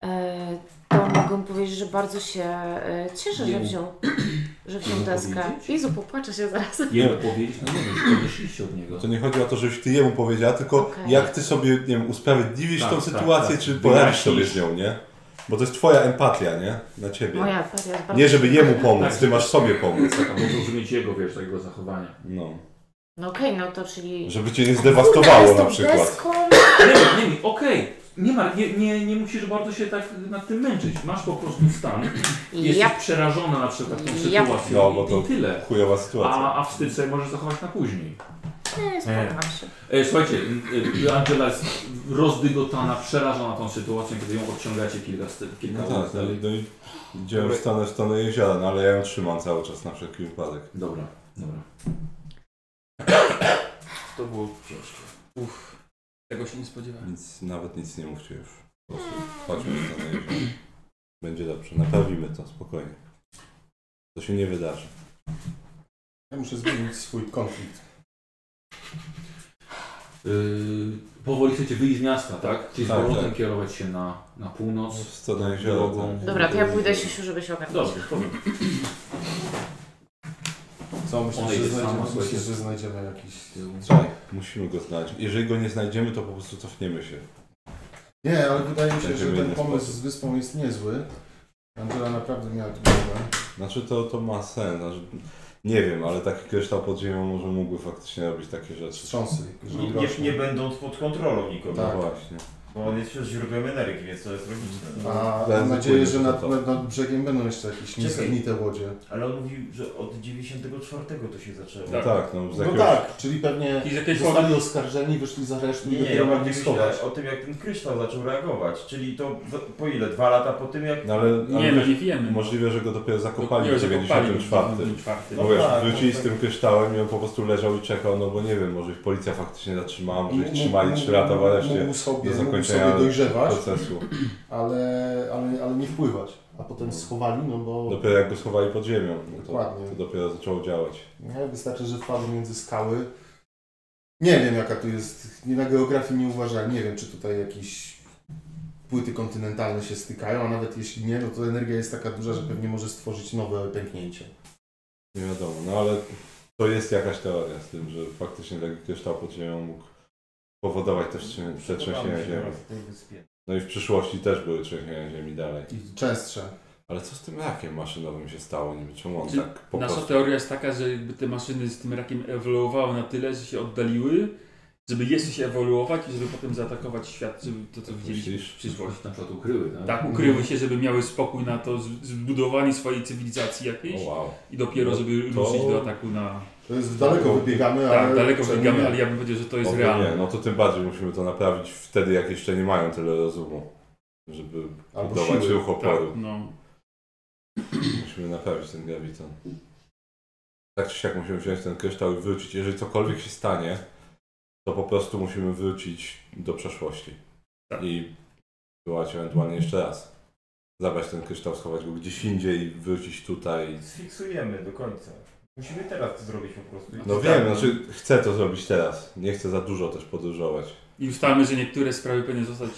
E, to mogę powiedzieć, że bardzo się e, cieszę, że
Jemu-
wziął, że wziął
Jemu
deskę.
powiedzieć?
Jezu, popłaczę się zaraz.
Jemu powiedzieć, no nie wiem, odeszliście od niego.
To nie chodzi o to, żebyś ty jemu powiedziała, tylko
Okej.
jak ty sobie, nie wiem, usprawiedliwisz
Tak,
tą
tak,
sytuację,
tak.
czy poradzisz
Wyjaśnisz.
sobie z nią, nie? Bo to jest twoja empatia, nie? Na ciebie.
Moja empatia jest bardzo-
Nie, żeby jemu pomóc,
Tak.
ty masz sobie pomóc.
Tak, albo zrozumieć jego, wiesz, tego zachowania.
No.
No okej, no to czyli...
Żeby cię nie zdewastowało na przykład.
Nie wiem, nie wiem, okej. Nie, ma, nie, nie, nie musisz bardzo się tak nad tym męczyć. Masz po prostu stan. Jesteś
Yep.
przerażona na przykład tą
Yep.
sytuacją
No, bo
i-
to
i tyle.
chujowa sytuacja.
A, a wstyd sobie możesz zachować na później.
Nie, spotkam się.
E, Słuchajcie, y, y, Angela jest rozdygotana, przerażona tą sytuacją, kiedy ją odciągacie kilka, st- kilka
No
ulic
tak, no,
dalej.
i- no i idziemy w stronę, w stronę jeziora, no ale ja ją trzymam cały czas na wszelki wypadek.
Dobra, dobra.
To było ciężkie. Uff, tego się nie spodziewałem.
Nic, nawet nic nie mówcie już. Po prostu chodźmy w stronę jeziora. Będzie dobrze, naprawimy to, spokojnie. To się nie wydarzy.
Ja muszę zmienić swój konflikt.
Yy, powoli chcecie wyjść z miasta, tak? Czyli z
Tak,
powrotem
tak. No,
kierować się na, na północ.
W stronę jeziora,
drogą.
tak.
Dobra, to ja pójdę się, żeby się ogarnąć.
Dobrze, powiem.
Co myślisz,
Ona
że
idzie
znajdziemy?
sama,
Myślisz,
słuchajcie.
że znajdziemy jakiś...
Słuchaj, musimy go znaleźć. Jeżeli go nie znajdziemy, to po prostu cofniemy się.
Nie, ale wydaje mi się,
Znajdziemy
że ten
inny
pomysł
sposób.
z wyspą jest niezły. Angela naprawdę miała tu problem.
Znaczy to, to ma sens. Znaczy, nie wiem, ale taki kryształ pod ziemią może mógłby faktycznie robić takie rzeczy.
Wstrząsy.
Nie, nie, nie będąc pod kontrolą nikogo.
Tak.
No właśnie.
Bo on jest przecież źródłem energii, więc to jest logiczne.
A mam nadzieję, że nad, nad, nad brzegiem będą jeszcze jakieś niesamowite łodzie.
Ale on mówił, że od 94 to się zaczęło.
No tak, no, z No jakiegoś- tak, czyli pewnie I z jakiejś zostali formy- oskarżeni, wyszli z aresztu i
Nie, nie,
dopiero
ja
mogli
bardziej
schować.
myślę o tym, jak ten kryształ zaczął reagować. Czyli to w- po ile? Dwa lata po tym, jak...
No ale, ale wiesz, Możliwe, że go dopiero zakopali
Nie,
w
zakopali
94.
w
No wiesz,
94.
wrócili z
No
tym
tak.
kryształem i on po prostu leżał i czekał, no bo nie wiem, może ich policja faktycznie zatrzymała, może ich
Mógł-
trzymali
mógł-
3 lata w areszcie
Mógł sobie,
do
mógł
zakończenia
sobie dojrzewać,
procesu.
Ale, ale, ale nie wpływać. A potem schowali, no bo
Dopiero jak go schowali pod ziemią, no to,
Dokładnie.
to dopiero zaczęło działać.
nie, wystarczy, że wpadł między skały. Nie wiem jaka tu jest, nie na geografii nie uważałem, nie wiem czy tutaj jakieś płyty kontynentalne się stykają, a nawet jeśli nie, no to energia jest taka duża, że pewnie może stworzyć nowe pęknięcie.
Nie wiadomo, no ale to jest jakaś teoria z tym, że faktycznie taki kryształ pod ziemią mógł powodować też trzę- przetrzęsienia
Przekopamy się
ziemi.
teraz w tej wyspie.
No i w przyszłości też były trzęsienia ziemi dalej.
I częstsze.
Ale co z tym rakiem maszynowym się stało? Nie wiem, czemu on
Czy
tak po
Znaczy, nasza
prostu...
teoria jest taka, że jakby te maszyny z tym rakiem ewoluowały na tyle, że się oddaliły, żeby jeszcze się ewoluować i żeby potem zaatakować świat, żeby to,
Tak,
co widzieliśmy w przyszłości.
Na przykład ukryły, tak?
Tak, ukryły się, żeby miały spokój na to, z- zbudowali swojej cywilizacji jakiejś i dopiero,
No
żeby
to-
ruszyć do ataku na...
To jest daleko wybiegamy,
tak,
ale
daleko
czemu
wybiegamy,
nie?
ale ja bym powiedział, że to jest
Oby
realne.
Nie, no to tym bardziej musimy to naprawić wtedy, jak jeszcze nie mają tyle rozumu, żeby
Albo
budować
siły.
ruch oporu.
Tak, no.
Musimy naprawić ten grawiton. Tak czy siak musimy wziąć ten kryształ i wrócić. Jeżeli cokolwiek się stanie, to po prostu musimy wrócić do przeszłości.
Tak.
I wywołać ewentualnie jeszcze raz. Zabrać ten kryształ, schować go gdzieś indziej, wrócić tutaj.
Sfiksujemy do końca. Musimy teraz to zrobić po prostu. I
No
tak.
wiem, znaczy chcę to zrobić teraz. Nie chcę za dużo też podróżować.
I ustalmy, że niektóre sprawy powinny zostać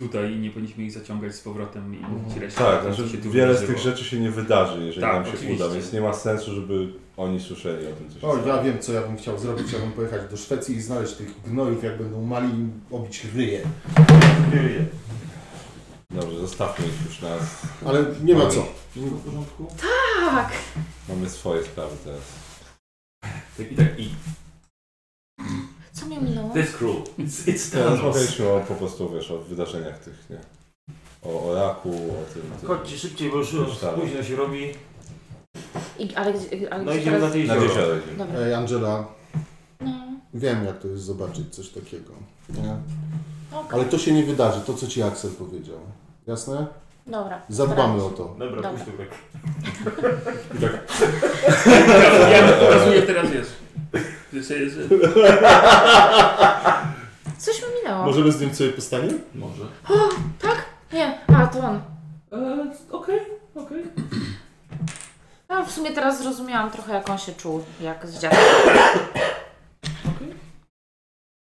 tutaj i nie powinniśmy ich zaciągać z powrotem i mówić resztę.
Tak,
tego, co
znaczy
się tu
wiele z
wydarzyło.
tych rzeczy się nie wydarzy, jeżeli
Tak,
nam się
oczywiście.
uda, więc nie ma sensu, żeby oni słyszeli o tym, co się
O,
stało.
ja wiem, co ja bym chciał zrobić. Ja bym pojechać do Szwecji i znaleźć tych gnojów, jak będą mali im obić ryje.
Ryje.
Dobrze, zostawmy ich już nas.
Ale nie ma co.
Wszystko w porządku?
Tak!
Mamy swoje sprawy teraz.
Tak i tak i.
Co mnie minęło?
cruel. It's, it's
No, Rozmawialiśmy o, po prostu, wiesz, o wydarzeniach tych, nie? O, o raku, o tym... tym
Chodźcie szybciej, bo już
kryształu.
późno się robi.
I, ale gdzie, ale
No
gdzie
idziemy
teraz...
na tej
Na
jezioro.
jezioro idziemy.
Dobra.
Ej, Angela.
No.
Wiem, jak to jest zobaczyć coś takiego. Nie?
Okej.
Ale to się nie wydarzy, to co ci Aksel powiedział. Jasne?
Dobra.
Zadbamy o to.
Dobra,
Dobra.
Dobra. pójdź tu.
Ja bym pokazuję teraz, wiesz. Że sobie jest...
Coś mi minęło.
Możemy z nim sobie postanie?
Może.
O, tak? Nie. A, to on.
Okej, okej.
A w sumie teraz zrozumiałam trochę, jak on się czuł, jak z dziadkiem.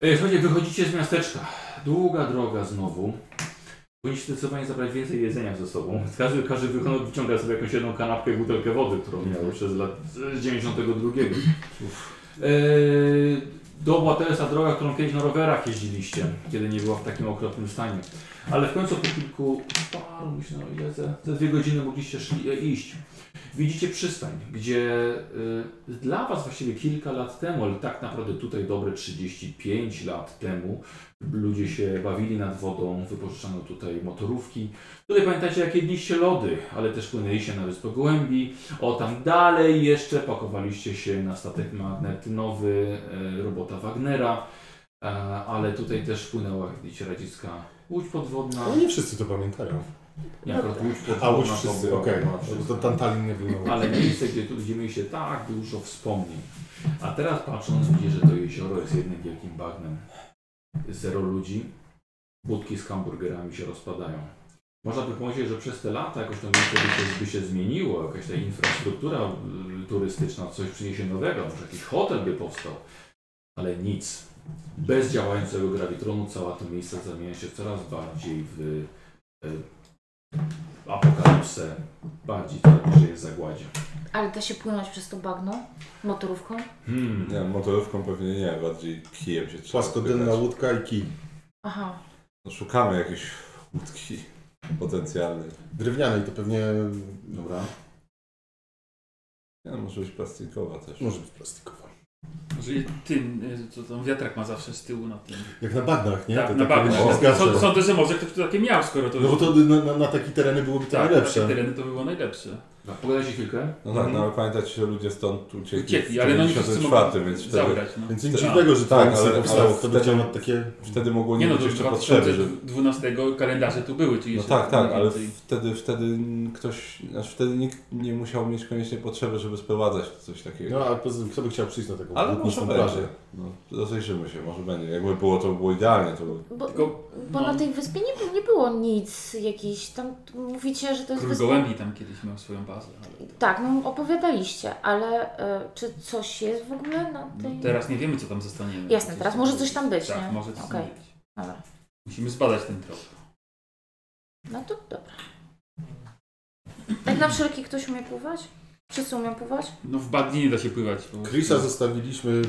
E, Słuchajcie, wychodzicie z miasteczka. Długa droga znowu. Powinniście zdecydowanie zabrać więcej jedzenia ze sobą. Każdy, każdy wykonał, wyciąga sobie jakąś jedną kanapkę i butelkę wody, którą miał przez lat z 92. E, do Błatelesa droga, którą kiedyś na rowerach jeździliście, kiedy nie była w takim okropnym stanie. Ale w końcu po kilku, paru, myślę, no ile, ze, ze dwie godziny mogliście szli, e, iść. Widzicie przystań, gdzie y, dla Was właściwie kilka lat temu, ale tak naprawdę tutaj dobre 35 lat temu, ludzie się bawili nad wodą, wypożyczano tutaj motorówki. Tutaj pamiętacie, jak jedliście lody, ale też płynęliście na Wyspę Gołębi. O, tam dalej jeszcze pakowaliście się na statek magnetynowy, y, robota Wagnera. E, ale tutaj też wpłynęła, jak widzicie, radziecka łódź podwodna.
No nie wszyscy to pamiętają. No
Nie,
tak.
akurat łódź podwodna
A łódź
to
wszyscy,
była-
okej. No, to Tantalin nie był.
Ale miejsce, gdzie tu ludzie mieliście tak dużo wspomnień. A teraz patrząc, widzicie, że to jezioro jest jednym wielkim bagnem. Zero ludzi, budki z hamburgerami się rozpadają. Można by pomyśleć, że przez te lata jakoś to miejsce by się, by się zmieniło, jakaś ta infrastruktura y, turystyczna coś przyniesie nowego, może jakiś hotel by powstał, ale nic. Bez działającego grawitronu całe to miejsce zamienia się coraz bardziej w y, apokalipsę, bardziej to że jest zagładzie.
Ale da się płynąć przez to bagno? Motorówką?
Hmm.
Nie, motorówką pewnie nie, bardziej kijem się trzeba
Płaskodenna
spychać.
łódka i kij.
Aha.
No, szukamy jakiejś łódki potencjalnej.
Drewnianej to pewnie...
Dobra.
Nie, no, może być plastikowa też.
Może być plastikowa.
Że tym, y, co tam wiatrak ma zawsze z tyłu na tym.
Jak na bagnach, nie?
Tak,
To
na
takie-
bagnach.
o,
Tak.
zgadza.
Sąd- Sądzę, że może ktoś tu takie miał, skoro to
No bo to
już...
na, na, na takie tereny byłoby to
Tak,
najlepsze.
takie tereny to było najlepsze. Mhm.
No, pogadajcie chwilkę.
No tak, no ale pamiętać, że ludzie stąd uciekli.
Uciekli,
w
ale no oni
94,
wszyscy mogli
więc wtedy, Tak.
zabrać, no.
Więc nic dziwnego, że to nic nie powstało. Kto by chciał na takie-
Wtedy mogło nie,
Nie no,
być
do
jeszcze potrzeby, że
2012 kalendarze tu były, czyli
No
jeszcze
tak, tak,
mniej
ale
więcej.
wtedy, wtedy ktoś, znaczy wtedy nikt nie musiał mieć koniecznie potrzeby, żeby sprowadzać coś takiego.
No, ale poza tym, kto by chciał przyjść na taką
ale
błotnistą
może
plażę?
będzie. No, rozejrzymy się, może będzie. Jakby było, to by było idealnie. To by...
Bo, bo
No.
na tej wyspie nie, nie było nic jakiś. Tam mówicie, że to jest
Król
wyspa.
Gołębi tam kiedyś miał swoją bazę, ale
Tak, no opowiadaliście, ale e, czy coś jest w ogóle na tej.
teraz nie wiemy, co tam zostanie.
Jasne, teraz może coś tam być,
Tak,
nie?
może coś
Okej.
tam być.
Dobra.
Musimy zbadać ten trop.
No to dobra. Jak na wszelki ktoś umie pływać? Wszyscy umieją pływać?
No w badnie nie da się pływać. po prostu.
Chrisa zostawiliśmy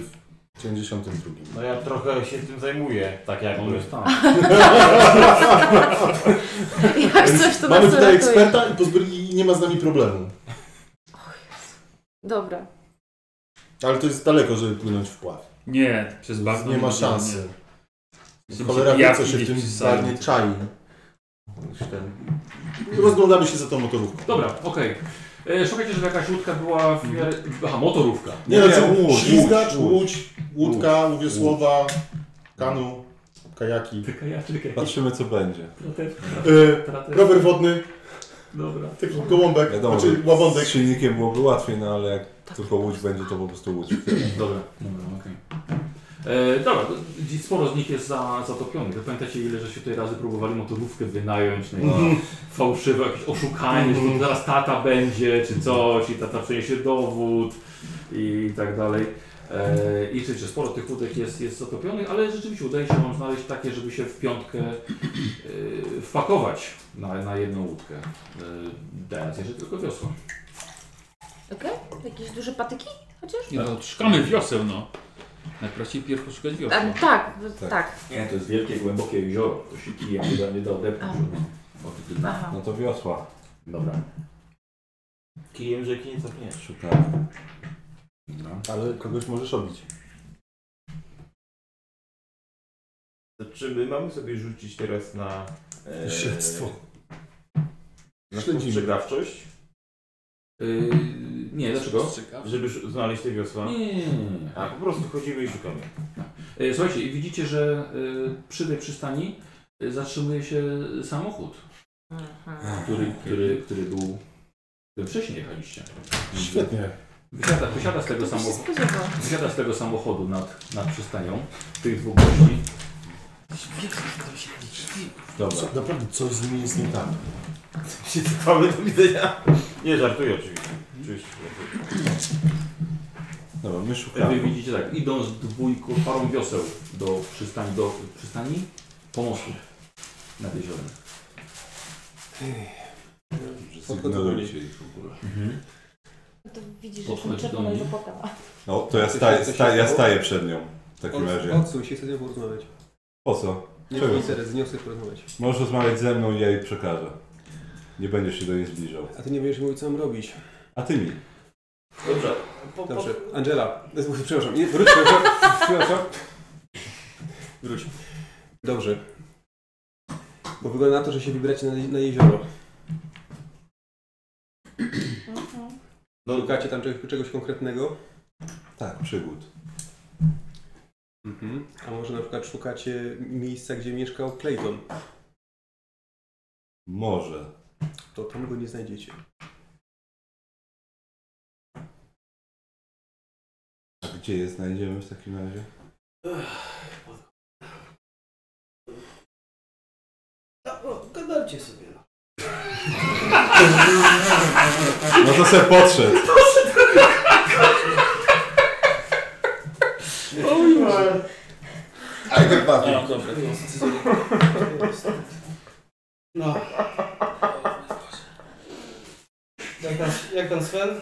w 92.
No ja trochę się tym zajmuję, tak jak
On jest tam.
Jak coś, to nas
Mamy tutaj
uratuje.
eksperta i, pozbyli, i nie ma z nami problemu.
Dobra.
Ale to jest daleko, żeby płynąć w pław.
Nie, przez bagno
Nie ma
nie
szansy.
nie.
Cholera wie,
Jak
co się w
idzie
tym
przez
bagnie
bagno.
czai. Rozglądamy się za tą motorówką.
Dobra, okej. E, Szukajcie, żeby jakaś łódka była w miarę... Aha, motorówka.
Nie, no, nie, nie łódź, ślizgacz, łódź, łódka, wiosłowa, kanu, kajaki.
Kajaczek.
Patrzymy, co będzie.
E, rower wodny.
Dobra.
Taki gołąbek,
Wiadomo,
znaczy
że
łabądek.
z silnikiem byłoby łatwiej, no ale jak tylko łódź będzie, to po prostu łódź.
Dobra. Tak. Dobra, okej. E, Dobra, to dziś sporo z nich jest za, zatopionych. To Pamiętacie ile żeście tutaj razy próbowali motorówkę wynająć, no.
Mhm.
fałszywe jakieś oszukanie, że to zaraz tata będzie, czy coś, i tata przyniesie dowód i tak dalej. E, I rzeczywiście sporo tych łódek jest, jest zatopionych, ale rzeczywiście udaje się wam znaleźć takie, żeby się w piątkę e, wpakować na, na jedną łódkę. E, dając jeszcze tylko wiosło.
Okej? Jakieś duże patyki? Chociaż?
Nie, no, szukamy wioseł, no. Najprościej pierw poszukać wioseł.
A, tak, bo- tak.
Nie, to jest wielkie, głębokie jezioro. To się kija nie da, nie da odepchnąć. od- od-
Aha.
No to wiosła.
Dobra.
Kijem rzeki nie cofniesz.
Szukamy.
No.
Ale kogoś możesz obić.
To czy my mamy sobie rzucić teraz na... E,
Śledztwo.
Na
Śledzimy.
spostrzegawczość?
Yy, nie, dlaczego?
Żeby sz- znaleźć te wiosła?
No Nie, nie, nie, nie, nie.
A po prostu chodzimy i szukamy.
E, Słuchajcie, i widzicie, że e, przy tej przystani e, zatrzymuje się samochód,
Mhm.
który, który, który był który wcześniej jechaliście.
Świetnie.
Wysiada, wysiada, z, tego
Kto by się
samochodu,
spodziewał?
wysiada z tego samochodu nad, nad przystanią, tych dwóch gości.
Dobra.
Co, naprawdę coś z nimi jest nie tak.
Się cofamy do widzenia. Nie, żartuję oczywiście. Oczywiście.
Dobra, my
Wy
szukamy.
widzicie tak, idą z dwójką, parą wioseł do przystani, do przystani pomostu nad jeziorem.
Że Zignorujcie ich No w ogóle.
No To widzisz, że
Podchodzi
jestem
do
czerwona i
mnie.
zapłakała.
No to ja staję, sta, ja staję przed nią w takim
Od,
razie.
odsuń się, chcę z nią porozmawiać.
Po co?
Nie
Czego?
mam interes, z nią chcę porozmawiać.
Możesz rozmawiać ze mną i ja jej przekażę. Nie będziesz się do niej zbliżał.
A ty nie będziesz mówił, co mam robić.
A ty mi.
Dobrze. Po, po,
Dobrze, Angela, przepraszam, nie, wróć, przepraszam, przepraszam. Wróć. Dobrze. Bo wygląda na to, że się wybieracie na, na jezioro.
Mhm.
No.
Szukacie tam czegoś, czegoś konkretnego?
Tak, przygód.
Mhm. A może na przykład szukacie miejsca, gdzie mieszkał Clayton?
Może.
To tam go nie znajdziecie.
A gdzie je znajdziemy w takim razie?
No, o, gadajcie sobie. No.
No to se podszedł. I got
A,
nothing.
dobra, to jest...
No. Jak tam, jak tam Sven?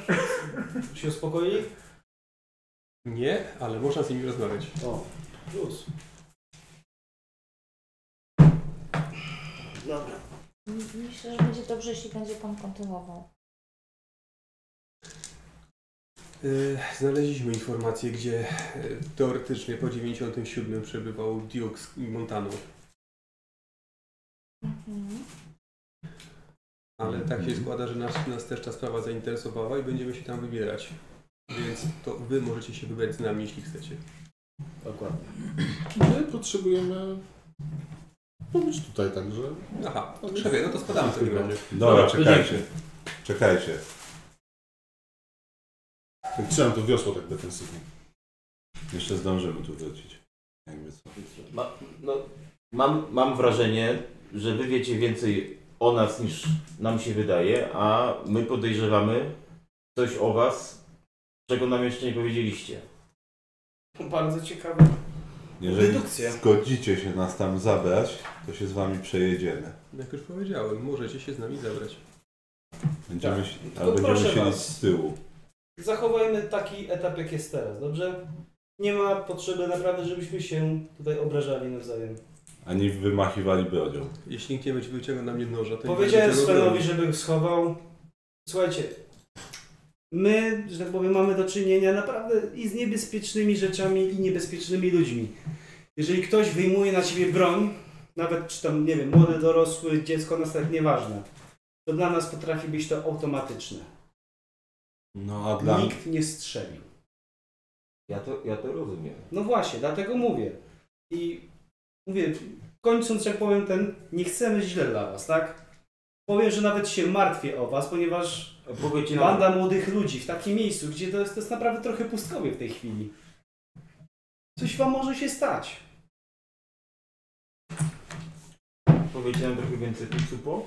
Czy się uspokoili?
Nie, ale można z nimi rozmawiać.
O, plus. Dobra.
Myślę, że będzie dobrze, jeśli będzie pan kontynuował.
Yy,
Y, Znaleźliśmy informację, gdzie y, teoretycznie po 97 przebywał Duke z Montaną, ale tak
Mhm.
się składa, że nas, nas też ta sprawa zainteresowała i będziemy się tam wybierać. Więc to wy możecie się wybrać z nami, jeśli chcecie.
Dokładnie.
My potrzebujemy pomóc tutaj, także...
Aha, to krzewie, no to spadamy w takim razie.
Dobra, czekajcie.
dzięki.
Czekajcie.
Chciałem to wiosło tak defensywnie.
Jeszcze zdążymy tu wrócić. Jakby co.
Ma, no, mam, mam wrażenie, że wy wiecie więcej o nas niż nam się wydaje, a my podejrzewamy coś o was, czego nam jeszcze nie powiedzieliście.
Bardzo ciekawe.
Jeżeli
Dedukcja.
zgodzicie się nas tam zabrać, to się z wami przejedziemy.
No Jak już powiedziałem, możecie się z nami zabrać.
Będziemy, się,
Tylko
ale będziemy
proszę
siedzieć
was.
z tyłu.
Zachowajmy taki etap, jak jest teraz, dobrze? Nie ma potrzeby naprawdę, żebyśmy się tutaj obrażali nawzajem.
Ani wymachiwali brodzią.
Jeśli nikt nie będzie wyciągał na mnie noża, to
Powiedziałem
nie będzie tego
Svenowi,
broni.
żeby schował. Słuchajcie, my, że tak powiem, mamy do czynienia naprawdę i z niebezpiecznymi rzeczami, i niebezpiecznymi ludźmi. Jeżeli ktoś wyjmuje na siebie broń, nawet czy tam, nie wiem, młody, dorosły, dziecko, nas tak nieważne, to dla nas potrafi być to automatyczne.
No a dla
Nikt nie strzeli.
Ja to, ja to rozumiem.
No właśnie, dlatego mówię. I mówię, kończąc, jak powiem, ten, nie chcemy źle dla was, tak? Powiem, że nawet się martwię o was, ponieważ
Powiedz nam-
banda młodych ludzi w takim miejscu, gdzie to jest, to jest naprawdę trochę pustkowie w tej chwili. Coś wam może się stać.
Powiecie nam trochę więcej po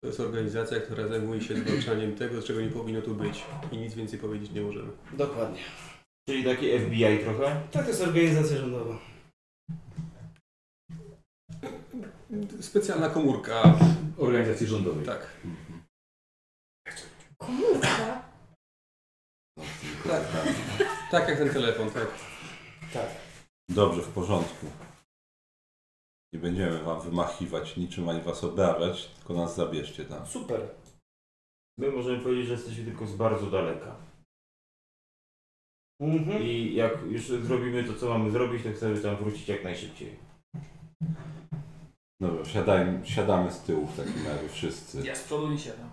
To jest organizacja, która zajmuje się zwalczaniem tego, czego nie powinno tu być. I nic więcej powiedzieć nie możemy.
Dokładnie.
Czyli takie FBI trochę?
Tak to jest organizacja rządowa.
Specjalna komórka.
Organizacji rządowej.
Tak.
Komórka?
Tak, tak jak ten telefon, tak.
Tak.
Dobrze, w porządku. Nie będziemy wam wymachiwać niczym ani was obrażać, tylko nas zabierzcie tam.
Super.
My możemy powiedzieć, że jesteśmy tylko z bardzo daleka.
Mhm.
I jak już zrobimy to, co mamy zrobić, to chcemy tam wrócić jak najszybciej.
Dobra, siadaj, siadamy z tyłu w takim razie wszyscy.
Ja z przodu nie siadam.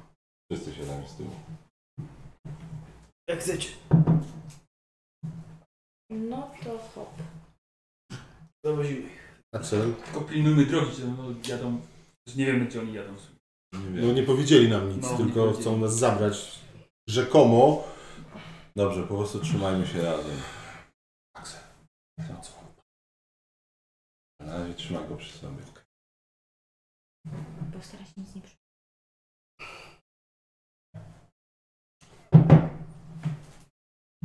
Wszyscy siadamy z tyłu.
Jak chcecie.
No to hop.
Zawozimy
A cel?
Tylko pilnujmy drogi, że no, jadą, że nie wiemy gdzie oni jadą.
No nie powiedzieli nam nic,
No, nie
tylko
powiedzieli.
chcą nas zabrać rzekomo.
Dobrze, po prostu trzymajmy się razem.
Aksel.
Na razie trzymaj go przy sobie.
Postara się nic nie przy...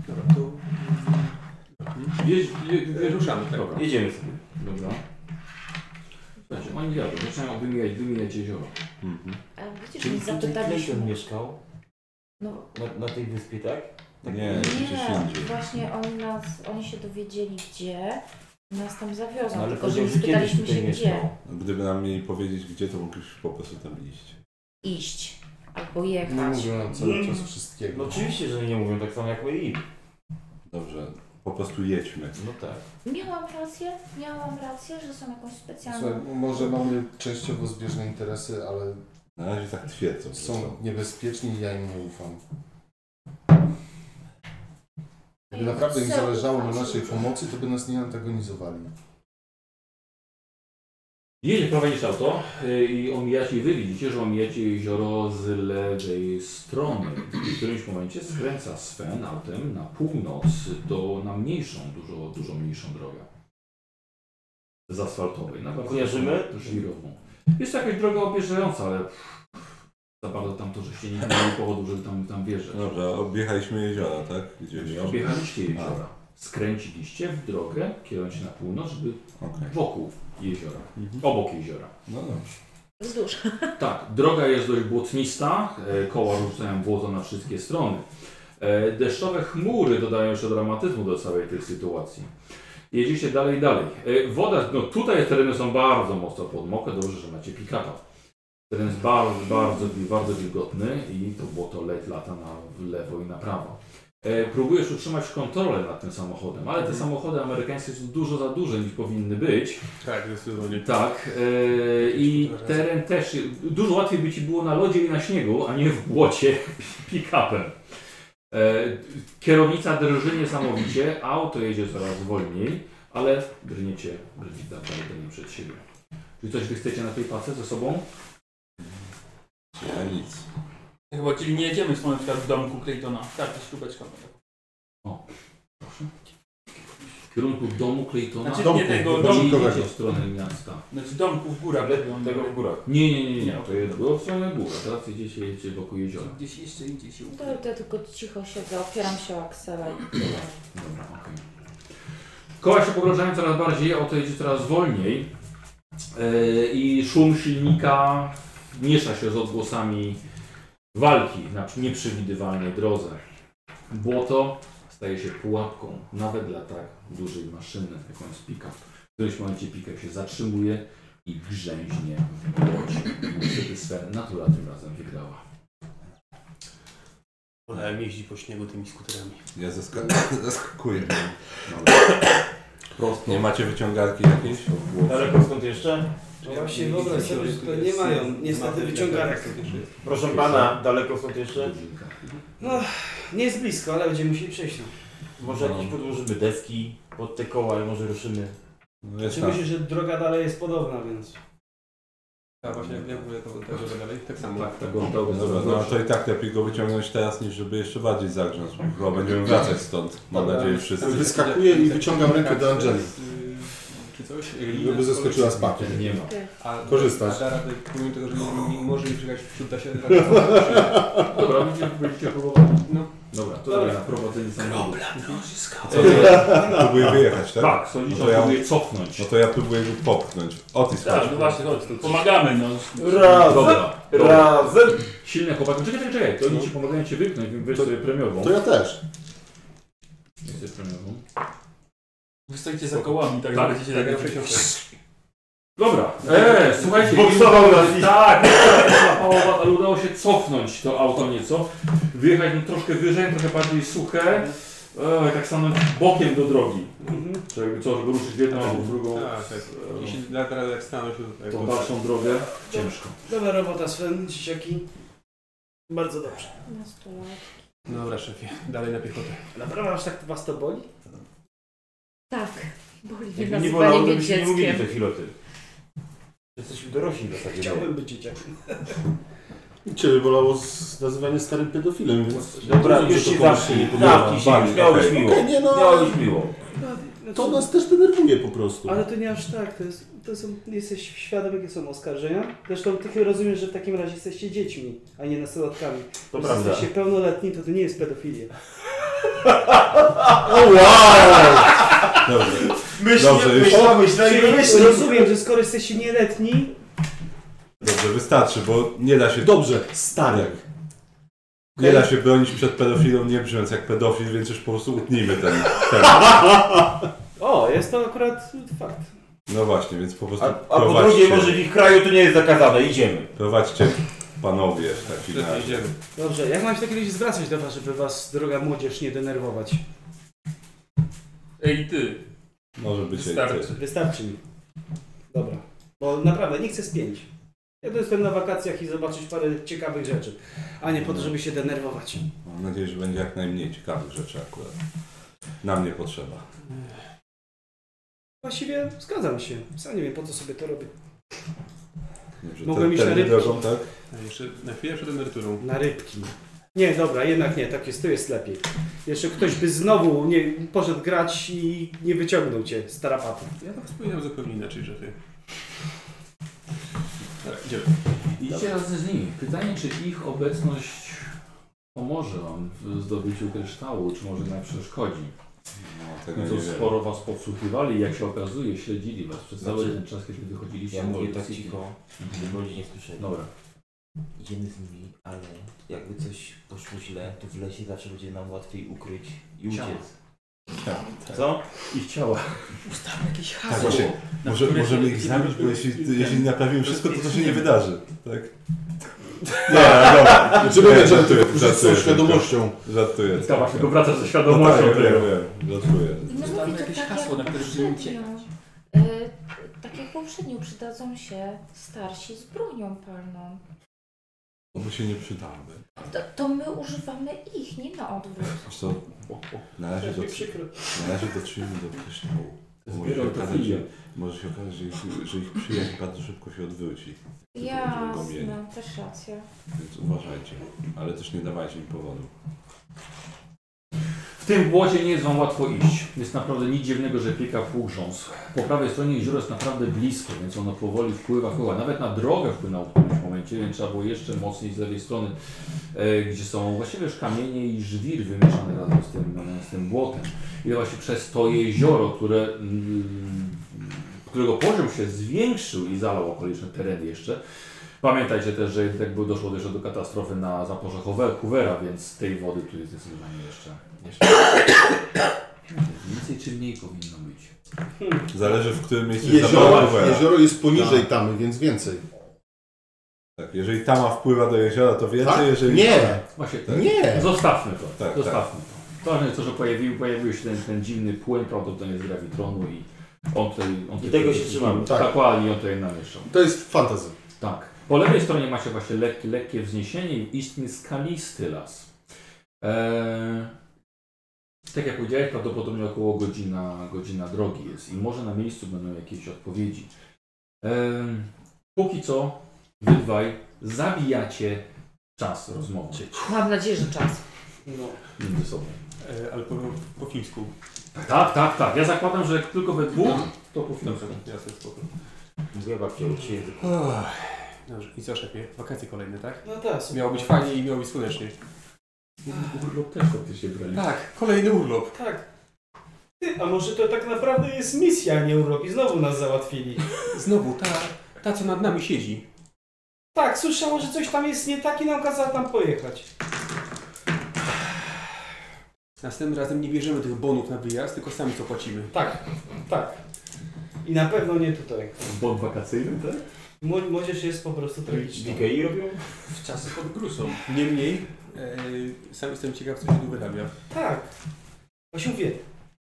Dobra, to... Jeźdź, je, ruszamy, tak.
Dobra.
Jedziemy sobie.
Dobra. Słuchajcie, oni jadą, zaczynają wymijać, wymijać jezioro.
Mhm.
E, widzisz,
Czyli
nie
tutaj
zapytaliśmy.
Clayton mieszkał?
No.
Na, na tej wyspie, tak? tak
Nie,
Nie, właśnie oni nas, oni się dowiedzieli gdzie, nas tam zawiozą,
No, ale
tylko że nie
powiedział, że kiedyś
spytaliśmy się
tutaj
gdzie
No, Gdyby nam mieli powiedzieć, gdzie to mogliśmy po prostu tam iść.
iść albo jechać.
no,
Mm.
wszystkiego.
tak? No oczywiście, że nie mówią tak samo jak my i.
Dobrze, po prostu jedźmy.
No tak.
Miałam rację, miałam rację, że są jakąś
Słuchaj,
specjalną...
może mamy częściowo zbieżne interesy, ale
Na razie tak twierdzą.
są niebezpieczni i ja im nie ufam. Gdyby
Ja
naprawdę im
chcę
zależało na
ufać.
naszej pomocy, to by nas nie antagonizowali.
Jedzie, prowadzisz auto y, i omijacie, i wy widzicie, że omijacie jezioro z lewej strony. W którymś momencie skręca Sven autem na północ do, na mniejszą, dużo, dużo mniejszą drogę. Z asfaltowej, na bardzo
Kojarzymy?
taką żwirową. Jest to jakaś droga objeżdżająca, ale za bardzo tam to, że się nie mieli powodu, żeby tam, tam wjeżdżać.
Dobrze, objechaliśmy jeziora, tak? Gdzieś.
Objechaliście
A,
jeziora. Skręciliście w drogę, kierując się na północ, żeby wokół jeziora, obok jeziora.
Mhm. No dobrze.
Wzdłuż.
Tak, droga jest dość błotnista, e, koła rzucają błoto na wszystkie strony. E, Deszczowe chmury dodają jeszcze dramatyzmu do całej tej sytuacji. Jedziecie dalej, dalej. E, Woda, no tutaj tereny są bardzo mocno podmokłe, dobrze, że macie pick-upa. Teren jest bardzo, bardzo, bardzo wilgotny i to błoto le- lata na lewo i na prawo. E, próbujesz utrzymać kontrolę nad tym samochodem, ale te
Mhm.
samochody amerykańskie są dużo za duże niż powinny być.
Tak, zdecydowanie.
Tak. E, I teren też. Dużo łatwiej by ci było na lodzie i na śniegu, a nie w błocie pick-upem. E, kierownica drży niesamowicie, auto jedzie coraz wolniej, ale drgniecie, drgniecie dalej przed siebie. Czy coś wy chcecie na tej pace ze sobą?
Ja nic.
Chyba czyli nie jedziemy z tą na przykład w domku Claytona. Tak, Kartę śrubeczką.
O, proszę. W kierunku domu Claytona.
Znaczy nie tego, domku.
idziecie w stronę miasta.
Znaczy domku w górach.
Tego w górach. Nie, nie, nie, nie. To jest było w stronę góra. Teraz idziecie, jedziecie wokół jeziora.
Gdzieś jeszcze indziej się
To, to tylko cicho siedzę, opieram się o Axela i
Dobra, okej. Koła się pogrążają coraz bardziej, auto jedzie coraz wolniej e, i szum silnika miesza się z odgłosami walki na nieprzewidywalnej drodze. Błoto staje się pułapką nawet dla tak dużej maszyny, jaką jest pick-up. W którymś momencie pick-up się zatrzymuje i grzęźnie w błocie. Niestety sfer natura tym razem wygrała.
Ona jeździ po śniegu tymi skuterami.
Ja zaskak- zaskakuję.
No,
Prosto. Nie macie wyciągarki jakiejś?
Daleko skąd jeszcze?
No właśnie, wyobraź sobie, że to nie mają niestety wyciągarek.
Proszę pana, daleko skąd jeszcze?
No, nie jest blisko, ale będziemy musieli przejść. No.
Może jakieś podłożymy deski pod te koła i może ruszymy.
No
No
Znaczy,
Czy Znaczy,
tak.
tak.
myślisz, że droga dalej jest podobna, więc...
A właśnie, jak mówię, to tak, że dalej? Tak
No,
samo.
Tak, Dobra, no to i tak lepiej go wyciągnąć teraz, niż żeby jeszcze bardziej zagrząc. Chyba będziemy wracać stąd, mam nadzieję wszyscy.
Wyskakuję i wyciągam rękę do Angeli.
y, Czy coś?
Żeby zeskoczyła z pakiem.
Nie ma.
A,
Korzystasz.
A Dara, tutaj, pomimo tego, że nie, nie może jej czekać wśród da się...
Dobra, będziecie- będziecie próbowali.
No.
Dobra, to dobra, na prowadzenie samochodu.
Co to ja próbuję wyjechać, tak?
Tak, sądzicie, no próbuje cofnąć.
No to ja próbuję go popchnąć. Otis,
Tak,
chodź.
no właśnie, chodź, tu pomagamy, no.
Dobra, dobra.
Razem!
Silne chłopaki. No Czekaj, czekaj, czekaj, to oni ci pomagają cię wypchnąć, więc weź sobie premiową.
To ja też.
Weź sobie premiową.
Wystoicie za kołami, tak,
Tak,
tak, się
tak,
tak,
ja
tak,
Dobra, eee,
E,
słuchajcie.
Boksował nas i-
Tak, złapało was, ale udało się cofnąć to auto nieco. Wyjechać no, troszkę wyżej, trochę bardziej suche. Eee, tak samo bokiem do drogi. Czy jakby co, żeby ruszyć w jedną albo w drugą. E,
Tak, tak. Jeśli Dara jak stanął się tutaj...
Tą dalszą drogę ciężko.
Dobra robota, Sven, dzieciaki. Bardzo dobrze.
Dobra, szefie, dalej na piechotę.
Naprawdę aż tak was to boli?
Tak, boli mnie
Jakby nie
nazywanie
bolało, to
mnie
byśmy nie mówili
dzieckiem.
te chwilę o tym. Jesteśmy dorośli w zasadzie.
Chciałbym być dzieciakiem.
Ciebie bolało z nazywanie starym pedofilem, więc...
Dobra,
Rozumiem,
już
że
się
to komuś
zamknij,
nie podoba.
zamknij się,
Walcz,
miałeś
okej.
miło.
Okej, nie no,
Miałeś miło.
To nas też denerwuje po prostu.
Ale to nie aż tak, to, jest, to są, jesteś świadom, jakie są oskarżenia. Zresztą ty chyba rozumiesz, że w takim razie jesteście dziećmi, a nie nastolatkami.
To
Jeśli
prawda.
jesteście pełnoletni, to to nie jest pedofilia.
O, wow!
Dobrze.
Myśl,
Dobrze, już-
myśl, myśl,
Czyli
myśl.
rozumiem, że skoro jesteście nieletni,
Dobrze, wystarczy, bo nie da się...
Dobrze,
Tak.
stary.
Nie da się bronić przed pedofilą, nie brzmiąc jak pedofil, więc już po prostu utnijmy ten... ten.
o, jest to akurat fakt.
No właśnie, więc po prostu
A, a po drugie, może w ich kraju to nie jest zakazane, idziemy.
Prowadźcie, panowie, w takim razie.
Dobrze, jak mam się tak kiedyś zwracać do was, żeby was, droga młodzież, nie denerwować?
Ej, ty.
Może być ej,
Wystarczy.
ty.
Wystarczy mi. Dobra. Bo naprawdę, nie chcę spięć. Ja tu jestem na wakacjach i zobaczyć parę ciekawych rzeczy, a nie po to, żeby się denerwować.
Mam nadzieję, że będzie jak najmniej ciekawych rzeczy akurat. Nam nie potrzeba.
Właściwie zgadzam się. Sam nie wiem, po co sobie to robię.
Dobrze,
Mogłem
te-
iść na
tędy
rybki.
drogą, tak?
A jeszcze na chwilę przed emeryturą.
Na rybki. Nie, dobra, jednak nie, tak jest, tu jest lepiej. Jeszcze ktoś by znowu nie, poszedł grać i nie wyciągnął cię z tarapaty.
Ja to wspominam zupełnie inaczej, szefie. Dobra, idziemy.
Idźcie razem z nimi. Pytanie, czy ich obecność pomoże wam w zdobyciu kryształu, czy może nam przeszkodzi.
No, tego
Co
nie wiem.
sporo was podsłuchiwali, jak się okazuje, śledzili was przez cały
Znaczy,
ten czas, kiedy wychodziliście.
Ja
z Mhm.
mówię tak
policji.
cicho, żeby ludzie nie słyszeli.
Dobra.
Idziemy z nimi, ale jakby coś poszło źle, to w lesie zawsze będzie nam łatwiej ukryć i uciec.
Ciała.
Tak,
Co?
I chciała.
Ustalmy jakieś
Tak,
hasło.
właśnie.
na
Może,
które
możemy
się-
ich zabić, bo jeśli, jeśli naprawimy wszystko, to to się nie wydarzy. Tak?
Nie,
dobra.
Czy będę
Nie,
żartuję,
żartuję,
że z tą
żartuję,
świadomością.
Żartuję.
Tak, właśnie, tylko wracasz ze świadomością
No tak, wiem,
tego.
wiem, żartuję.
Mówię to
jakieś
tak
hasło,
jak
na które będziemy
poprzednio. Y, Tak jak poprzednio przydadzą się starsi z bronią palną.
No Bo się nie przydały.
To, to my używamy ich, nie na odwrót.
Wiesz co, należy do, należy do czynu do kryształu. Bo Może się
Zbieram to
okazać, że,
chwilę.
może się okazać, że ich, że ich przyjaźń bardzo szybko się odwróci. Będziemy go mieli.
Jasne, też racja.
Więc uważajcie, ale też nie dawajcie im powodu.
W tym błocie nie jest wam łatwo iść. Jest naprawdę nic dziwnego, że pieka półgrząs. Po prawej stronie jezioro jest naprawdę blisko, więc ono powoli wpływa, wpływa. Nawet na drogę wpłynęło w którymś momencie, więc trzeba było jeszcze mocniej z lewej strony, e, gdzie są właściwie już kamienie i żwir wymieszane razem z tym, z tym błotem. I właśnie przez to jezioro, które, mm, którego poziom się zwiększył i zalał okoliczne tereny jeszcze, Pamiętajcie też, że tak było doszło też do katastrofy na zaporze Howe- Hoovera, więc tej wody tu jest zdecydowanie jeszcze. jeszcze. Więcej czy mniej powinno być.
Zależy w którym miejscu
Jezioro,
zabawa.
jezioro jest poniżej
Tak.
tamy, więc więcej.
Tak, jeżeli tama wpływa do jeziora, to więcej,
Tak?
jeżeli...
Nie.
Właśnie
tak.
Nie.
Zostawmy to.
Tak,
Zostawmy to. Ważne jest to, że pojawił, pojawił się ten, ten dziwny płyn, prawdopodobnie z gravitronu i on tutaj... On
I tego się trzymamy.
Tak.
Tak.
Dokładnie, on tutaj namieszał.
To jest fantazy.
Tak. Po lewej stronie macie właśnie lekkie, lekkie wzniesienie i istny skalisty las. Eee, tak jak powiedziałeś, prawdopodobnie około godzina, godzina drogi jest i może na miejscu będą jakieś odpowiedzi. Em, póki co wy dwaj zabijacie czas rozmowy No.
Mam nadzieję, że czas.
między sobą.
E, ale po, po chińsku.
Tak, tak, tak. Ja zakładam, że jak tylko we dwóch, to po chwili.
Dobrze, jasne, spoko.
Zjeba cię uczy język.
Ach, Dobrze, i co szefie? Wakacje kolejne, tak?
No tak.
Miało być fajnie i miało być słonecznie.
Urlop też faktycznie brali.
Tak, kolejny urlop.
Tak. Ty, a może to tak naprawdę jest misja, a nie urlop i znowu nas załatwili.
Znowu ta, ta co nad nami siedzi.
Tak, słyszałam, że coś tam jest nie tak i nam kazała tam pojechać.
Następnym razem nie bierzemy tych bonów na wyjazd, tylko sami co płacimy.
Tak, tak. I na pewno nie tutaj.
Bon wakacyjny, tak?
Mo- Młodzież jest po prostu tragiczna.
DKI robią?
W czasy pod grusą. Niemniej, e, sam jestem ciekaw, co się tu wyrabia.
Tak. Właśnie mówię,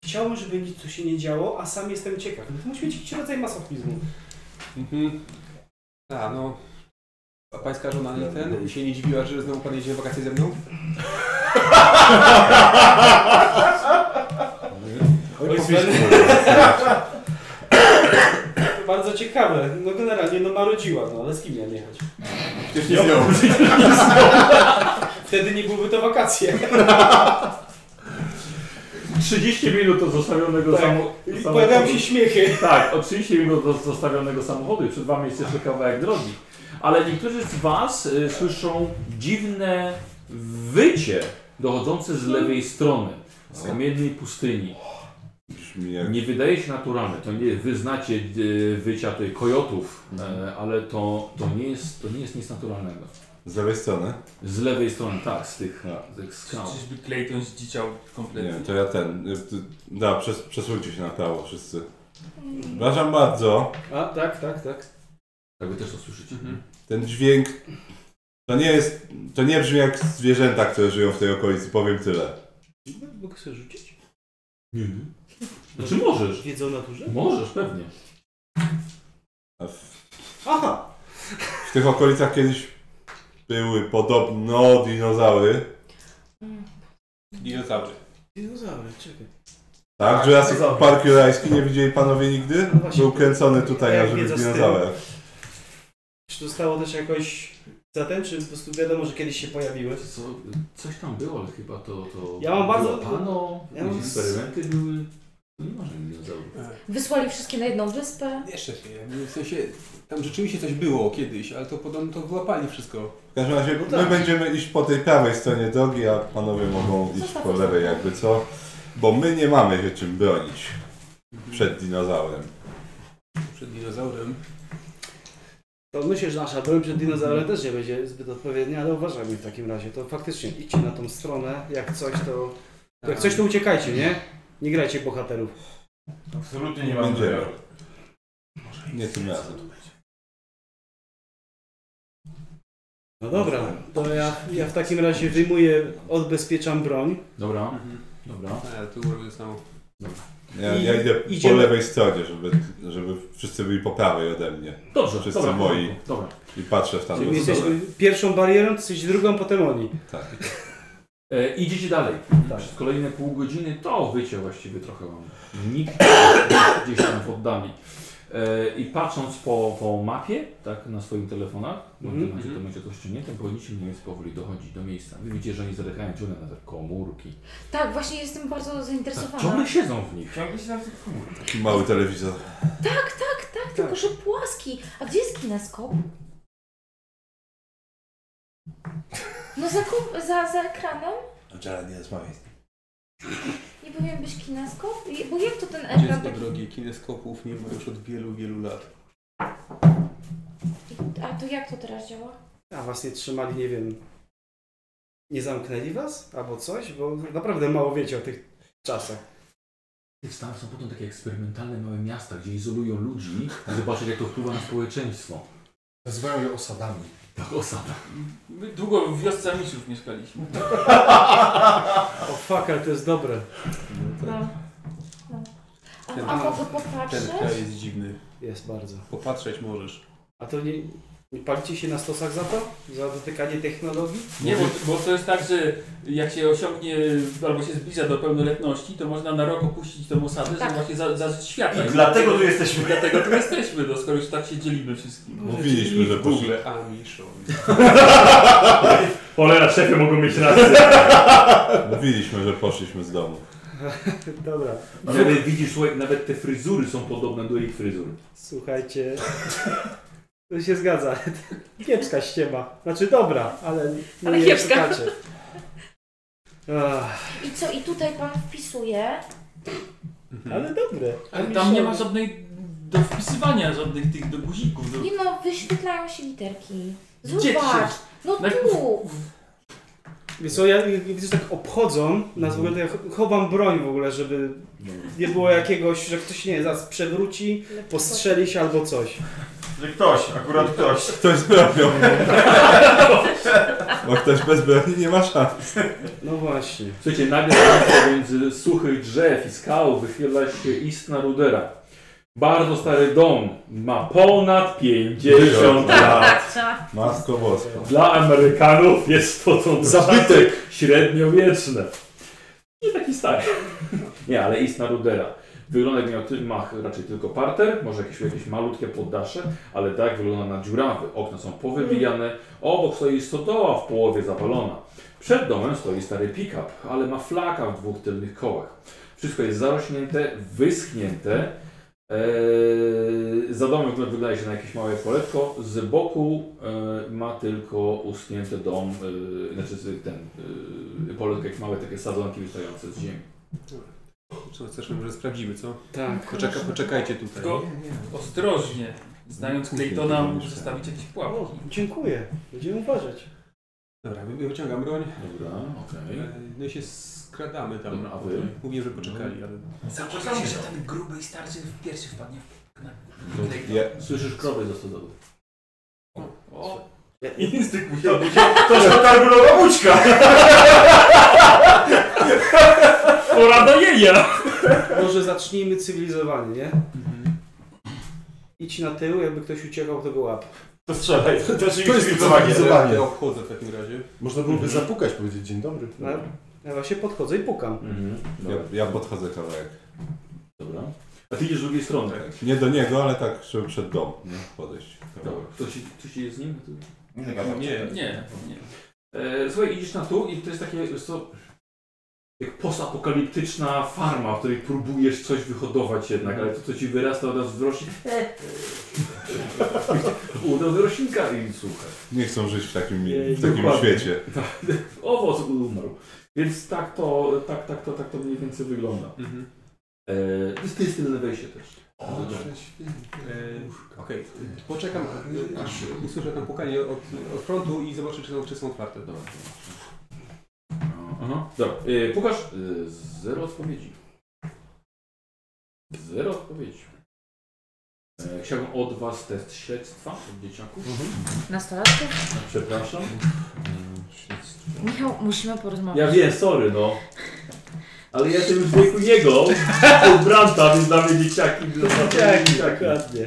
chciałbym, żeby nic tu się nie działo, a sam jestem ciekaw. No to musi być jakiś rodzaj masochizmu.
Mhm. A, no. A pańska żona nie ten się nie dziwiła, że znowu pan jedzie w wakacje ze mną?
Oj, Bardzo ciekawe. No generalnie, no marudziła, no ale z kim ja nie jechać?
Przecież nie z nią.
Wtedy nie byłyby to wakacje.
30 minut od zostawionego
Tak.
samo-
I
samochodu.
pojawiają się śmiechy.
Tak, o 30 minut od zostawionego samochodu i przed wami jest jeszcze kawałek drogi. Ale niektórzy z was y, słyszą dziwne wycie dochodzące z lewej strony, z kamiennej pustyni. Nie wydaje się naturalne. To nie wy znacie y, wycia tutaj kojotów, e, ale to, to, nie jest, to nie jest nic naturalnego.
Z lewej strony?
Z lewej strony, tak, z tych, z tych skał.
Czyżby Clayton zdziczał
Nie,
kompletnie?
to ja ten. y, ty- Da, przes, przesuńcie się na prawo wszyscy. Przepraszam bardzo.
A, tak, tak, tak.
Tak wy też to słyszycie.
Ten dźwięk. To nie jest. To nie brzmi jak zwierzęta, które żyją w tej okolicy, powiem tyle.
Mogę sobie rzucić?
Nie. Znaczy możesz.
Wiedzą o naturze?
Możesz, pewnie.
A w,
Aha!
w tych okolicach kiedyś były podobno dinozaury.
Dinozaury.
Dinozaury, czekaj.
Tak, Jurassic Park Jurajski nie widzieli panowie nigdy?
No właśnie.
Był kręcony tutaj na
Jak
żywych
wiedza z tyłu.
dinozaurach.
Czy to stało też jakoś zatem, czy po prostu wiadomo, że kiedyś się pojawiły?
Co, coś tam było, ale chyba to... to
Ja mam bardzo-
Pano,
Ja mam-
eksperymenty były... No nie ma żadnych dinozaurów.
Wysłali wszystkie na jedną wyspę.
Nie, szefie, w sensie tam rzeczywiście coś było kiedyś, ale to podobno to wyłapali wszystko.
W każdym razie
No
my
tak.
będziemy iść po tej prawej stronie drogi, a panowie mogą iść po lewej jakby co. Bo my nie mamy się czym bronić przed dinozaurem.
Przed dinozaurem.
To myślę, że nasza broń przed dinozaurem też nie będzie zbyt odpowiednia, No, ale uważajmy w takim razie. To faktycznie idźcie na tą stronę, jak coś to... Jak coś to uciekajcie, nie? Nie grajcie bohaterów.
Absolutnie nie mam Będziemy. zamiaru.
Nie tym razem.
No dobra, to ja, ja w takim razie wyjmuję, odbezpieczam broń.
Dobra,
Mhm.
dobra.
Ja tu robię samo.
Ja,
I
ja idę
idziemy-
po lewej stronie, żeby, żeby wszyscy byli po prawej ode mnie.
Dobrze,
Wszyscy
dobra,
moi.
dobra.
I patrzę w no
Czyli
tamtą
my jesteśmy
stronę.
pierwszą barierą, jesteś drugą, potem oni.
Tak.
E, idziecie dalej.
Tak.
Przez kolejne pół godziny to wycie właściwie trochę wam. Nikt gdzieś tam w oddali. E, I patrząc po, po mapie, tak, na swoich telefonach, bo mm
Mhm.
macie to macie to czy nie, ten powinniście mniej więcej powoli dochodzić do miejsca. Wy widzicie, że oni zarykają ciągle na te komórki.
Tak, właśnie jestem bardzo
Tak,
zainteresowana.
ciągle siedzą w nich.
Ciągle się na tych komórkach.
Taki mały telewizor.
Tak, tak, tak, tylko że płaski. A gdzie jest kineskop? No za, ku- za, za ekranem?
No, Jared nie rozmawiaj.
Nie powinien być kineskop? I- Bo jak to ten ekran
Dziecko
taki...
drogie, kineskopów nie ma już od wielu, wielu lat.
A to jak to teraz działa?
A was nie trzymali, nie wiem, nie zamknęli was albo coś, bo naprawdę mało wiecie o tych czasach.
W Stanach są potem takie eksperymentalne małe miasta, gdzie izolują ludzi, żeby zobaczyć jak to wpływa na społeczeństwo.
Nazywają je osadami.
Tak, osada.
My długo w wiosce Amishów mieszkaliśmy.
O fuck, ale to jest dobre.
No. no.
Ten-
A, a mogę popatrzeć?
Ten kraj jest dziwny.
Jest bardzo.
Popatrzeć możesz.
A to nie, nie palicie się na stosach za to? Za dotykanie technologii?
Nie, bo, bo to jest tak, że jak się osiągnie albo się zbliża do pełnoletności, to można na rok opuścić tą osadę, żeby właśnie za- zażyć świata.
I dlatego tu jesteśmy.
Dlatego tu jesteśmy, no, skoro już tak się dzielimy wszystkim.
Mówiliśmy, że
w Google.
Amiszon.
Cholera, szefy mogą mieć rację.
Mówiliśmy, że poszliśmy z domu.
Dobra.
Ale widzisz, słuchaj, nawet te fryzury są podobne do ich fryzur.
Słuchajcie, to się zgadza. Kiepska ściema. Znaczy dobra, ale nie
Ale kiepska.
szukacie. Ach,
I co, i tutaj pan wpisuje?
Mhm. ale dobre.
Ale tam nie ma żadnej do wpisywania, żadnych tych do guzików. Do...
Nie no, wyświetlają się literki.
Gdzie
Zobacz!
się-
No
Na-
tu!
Wiesz co, ja widzisz, tak obchodzą nas w ogóle, to ja ch- chowam broń w ogóle, żeby nie było jakiegoś, że ktoś, nie wiem, zaraz przewróci, postrzeli się albo coś.
Że ktoś, akurat ktoś.
Ktoś z bronią. Bo ktoś bez broni nie ma szans.
No właśnie.
Słuchajcie, nagle między suchych drzew i skał wychyla się istna rudera. Bardzo stary dom. Ma ponad 50 lat.
Masko bosko.
Dla Amerykanów jest to są zabytek średniowieczne. Nie taki stary. Nie, ale istna rudera. Wygląda jak miał ty- ma raczej tylko parter, może jakieś, jakieś malutkie poddasze, ale tak wygląda na dziurawy. Okna są powybijane, obok stoi stodoła w połowie zawalona. Przed domem stoi stary pick-up, ale ma flaka w dwóch tylnych kołach. Wszystko jest zarośnięte, wyschnięte. Eee, za domem wygląda- wygląda się na jakieś małe poletko. Z boku e, ma tylko uschnięte dom, e, znaczy z- ten e, poletko, jakieś małe takie sadzonki wystające z ziemi.
Co chcesz, że sprawdzimy, co?
Tak.
Poczeka, poczekajcie tutaj.
Tylko ostrożnie, znając Claytona, mógł zostawić jakieś pułapki.
O, dziękuję. Będziemy uważać.
Dobra, wy- wyciągam broń.
Dobra, okej.
E, No i się skradamy tam.
Dobra, a wy?
Mówię, że poczekali, ale...
Zapoznam się, że ten gruby i starszy pierwszy wpadnie w
Ja,
Słyszysz krowy za stodoły.
O!
Instynkt musiał być. To jest targulowa bućka.
Pora do jenia!
Może zacznijmy cywilizowanie, nie? Idź na tył, jakby ktoś uciekał, to go łap.
To strzelaj. To jest
To jest
cywilizowanie.
cywilizowanie.
Ja obchodzę w takim razie.
Można byłoby zapukać, powiedzieć dzień dobry.
No, ja właśnie podchodzę i pukam.
ja, ja podchodzę kawałek.
Dobra. A ty idziesz z drugiej strony. Tak.
Nie do niego, ale tak, żeby przed dom nie? podejść.
Dobra. Ktoś, ktoś jest z nim? Tu?
Nie gadam.
Nie, nie.
E, słuchaj, idziesz na tu i to jest takie, wiesz co, jak postapokaliptyczna farma, w której próbujesz coś wyhodować jednak, ale to co ci wyrasta od razu e, wyrośnie. Uda do roślinka i słuchaj.
Nie chcą żyć w takim,
Nie,
w takim
dokładnie. Tak.
świecie.
Owoc umarł. Więc tak to, tak, tak, to, tak to mniej więcej wygląda.
Mhm.
E, to jest to jest tylne wejście też.
O, e, Okej, poczekam, e, aż usłyszę tam pukanie od, od frontu i zobaczę, czy są, czy są otwarte. Dobra.
Y, Aha. Dobra, e, pukasz e, zero odpowiedzi. Zero odpowiedzi. E, Chciałbym od Was test śledztwa od dzieciaków.
Nastolatków?
Przepraszam.
Michał, musimy porozmawiać.
Ja wiem, sorry no. Ale ja jestem już w wieku jego, od Branta, więc dla mnie dzieciaki. dla mnie
Dzieciaki,
dzieciaki.
dokładnie.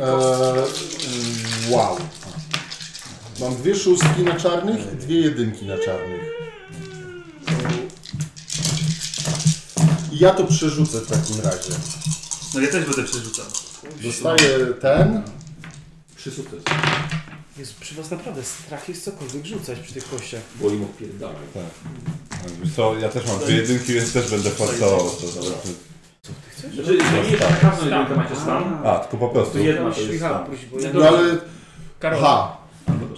Eee, E, wow. Mam dwie szóstki na czarnych i dwie jedynki na czarnych. I ja to przerzucę w takim razie.
No ja też będę przerzucał.
Dostaję ten.
Trzy sukcesy.
Jest przy was naprawdę strach jest cokolwiek rzucać przy tych kościach.
Bo im odpierdala.
Tak. Wiesz Co, ja też mam dwie jedynki, więc też będę forsował to. Zobaczmy.
Znaczy, nie jest tak każdą jedynkę macie stan.
A, tylko po prostu.
To jedna to jest stan.
No
No
Ha.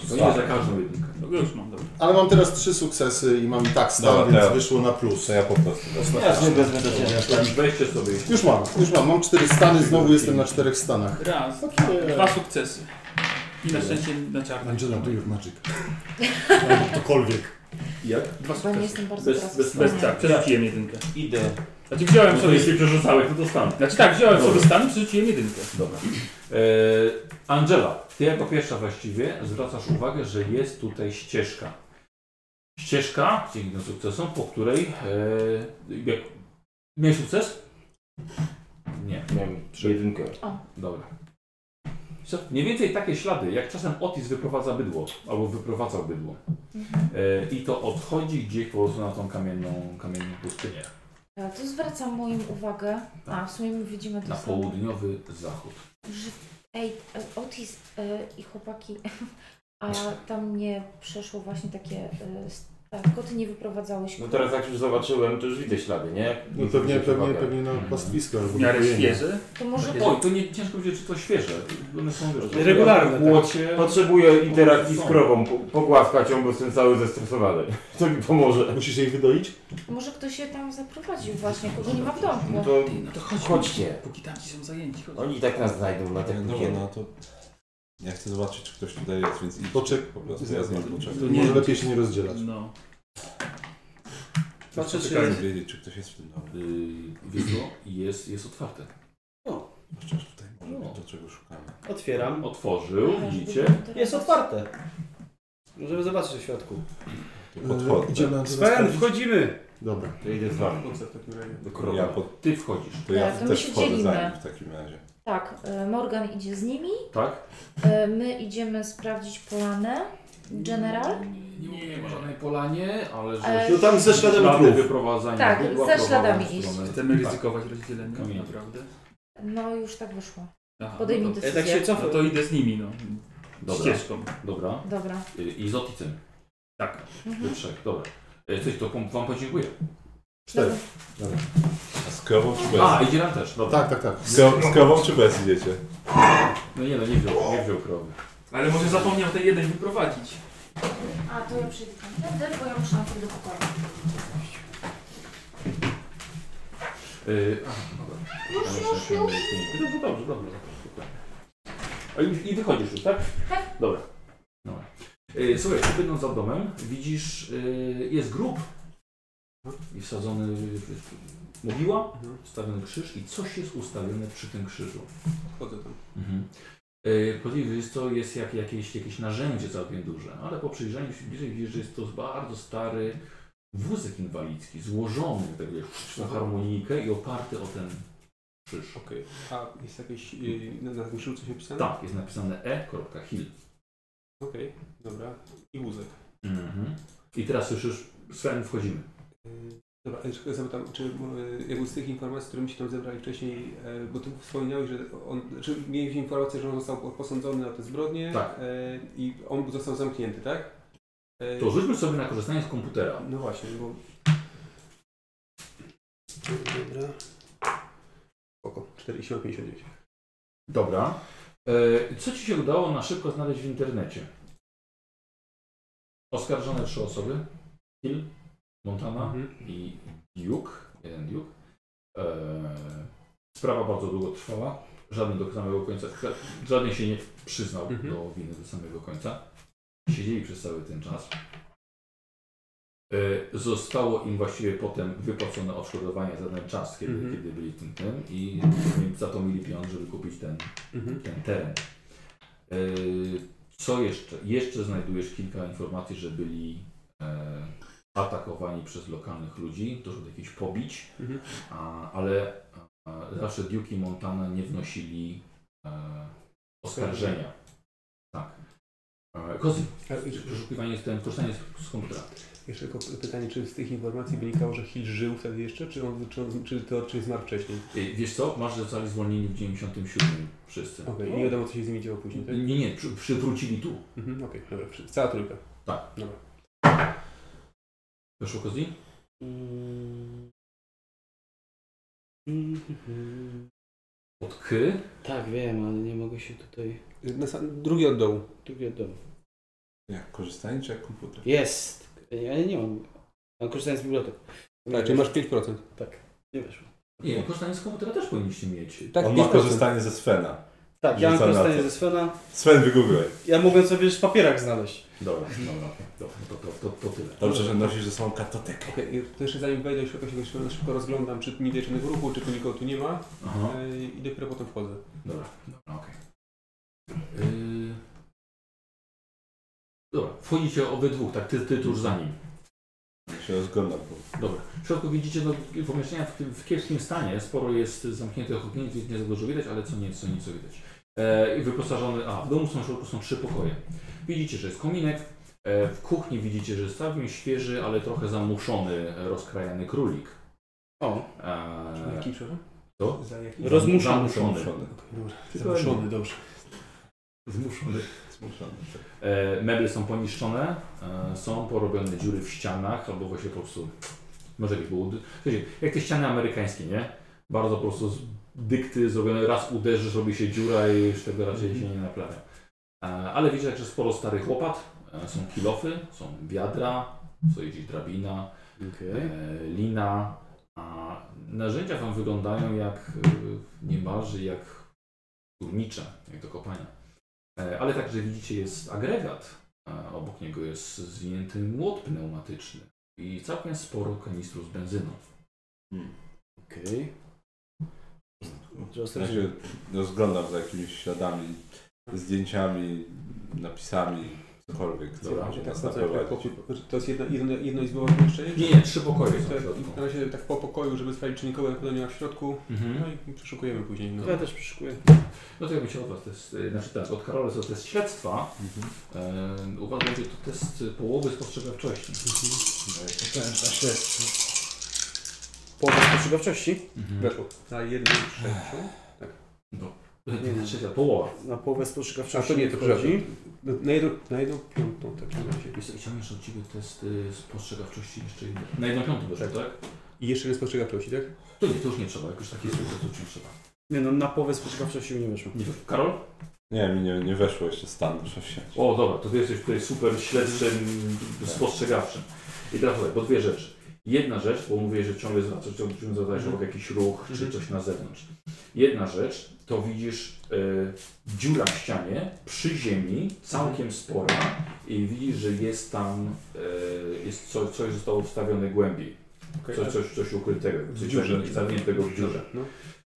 To nie za każdą jedynkę.
No już mam, dobra.
Ale mam teraz trzy sukcesy i mam i tak stan,
Dobra, to
więc
ja-
wyszło na plus.
ja po prostu wezmę.
Ostatecznie.
Ja wezmę do siebie.
Tak, Weźcie sobie.
Już mam, już mam. Mam cztery stany, znowu jestem na czterech stanach.
Raz, dwa sukcesy. I na szczęście na czarno.
Angela, do your magic. Albo ktokolwiek.
Jak?
Dwa
Bo nie jestem bardzo
Bez,
teraz
bez,
w stanie.
bez
Mhm.
tak, przerzuciłem jedynkę.
Idę.
Znaczy wziąłem
No to
sobie...
jeśli przerzucałeś, to dostanę.
Znaczy tak, wziąłem
Dobra.
sobie stan, przerzuciłem jedynkę.
Dobra. E, Angela, ty jako pierwsza właściwie zwracasz uwagę, że jest tutaj ścieżka. Ścieżka, dzięki sukcesom, po której... E, jak, miałeś sukces? Nie.
Miałem jedynkę.
O.
Dobra. Co? Mniej więcej takie ślady, jak czasem Otis wyprowadza bydło, albo wyprowadzał bydło. E, I to odchodzi gdzieś po prostu na tą kamienną, kamienną pustynię.
Ja tu zwracam moim uwagę. A, w sumie my widzimy to
Na
samo.
południowy zachód.
Że, ej, e, Otis e, i chłopaki, a tam nie przeszło właśnie takie... e, s- a koty nie wyprowadzałeś.
No teraz jak już zobaczyłem, to już widzę ślady, nie?
No pewnie, pewnie, pewnie na
Mhm.
pastwisko albo
W miarę
wypojenie.
świeże?
To może...
Oj, to nie ciężko będzie, czy to świeże. One są wiesz,
Regularne.
w Młocie.
Potrzebuję interakcji z
Są.
krową. Po- Pogławka ciągle jestem cały zestresowany. To mi pomoże.
Musisz jej wydoić?
Może ktoś się tam zaprowadził właśnie, kogo nie ma w domu.
No to,
Ty, no to chodźmy.
chodźcie.
Póki tamci są zajęci, chodźmy.
Oni i tak nas znajdą na
No
tym
Dobra,
no.
no to... Ja chcę zobaczyć, czy ktoś tutaj jest, więc idź. po prostu, ja znam poczek.
To nie- Może lepiej się nie rozdzielać.
No.
Patrzę, czy jest... wiedzieć, czy ktoś jest w tym domu.
Y, Wiesz co? Jest, jest otwarte.
Chociaż tutaj może być to, czego szukamy.
Otwieram.
Otworzył, widzicie?
Jest otwarte. Możemy zobaczyć w środku.
Podchodzę.
Sven, wchodzimy!
Dobra.
To idę
No,
z wami.
Do krowa.
Ja pod...
Ty wchodzisz.
To ja
Tak, to my
też
się
wchodzę za
dzielimy.
nim w takim razie.
Tak, e, Morgan idzie z nimi,
Tak?
e, my idziemy sprawdzić polanę. General?
Nie, nie ma żadnej polanie, ale że...
E, No tam ze śladami
ślady
krów.
wyprowadzania
Tak,
bydła
ze
prowadzą
śladami
w
iść.
stronę-
Chcemy
tak.
ryzykować rozdzielenie,
Kamienia.
naprawdę.
No już tak wyszło.
Aha,
Podejmij
no to-
decyzję.
Ja tak się cofam. No to idę z nimi, no.
Dobra.
Ścieżką.
Dobra.
Dobra.
Y, I z Oticem.
Tak.
Mhm.
Wy trzech, dobra. Y, Coś, to pom- wam podziękuję.
Cztery.
Dobra.
A z krową czy bez?
A, idzie nam też, dobra.
Tak, tak, tak.
Z, kro... z krową czy bez idziecie?
No nie, no nie wziął, nie wziął krowy.
Ale może zapomniał tej jednej wyprowadzić.
A to ja przyjdę tamtędy, bo ja muszę na chwilę do pokoju.
Y, a, dobra. Ja myślę, że- Dobrze, dobrze, dobrze. A i, I wychodzisz już, tak?
Tak.
Dobra. Dobra. E, Słuchaj, idąc za domem, widzisz, e, jest grób i wsadzony w- w- mogiła,
Mhm.
ustawiony krzyż i coś jest ustawione przy tym krzyżu.
Wchodzę tam.
Mhm. E, Podejrzewam, że jest to jest jak, jakieś, jakieś narzędzie całkiem duże, no ale po przyjrzeniu się bliżej widzisz, że jest to bardzo stary wózek inwalidzki, złożony tak wiesz, na harmonijkę i oparty o ten krzyż.
Okej. A jest jakieś yy, na na tym szybu coś napisane?
Tak, jest napisane e.hill.
Okej, dobra. I wózek.
Mhm. I teraz słyszysz, Sven, wchodzimy.
Yy, Dobra, ale czekaj, zapytam, czy yy, jakby z tych informacji, które mi się tam zebrali wcześniej, yy, bo ty wspominałeś, że on, czy mieliśmy informację, że on został posądzony na te zbrodnie
Tak.
yy, i on został zamknięty, tak? Yy,
To rzućmy sobie na korzystanie z komputera.
No właśnie, bo... Dobra. Oko, 4 i siła 59.
Dobra. E, Co ci się udało na szybko znaleźć w internecie? Oskarżone trzy osoby. Hill, Montana
Mhm.
i Duke. Jeden Duke. E, sprawa bardzo długo trwała. Żaden do samego końca, żaden się nie przyznał
Mhm.
do winy do samego końca. Siedzieli przez cały ten czas. E, Zostało im właściwie potem wypłacone odszkodowanie za ten czas, kiedy,
Mhm.
kiedy byli tym, tym i za to mieli pieniądze, żeby kupić ten,
Mhm.
ten teren. E, Co jeszcze? Jeszcze znajdujesz kilka informacji, że byli e, atakowani przez lokalnych ludzi, doszło do jakichś pobić,
Mhm.
a, ale a, zawsze Duke i Montana nie wnosili e, oskarżenia. Tak. E, Kozy, przeszukiwanie jest ten, korzystanie z, z komputera.
Jeszcze tylko pytanie, czy z tych informacji wynikało, że Hill żył wtedy jeszcze, czy, on, czy, on, czy to czy zmarł wcześniej?
Ej, E, Wiesz co, masz zostali zwolnieni w 97 wszyscy. No.
Okej, i nie wiadomo, co się z nimi działo później, tak?
Nie, nie, przy, przywrócili tu.
Mhm, okej, dobra, przy- cała trójka.
Tak.
Dobra.
Weszło Kozi? Od K?
Tak, wiem, ale nie mogę się tutaj...
Na sam, drugi od dołu.
Drugi od domu.
Jak korzystanie czy jak komputer?
Jest! Ja nie mam. Mam korzystanie z bibliotek.
Tak, czyli masz 5%.
Tak, nie weszło.
Nie, korzystanie z komputera No też powinniście mieć.
Tak,
On ma korzystanie ze Svena.
Tak, ja mam
Rzucam na
korzystanie
to.
ze Svena.
Sven, wygooglaj.
Ja mogę sobie w papierach znaleźć.
Dobra,
dobra. To, to, to, to tyle.
Dobrze, że nosisz ze sobą kartotekę.
Okej, i to jeszcze zanim wejdę, szybko się szybko, szybko rozglądam, czy nie widzę żadnego ruchu, czy tu nikogo tu nie ma.
Aha.
E, I dopiero potem wchodzę. E,
Dobra, dobra, okej. Yy... Dobra, wchodzicie obydwóch, tak, ty, ty tuż za nim.
Ja się rozglądam.
Dobra. W środku widzicie no, pomieszczenia w, tym- w kiepskim stanie. Sporo jest zamkniętych okien, więc nie za dużo widać, ale co nieco, nieco widać. E, I wyposażony, a w domu są w środku są trzy pokoje. Widzicie, że jest kominek. E, w kuchni widzicie, że jest całkiem świeży, ale trochę zamuszony, e, rozkrajany królik.
O.
E,
Jaki, przepraszam?
To?
Za jaki?
Rozmuszony.
Zamuszony. Okej, dobra. Zamuszony, dobrze.
Zmuszony.
Zmuszony, tak.
E, meble są poniszczone, e, są porobione dziury w ścianach, albo właśnie po prostu, może jakieś było, słuchajcie, jak te ściany amerykańskie, nie? Bardzo po prostu z dykty zrobione, raz uderzysz, robi się dziura i już tego raczej się nie naprawia. E, ale widzicie także sporo starych łopat, e, są kilofy, są wiadra, co jeździ drabina, e, lina, a narzędzia wam wyglądają jak, e, niemalże jak górnicze, jak do kopania. E, Ale także widzicie, jest agregat. E, Obok niego jest zwinięty młot pneumatyczny i całkiem sporo kanistrów z benzyną.
Okej.
Ja się rozglądam za jakimiś śladami, zdjęciami, napisami, cokolwiek, co
Dobra,
może
tak
nas
wchodzę, jak tak
naprowadzić.
pokój, to jest jedno, jedno, jedno izbowe pomieszczenie?
Nie, nie, trzy pokoje są
To
w środku.
Na razie tak po pokoju, żeby sprawdzić, czy nikogo pewnie nie ma w środku.
Mhm.
No i przeszukujemy później. No.
Ja też przeszukuję.
No to jakby się od Was test, e, znaczy tak, od Karola to test śledztwa. E, U Was będzie to test e, połowy spostrzegawczości. E,
Ten, a śledztwo. Połowa spostrzegawczości?
Mhm.
Weszło. Na jedną trzecią? Tak.
No.
Nie, nie.
Trzecia połowa.
Na połowę
A
spostrzegawczości
to nie, to przepraszam.
wchodzi.
No, Na jedną, na jedną piątą w takim razie.
Jest jeszcze od Ciebie test
y,
e, spostrzegawczości jeszcze jeden. Na jedną piątą wyszło, tak?
I jeszcze jest spostrzegawczości, tak?
To nie, to już nie trzeba, jak już taki jest, to już nie trzeba.
Nie no, na połowę spostrzegawczości mi nie weszło.
Nie weszło. Karol?
Nie, mi nie, nie weszło jeszcze stan, muszę wsiąść.
O, dobra, to ty jesteś tutaj super śledczym, spostrzegawczym. I teraz tak, bo dwie rzeczy. Jedna rzecz, bo mówię, że ciągle zwracasz, ciągle zadajesz
Mhm.
obok jakiś ruch czy coś na zewnątrz. Jedna rzecz, to widzisz e, dziura w ścianie przy ziemi,
Mhm.
całkiem spora i widzisz, że jest tam e, jest coś, coś zostało wstawione głębiej.
Okej,
coś,
a-
coś, coś ukrytego,
W
coś
dziurze.
zamkniętego w dziurze.
No.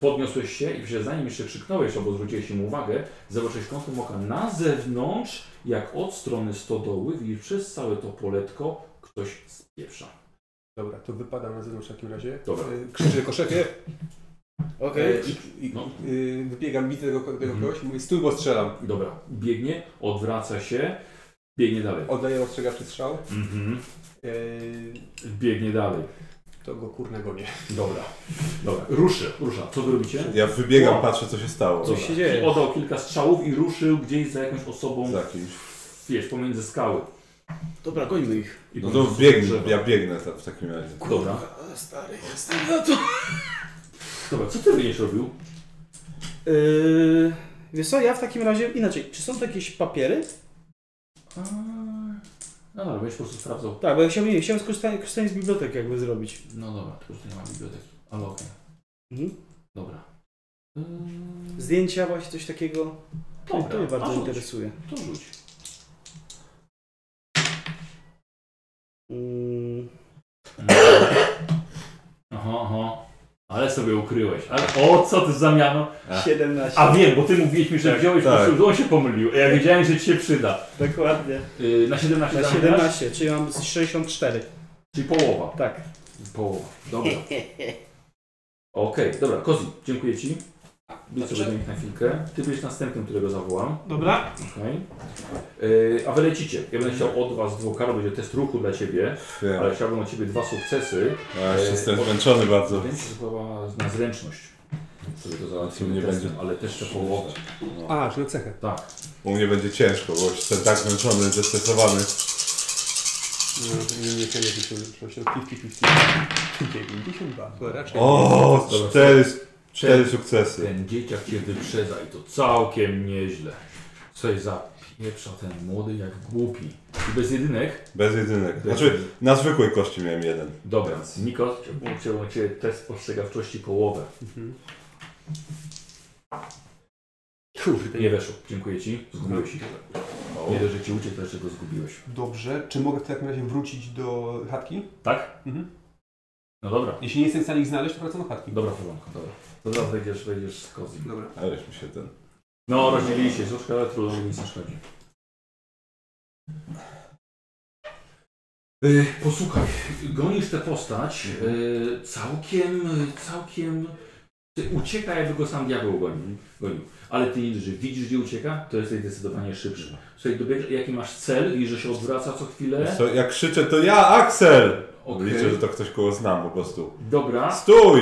Podniosłeś się i przecież zanim jeszcze krzyknąłeś albo zwróciłeś im uwagę, zobaczyłeś kątem oka na zewnątrz, jak od strony stodoły widzisz przez całe to poletko ktoś spieprza.
Dobra, to wypadam na zewnątrz w takim razie.
Dobra.
E, Krzyczę tylko szefie.
Okej.
E, I, i
No.
y, wybiegam, widzę tego, tego kogoś i mówię stój, bo strzelam.
Mhm. Dobra, biegnie, odwraca się, biegnie dalej.
Oddaję ostrzegawczy strzał.
Mhm.
E,
Biegnie dalej.
to go kurna gonię.
Dobra, dobra, ruszy, rusza. Co wy robicie?
Ja wybiegam,
Wow.
patrzę co się stało.
Dobra. I Oddał kilka strzałów i ruszył gdzieś za jakąś osobą,
Za kimś.
wiesz, pomiędzy skały.
Dobra, gońmy ich.
I
No
po
to
prostu
biegnę,
drzewa.
ja biegnę za- w takim razie.
Dobra.
A, Stary, jestem na to.
No Dobra, co ty będziesz robił?
Yy, wiesz co, ja w takim razie inaczej. Czy są tu jakieś papiery?
No dobra, będziesz po prostu sprawdzał.
Tak, bo ja chciałem, nie, chciałem skorzystanie, korzystanie z biblioteki jakby zrobić.
No dobra, to już nie ma biblioteki, ale okej.
Mhm.
Dobra. Yy.
Zdjęcia właśnie, coś takiego. To,
Dobra,
to mnie
a
bardzo
rzuć.
interesuje.
To rzuć.
Mm,
sobie ukryłeś. Ale o co ty zamiano?
A. 17.
A wiem, bo ty mówiłeś mi, że
Tak,
wziąłeś
tak.
tak. po prostu, on się pomylił. A ja wiedziałem, że ci się przyda.
Dokładnie.
Y, na 17
Na
zamiast?
17, czyli mam 64.
Czyli połowa.
Tak.
Połowa. Dobra. Okej, dobra, Kozi, dziękuję Ci. Być sobie do nich na chwilkę. Ty byś następnym, którego zawołam.
Dobra.
Okej. Yy, a wy lecicie. Ja będę chciał od Was dwóch kar, będzie test ruchu dla Ciebie,
Wiem.
ale chciałbym od Ciebie dwa sukcesy.
Ja jeszcze
Yy,
jestem
bo-
zmęczony bardzo.
Więc chyba na zręczność. Sobie to załatwimy
Nie
nie testem,
będzie.
ale też te połowę.
A, czyli cechę.
Tak.
U mnie będzie ciężko, bo już jestem tak zmęczony, zestresowany.
Nie, nie, nie, nie, nie, nie,
O,
Dobra,
cztery,
słuchaj.
cztery
Ten-
sukcesy.
Ten dzieciak cię wyprzedza i to całkiem nieźle. Coś za pieprza ten młody jak głupi. I bez jedynek?
Bez jedynek. Znaczy, na zwykłej kości miałem jeden.
Dobra, Niko, chciałbym- chciałbym cię test postrzegawczości połowę.
Mhm.
Kurde. Nie weszło, dziękuję ci. Zgubiłeś ich.
No.
Nie dość, że ci uciekł, to jeszcze go zgubiłeś.
Dobrze, czy mogę w takim razie wrócić do chatki?
Tak?
Mhm.
No dobra.
Jeśli nie jestem w stanie ich znaleźć, No to wracam do chatki.
Dobra, porządku, dobra. Dobra, wejdziesz, wejdziesz z kozy.
Dobra.
Ależ mi się ten...
No, rozdzielili się troszkę, ale trudno, nic nie szkodzi. Y, Posłuchaj, gonisz tę postać y, całkiem, całkiem... Ty ucieka, jakby go sam diabeł gonił. gonił. Ale ty, że widzisz, gdzie ucieka, to jesteś zdecydowanie szybszy. Słuchaj, dobiegasz, jaki masz cel, widzisz, że się odwraca co chwilę.
Co, jak krzyczę, to ja, Aksel!
Okej.
Liczę, że to ktoś koło znam po prostu.
Dobra.
Stój!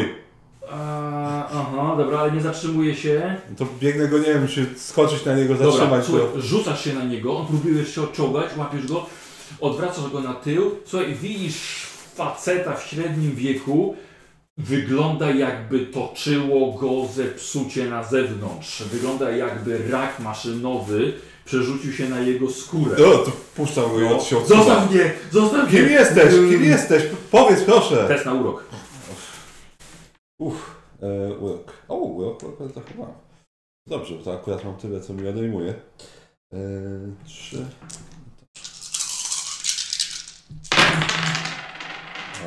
A, aha, dobra, ale nie zatrzymuje się.
To biegnę go, nie wiem, czy skoczyć na niego,
Dobra,
zatrzymać
słuchaj,
go.
rzucasz się na niego, on próbujesz się odciągać, łapiesz go, odwracasz go na tył. Słuchaj, widzisz faceta w średnim wieku, wygląda jakby toczyło go zepsucie na zewnątrz. Wygląda jakby rak maszynowy przerzucił się na jego skórę. No,
O, to puszczam go i od się odsuwa.
Zostaw mnie! Zostaw mnie!
Kim jesteś? Kim jesteś? P- Powiedz proszę!
Test na urok.
Uff, e, urok. O, urok, urok to chyba. Dobrze, bo to akurat mam tyle, co mi odejmuje. E, trzy.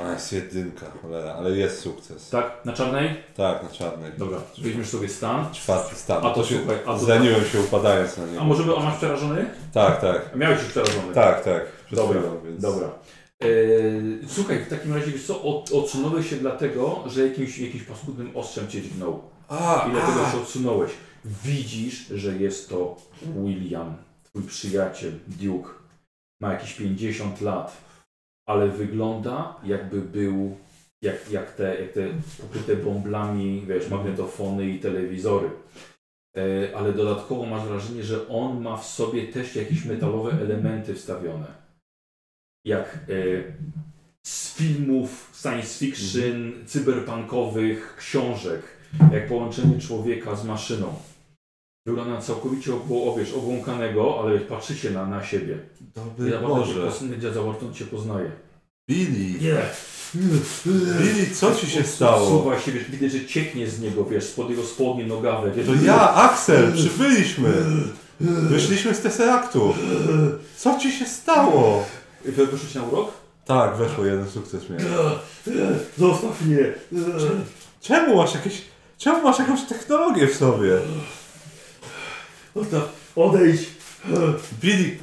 A, jest jedynka, cholera, ale jest sukces.
Tak? Na czarnej?
Tak, na czarnej.
Dobra, weźmiesz sobie stan.
Czwarty stan.
A to
się,
słuchaj, a to- tak.
Zleniłem się upadając na niego.
A może by on masz przerażony?
Tak, tak.
Miałeś już przerażony.
Tak, tak. Przed
Dobra,
chwilą, więc-
dobra. Eee, słuchaj, w takim razie wiesz co, od, odsunąłeś się dlatego, że jakimś, jakimś paskudnym ostrzem cię dźgnął.
A,
I dlatego
a.
się odsunąłeś. Widzisz, że jest to William, twój przyjaciel, Duke. Ma jakieś 50 lat, ale wygląda jakby był jak, jak, te, jak te pokryte bąblami, wiesz, magnetofony i telewizory. E, ale dodatkowo masz wrażenie, że on ma w sobie też jakieś metalowe elementy wstawione. Jak e, z filmów science fiction,
Mhm.
cyberpunkowych, książek. Jak połączenie człowieka z maszyną. Wygląda na całkowicie obło, wiesz, obłąkanego, ale patrzycie na, na siebie.
Dobry
ja
Boże.
Ja zawartą cię poznaję.
Billy!
Nie!
Billy, co ci się stało?
Odsuwa się, wiesz, widać, że cieknie z niego, wiesz, spod jego spodni nogawek. Wiesz,
To ja, Aksel, przybyliśmy! Wyszliśmy z Tesseractu! Co ci się stało?
Yy, Wyszło ci na urok?
Tak, weszło, jeden sukces miałem.
Zostaw mnie!
Czemu masz jakieś... Czemu masz jakąś technologię w sobie?
Zostaw, odejdź!
Billy...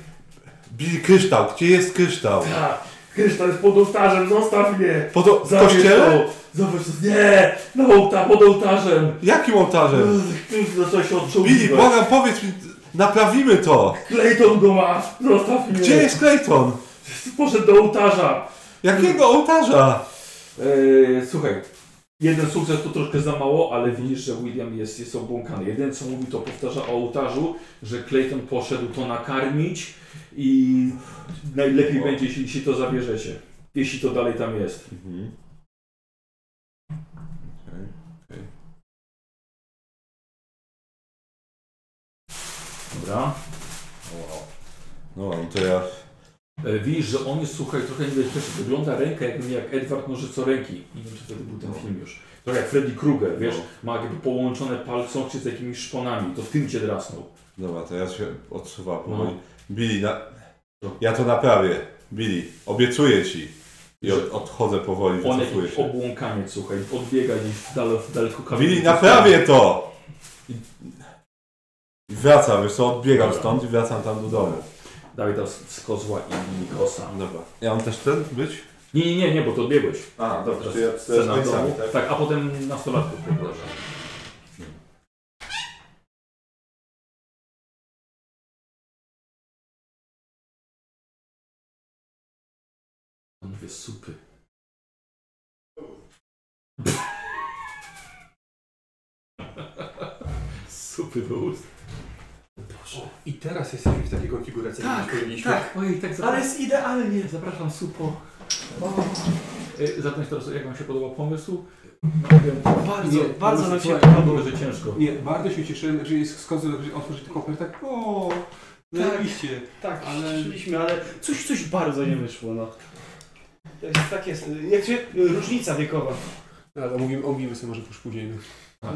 Billy, kryształ, gdzie jest kryształ?
Tak, Kryształ jest pod ołtarzem, zostaw mnie!
Pod o- w
Zabierz
kościele?
to, Zobacz, to- nie! Na ołta, pod ołtarzem!
Jakim ołtarzem?
Ty zacząłeś odczuć.
Billy, błagam, powiedz mi, naprawimy to!
Clayton go ma! Zostaw mnie!
Gdzie jest Clayton?
Poszedł do ołtarza!
Jakiego ołtarza?
Eee, słuchaj, jeden sukces to troszkę za mało, ale widzisz, że William jest, jest obłąkany. Jeden co mówi, to powtarza o ołtarzu, że Clayton poszedł to nakarmić i najlepiej będzie, jeśli, jeśli to zabierzecie. Jeśli to dalej tam jest.
Mhm.
Dobra.
No, no to ja...
E, Widzisz, że on jest, słuchaj, trochę niebezpieczny. Wygląda ręka jak, jak Edward Nożycoręki. Nie wiem, czy wtedy był
No.
ten film już. Trochę jak Freddy Krueger, wiesz, ma jakby połączone palcące z jakimiś szponami. To w tym cię drasnął.
Dobra, to ja się odsuwam
No.
powoli. Billy, na... ja to naprawię. Billy, obiecuję ci. I od, odchodzę powoli,
On
wycofuję
jakimś
się.
obłąkaniec, słuchaj, odbiega gdzieś w dal, w daleko kamieniu.
Wili, naprawię to! I, I wracam, wiesz co, odbiegam stąd i wracam tam do domu.
Dawaj teraz z kozła i Nikosa.
Dobra. Ja mam też ten być?
Nie, nie, nie, nie, bo to odbiegłeś.
A, dobrze,
Teraz
to ja- to
scena
ja z
w
końcami,
domu.
tak?
tak? a potem nastolatków poproszę. Panowie supy. Supy do ust.
I teraz jesteśmy w takiej konfiguracji, jak już powiedzieliśmy.
Ojej, tak
Ale jest
idealnie. Zapraszam, supo. Y, Zatem teraz, jak Wam się podobał pomysł?
Mhm.
Bardzo, bardzo nam się podobał, że ciężko.
Nie, bardzo się cieszyłem, że jest skąd otworzyć ten koper, tak o, zajebiście.
Tak,
ale...
Szliśmy, No ale coś, coś bardzo nie wyszło, no. To jest- Tak jest, jak się, różnica wiekowa.
No, ale omówimy, omówimy sobie może już później.
No,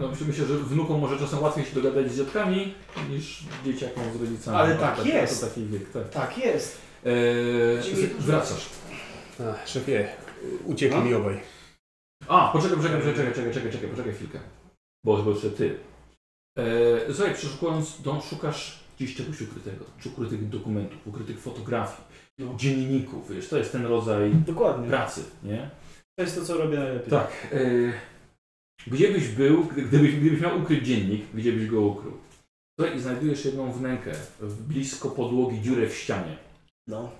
no myślę, że wnukom może czasem łatwiej się dogadać z dziadkami niż dzieciakom z rodzicami.
Ale
No,
tak jest.
To taki wiek, tak.
Tak jest.
Eee,
Dziękuję.
wracasz. No.
A, szefie, uciekli mi obaj.
A, poczekaj, poczekaj, poczekaj, czekaj, czekaj, czekaj, czekaj, poczekaj chwilkę. Bo chyba jeszcze ty. Eee, słuchaj, przeszukując dom, szukasz gdzieś czegoś ukrytego, czy ukrytych dokumentów, ukrytych fotografii, dzienników, wiesz, to jest ten rodzaj
No. Dokładnie.
pracy, nie?
To jest to, co robię najlepiej.
Tak. Y, gdzie byś był, gdy- gdybyś, gdybyś miał ukryć dziennik, gdzie byś go ukrył? Tutaj znajdujesz jedną wnękę, w blisko podłogi dziurę w ścianie.
No.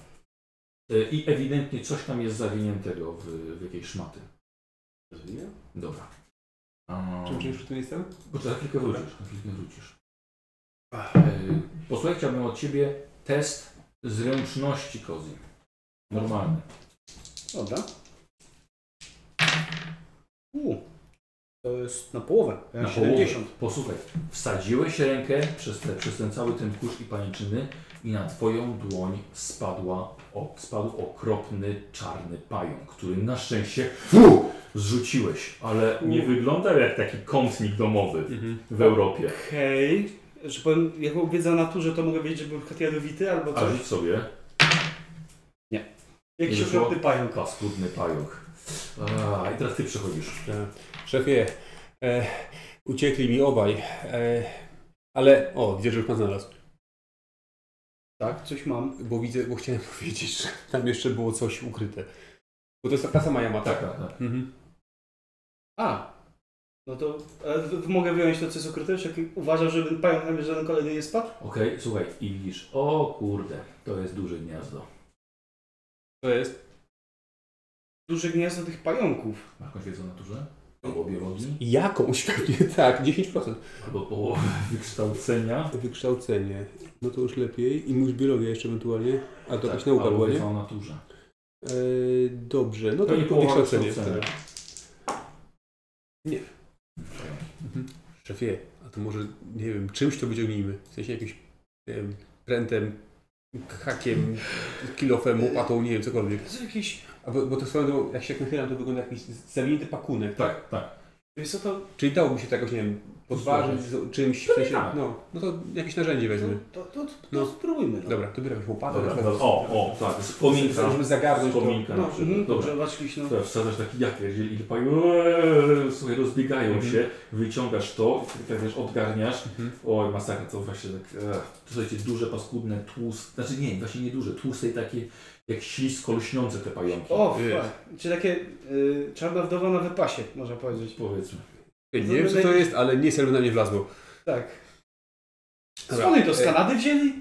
Y, I ewidentnie coś tam jest zawiniętego w, w jakiejś szmaty. Dobra. Um,
Czym czymś przy tym jestem?
Bo to za chwilkę wrócisz, za chwilkę wrócisz. Y, Posłuchaj, chciałbym od Ciebie test zręczności kozy. Normalny.
Dobra. U, to jest na połowę. Ja
Na
70.
połowę. Posłuchaj, wsadziłeś rękę przez, te, przez ten cały ten kurz i paniczyny i na twoją dłoń spadła, o, spadł okropny czarny pająk, który na szczęście fu, zrzuciłeś, ale nie
U. Mhm.
wyglądał jak taki kątnik domowy w Europie.
Okej. Że powiem, jak mam wiedzę o naturze, to mogę wiedzieć, że byłem kat jadowity albo
A
No coś.
rzuć sobie.
Nie. Jakiś
Nie wyszło?
okropny pająk.
Paskudny pająk. A, i teraz ty przechodzisz.
Tak. Szefie, e, uciekli mi obaj, e, ale o, widzę, że już pan znalazł.
Tak, coś mam.
Bo widzę, bo chciałem powiedzieć, że tam jeszcze było coś ukryte. Bo to jest ta sama jama, tak?
tak, tak.
Mhm.
A! No to e, w- mogę wyjąć to, co jest ukryte, czy uważam, żeby pająk na mnie żaden kolejny nie spadł?
Okej, słuchaj, i widzisz, o kurde, to jest duże gniazdo.
To jest?
Duże gniazdo tych pająków.
Masz jakąś wiedzę o naturze? Albo biologii?
Jakąś pewnie, tak, 10%.
Albo połowę wykształcenia.
Wykształcenie, no to już lepiej. I mój biologia jeszcze ewentualnie, a to jakaś nauka
Tak, albo
była, nie?
wiedza o naturze.
E, dobrze, no to,
To nie połowa
wykształcenie.
wykształcenia.
tak. Nie. Mhm. Szefie, a to może, nie wiem, czymś to wyciągnijmy? W sensie jakimś, nie wiem, prętem, hakiem, kilofem, łopatą, nie wiem, cokolwiek.
To jest jakiś...
A bo, bo to swoją drogą, jak się nachylam, to wygląda jak jakiś zawinięty pakunek.
Tak, tak.
Wiesz co, to,
Czyli dałoby się to jakoś, nie wiem, podważyć z czymś, w sensie, no, no to jakieś narzędzie weźmy.
to, to, to
No.
spróbujmy. No.
Dobra, to biorę jakąś łopatę.
Dobra,
na
dobra.
przykład.
O, o, tak, z kominka.
Żeby zagarnąć
Z kominka
to.
na przykład.
mhm,
Dobra.
dobrze, patrzyliśmy, no.
To wsadzasz taki jak jeżeli i powiem, "Eee", słuchaj, rozbiegają
Mhm.
się, wyciągasz to, tak wiesz, odgarniasz. Oj, masakra, to właśnie tak, e, to słuchajcie, duże, paskudne, tłuste, znaczy nie, właśnie nie duże, tłuste i takie, jak ślisko lśniące te pająki.
O,
Wiesz,
fuck. Czy takie y, czarna wdowa na wypasie, można powiedzieć.
Powiedzmy.
Nie
No
wiem, co to jest, ale nie jakby na mnie wlazło.
Tak.
Dobra,
Skąd oni to z
e,
Kanady wzięli?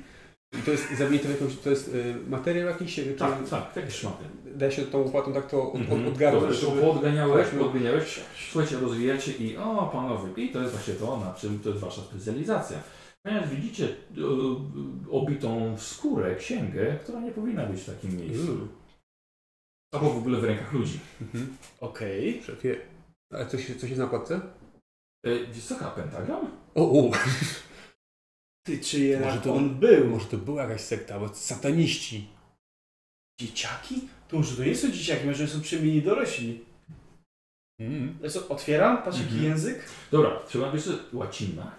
I to jest zawinięte w jakąś, to jest y, materiał jakiś? Czy,
Tak, tak, jakieś szmaty.
Da się tą łopatą tak to od, od,
Dobra,
odgarnąć.
Mhm. to
żeby-
podganiałeś,
Tak, no.
podganiałeś, słuchajcie, rozwijacie i o panowie, i to jest właśnie to, na czym to jest wasza specjalizacja. Natomiast widzicie y, y, obitą w skórę księgę, która nie powinna być w takim miejscu. Albo w ogóle w rękach ludzi.
Mhm.
Okej.
Szefie. Ale coś, coś jest na okładce?
Y, Wysoka pentagram?
O, o.
Ty, czy jednak
Może to-
on był?
Może to była jakaś sekta, bo sataniści.
Dzieciaki? To może to nie są dzieciaki, może są przemieni dorośli.
Mm.
Ja co, otwieram, patrz jaki
Mhm.
język. Mhm.
Dobra, trzeba wiesz, co, łacina.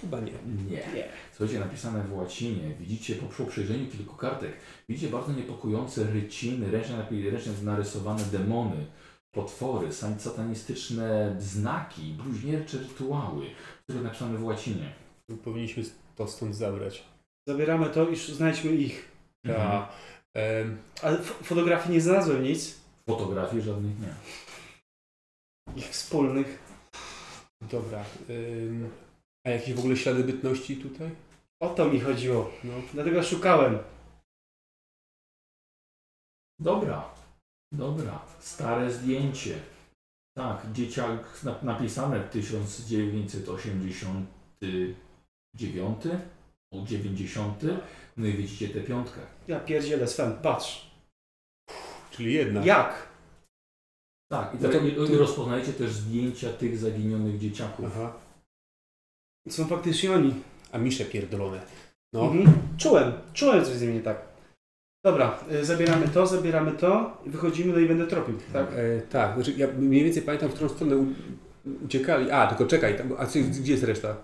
Chyba nie.
Nie. Słuchajcie, napisane w łacinie. Widzicie po po przejrzeniu kilku kartek. Widzicie bardzo niepokojące ryciny, ręcznie, napi- ręcznie narysowane demony, potwory, san- satanistyczne znaki, bluźniercze rytuały, które napisane w łacinie.
Powinniśmy to stąd zabrać.
Zabieramy to i sz- znajdźmy ich. Mhm.
Ta,
Ale f- fotografii nie znalazłem nic.
Fotografii żadnych nie.
Ich wspólnych.
Dobra. ym, a jakieś w ogóle ślady bytności tutaj?
O to mi chodziło.
No.
Dlatego szukałem.
Dobra, dobra, stare zdjęcie. Tak, dzieciak na- napisane 1989 o 90. No i widzicie tę piątkę.
Ja pierdzielę Sven, patrz.
Czyli jedna. No
Jak?
Tak, i, tak, i- i rozpoznajecie też zdjęcia tych zaginionych dzieciaków.
Są faktycznie oni.
A misze pierdolone.
No.
No.
Mhm. Czułem, czułem coś z nim nie tak. Dobra, y, zabieramy to, zabieramy to, wychodzimy, no i będę tropił, tak?
E, tak, znaczy ja mniej więcej pamiętam, w którą stronę u- uciekali. A, tylko czekaj, tam, a co, gdzie jest reszta?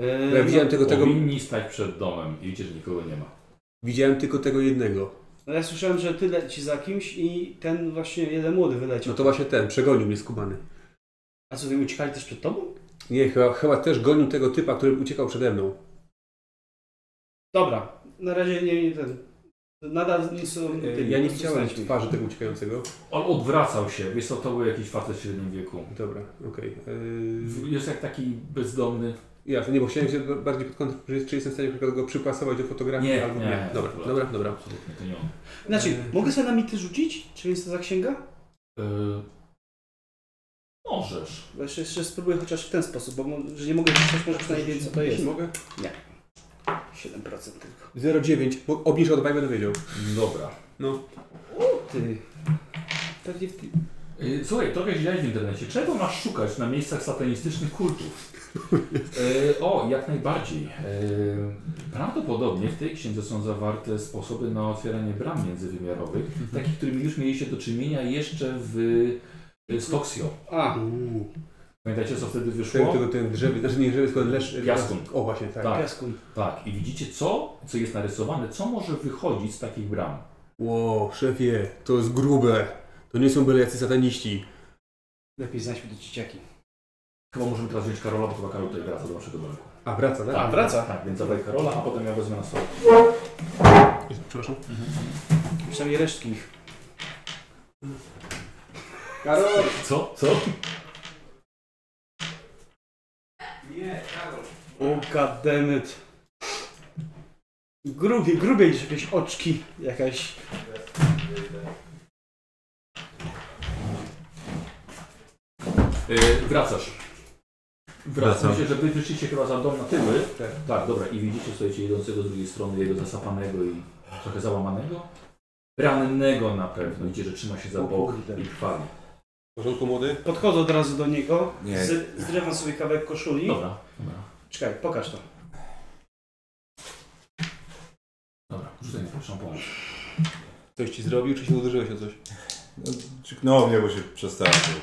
Yy,
Bo No ja
e,
widziałem tego, tego,
Powinni stać no, przed domem i widzicie, że nikogo nie ma.
widziałem tylko tego jednego.
No ja słyszałem, że ty leci za kimś i ten właśnie jeden młody wyleciał.
No to właśnie ten, przegonił mnie skubany.
A co, wy uciekali też przed tobą?
Nie, chyba, chyba też gonił tego typa, który uciekał przede mną.
Dobra, na razie nie, nie ten. Nadal nie są.
E, ja nie chciałem twarzy tego uciekającego.
On odwracał się, wiesz co, to był jakiś facet w średnim wieku.
Dobra, okej.
Jest jak taki bezdomny.
Yy, Jasne, nie, bo chciałem się bardziej pod kątem, czy, czy jestem w stanie na przykład go przypasować do fotografii
Nie,
albo
nie, nie,
Dobra,
w ogóle.
dobra, dobra. Yy,
Absolutnie to nie on.
Znaczy, mogę sobie na mity rzucić? Czy jest to za księga?
Yy, możesz.
Bo Jeszcze, jeszcze spróbuję chociaż w ten sposób, bo mo- że nie mogę rzucić, może przynajmniej wiem co to jest.
Mogę?
Nie. 7% tylko.
0,9, bo obniżę o 2 i będę wiedział.
Dobra.
No.
Ty. Pewnie w tym.
Yy, Słuchaj, trochę źle w internecie. Czego masz szukać na miejscach satanistycznych kultów? Yy, o, jak najbardziej. Yy, prawdopodobnie w tej księdze są zawarte sposoby na otwieranie bram międzywymiarowych,
Mhm.
takich, którymi już mieliście do czynienia jeszcze w yy, Stoksio.
A.
Pamiętacie, co wtedy wyszło?
Ten, tego, ten drzewy, znaczy nie drzewy, tylko lesz...
Piaskun.
O właśnie, tak.
Tak, tak. i widzicie co, co jest narysowane, co może wychodzić z takich bram.
Ło, szefie, to jest grube. To nie są byle jacy sataniści.
Lepiej znajdźmy te dzieciaki.
Chyba możemy teraz wziąć Karola, bo chyba Karol tutaj wraca do naszego domku.
A, wraca, tak?
Tak,
wraca.
Tak, więc zabraj Karola, a potem ja wezmę na stole.
Przepraszam.
Przynajmniej resztki ich.
Karol!
Co? Co?
Nie, Karol.
O, goddammit. Grubiej, grubiej niż jakieś oczki, jakaś...
Yy, wracasz. Wracasz.
Wracam.
Myślę, że wy wyszliście chyba za dom na tyły.
Tak.
tak, dobra. I widzicie, słuchajcie, idącego z drugiej strony, jego zasapanego i trochę załamanego. Rannego na pewno. Widzicie, że trzyma się za bok i krwawi.
W porządku, młody?
Podchodzę od razu do niego,
Nie.
z, zrywam sobie kawałek koszuli.
Dobra, dobra.
Czekaj, pokaż to.
Dobra, rzucaj na pierwszą pomoc.
Coś ci zrobił, czy się uderzyłeś o coś?
No, Krzyknął mnie, bo się przestraszył.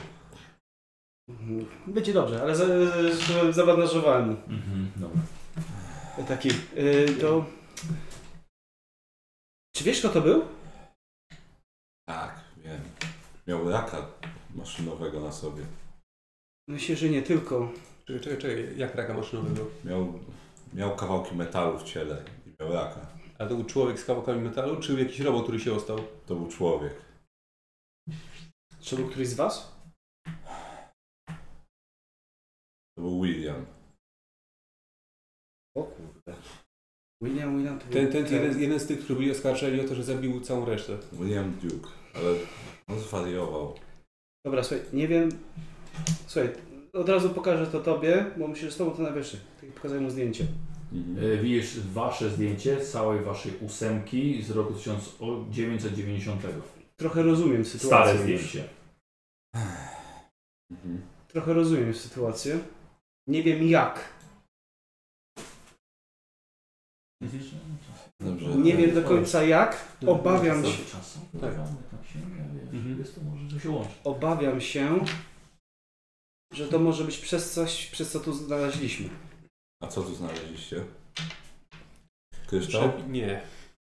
Mhm. Będzie dobrze, ale za- za- zabandażowałem mu.
Mm.
Mhm, dobra.
Taki, y, to... Czy wiesz, kto to był?
Tak, wiem. Miał raka maszynowego na sobie.
Myślę, że nie tylko.
Czekaj, czekaj, czekaj, jak raka no? maszynowego?
Miał, miał kawałki metalu w ciele i miał raka.
A to był człowiek z kawałkami metalu, czy jakiś robot, który się ostał?
To był człowiek.
Czy był któryś z was?
To był William.
O kurde. William, William to był-
Ten, ten, jeden, jeden z tych, którzy byli oskarżeni o to, że zabił całą resztę.
William Duke. Ale on zwariował.
Dobra, słuchaj, nie wiem... Słuchaj, od razu pokażę to tobie, bo myślę, że z tobą to najwyższy. Pokazuję mu zdjęcie.
E, Widzisz wasze zdjęcie całej waszej ósemki z roku 1990.
Trochę rozumiem sytuację.
Stare
już.
zdjęcie. Mhm.
Trochę rozumiem sytuację. Nie wiem jak.
Mhm.
Dobrze.
Nie wiem do końca jak. Obawiam się.
Tak. Tak się nie wiesz, jest to może to się łączy.
Obawiam się, że to może być przez coś, przez co tu znaleźliśmy.
A co tu znaleźliście? Kryształ?
Przepi- nie,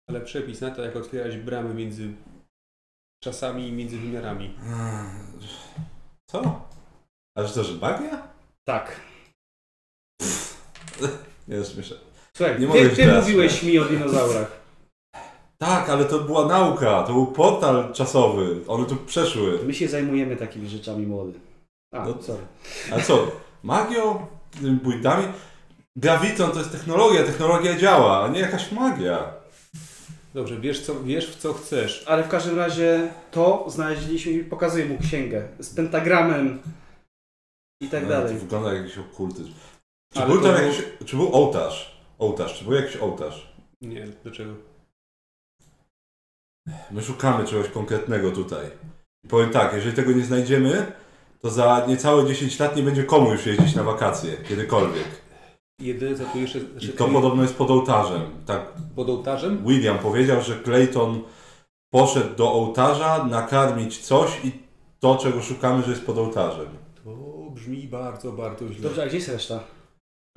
ale przepis na to, jak otwierać bramy między czasami i między wymiarami.
Co? Aż to, że magia?
Tak.
Nie śmieszę.
Słuchaj,
nie
ty-
mogę
ty
źle,
mówiłeś
słuchaj.
mi o dinozaurach.
Tak, ale to była nauka, to był portal czasowy. One tu przeszły.
My się zajmujemy takimi rzeczami młody. A,
No,
sorry.
A co? Magią? Tymi bójtami? Graviton to jest technologia, technologia działa, a nie jakaś magia.
Dobrze, wiesz, co, wiesz w co chcesz.
Ale w każdym razie to znaleźliśmy i pokazuję mu księgę z pentagramem i tak
No,
dalej.
To wygląda jak jakiś okultyzm. Czy
Ale
był
to
tam
był-
jakiś, czy był ołtarz? Ołtarz, czy był jakiś ołtarz?
Nie, dlaczego?
My szukamy czegoś konkretnego tutaj. I powiem tak, jeżeli tego nie znajdziemy, to za niecałe 10 lat nie będzie komu już jeździć na wakacje, kiedykolwiek.
Jedyne co tu jeszcze...
I
znaczy,
to
ty-
podobno jest pod ołtarzem. Tak.
Pod ołtarzem?
William powiedział, że Clayton poszedł do ołtarza nakarmić coś i to, czego szukamy, że jest pod ołtarzem.
To brzmi bardzo, bardzo źle. No
Dobrze, a gdzie jest reszta?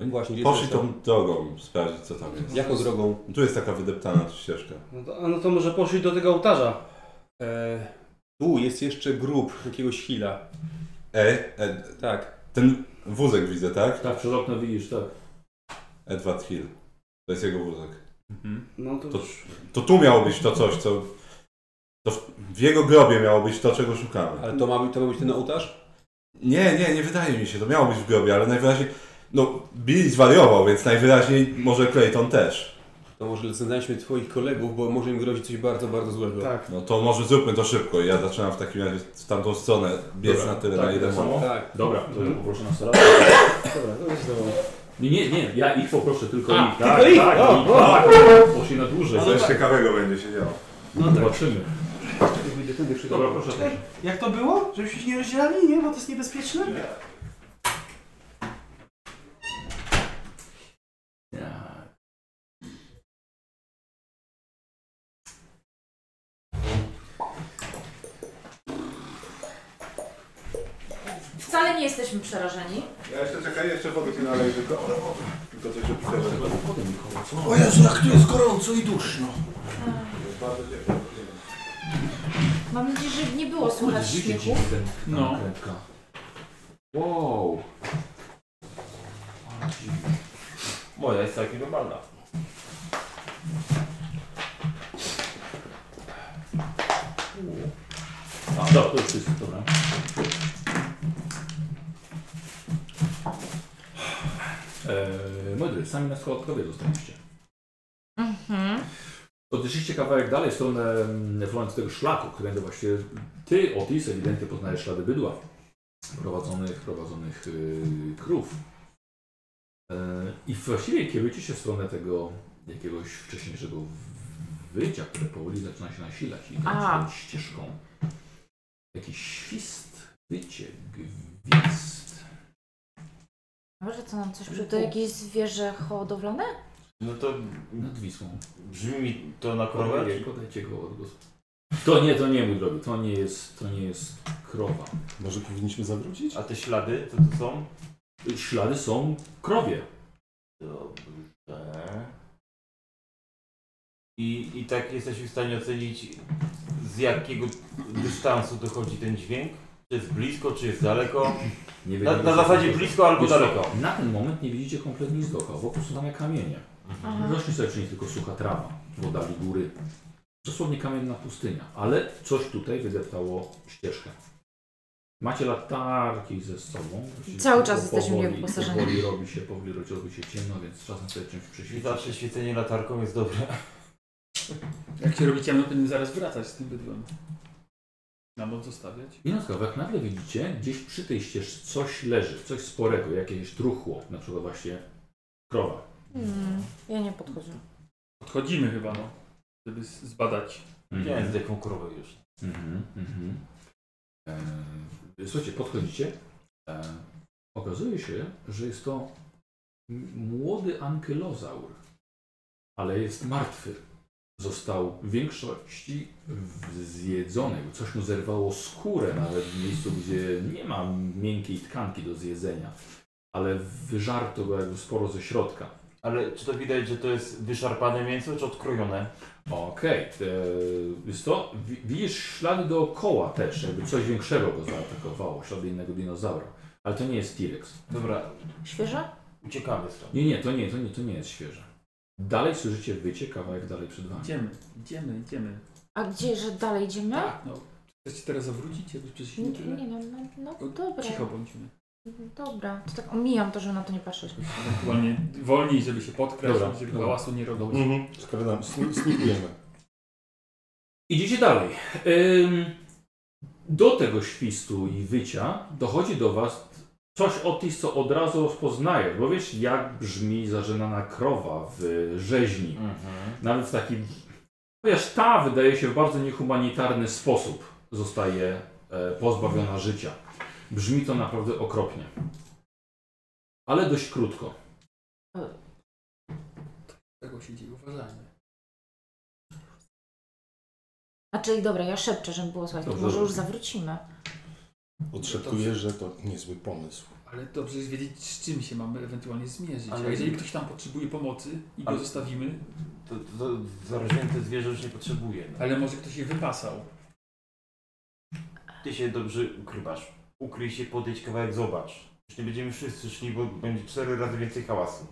Właśnie, gdzie
Poszli
jest reszta?
tą drogą sprawdzić, co tam jest.
Jaką drogą?
Tu jest taka wydeptana ścieżka.
No to, a no to może poszli do tego ołtarza.
E, tu jest jeszcze grób jakiegoś hila.
E, e,
tak.
Ten wózek widzę, tak?
Tak, przez okno widzisz, tak.
Edward Hill. To jest jego wózek.
Mhm.
No to,
To, to tu miało być to coś, co... To w, w jego grobie miało być to, czego szukamy.
Ale to ma, być- to ma być ten ołtarz?
Nie, nie, nie wydaje mi się. To miało być w grobie, ale najwyraźniej... No, Billy zwariował, więc najwyraźniej może Clayton też.
To może znajdźmy twoich kolegów, bo może im grozi coś bardzo, bardzo złego.
Tak.
No to może zróbmy to szybko. Ja zaczynam w takim razie w tamtą stronę biec
Dobra.
na tyle,
Tak,
na ile
tak samo?
mogę.
Tak. Dobra, to ja poproszę na salę.
Dobra, to jest dobra.
Nie, nie, nie, ja ich poproszę, tylko
A,
ich.
tylko ich,
tak,
o,
ich,
o.
tak, poszli na dłużej.
A no tak.
będzie się działo.
No tak.
Zobaczymy. Dobra, proszę.
Ej, Jak to było? Żebyśmy się nie rozdzielali, nie? Bo to jest niebezpieczne?
Wcale nie jesteśmy przerażeni.
Ja jeszcze czekaj, jeszcze wody ci naleję tylko. Tylko coś
co?
wypiszę.
O Jezu, jak tu jest
gorąco i duszno.
Mam nadzieję, że nie było
Kurde,
słychać
życie ci
śmiechu.
ten, no. krętka. Wow. Ale dziwne.
Moja jest całkiem normalna.
A, dobra, to już wszystko, dobra. Eee, moi drodzy, sami na schodkowie zostaliście.
Mhm.
Odeszliście kawałek dalej w stronę mm, w tego szlaku, którędy właśnie ty, Otis, ewidentnie poznajesz ślady bydła prowadzonych, prowadzonych yy, krów. Yy, I właściwie kierujecie się w stronę tego jakiegoś wcześniejszego wycia, które powoli zaczyna się nasilać i
A.
tą ścieżką. Jakiś świst, wycie, gwizd.
Może to nam coś przyda? Jakieś zwierzę hodowlane?
No to
nad Wisłą.
Brzmi mi to na krowę?
Podajcie, podajcie go odgłos. To nie, to nie, mój drogi, to nie jest, to nie jest krowa.
Może powinniśmy zawrócić?
A te ślady, to, to są?
Ślady są krowie.
Dobrze. E? I, I tak jesteśmy w stanie ocenić, z jakiego dystansu dochodzi ten dźwięk? Czy jest blisko, czy jest daleko?
Nie
na,
wiadomo,
na
co
zasadzie
to-
blisko albo
Wiesz co,
daleko.
Na ten moment nie widzicie kompletnie nic dookoła, wokół są same kamienie.
Aha.
Rośnie sobie przy nich tylko sucha trawa, woda i góry. Dosłownie kamienna pustynia, ale coś tutaj wydeptało ścieżkę. Macie latarki ze sobą.
Cały
Tylko
czas jesteśmy
powoli-
niewyposażeni.
Powoli robi się, powoli robi się ciemno, więc czasem sobie czymś
I
prześwietlić.
zawsze świecenie latarką jest dobre.
Jak się robi ciemno, to nie zaraz wracać z tym bydłem. Na noc zostawiać?
I na skrawach no, tak nagle widzicie, gdzieś przy tej ścieżce coś leży, coś sporego, jakieś truchło, na przykład właśnie krowa.
Hmm, ja nie podchodzę.
Podchodzimy chyba, no. Żeby z- zbadać.
Mhm.
Nie, z jaką krowę już.
Mhm, mhm. Eee, słuchajcie, podchodzicie. Eee, okazuje się, że jest to m- młody ankylozaur, ale jest martwy. Został w większości w- zjedzony. Coś mu zerwało skórę nawet w miejscu, gdzie nie ma miękkiej tkanki do zjedzenia. ale wyżarto go jakby sporo ze środka.
Ale czy to widać, że to jest wyszarpane mięso, czy odkrojone?
Okej, e, wiesz co, wi- widzisz ślady dookoła też, jakby coś większego go zaatakowało, ślady innego dinozaura. Ale to nie jest T-Rex.
Dobra.
Świeże?
Uciekamy stąd.
Nie, nie, to nie, to nie, to nie jest świeże. Dalej słyszycie wycie kawałek dalej przed wami.
Idziemy, idziemy, idziemy.
A gdzie, że dalej idziemy?
No, chcecie teraz zawrócić? Jakoś przez
Nie,
silnik?
nie no, no, no dobra.
Cicho bądźmy.
Dobra, to tak omijam to, żeby na to nie patrzeć.
Ewentualnie wolniej, żeby się podkrać,
Dobra,
żeby
dobra.
hałasu nie robić.
Mhm. Skradam, sni- snikujemy.
Idziecie dalej. Ym, do tego świstu i wycia dochodzi do Was coś o tym, co od razu rozpoznaję, bo wiesz, jak brzmi zażenana krowa w rzeźni. Nawet w taki, wiesz, ta wydaje się w bardzo niehumanitarny sposób zostaje e, pozbawiona życia. Brzmi to naprawdę okropnie. Ale dość krótko.
Tego się dzieje, uważajmy.
A czyli dobra, ja szepczę, żeby było słychać. To
Dobrze,
może już
dobrze.
zawrócimy.
Odszeptuję, że to niezły pomysł.
Ale dobrze jest wiedzieć, z czym się mamy ewentualnie zmierzyć.
Ale-
A jeżeli ktoś tam potrzebuje pomocy i go
Ale-
zostawimy,
To, to, to zarośnięte zwierzę już nie potrzebuje. No.
ale może ktoś je wypasał.
Ty się dobrze ukrywasz. Ukryj się, podejdź kawałek, zobacz. Już nie będziemy wszyscy szli, bo będzie cztery razy więcej hałasu.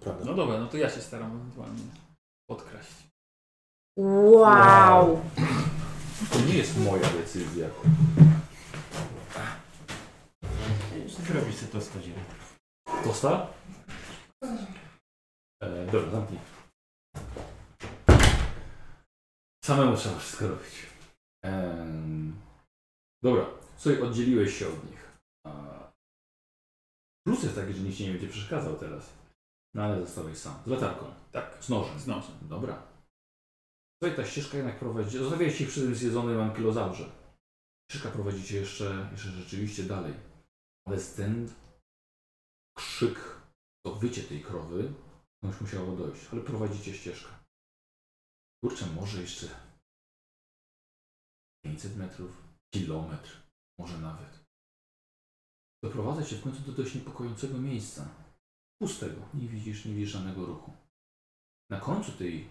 Prawda.
No dobra, no to ja się staram ewentualnie podkraść.
Wow!
To nie jest moja decyzja.
Ty robisz sobie to skodzie.
Tosta? E, dobra, zamknij. Samemu trzeba wszystko robić. Em, dobra, słuchaj, oddzieliłeś się od nich. A... Plus jest taki, że nikt ci nie będzie przeszkadzał teraz. No ale zostałeś sam. Z latarką.
Tak.
Z nożem.
Z nożem.
Dobra. Słuchaj, ta ścieżka jednak prowadzi... Zostawiłeś ich przy tym zjedzonym ankilozaurze. Ścieżka prowadzi cię jeszcze, jeszcze rzeczywiście dalej. Ale ten krzyk, to wycie tej krowy, no już musiało dojść. Ale prowadzicie ścieżkę. Kurczę, może jeszcze 500 metrów, kilometr, może nawet. Doprowadza cię w końcu do dość niepokojącego miejsca. Pustego. Nie widzisz, nie widzisz żadnego ruchu. Na końcu tej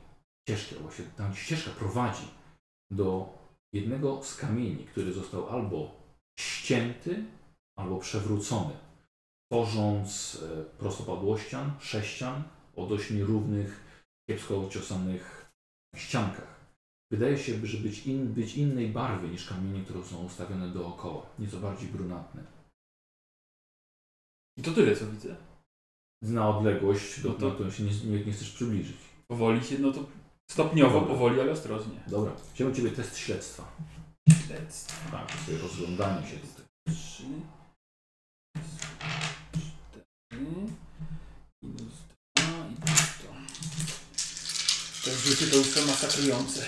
ścieżki, albo się tam ścieżka prowadzi do jednego z kamieni, który został albo ścięty, albo przewrócony, tworząc e, prostopadłościan, sześcian o dość nierównych, kiepsko ciosanych ściankach. Wydaje się, że być, in, być innej barwy niż kamienie, które są ustawione dookoła, nieco bardziej brunatne.
I to tyle, co widzę.
Na odległość, do
No to-
no którą się nie, nie, nie chcesz przybliżyć.
Powoli się, no to stopniowo, powoli, ale ostrożnie.
Dobra, chciałbym Ciebie test śledztwa.
Śledztwo.
Tak, sobie rozglądanie się tutaj.
Trzy. Cztery. Minus dwa i to. Te rzuty to już są masakrujące.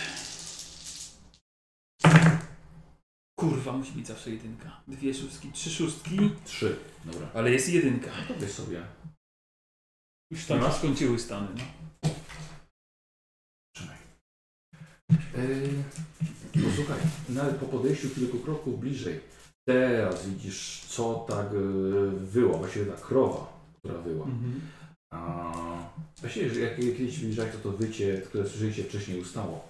Kurwa, musi być zawsze jedynka. Dwie szóstki, trzy szóstki.
Trzy, dobra. No
Ale jest jedynka.
To weź sobie.
Już tam się skończyły stany. No.
Yy, posłuchaj, nawet po podejściu kilku kroków bliżej, teraz widzisz, co tak yy, wyła, właściwie ta krowa, która wyła.
Mhm.
A, właściwie, że jak jak kiedyś widziałeś, to to wycie, które słyszeliście wcześniej, ustało.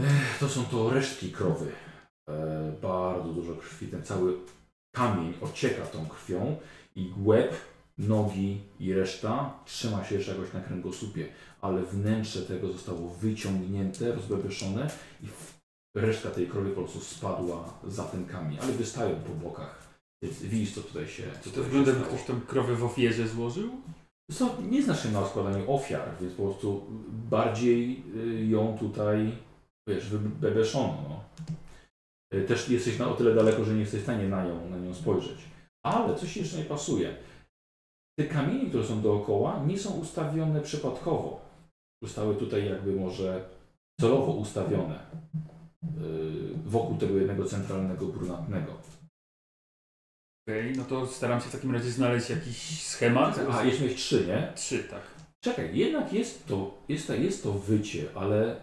Ech, to są to resztki krowy. E, bardzo dużo krwi, ten cały kamień ocieka tą krwią i głęb, nogi i reszta trzyma się jeszcze jakoś na kręgosłupie, ale wnętrze tego zostało wyciągnięte, rozbebeszone i w- reszta tej krowy po prostu spadła za ten kamień, ale wystają po bokach. Więc Widzisz, co tutaj się
Czy to
tutaj się
wygląda, jakby
stało.
ktoś tą krowę w ofierze złożył?
Co, nie znasz się na składaniu ofiar, więc po prostu bardziej y, ją tutaj, wiesz, wybebeszono. No. Y, Też jesteś na o tyle daleko, że nie jesteś w stanie na nią, na nią spojrzeć. Ale coś jeszcze nie pasuje. Te kamienie, które są dookoła, nie są ustawione przypadkowo. Zostały tutaj jakby może celowo ustawione y, wokół tego jednego centralnego brunatnego.
Okej, no to staram się w takim razie znaleźć jakiś schemat.
A, jeszcze mieć trzy, nie?
Trzy, tak.
Czekaj, jednak jest to, jest, to- jest to wycie, ale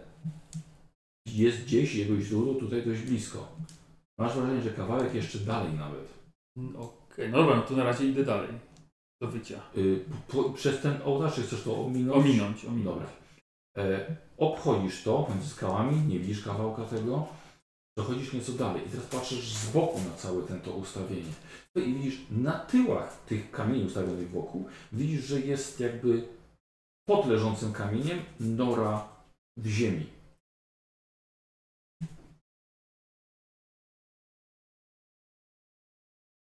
jest gdzieś jego źródło tutaj dość blisko. Masz wrażenie, że kawałek jeszcze dalej nawet.
Mm,
Okej, no dobra, no to na razie idę dalej.
Do wycia.
Y, po, przez ten ołtarz czy chcesz to ominąć?
Ominąć, ominąć.
Dobra. E, obchodzisz to między skałami, nie widzisz kawałka tego. Dochodzisz nieco dalej i teraz patrzysz z boku na całe ten to ustawienie. No I widzisz na tyłach tych kamieni ustawionych wokół, widzisz, że jest jakby pod leżącym kamieniem nora w ziemi.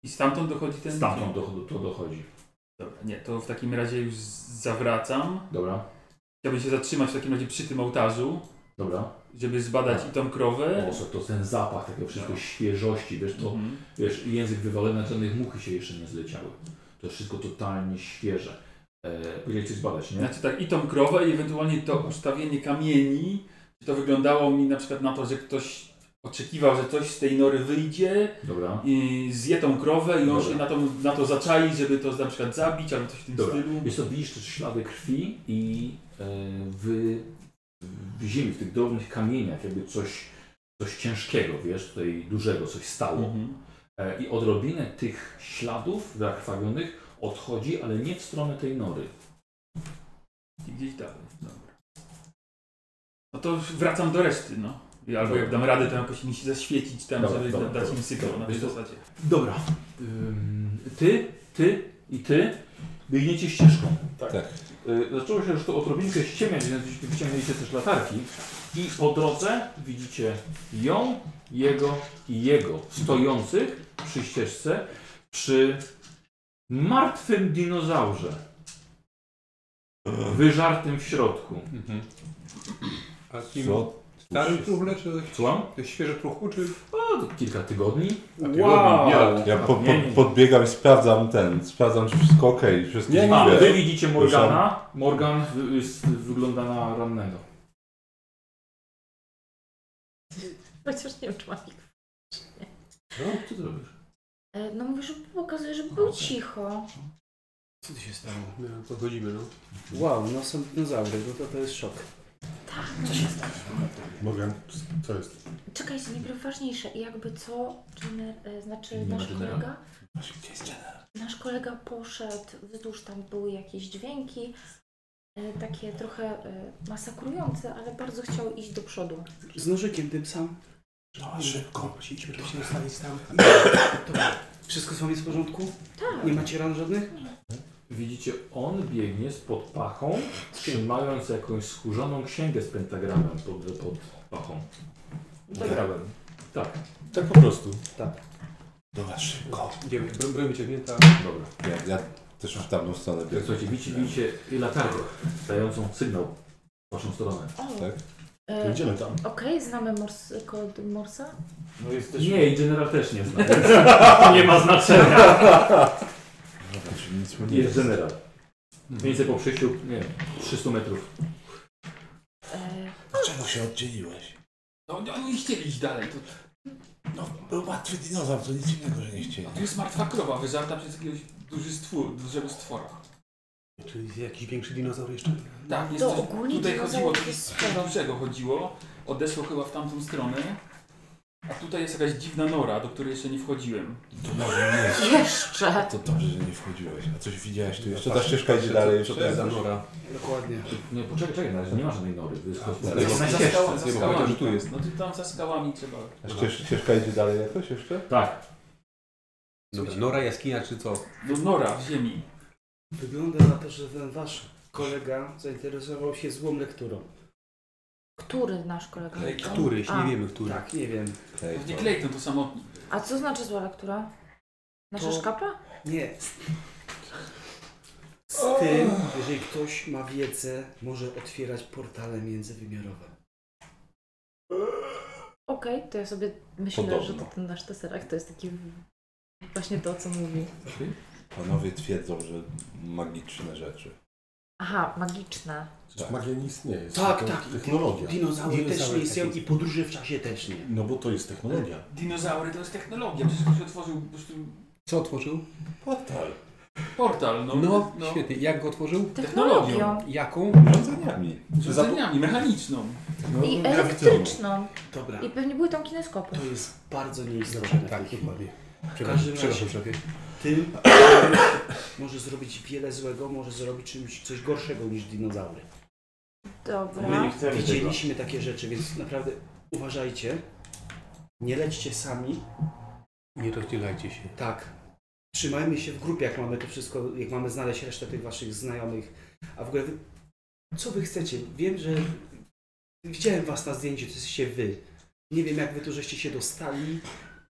I stamtąd dochodzi ten...
Stamtąd dochod- to dochodzi.
Dobra, nie, to w takim razie już zawracam.
Dobra.
Chciałbym się zatrzymać w takim razie przy tym ołtarzu.
Dobra. Tak.
Żeby zbadać i tą krowę.
O, to ten zapach takiego wszystko świeżości, wiesz, to
No. Mhm.
wiesz, język wywalony na cennych muchy się jeszcze nie zleciały. To jest wszystko totalnie świeże. E, Powinieneś coś zbadać, nie?
Znaczy tak, i tą krowę, i ewentualnie to ustawienie kamieni. Czy to wyglądało mi na przykład na to, że ktoś oczekiwał, że coś z tej nory wyjdzie,
Dobra.
i zje tą krowę i on
Dobra.
się na to, na to zaczai, żeby to na przykład zabić albo coś w tym
Dobra.
stylu.
Jest to widzisz też ślady krwi i e, w, w ziemi, w tych drobnych kamieniach, jakby coś, coś ciężkiego, wiesz, tutaj dużego, coś stało.
Mhm.
E, I odrobinę tych śladów zakrwawionych odchodzi, ale nie w stronę tej nory.
I gdzieś dalej. Dobra. No to wracam do reszty, no. I Albo jak dam radę, to jakoś mi się zaświecić tam,
Dobra,
żeby
dobra,
dać
dobra.
im sygnał na tej
Wiesz co?
zasadzie.
Dobra. Ym, ty, ty i ty biegniecie ścieżką.
Tak.
Y, zaczęło się już to odrobinkę ściemiać, więc wyciągnęliście też latarki. I po drodze widzicie ją, jego i jego stojących przy ścieżce przy martwym dinozaurze. Wyżartym w środku.
Mhm. A kim? Stary truch leczy?
Słucham?
To jest świeży truch czy?
O, kilka tygodni.
A
Wow!
tygodni,
Ja-
Ja po, po,
Nie, nie.
podbiegam i sprawdzam ten, sprawdzam czy wszystko ok, wszystko
Nie,
źle.
nie, wy widzicie
Ruszam.
Morgana. Morgan wy- jest, wygląda na rannego.
Chociaż nie wiem, czy mam ich.
No, co ty robisz?
E, No mówisz, że pokazuje, żeby było cicho.
Co tu się stało? No, podchodzimy, no.
Wow, no są dinozaury, no to to jest szok.
Tak.
Co się stało?
Morgan, co jest?
Czekajcie, najpierw ważniejsze. Jakby co, gener, e, znaczy
Nie ma
nasz
generała.
kolega... Nasz kolega poszedł wzdłuż, tam były jakieś dźwięki, e, takie trochę e, masakrujące, ale bardzo chciał iść do przodu.
Z nożykiem tym sam.
No, szybko, musimy to się ustalić tam.
Dobra. Wszystko z wami jest w porządku?
Tak.
Nie macie ran żadnych?
Widzicie, on biegnie spod pachą, trzymając jakąś skórzoną księgę z pentagramem pod, pod pachą. Pentagramem. Tak.
Tak po prostu.
Tak.
Dobra, szybko.
Idziemy, broń broń wyciągnięta.
Dobra.
Ja, ja też w tamtą stronę biegam.
Słuchajcie, widzicie, widzicie i latarkę dającą sygnał w waszą stronę.
O.
Tak?
E,
To idziemy tam.
Okej, znamy mors, kod Morsa?
No
Nie, i general też nie zna. więc to nie ma znaczenia.
Nic mu nie
Jest general. Mniej więcej po przejściu, nie wiem, 300 metrów.
Dlaczego się oddzieliłeś?
No nie- oni chcieli iść dalej. To,
No, był martwy dinozaur, to nic innego, że nie chcieli.
to jest martwa krowa, wyżarta przez jakiegoś duży stwór, dużego stwora.
Czyli jest jakiś większy dinozaur jeszcze?
Tak, jest
To
coś,
ogólnie
tutaj chodziło,
dinozaurów
coś
jest
coś dużego chodziło, odeszło chyba w tamtą stronę, a tutaj jest jakaś dziwna nora, do której jeszcze nie wchodziłem.
To może nie.
Jeszcze.
To dobrze, że nie wchodziłeś. A coś widziałeś tu jeszcze?
No
Ta
tak,
ścieżka idzie
co-
dalej.
co
jeszcze
to jest za
jakaś?
nora?
Dokładnie.
Nie, poczekaj, czekaj, na razie nie ma żadnej nory. To jest
A,
to jest
za-
na
za
ścieżce.
skałą, za Nie, bo skałą. powiedział, że tu jest.
No ty tam za skałami trzeba.
A ścież, ścieżka idzie dalej jakoś jeszcze?
Tak.
Dobra, Nora, jaskinia czy co?
No nora w ziemi.
Wygląda na to, że ten wasz kolega zainteresował się złą lekturą.
Który nasz kolega? A.
nie wiemy który.
Tak, nie wiem.
Pewnie Clayton to samotnik.
A co znaczy zła lektura? Nasza
To-
szkapa?
Nie. Z tym, jeżeli ktoś ma wiedzę, może otwierać portale międzywymiarowe.
Okej, to ja sobie myślę,
Podobno.
że to ten nasz teserach to jest taki właśnie to, co mówi.
Panowie twierdzą, że magiczne rzeczy.
Aha, magiczne.
Tak.
Magia nie istnieje. jest
Tak,
tylko
tak.
Technologia.
Dinozaury też
Dinozaury
nie istnieją
tak
i podróże w czasie też nie.
No bo to jest technologia.
Dinozaury to jest technologia, przecież ktoś otworzył po prostu
Co otworzył?
Portal.
portal. No,
No, świetnie. Jak go otworzył?
Technologią. Technologią.
Jaką? No,
Urządzeniami.
Urządzeniami, mechaniczną.
I elektryczną.
Dobra.
I pewnie były tam kineskopy.
To jest bardzo nieistotne.
Tak, dokładnie.
W każdym razie,
Przepraszam, szefie.
tym może zrobić wiele złego, może zrobić czymś, coś gorszego niż dinozaury.
Dobra.
My nie chcemy
Widzieliśmy takie rzeczy, więc naprawdę uważajcie. Nie lećcie sami.
Nie rozdzielajcie się.
Tak. Trzymajmy się w grupie, jak mamy to wszystko, jak mamy znaleźć resztę tych waszych znajomych. A w ogóle, wy- co wy chcecie? Wiem, że widziałem was na zdjęciu, to jesteście wy. Nie wiem, jak wy tu żeście się dostali.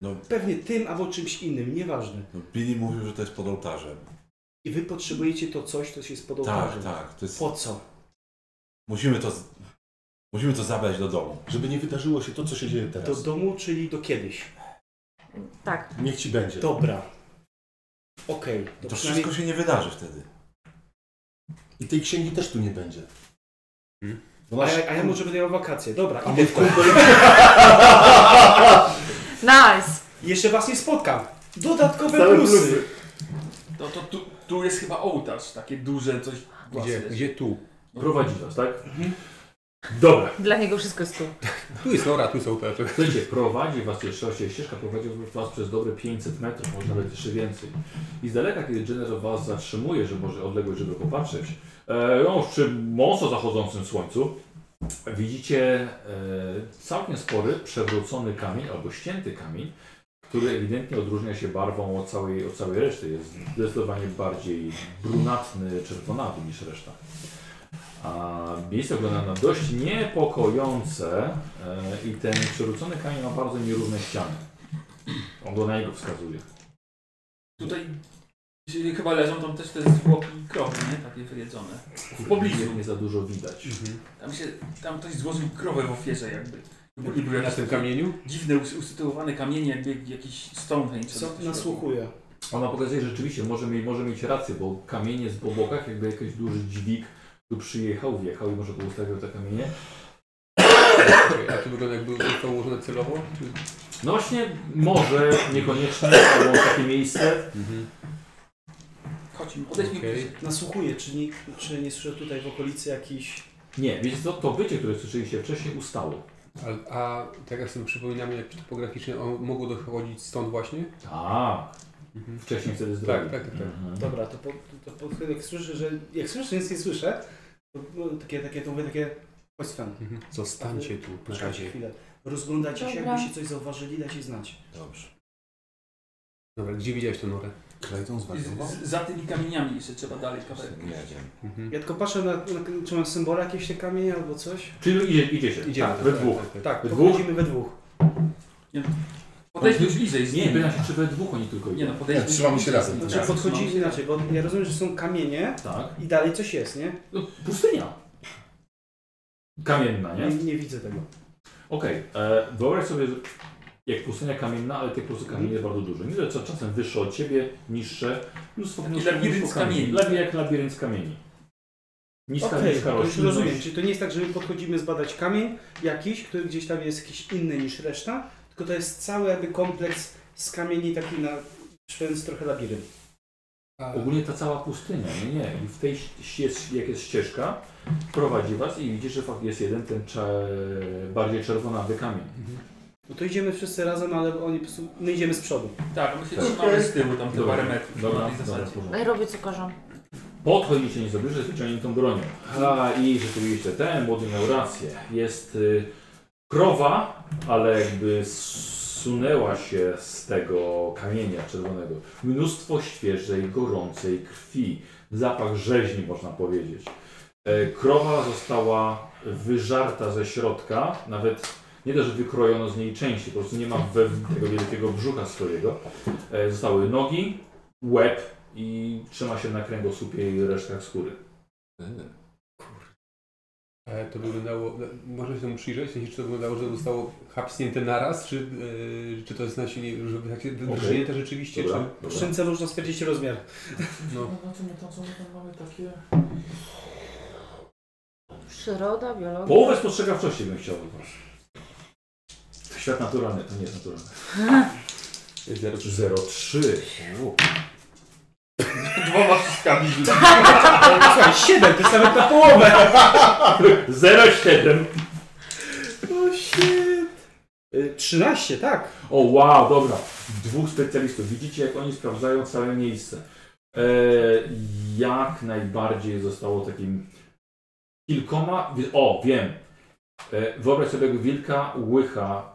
No.
Pewnie tym albo czymś innym, nieważne.
No, Billy mówił, że to jest pod No, ołtarzem.
I wy potrzebujecie to coś, co się spodoba.
Tak, tak. To jest...
Po co?
Musimy to, z- musimy to zabrać do domu.
Żeby nie wydarzyło się to, co się dzieje
Do
teraz.
domu, czyli do kiedyś.
Tak.
Niech ci będzie.
Dobra. Okej.
To wszystko się nie wydarzy wtedy.
I tej księgi też tu nie będzie.
A ja, a ja może będę miał wakacje. Dobra,
A
idę
my
w kółko.
Nice!
Jeszcze was nie spotkam. Dodatkowe
Same
plusy.
plusy. No to tu, tu jest chyba ołtarz, takie duże coś. No. Mhm. Gdzie,
gdzie tu?
Prowadzi was, tak? Dobra.
Dla niego wszystko jest tu.
Tu jest Nora, tu są Pepe.
Słuchajcie, prowadzi was jeszcze się ścieżka, prowadzi was przez dobre 500 metrów, może nawet jeszcze więcej. I z daleka, kiedy Jenner was zatrzymuje, że może odległość, żeby popatrzeć, e, no już przy mocno zachodzącym słońcu, widzicie e, całkiem spory, przewrócony kamień albo ścięty kamień, który ewidentnie odróżnia się barwą od całej, od całej reszty. Jest zdecydowanie bardziej brunatny, czerwonawy niż reszta. A miejsce wygląda na dość niepokojące e, i ten przerzucony kamień ma bardzo nierówne ściany. On go na niego wskazuje.
Tutaj y, chyba leżą tam też te zwłoki krowy, nie? Takie wyjedzone. W pobliżu.
Nie za dużo widać.
Mhm. Tam się, tam ktoś złożył krowę w ofierze jakby. Bo nie
Na tym kamieniu?
Dziwne, us- usytuowane kamienie, jakby jakiś Stonehenge.
Co nasłuchuje?
Ona pokazuje, że rzeczywiście może, mieć- może mieć rację, bo kamienie z po bokach, jakby jakiś duży dźwig tu przyjechał, wjechał i może poustawiał te kamienie.
A to wygląda jakby to ułożone celowo? Czy...
No właśnie, może, niekoniecznie, albo takie miejsce.
Chodźmy, odejdźmy bliżej.
Nasłuchuję, czy nie, czy nie słyszę tutaj w okolicy jakiś...
Nie, wiecie co, to bycie, które słyszeliście wcześniej, ustało.
A, a tak jak sobie przypominamy, jak topograficznie, on mogło dochodzić stąd właśnie? Mhm.
A, Tak. wcześniej wtedy z drogi.
Tak, tak, tak. tak.
Dobra, to, po, to po, jak słyszę, że... Jak słyszę, że nic nie słyszę, to no, takie, takie, to mówię takie... Chodź Sven.
Mhm.
Zostańcie tu, na
Poczekajcie
razie.
chwilę. Rozglądajcie się,
Dobra.
jakbyście coś zauważyli, dajcie znać.
Dobrze.
Dobra, gdzie widziałeś tę norę?
Clayton
Z- z- Za tymi kamieniami jeszcze trzeba dalej kawałek. Mhm.
Ja tylko patrzę na, na czy mam symbole jakieś te kamienie albo coś.
Czyli idzie, idzie się.
Idziemy,
tak, we
tak,
dwóch.
tak, tak.
Tak,
we dwóch.
podchodzimy we dwóch.
Podejdźmy bliżej z
Nie,
nimi.
pytam się, czy we dwóch oni tylko idą.
Nie no, podejdźmy
Nie, trzymamy się
bliżej
razem.
z nimi. Tak,
Znaczy podchodzimy inaczej, bo ja rozumiem, że są kamienie
Tak.
i dalej coś jest, nie?
No, pustynia. Kamienna, nie?
Nie, nie widzę tego.
Okej, e, wyobraź sobie, że jak pustynia kamienna, ale tych po prostu kamieni jest bardzo dużo. Nie tyle, co czasem wyższe od ciebie, niższe. Mnóstwo,
Taki
mnóstwo,
labirynt
mnóstwo
z kamieni.
Labirynt jak labirynt z kamieni. Niska,
Okej,
niska
to już
roślinność.
rozumiem. Czyli to nie jest tak, że my podchodzimy zbadać kamień jakiś, który gdzieś tam jest jakiś inny niż reszta, tylko to jest cały jakby kompleks z kamieni taki na szwęc trochę labirynt.
Ogólnie ta cała pustynia, nie, nie. I w tej ś- jest, jak jest ścieżka, prowadzi was i widzisz, że fakt jest jeden ten cze... bardziej czerwonawy kamień.
No to idziemy wszyscy razem, ale oni po prostu, my idziemy z przodu.
Tak, my się
Tak.
trzymamy z tyłu tam te
Dobra,
parę metrów.
dobra,
na tej
dobra,
zasadzie.
porządku.
Ja Robię co każą.
Podchodzicie nieco bliżej z wyciągniętą bronią. A i rzeczywiście ten młody miał rację. Jest y, krowa, ale jakby sunęła się z tego kamienia czerwonego. Mnóstwo świeżej, gorącej krwi. Zapach rzeźni można powiedzieć. E, krowa została wyżarta ze środka, nawet nie to, że wykrojono z niej części, po prostu nie ma we, tego wielkiego brzucha swojego. E, zostały nogi, łeb i trzyma się na kręgosłupie i resztkach skóry.
Ale E, to wyglądało, można się temu przyjrzeć, w sensie, czy to wyglądało, że to zostało hapsnięte naraz, czy, e, czy to jest nasilnie, że takie drżnięte tak rzeczywiście,
Dobra,
czy...
W szynce można stwierdzić rozmiar.
No.
No to my tam co my tam mamy takie...
Przyroda, biologia.
Połowę spostrzegawczości bym chciał od was. Świat naturalny, to nie jest naturalny. 03.
Dwoma wszystkami
Słuchaj, 7, to jest nawet na połowę.
07.
O shit. Y, 13, tak.
O, wow, dobra. Dwóch specjalistów. Widzicie, jak oni sprawdzają całe miejsce. E, jak najbardziej zostało takim kilkoma... wi- O, wiem. E, wyobraź sobie, jak wilka łycha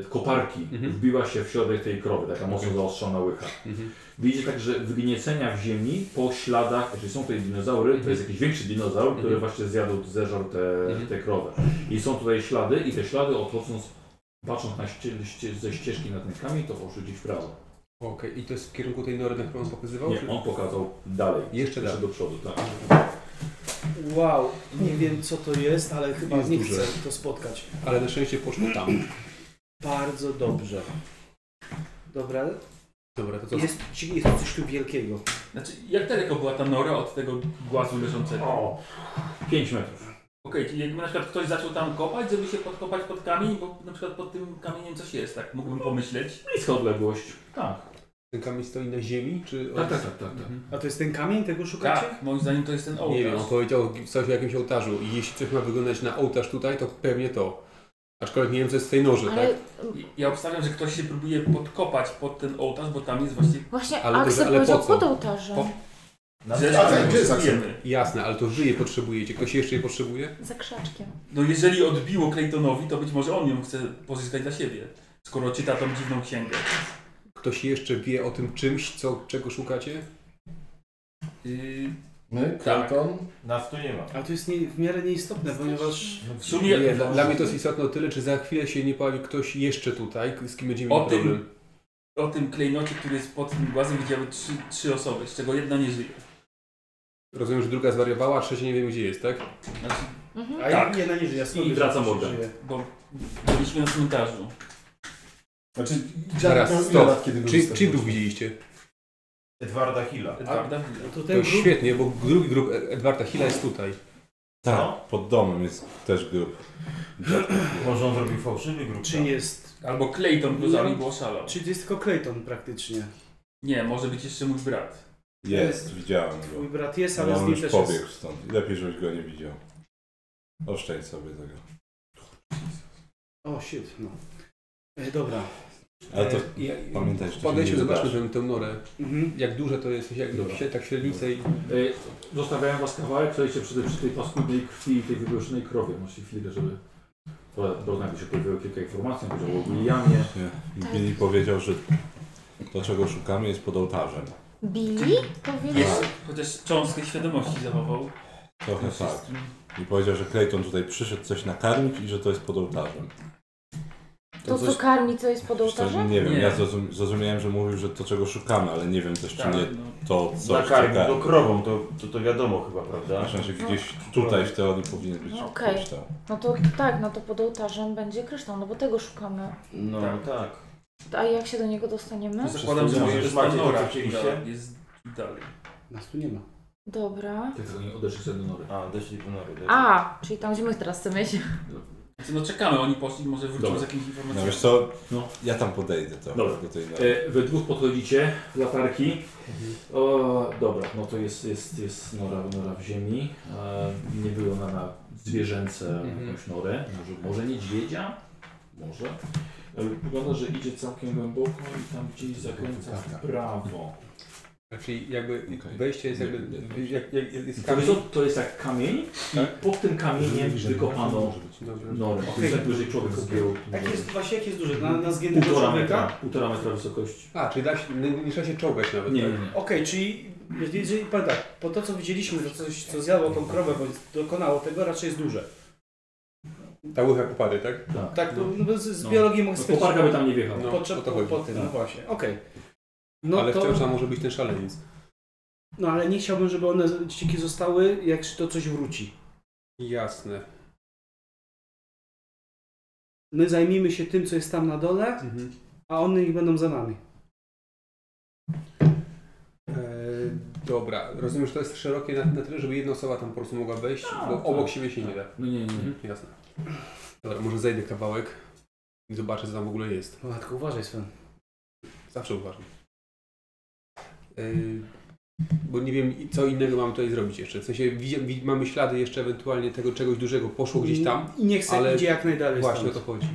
e, koparki
Mhm.
wbiła się w środek tej krowy, taka mocno zaostrzona łycha. Widzicie także wgniecenia w ziemi po śladach, czyli są tutaj dinozaury, to jest jakiś większy dinozaur, który właśnie zjadł, zeżarł te, te krowy. I są tutaj ślady i te ślady odchodząc, patrząc na ście, ście, ze ścieżki nad rękami, to poszły gdzieś w prawo.
Okej, i to jest w kierunku tej nory, na którą on pokazywał?
Nie,
czy-
on pokazał dalej.
Jeszcze
jeszcze
dalej.
do przodu, tak.
Wow, nie wiem co to jest, ale chyba
Jest
nie
duże.
chcę to spotkać.
Ale na szczęście poszło tam.
Bardzo dobrze. Dobra.
Dobra, to co?
Jest, ci- jest coś tu wielkiego.
Znaczy, jak daleko była ta nora od tego głazu leżącego?
O, 5 metrów.
Okej, czyli jakby na przykład ktoś zaczął tam kopać, żeby się podkopać pod kamień, bo na przykład pod tym kamieniem coś jest, tak? Mógłbym pomyśleć.
Bliska odległość. Tak.
Ten kamień stoi na ziemi? Czy
Tak, tak, tak, tak, tak.
A to jest ten kamień, tego szukacie?
Tak, moim zdaniem to jest ten
Nie wiem,
ołtarz.
on powiedział coś o jakimś ołtarzu i jeśli coś ma wyglądać na ołtarz tutaj, to pewnie to. Aczkolwiek nie wiem, co jest w tej noży, tak?
Ja obstawiam, że ktoś się próbuje podkopać pod ten ołtarz, bo tam jest właśnie...
Właśnie Ale Axel dobrze, ale po powiedział co? pod ołtarzem. Po-
Na
Jasne, ale to wy je potrzebujecie. Ktoś jeszcze je potrzebuje?
Za krzaczkiem.
No jeżeli odbiło Claytonowi, to być może on ją chce pozyskać dla siebie, skoro czyta tą dziwną księgę.
Ktoś jeszcze wie o tym czymś, co, czego szukacie?
Yy,
My,
tak.
Clayton?
Nas tu nie ma.
A to jest nie, w miarę nieistotne, ponieważ...
W sumie-
Nie, dla, dla mnie to jest istotne o tyle, czy za chwilę się nie pojawi ktoś jeszcze tutaj, z kim będziemy
O
mieli problem.
tym, o tym klejnocie, który jest pod tym głazem, widziały trzy, trzy osoby, z czego jedna nie żyje.
Rozumiem, że druga zwariowała, a trzecia nie wiem gdzie jest, tak?
Znaczy,
Mhm. A jedna nie żyje, ja skąd
I
wiem,
wraca
że
mordę.
żyje?
Bo byliśmy na cmentarzu.
Znaczy,
Zaraz, stop. Czy, czy grób widzieliście?
Edwarda Hilla. tak?
Edwarda
No
Hilla.
To
To świetnie, bo drugi grób Edwarda Hilla jest tutaj.
Tak, pod domem jest też grób.
Może on zrobił fałszywy grób.
tak?
Czy jest... No,
Albo Clayton go zabił, bo oszalał.
Czy jest tylko Clayton praktycznie?
Nie, może być jeszcze mój brat.
Jest, widziałem go. No
Mój brat jest, ale
on
z nim
już
też
pobiegł
jest.
stąd. Lepiej, żebyś go nie widział. Oszczędź sobie tego.
O, shit, no. E, dobra.
Ale to
E, Ja- ja-
pamiętaj, że to się
Podejdźmy,
nie
zobaczmy
wydarzy.
tę, tę norę.
Mhm.
Jak duże to jest, jak
Dobra.
się, tak średnica i...
Y, Zostawiałem was kawałek, słuchajcie, przy, tej- przy tej paskudnej krwi i tej wygłoszonej krowie. Macie chwilę, żeby poznać, się pojawiło kilka informacji, może o Williamie.
Nie. Billy powiedział, że to, czego szukamy, jest pod ołtarzem.
Billy? Powiedział?
Jest, chociaż cząstkę świadomości zachował.
Trochę
Tym
tak.
wszystkim.
I powiedział, że Clayton tutaj przyszedł coś nakarmić i że to jest pod ołtarzem.
To, co
coś-
karmi, co jest pod
to
ołtarzem?
nie wiem, ja zrozum, zrozumiałem, że mówił, że to czego szukamy, ale nie wiem też, czy
Tak,
nie
no.
to, co
Nakarmił go krową, to, to, to wiadomo chyba, prawda?
Znaczy, gdzieś tutaj w teorii powinien być
No Okej.
kryształ.
No to tak, no to pod ołtarzem będzie kryształ, no bo tego szukamy.
No tak.
A jak się do niego dostaniemy?
Zakładam, że
Przez to,
może
że
to jest
macie
ta
to,
nora,
co chcieliście?
która jest dalej.
Nas tu nie ma.
Dobra.
Tylko nie odeszli sobie do nory.
A, odeszli do nory.
A, czyli tam, gdzie my teraz chcemy się.
Znaczy, no czekamy, oni poszli, może wrócą
Dobra.
z jakimiś informacjami.
No wiesz co,
No.
ja tam podejdę trochę
Dobra.
do tej nory.
E, wy dwóch podchodzicie, latarki.
Mhm.
O, dobra, no to jest, jest, jest nora, nora w ziemi. E, nie wygląda na zwierzęce
Mhm.
jakąś norę. Może, może niedźwiedzia? Może. E, wygląda, że idzie całkiem głęboko i tam
Mhm.
gdzieś zakręca
Tak.
w prawo.
Czyli Znaczy, jakby wejście jest jakby... Jak, jak, jest
To
kamień. Tak?
jest, to jest jak kamień i pod tym kamieniem wykopano norę. To jest jak wyżej człowiek zgiął.
Tak jest, właśnie jak jest duże, na, na zgiętego
Półtora metra,
człowieka?
półtora metra wysokości.
A, czyli da się, nie, nie trzeba się czołgać nawet,
Nie,
tak?
nie, nie.
Okej, czyli jeżeli- jeżeli powiem tak, po to co widzieliśmy, że coś co zjadło tą krowę, bądź dokonało tego, raczej jest duże.
Ta łycha popady, tak?
Tak.
Tak, no, no, z, z
No.
biologii mogę
No, koparka by tam nie wjechała.
No,
No,
po,
o to chodzi.
po tym, no
Tak.
właśnie, okej. No
ale
to-
wciąż tam może być ten szaleniec.
No ale nie chciałbym, żeby one dzieciaki zostały, jak się to coś wróci.
Jasne.
My zajmijmy się tym, co jest tam na dole, a one ich będą za nami.
E, dobra, rozumiem, że to jest szerokie na, na tyle, żeby jedna osoba tam po prostu mogła wejść, bo
tak.
obok siebie się nie da.
No nie, nie.
Mhm, Jasne. Dobra, może zejdę kawałek i zobaczę, co tam w ogóle jest.
Matko, uważaj Sven.
Zawsze uważam. E, bo nie wiem, i- co innego mam tutaj zrobić jeszcze. W sensie widzi, wi- mamy ślady jeszcze ewentualnie tego czegoś dużego, poszło gdzieś tam.
I niech se
ale
idzie jak najdalej
Właśnie
stąd.
o to chodzi.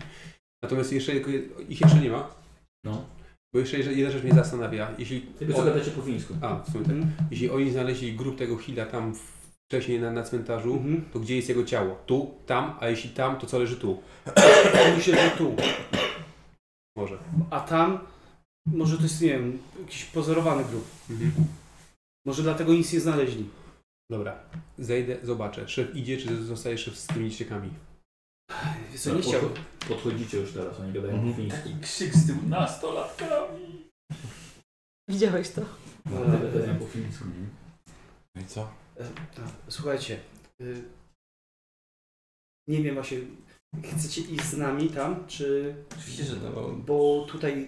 Natomiast jeszcze, tylko- ich jeszcze nie ma.
No.
Bo jeszcze jedna- jedna rzecz mnie zastanawia. Jeśli
Wy co gadacie po fińsku.
A, w sumie tak.
Mhm.
Jeśli oni znaleźli grób tego Hilla tam wcześniej na, na cmentarzu,
Mhm.
to gdzie jest jego ciało? Tu, tam, a jeśli tam, to co leży tu?
Myślę, że tu.
Może.
A tam może to jest, nie wiem, jakiś pozorowany grób. Może dlatego nic nie znaleźli.
Dobra, zejdę, zobaczę. Szef idzie, czy zostaje szef z tymi ściekami?
co,
No,
nie chciałbym. Podchodzicie już teraz, oni gadają po fińsku.
Taki krzyk z tym nastolatkami.
Widziałeś to?
Gadają E, po fińsku.
I co?
E, tak, Słuchajcie, y, nie wiem właśnie, chcecie iść z nami tam, czy...
Oczywiście, że tak.
Bo tutaj...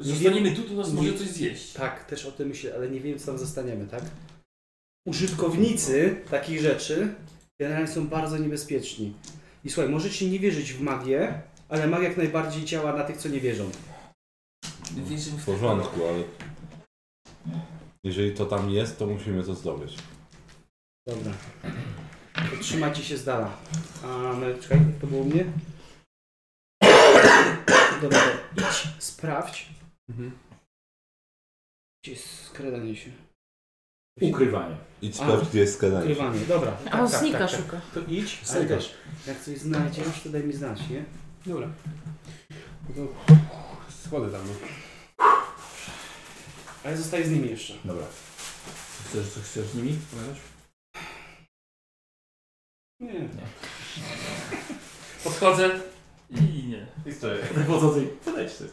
nie
Zostaniemy
wiem-
tu, to nas może coś zjeść.
Tak, też o tym myślę, ale nie wiem, co tam zostaniemy, tak? Użytkownicy takich rzeczy generalnie są bardzo niebezpieczni. I słuchaj, możecie nie wierzyć w magię, ale magia jak najbardziej działa na tych, co nie wierzą.
W porządku, ale jeżeli to tam jest, to musimy to zdobyć.
Dobra. To Trzymajcie się z dala. A my, czekaj, to było u mnie? Dobra, to idź, sprawdź. Gdzie jest skradanie się?
Ukrywanie.
Idź sprawdź, gdzie jest skradanie się.
Ukrywanie, dobra. Tak,
A on snika
szuka.
To idź, ale
Snika.
też, jak coś znajdziesz, to daj mi znać, nie?
Dobra. No to schodzę tam. No.
Ale zostaj z nimi jeszcze.
Dobra. Chcesz, co chcesz z nimi pogadać?
Nie. nie.
Podchodzę i nie.
I stoję.
Wychodzący, podejdź ty.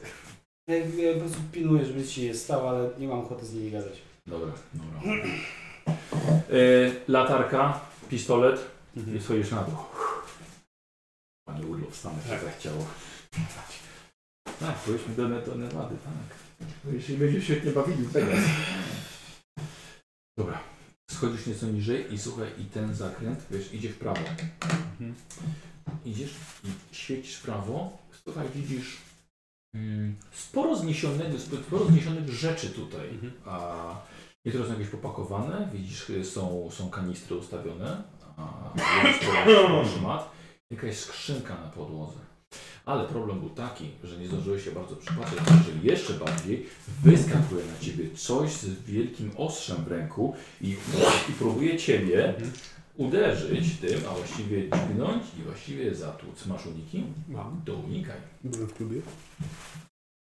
Ja, ja po prostu pilnuję, żeby nic się nie stało, ale nie mam ochoty z nimi gadać.
Dobra, dobra. E, latarka, pistolet i schodzisz na dół. Panie urlop stanę się zachciało. Tak, pojedźmy do, do Nevady, tak. No Jeśli będziemy się świetnie bawili teraz. Dobra. Schodzisz nieco niżej i słuchaj, i ten zakręt, wiesz, idzie w prawo. Idziesz i świecisz w prawo. Słuchaj, widzisz mm, sporo zniesionego, sporo zniesionych rzeczy tutaj. A niektóre są jakieś popakowane, widzisz, y, są, są kanistry ustawione, a jest sporo szmat. Jakaś skrzynka na podłodze. Ale problem był taki, że nie zdążyłeś się bardzo przypatrzeć, że jeszcze bardziej wyskakuje na ciebie coś z wielkim ostrzem w ręku i, i próbuje ciebie
Mhm.
uderzyć tym, a właściwie dźgnąć i właściwie zatłuc. Masz uniki? Mam. To unikaj.
Byłem w klubie.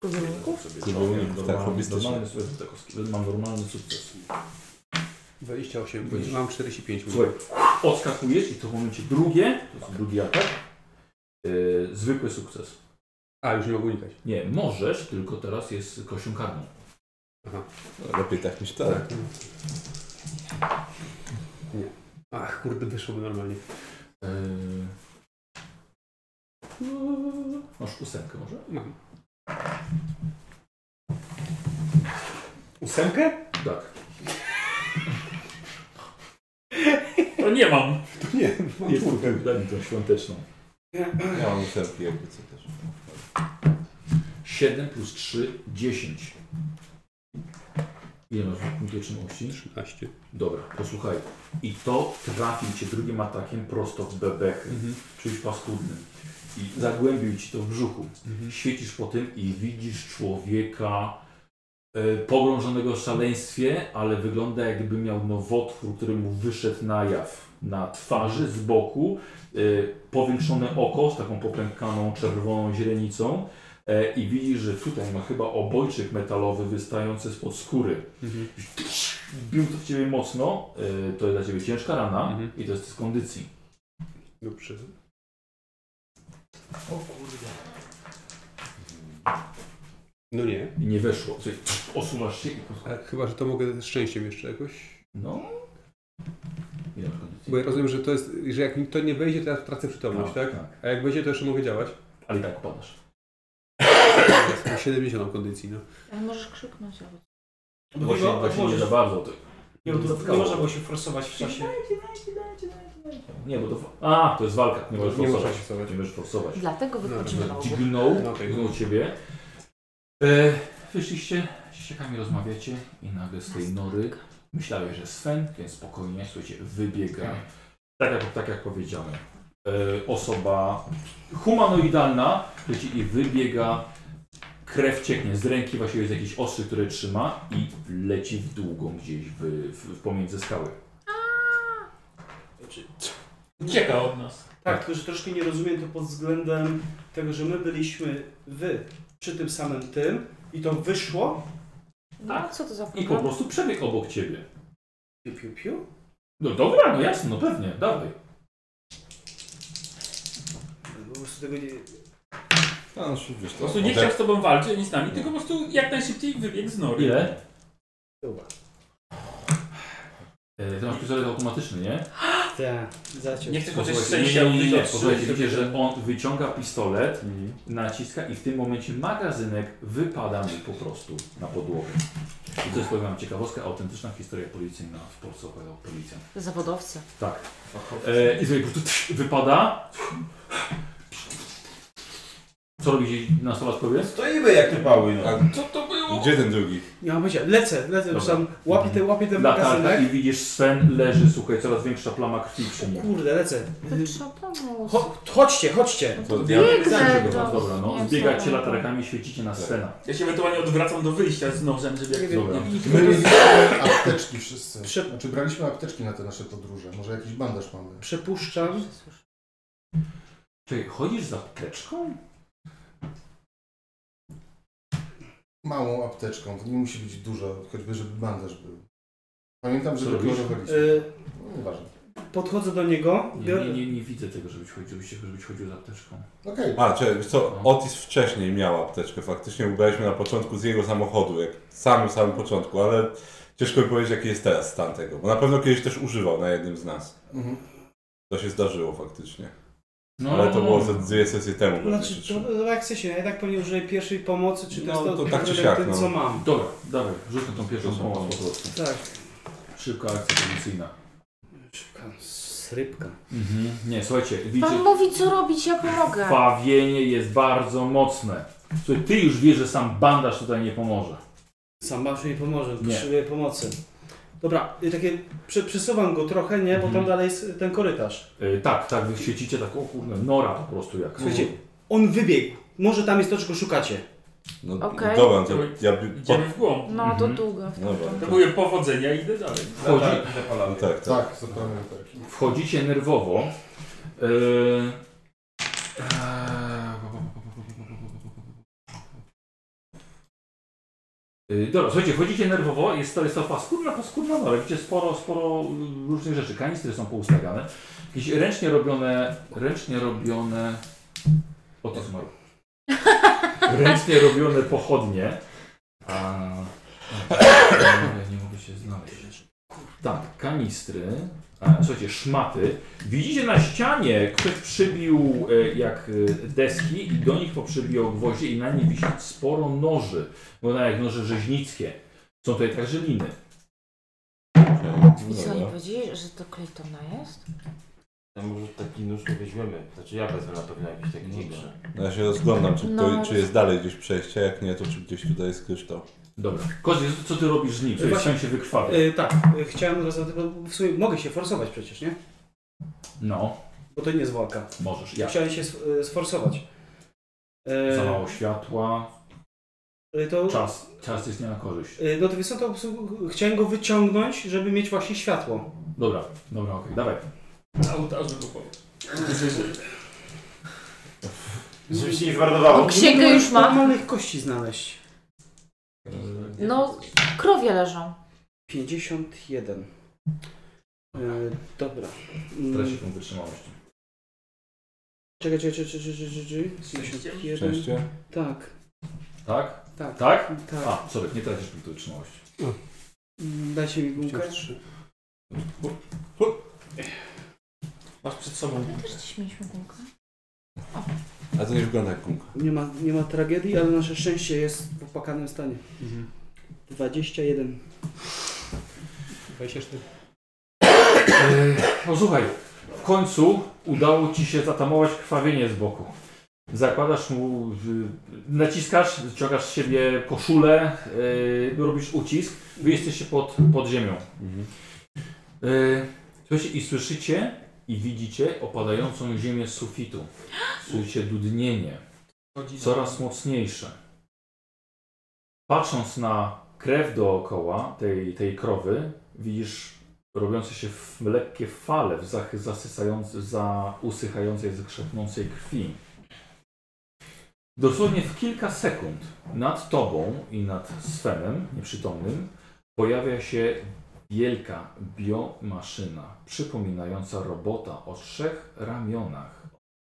Uników sobie
Klubu
zrobię.
uników, tak,
Normalny-
hobbystycznie.
normalny sukces. Mam normalny sukces.
28, mam 45.
Słuchaj, odskakujesz i to w momencie drugie, to jest drugi atak, yy, zwykły sukces.
A, już nie mogę unikać.
Nie, możesz, tylko teraz jest kością karną.
Aha.
Lepiej tak niż tak.
Nie. Ach, kurde, wyszłoby normalnie.
Eee, Masz ósemkę może?
Mam. Ósemkę?
Tak.
To nie mam.
To nie, mam czwórkę. Daj mi tą świąteczną.
Ja mam uszczerbki jakby co też.
7 plus 3, 10. Ile masz punktu otrzymłości?
13.
Dobra, posłuchaj. I to trafił cię drugim atakiem prosto w bebechy,
Mhm.
czymś paskudnym. I zagłębił ci to w brzuchu. Świecisz po tym i widzisz człowieka e, pogrążonego w szaleństwie, ale wygląda jakby miał nowotwór, który mu wyszedł na jaw. Na twarzy, z boku, e, powiększone oko z taką popękaną czerwoną źrenicą. E, I widzisz, że tutaj ma chyba obojczyk metalowy wystający spod skóry.
Mhm.
Bił to w ciebie mocno, e, to jest dla ciebie ciężka rana i to jest z kondycji.
Dobrze.
O kurde.
No nie.
I nie weszło. Słuchaj, osuwasz się i posłuchaj.
A chyba, że to mogę z szczęściem jeszcze jakoś.
No.
Bo ja rozumiem, że to jest, że jak mi to nie wejdzie, to ja tracę przytomność, tak? A jak wejdzie, to jeszcze mogę działać.
Ale i tak padasz.
Mam 70 mam kondycji, no.
Ale możesz krzyknąć albo.
Właśnie,
Bo-
właśnie nie
możesz-
za bardzo. To...
Nie, bo to-
zatkało.
nie można było się forsować w czasie.
Nie, bo to... A, to jest walka. Nie No, możesz
Nie
forsować.
można
Nie możesz forsować.
Dlatego wychodzimy na ogół.
Dźgnął, dźgnął ciebie. tak. E, wyszliście, z ściekami rozmawiacie i nagle z tej nory myślałeś, że Sven, więc spokojnie, słuchajcie, wybiega. Tak jak, tak jak powiedziałem, e, osoba humanoidalna, leci i wybiega, krew cieknie z ręki, właściwie jest jakiś ostry, który trzyma i leci w długą gdzieś w, w, pomiędzy skały.
Znaczy,
Ucieka od nas.
Tak, tylko że troszkę nie rozumiem to pod względem tego, że my byliśmy wy przy tym samym tym i to wyszło.
No
Tak.
co to za
I
problem?
po prostu przebieg obok ciebie.
Piu, piu, piu.
No dobra, no jasno, no pewnie, dawaj.
Po prostu tego nie...
No, się wiesz,
Po prostu nie chciał z tobą walczyć ani z nami, tylko po prostu jak najszybciej wybiegł z nory.
Ile?
Dobra.
E, Ty masz pistolet automatyczny, nie?
Tak, zaciął.
Nie chcę chociaż
Posłuchajcie,
szczęścia
nie, nie, nie, nie.
użyć od
Posłuchajcie,
trzy,
widzicie,
żeby-
że on wyciąga pistolet,
Mhm.
naciska i w tym momencie magazynek wypada mu po prostu na podłogę. I to jest, powiem wam, ciekawostka, autentyczna historia policyjna w Polsce opowiadał policjant.
Zawodowcy.
Tak. E, I sobie po prostu tsz, wypada. Co robi nastolat powie?
Stoimy jak te pały, no.
A
co to było?
Gdzie ten drugi?
Nie mam pojęcia. Lecę, lecę już
Dobra.
tam. Łapię
Mhm.
ten, łapię ten
Latarka
magazynek.
i widzisz, sen leży, słuchaj, coraz większa plama krwi przy nim.
Kurde, lecę.
To trzeba pomóc.
Cho chodźcie, chodźcie.
No To
Biegnę
myślałem, że
do-
was- Dobra,
nie
no.
wiem,
Zbiegacie
co tam.
latarkami, świecicie
Tak.
na scenę.
Ja się ewentualnie odwracam do wyjścia z nożem, żeby jak
Dobra.
nie-
My
nie-
mieliśmy apteczki wszyscy.
Prze-
Znaczy braliśmy apteczki na te nasze podróże. Może jakiś bandaż mamy.
Przepuszczam.
Czekaj, chodzisz za apteczką?
Małą apteczką. To nie musi być dużo, choćby żeby bandaż był. Pamiętam, że
Co robisz?
deklarowaliśmy.
Y,
No, Nieważne.
Podchodzę do niego.
Nie,
biorę-
nie, nie, nie widzę tego, żebyś chodził, żebyś chodził za apteczką.
Okej.
A, czekaj, wiesz co, Otis wcześniej miał apteczkę, faktycznie ubraliśmy na początku z jego samochodu, jak samym, samym początku, ale ciężko mi powiedzieć, jaki jest teraz stan tego, bo na pewno kiedyś też używał na jednym z nas.
Mhm.
To się zdarzyło faktycznie.
No,
ale to
no,
było
no.
ze dwie sesje temu.
Znaczy, to, to jak chce się, ja i tak pewnie użyję pierwszej pomocy, czy to
No,
jest to,
to tak czy
to-
siak,
tym,
no.
co mam.
Dobra, dawaj, rzuć na tą pierwszą pomoc po prostu.
Tak.
Szybka akcja policyjna.
Szybka srybka.
Mhm. Nie, słuchajcie, widzicie,
Pan mówi co robić, ja pomogę.
krwawienie jest bardzo mocne. Słuchaj, ty już wiesz, że sam bandaż tutaj nie pomoże.
Sam masz mi pomoże,
Nie.
potrzebuję pomocy. Dobra, i takie przy, przesuwam go trochę, nie? Bo
Mhm.
tam dalej jest ten korytarz.
E, tak, tak, wy świecicie taką kurde, nora po prostu jak.
Słuchajcie, on wybiegł. Może tam jest to, czego szukacie.
No
Okej.
dobra, to ja... by-
Idziemy w głąb.
No to długo.
Dobra.
To mówię powodzenia i idę dalej.
Wchodzi.
No tak, tak.
Tak, zapalamy apteczki.
Wchodzicie nerwowo. E, Yy, Dobra, słuchajcie, wchodzicie nerwowo, jest to, jest to paskudna, paskudna nora, no, widzicie sporo, sporo y, różnych rzeczy, kanistry są poustawiane, jakieś ręcznie robione, ręcznie robione, o to zmarł, ręcznie robione pochodnie, a, nie, nie mogę się znaleźć, tak, kanistry, a, słuchajcie, szmaty, widzicie na ścianie, ktoś przybił e, jak e, deski i do nich poprzybijał gwoździe i na nich wisi sporo noży, wygląda jak noże rzeźnickie, są tutaj także liny.
I co,
Dobra.
nie powiedzieli, że to Claytona jest?
A może taki nóż nie weźmiemy? Znaczy ja wezmę na pewno jakiś taki większy.
No ja się rozglądam, czy,
No,
to-
roz-
czy jest dalej gdzieś przejście, jak nie, to czy gdzieś tutaj jest kryształ.
Dobra. Kozie, co ty robisz z nim? Słuchaj,
Właśnie.
chciałem się wykrwawić.
Y, tak, y, chciałem raz, bo w sumie mogę się forsować przecież, nie?
No,
Bo to nie jest walka.
możesz. Ja.
Chciałem się s- y, sforsować. Y,
Za mało światła,
y, to,
czas, czas jest nie na korzyść.
y, no to wiesz co, to po prostu chciałem go wyciągnąć, żeby mieć właśnie światło.
Dobra, dobra, okej, dawaj.
Na ołtarzu go powiem.
Żeby się nie zmarnowało.
O, księgę
Gdzie
już mam.
Normalnych kości znaleźć.
No, krowie leżą.
51. Yy, dobra. Mm,
Teraz się tą wytrzymałością.
Czekaj, czekaj, czekaj, czekaj, czekaj, czekaj. 51.
Szczęście?
Tak.
Tak?
Tak.
Tak?
Tak.
A, sorry, nie tracisz punktu wytrzymałości.
Mm, Dajcie No. mi bułkę.
Masz przed sobą.
My też dziś mieliśmy gumkę.
A to nie wygląda jak gumka.
Nie ma, nie ma tragedii, ale nasze szczęście jest w opłakanym stanie.
Mhm.
21.
24.
No słuchaj, w końcu udało ci się zatamować krwawienie z boku. Zakładasz mu, y, naciskasz, wyciągasz z siebie koszulę, y, robisz ucisk, wy jesteście pod, pod ziemią. Y, Słuchajcie, i E, słyszycie i widzicie opadającą ziemię z sufitu. Słyszycie dudnienie, coraz mocniejsze. Patrząc na krew dookoła tej, tej krowy, widzisz robiące się w lekkie fale w zach- zasysające, za usychającej, zakrzepnącej krwi. Dosłownie w kilka sekund nad tobą i nad Svenem nieprzytomnym pojawia się wielka biomaszyna przypominająca robota o trzech ramionach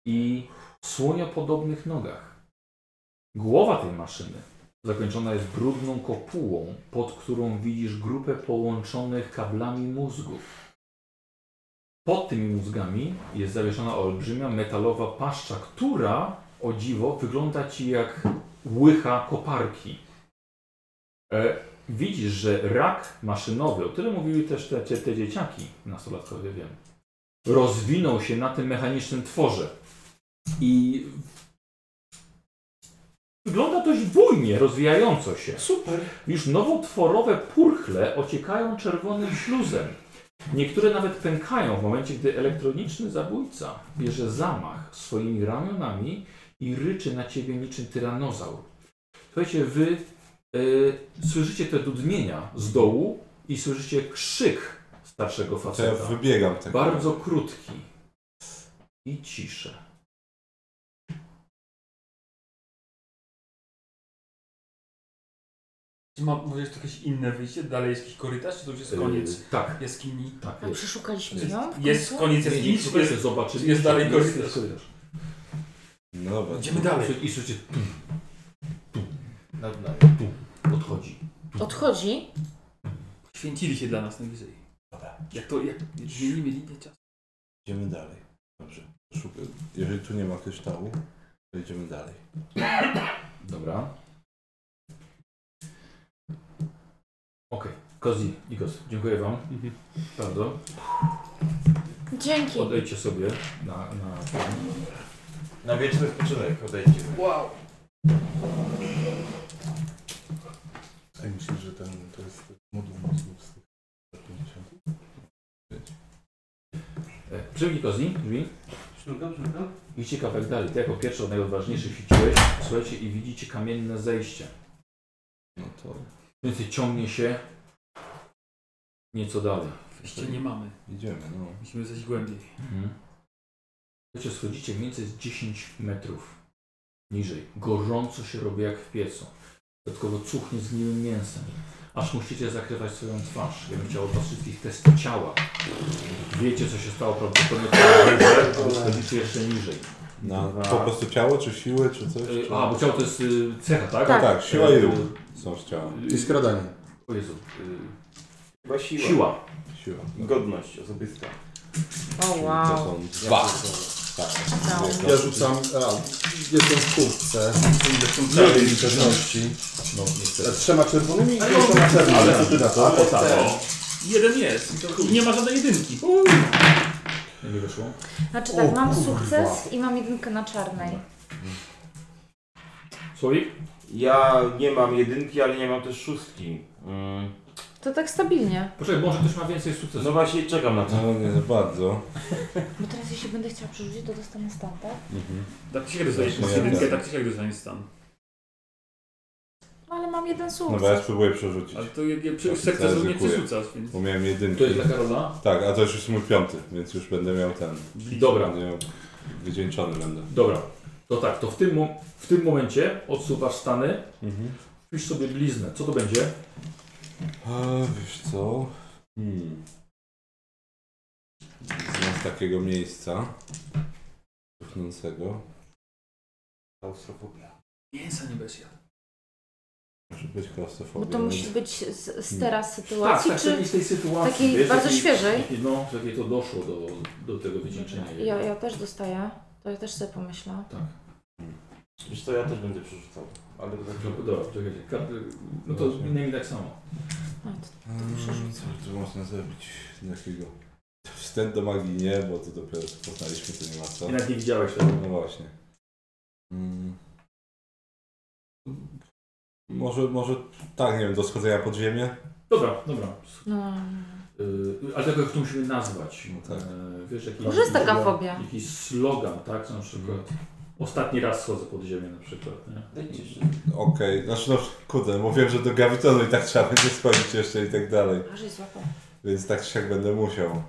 i słoniopodobnych nogach. Głowa tej maszyny zakończona jest brudną kopułą, pod którą widzisz grupę połączonych kablami mózgów. Pod tymi mózgami jest zawieszona olbrzymia metalowa paszcza, która, o dziwo, wygląda ci jak łycha koparki. E, widzisz, że rak maszynowy, o którym mówiły też te, te, te dzieciaki nastolatkowie, wiem, rozwinął się na tym mechanicznym tworze. I Wygląda dość bujnie, rozwijająco się. Super. Już nowotworowe purchle ociekają czerwonym śluzem. Niektóre nawet pękają w momencie, gdy elektroniczny zabójca bierze zamach swoimi ramionami i ryczy na ciebie niczym tyranozaur. Słuchajcie, wy y, słyszycie te dudnienia z dołu i słyszycie krzyk starszego
To
faceta.
ja wybiegam tak.
Bardzo krótki i ciszę.
Czy ma, może jest jakieś inne wyjście? Dalej jest jakiś korytarz, czy to już jest
Yy,
koniec
tak.
jaskini?
Tak,
A przeszukaliśmy
Jest-
ją w
Jest
końcu?
koniec
Nie,
jaskini,
nie,
czy
nie,
to jest,
zobaczyli,
czy jest dalej
jest-
korytarz?
jest korytarz.
No dobra.
Idziemy dalej.
I słyszycie tum, tum,
nad nami.
Tum. Odchodzi.
Odchodzi.
Święcili się dla nas najwyżej. Jak to, jak zmienimy linię czasu.
Idziemy dalej. Dobrze. Szukaj. Jeżeli tu nie ma kryształu, to idziemy dalej.
Dobra. Okej, Kozi i Koz, dziękuję wam
Mhm.
bardzo.
Dzięki.
Odejdźcie sobie na, na...
Na wieczny spoczynek odejdźcie.
Wow.
Ej, myślisz, że ten, to jest moduł mózgów z tych ostatnich dziesiątek?
E, Przymknij Kozi, drzwi.
Szturka, szturka.
Idźcie kawałek dalej. Ty jako pierwszy od najodważniejszych sieciłeś, słuchajcie, i widzicie kamienne zejście.
No to
Więc ciągnie się nieco dalej.
Wyjścia nie mamy.
idziemy, no.
Musimy zejść głębiej.
Mhm. Słuchajcie, schodzicie mniej więcej z 10 metrów niżej. Gorąco się robi jak w piecu. Dodatkowo cuchnie zgniłym mięsem. Aż musicie zakrywać swoją twarz. Ja bym chciał od was wszystkich test ciała. Wiecie, co się stało prawdopodobnie to schodzicie jeszcze niżej.
Na,
Dwa.
No, po prostu ciało, czy siłę, czy coś?
Y,
Czy...
A, bo ciało to jest y, cecha, tak?
Tak, tak siła i
Y,
ruch są z ciała.
y,
I skradanie.
O Jezu.
Chyba
Y,
siła.
siła.
Siła.
I godność osobista.
O
To
wow.
są
Dwa.
Tak.
Ja rzucam, a, jestem w kubce, z
Tak.
drugiej pewności.
No, niestety.
Z trzema czerwonymi i
Ale
trzema
on-
czerwonymi.
ale-
Ale co ty na to?
ale ten. Jeden jest. I to- I nie ma żadnej jedynki.
Nie wyszło?
Znaczy
O,
tak, mam
kurwa.
sukces i mam jedynkę na czarnej.
Słowik?
Ja nie mam jedynki, ale nie mam też szóstki. Mm.
To tak stabilnie.
Poczekaj, może ktoś ma więcej sukcesów.
No właśnie, czekam na to.
No nie za bardzo.
Bo teraz jeśli będę chciała przerzucić, to dostanę stan, tak?
Mhm.
Mhm.
Tak ci się dostajesz
Właśnie,
jedynkę,
tak.
tak ci się dostaniesz stan.
No ale mam jeden
No bo ja
sukces.
spróbuję przerzucić.
Ale to jak, jak przy
Tak,
sukcesu nie
ryzykuję.
przerzucasz, więc...
Bo miałem jedynki.
To jest dla Karola?
Tak, a to już jest mój piąty, więc już będę miał ten.
Dobra.
Będę miał... Wydzieńczony będę.
Dobra, to tak, to w tym, mo- w tym momencie odsuwasz stany,
Mhm.
wpisz sobie bliznę. Co to będzie?
A wiesz co? Hmm. Znam z takiego miejsca. Cuchnącego.
Klaustrofobia.
Mięsa nie bez jadł.
Może być klaustrofobia.
Bo to
więc-
musi być z, z teraz sytuacji,
Hmm. tak,
czy
z tej sytuacji.
takiej
wiesz,
bardzo
jakiej-
świeżej?
jakiej- No, z jakiej to doszło do, do tego wycieńczenia. jego.
ja, ja też dostaję. To ja też sobie pomyślę.
Tak.
Wiesz co, ja też będę przerzucał. Ale to tak...
Dobra, No, Dobra, czekajcie. Kar- No to
Właśnie.
minęli tak samo.
No, to,
Mm, Co tu można zrobić? Takiego. Wstęp do magii nie, bo to dopiero co poznaliśmy, to nie ma co.
I nawet nie widziałeś tego.
No właśnie. Mm. Może, może tak, nie wiem, do schodzenia pod ziemię?
Dobra, dobra.
No.
Yy, ale tego jak to musimy nazwać.
No tak.
Yy, wiesz, jakiś,
Może jest taka fobia.
Jakiś slogan, tak? Co Na przykład
No tak.
ostatni raz schodzę pod ziemię na przykład. Nie?
Okej, znaczy no kurde, mówiłem, że do Gawitonu i tak trzeba będzie schodzić jeszcze i tak dalej.
Aż jest łapą.
Więc tak czy siak będę musiał.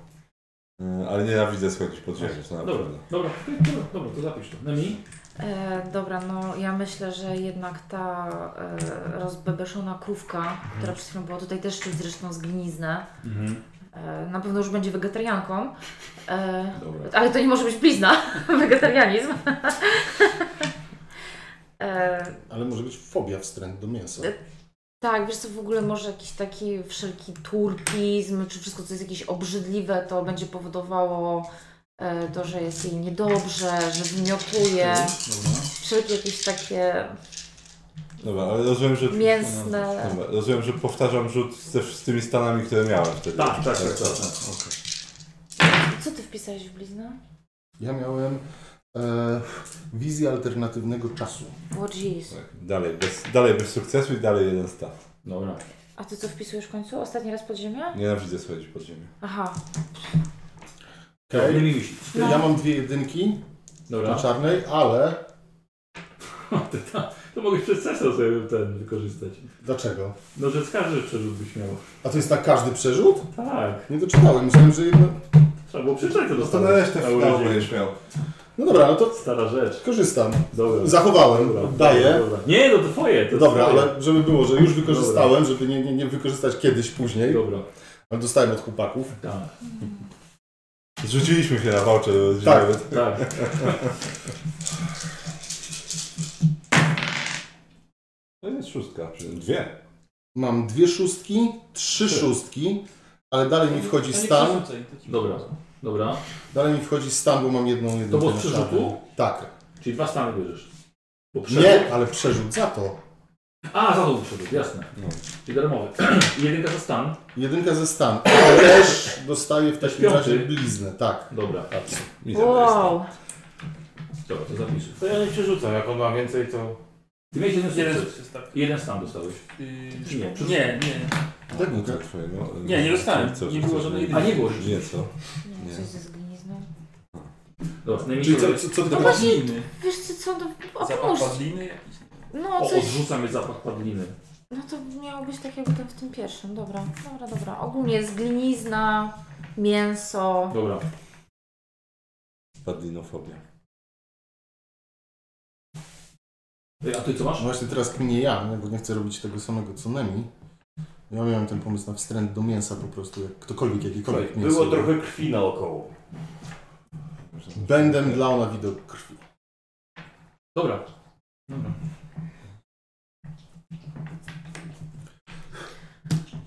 Yy, Ale nienawidzę schodzić pod ziemię, to na
Dobra,
pewno.
dobra, dobra, dobra, to zapisz to. Nemi?
E, dobra, no ja myślę, że jednak ta e, rozbebeszona krówka,
Hmm.
która przed chwilą była tutaj też czuć zresztą z gliniznę,
Mhm.
e, na pewno już będzie wegetarianką, e,
Dobra.
ale to nie może być blizna, wegetarianizm. e,
Ale może być fobia wstręt do mięsa.
E, Tak, wiesz co, w ogóle może jakiś taki wszelki turpizm, czy wszystko, co jest jakieś obrzydliwe, to będzie powodowało e, to, że jest jej niedobrze, że wymiotuje. Wszelkie jakieś takie...
Dobra, ale rozumiem, że...
Mięsne.
Dobra, rozumiem, że powtarzam rzut z, z tymi stanami, które miałem wtedy.
Tak, tak, tak, tak, tak.
Co ty wpisałeś w bliznę?
Ja miałem e, wizję alternatywnego czasu.
O jeez.
Dalej bez, dalej bez sukcesu i dalej jeden stan.
Dobra.
A ty co wpisujesz w końcu? Ostatni raz pod ziemię?
Nienawidzę schodzić pod ziemię.
Aha.
Okej.
Nie mieliście.
Ja mam dwie jedynki
Dobra.
na czarnej, ale
To mogę przez sesję sobie ten wykorzystać.
Dlaczego?
No, że z każdy przerzut byś miał.
A to jest na każdy przerzut?
Tak.
Nie doczytałem, myślałem, że jedno...
Trzeba było przeczytać to
No to
dostałem.
na resztę
Na
finału
urodziny.
będziesz miał.
No dobra, no to
Stara rzecz.
korzystam.
Dobra.
Zachowałem,
Dobra,
daję.
dobra, dobra. Nie, no to twoje, to
dobra,
twoje.
ale żeby było, że już wykorzystałem,
Dobra.
żeby nie, nie, nie wykorzystać kiedyś później.
Dobra.
Ale dostałem od chłopaków.
Tak.
Zrzuciliśmy się na no, walczę.
Tak,
tak.
To jest szóstka, przy- dwie.
Mam dwie szóstki, trzy szóstki, ale dalej mi wchodzi
To nie
stan.
przerzucaj, to ci- Dobra, dobra.
Dalej mi wchodzi stan, bo mam jedną jedynkę.
było z
na
przerzutu?
czarnym. Tak.
Czyli dwa stany bierzesz. Bo przerzut-
Nie, ale przerzut za to.
A, za to był przerzut, jasne. Czyli darmowy. No. Jedynka za stan.
Jedynka ze stan. Ale też dostaję w takim
Piąty.
razie bliznę, tak.
Dobra.
Wow.
Dobra, to zapiszę.
To ja nie przerzucam, jak on ma więcej to...
Ty miałeś jeden
Jeden
sukces.
sukces, tak.
Jeden stan dostałeś.
Yy,
Czy nie,
nie, nie.
Tak był tak twojego.
Nie, nie dostałem. Nie było żadnej
A nie było
Nie, co?
Nie. Coś ze zgnizną.
Dobra,
Czyli co,
najmniej-
co, co ty
No
masz?
właśnie, wiesz co, co to...
Zapach
Oprócz...
padliny jakiś?
No,
O,
coś...
odrzucam jest zapach padliny.
No to miało być tak jakby to w tym pierwszym. Dobra, dobra, dobra. Ogólnie jest glinizna, mięso.
Dobra.
Padlinofobia.
Ej, A ty co masz?
Właśnie teraz kminie ja, nie? bo nie chcę robić tego samego co Nemi. Ja miałem ten pomysł na wstręt do mięsa po prostu, jak ktokolwiek, jakiekolwiek mięso.
Tak, Było trochę krwi naokoło.
Będę mdlał na widok krwi.
Dobra. Dobra.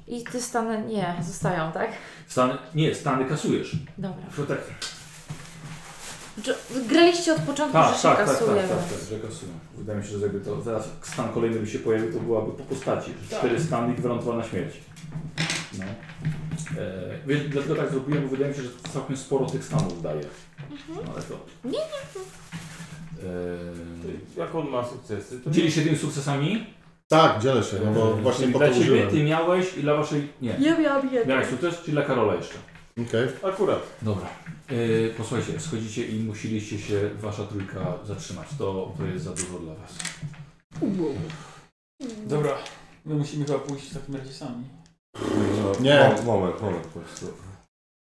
I te stany nie, zostają, tak?
Stany, nie, stany kasujesz.
Dobra.
To tak,
Czy- Graliście od początku,
tak,
że się
tak, tak, tak,
kasuje.
tak, tak, że kasują. Wydaje mi się, że jakby to zaraz stan kolejny by się pojawił, to byłaby po postaci. Że
Tak.
Cztery stany i gwarantowana śmierć. No. E, więc dlatego tak zrobiłem, bo wydaje mi się, że całkiem sporo tych stanów daje. No, ale to...
Mhm. Nie, nie.
E,
Jak on ma sukcesy, to...
Dzieli się tymi sukcesami?
Tak, dzielę się, no bo właśnie
Czyli
po to
dla ciebie,
użyłem.
ty miałeś i dla waszej. Nie.
Ja miałam jeden.
Miałeś sukces, czy dla Karola jeszcze?
Okej.
Akurat.
Dobra. Yy, posłuchajcie, schodzicie i musieliście się wasza trójka zatrzymać. To, to jest za dużo dla was.
Dobra, my musimy chyba pójść w takim razie sami.
Nie.
Mo- Moment, moment po prostu.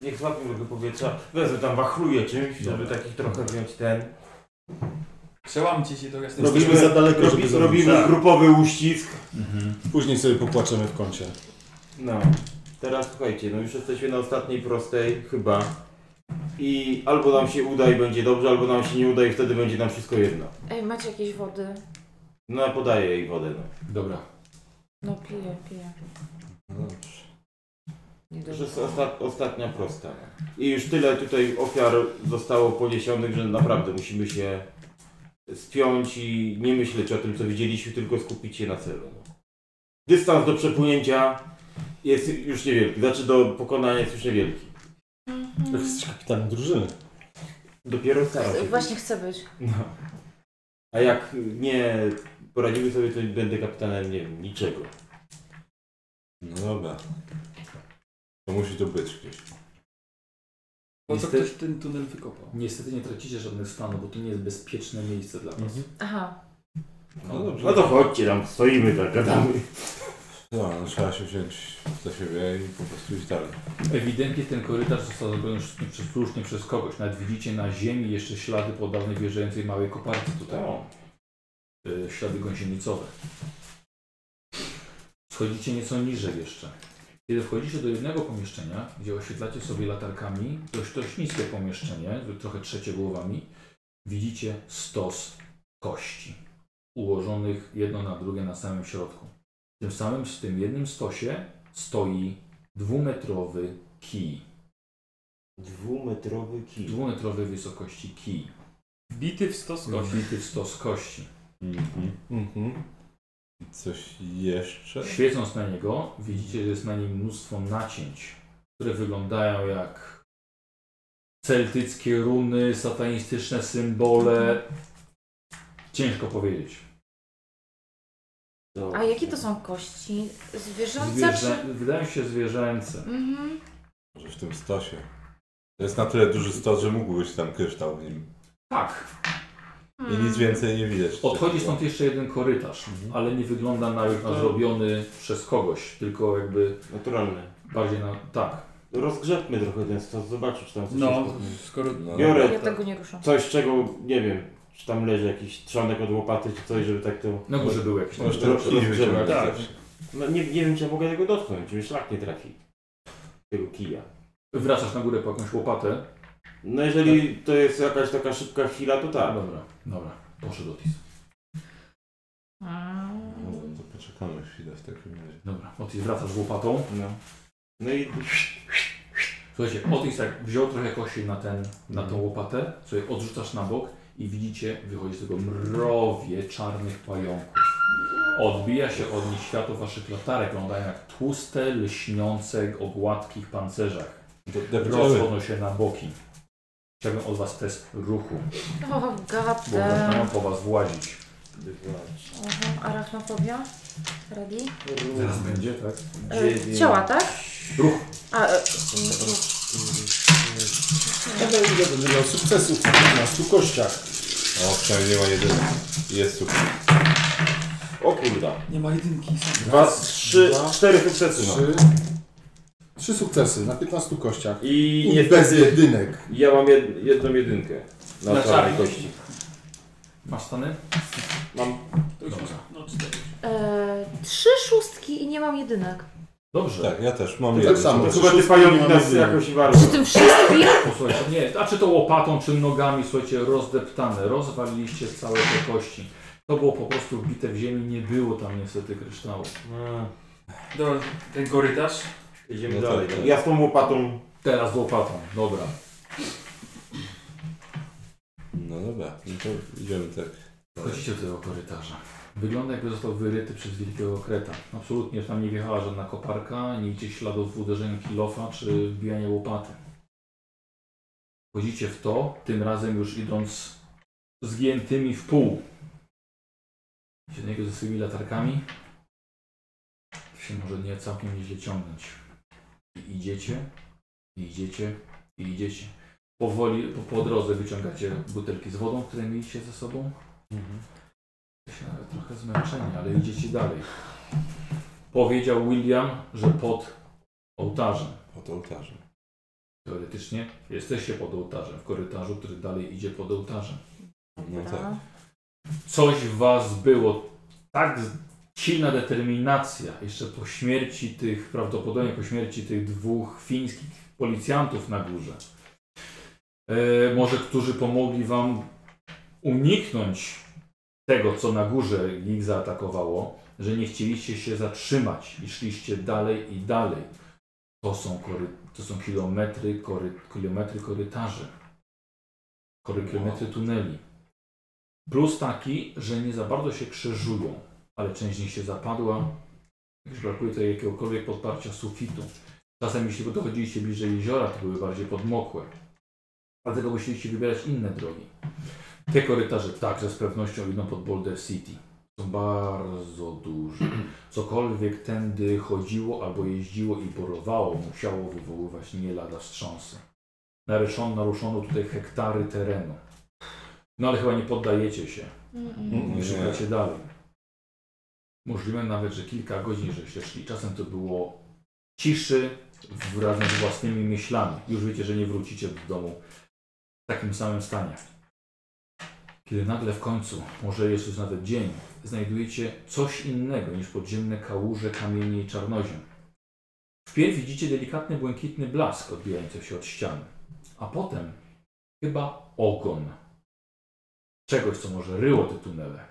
Niech złapią tego powietrza. Wezmę tam wachluję czymś, żeby taki trochę wziąć ten.
Przełamcie się to jasne.
Jesteśmy za daleko,
robi-
żeby zrobić.
Robimy
Tak.
grupowy uścisk.
Później sobie popłaczemy w kącie.
No. Teraz słuchajcie, no już jesteśmy na ostatniej prostej chyba. I albo nam się uda i będzie dobrze, albo nam się nie uda i wtedy będzie nam wszystko jedno.
Ej, macie jakieś wody?
No ja podaję jej wodę. No.
Dobra.
No piję, piję.
To już jest osta- ostatnia prosta. I już tyle tutaj ofiar zostało poniesionych, że naprawdę musimy się spiąć i nie myśleć o tym, co widzieliśmy, tylko skupić się na celu. no. Dystans do przepłynięcia jest już niewielki, znaczy do pokonania jest już niewielki.
Jesteś kapitanem drużyny.
Dopiero staram się.
Właśnie chcę być.
No. A jak nie poradzimy sobie, to będę kapitanem, nie wiem, niczego.
No dobra. To musi tu być gdzieś.
Po co
Niestety-
ktoś ten tunel wykopał?
Niestety nie tracicie żadnych stanów, bo to nie jest bezpieczne miejsce dla was.
Aha.
Mhm. No dobrze.
No to chodźcie tam, stoimy tak, gadamy.
No, no trzeba się wziąć za siebie i po prostu iść dalej.
Ewidentnie ten korytarz został zrobiony sztucznie przez, sztucznie przez kogoś. Nawet widzicie na ziemi jeszcze ślady po dawnej wjeżdżającej małej koparce tutaj. Y, Ślady gąsienicowe. Schodzicie nieco niżej jeszcze. Kiedy wchodzicie do jednego pomieszczenia, gdzie oświetlacie sobie latarkami, dość, dość niskie pomieszczenie, trochę trzecie głowami, widzicie stos kości ułożonych jedno na drugie na samym środku. Tym samym w tym jednym stosie stoi dwumetrowy kij.
Dwumetrowy kij.
Dwumetrowej wysokości kij.
Bity w stos
kości. Bity w stos kości.
Mhm.
Coś jeszcze?
Świecąc na niego, widzicie, że jest na nim mnóstwo nacięć, które wyglądają jak celtyckie runy, satanistyczne symbole. Ciężko powiedzieć.
A jakie to są kości? Zwierzęce
Zwierzę...
czy...
Wydają się zwierzęce.
Mhm.
Może w tym stosie. To jest na tyle duży stos, że mógł być tam kryształ w nim.
Tak.
I nic więcej nie widać.
Odchodzi stąd jeszcze jeden korytarz, ale nie wygląda na, na
To-
zrobiony przez kogoś, tylko jakby...
Naturalny.
Bardziej na... tak.
Rozgrzebmy trochę ten stos, zobaczyć czy tam coś
No,
jest pod nim.
skoro- no.
Biorę
Ja
te-
tego nie ruszam.
coś, czego nie wiem, czy tam leży jakiś trzonek od łopaty czy coś, żeby tak to...
Na górze był jakiś.
Roz-
Może
roz-
to kij
rozgrzebać.
wyciągnąć
Tak.
zawsze.
No, nie, nie wiem, czy ja mogę tego dotknąć, czy mi szlak nie trafi. Tego kija.
Wracasz na górę po jakąś łopatę.
No jeżeli to jest jakaś taka szybka chwila, to tak.
Dobra, dobra. Poszedł Otis.
No,
Mm.
to poczekamy chwilę w takim razie.
Dobra, Otis wracasz łopatą.
No. No i...
Słuchajcie, Otis jak wziął trochę kości na, ten, na tą łopatę, sobie odrzucasz na bok i widzicie, wychodzi z tego mrowie czarnych pająków. Odbija się od nich światło waszych latarek, wyglądają jak tłuste, lśniące o gładkich pancerzach. Rozchodzą się na boki. Chciałbym od was test ruchu,
O, god
bo zaczynają
damn.
po was włazić.
Aha, Arachnofobia? Ready?
Zaraz będzie, tak?
E, ciała, tak?
Ruch.
A, e,
Ile będę miał sukcesów w 15 kościach?
O, przynajmniej nie ma jedynego. Jest sukces.
O kurda.
Nie ma jedynki.
Dwa, trzy, cztery sukcesy no. mam.
Trzy, trzy sukcesy na 15 kościach.
I
I
niestety-
bez jedynek.
Ja mam jed, jedną jedynkę na,
Na
czarnej
czarnej.
kości.
Masz stany?
Mam.
Dobrze.
e, trzy szóstki i nie mam jedynek.
Dobrze.
Tak, ja też mam
To
jeden.
tak samo.
sukces.
Chyba ty pająk nas jakoś warto.
Przy tym wszystkim?
Posłuchajcie, nie, a czy to łopatą, czy nogami, słuchajcie, rozdeptane, rozwaliliście całe te kości. To było po prostu wbite w ziemi, nie było tam niestety kryształu.
Dobra, ten korytarz.
Idziemy No. dalej. tak. Ja z tą łopatą.
Teraz z łopatą, dobra.
No dobra, no to idziemy tak.
Chodzicie do tego korytarza. Wygląda jakby został wyryty przez wielkiego kreta. Absolutnie tam nie wjechała żadna koparka, nie widzicie śladów w uderzeniu kilofa czy wbijania łopaty. Chodzicie w to, tym razem już idąc zgiętymi w pół. Idziecie do niego ze swymi latarkami. To się może nie całkiem nieźle ciągnąć. I idziecie, i idziecie, i idziecie. Powoli, po, po drodze wyciągacie butelki z wodą, które mieliście ze sobą. Jesteście nawet trochę zmęczeni, ale idziecie dalej. Powiedział William, że pod ołtarzem.
Pod ołtarzem.
Teoretycznie jesteście pod ołtarzem, w korytarzu, który dalej idzie pod ołtarzem.
No tak.
Coś w was było, tak z- silna determinacja, jeszcze po śmierci tych, prawdopodobnie po śmierci tych dwóch fińskich policjantów na górze, e, może którzy pomogli wam uniknąć tego, co na górze ich zaatakowało, że nie chcieliście się zatrzymać i szliście dalej i dalej. To są, kory, to są kilometry, kory, kilometry korytarzy, kory, kilometry tuneli. Plus taki, że nie za bardzo się krzyżują, ale część z nich się zapadła, gdyż brakuje tutaj jakiegokolwiek podparcia sufitu. Czasem jeśli dochodziliście bliżej jeziora, to były bardziej podmokłe. Dlatego musieliście wybierać inne drogi. Te korytarze także z pewnością idą pod Boulder City. są bardzo duże. Cokolwiek tędy chodziło albo jeździło i porowało, musiało wywoływać nie lada wstrząsy. Naruszono, naruszono tutaj hektary terenu. No ale chyba nie poddajecie się.
Mm-mm.
Nie
Nie.
szukacie dalej. Możliwe nawet, że kilka godzin żeście szli. Czasem to było ciszy wraz z własnymi myślami. Już wiecie, że nie wrócicie do domu w takim samym stanie. Kiedy nagle w końcu, może jest już nawet dzień, znajdujecie coś innego niż podziemne kałuże, kamienie i czarnoziem. Wpierw widzicie delikatny błękitny blask odbijający się od ściany, a potem chyba ogon czegoś, co może ryło te tunele.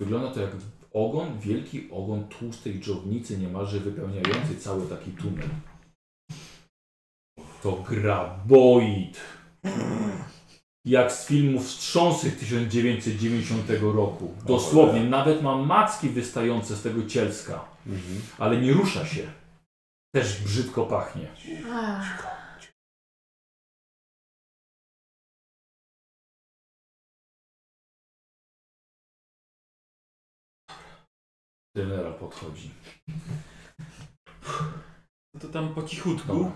Wygląda to jak ogon, wielki ogon tłustej dżownicy, niemalże wypełniający cały taki tunel. To graboid. Jak z filmów wstrząsy 1990 roku. Dosłownie, nawet ma macki wystające z tego cielska, ale nie rusza się. Też brzydko pachnie. Generał podchodzi.
No To tam po cichutku.
Dobra.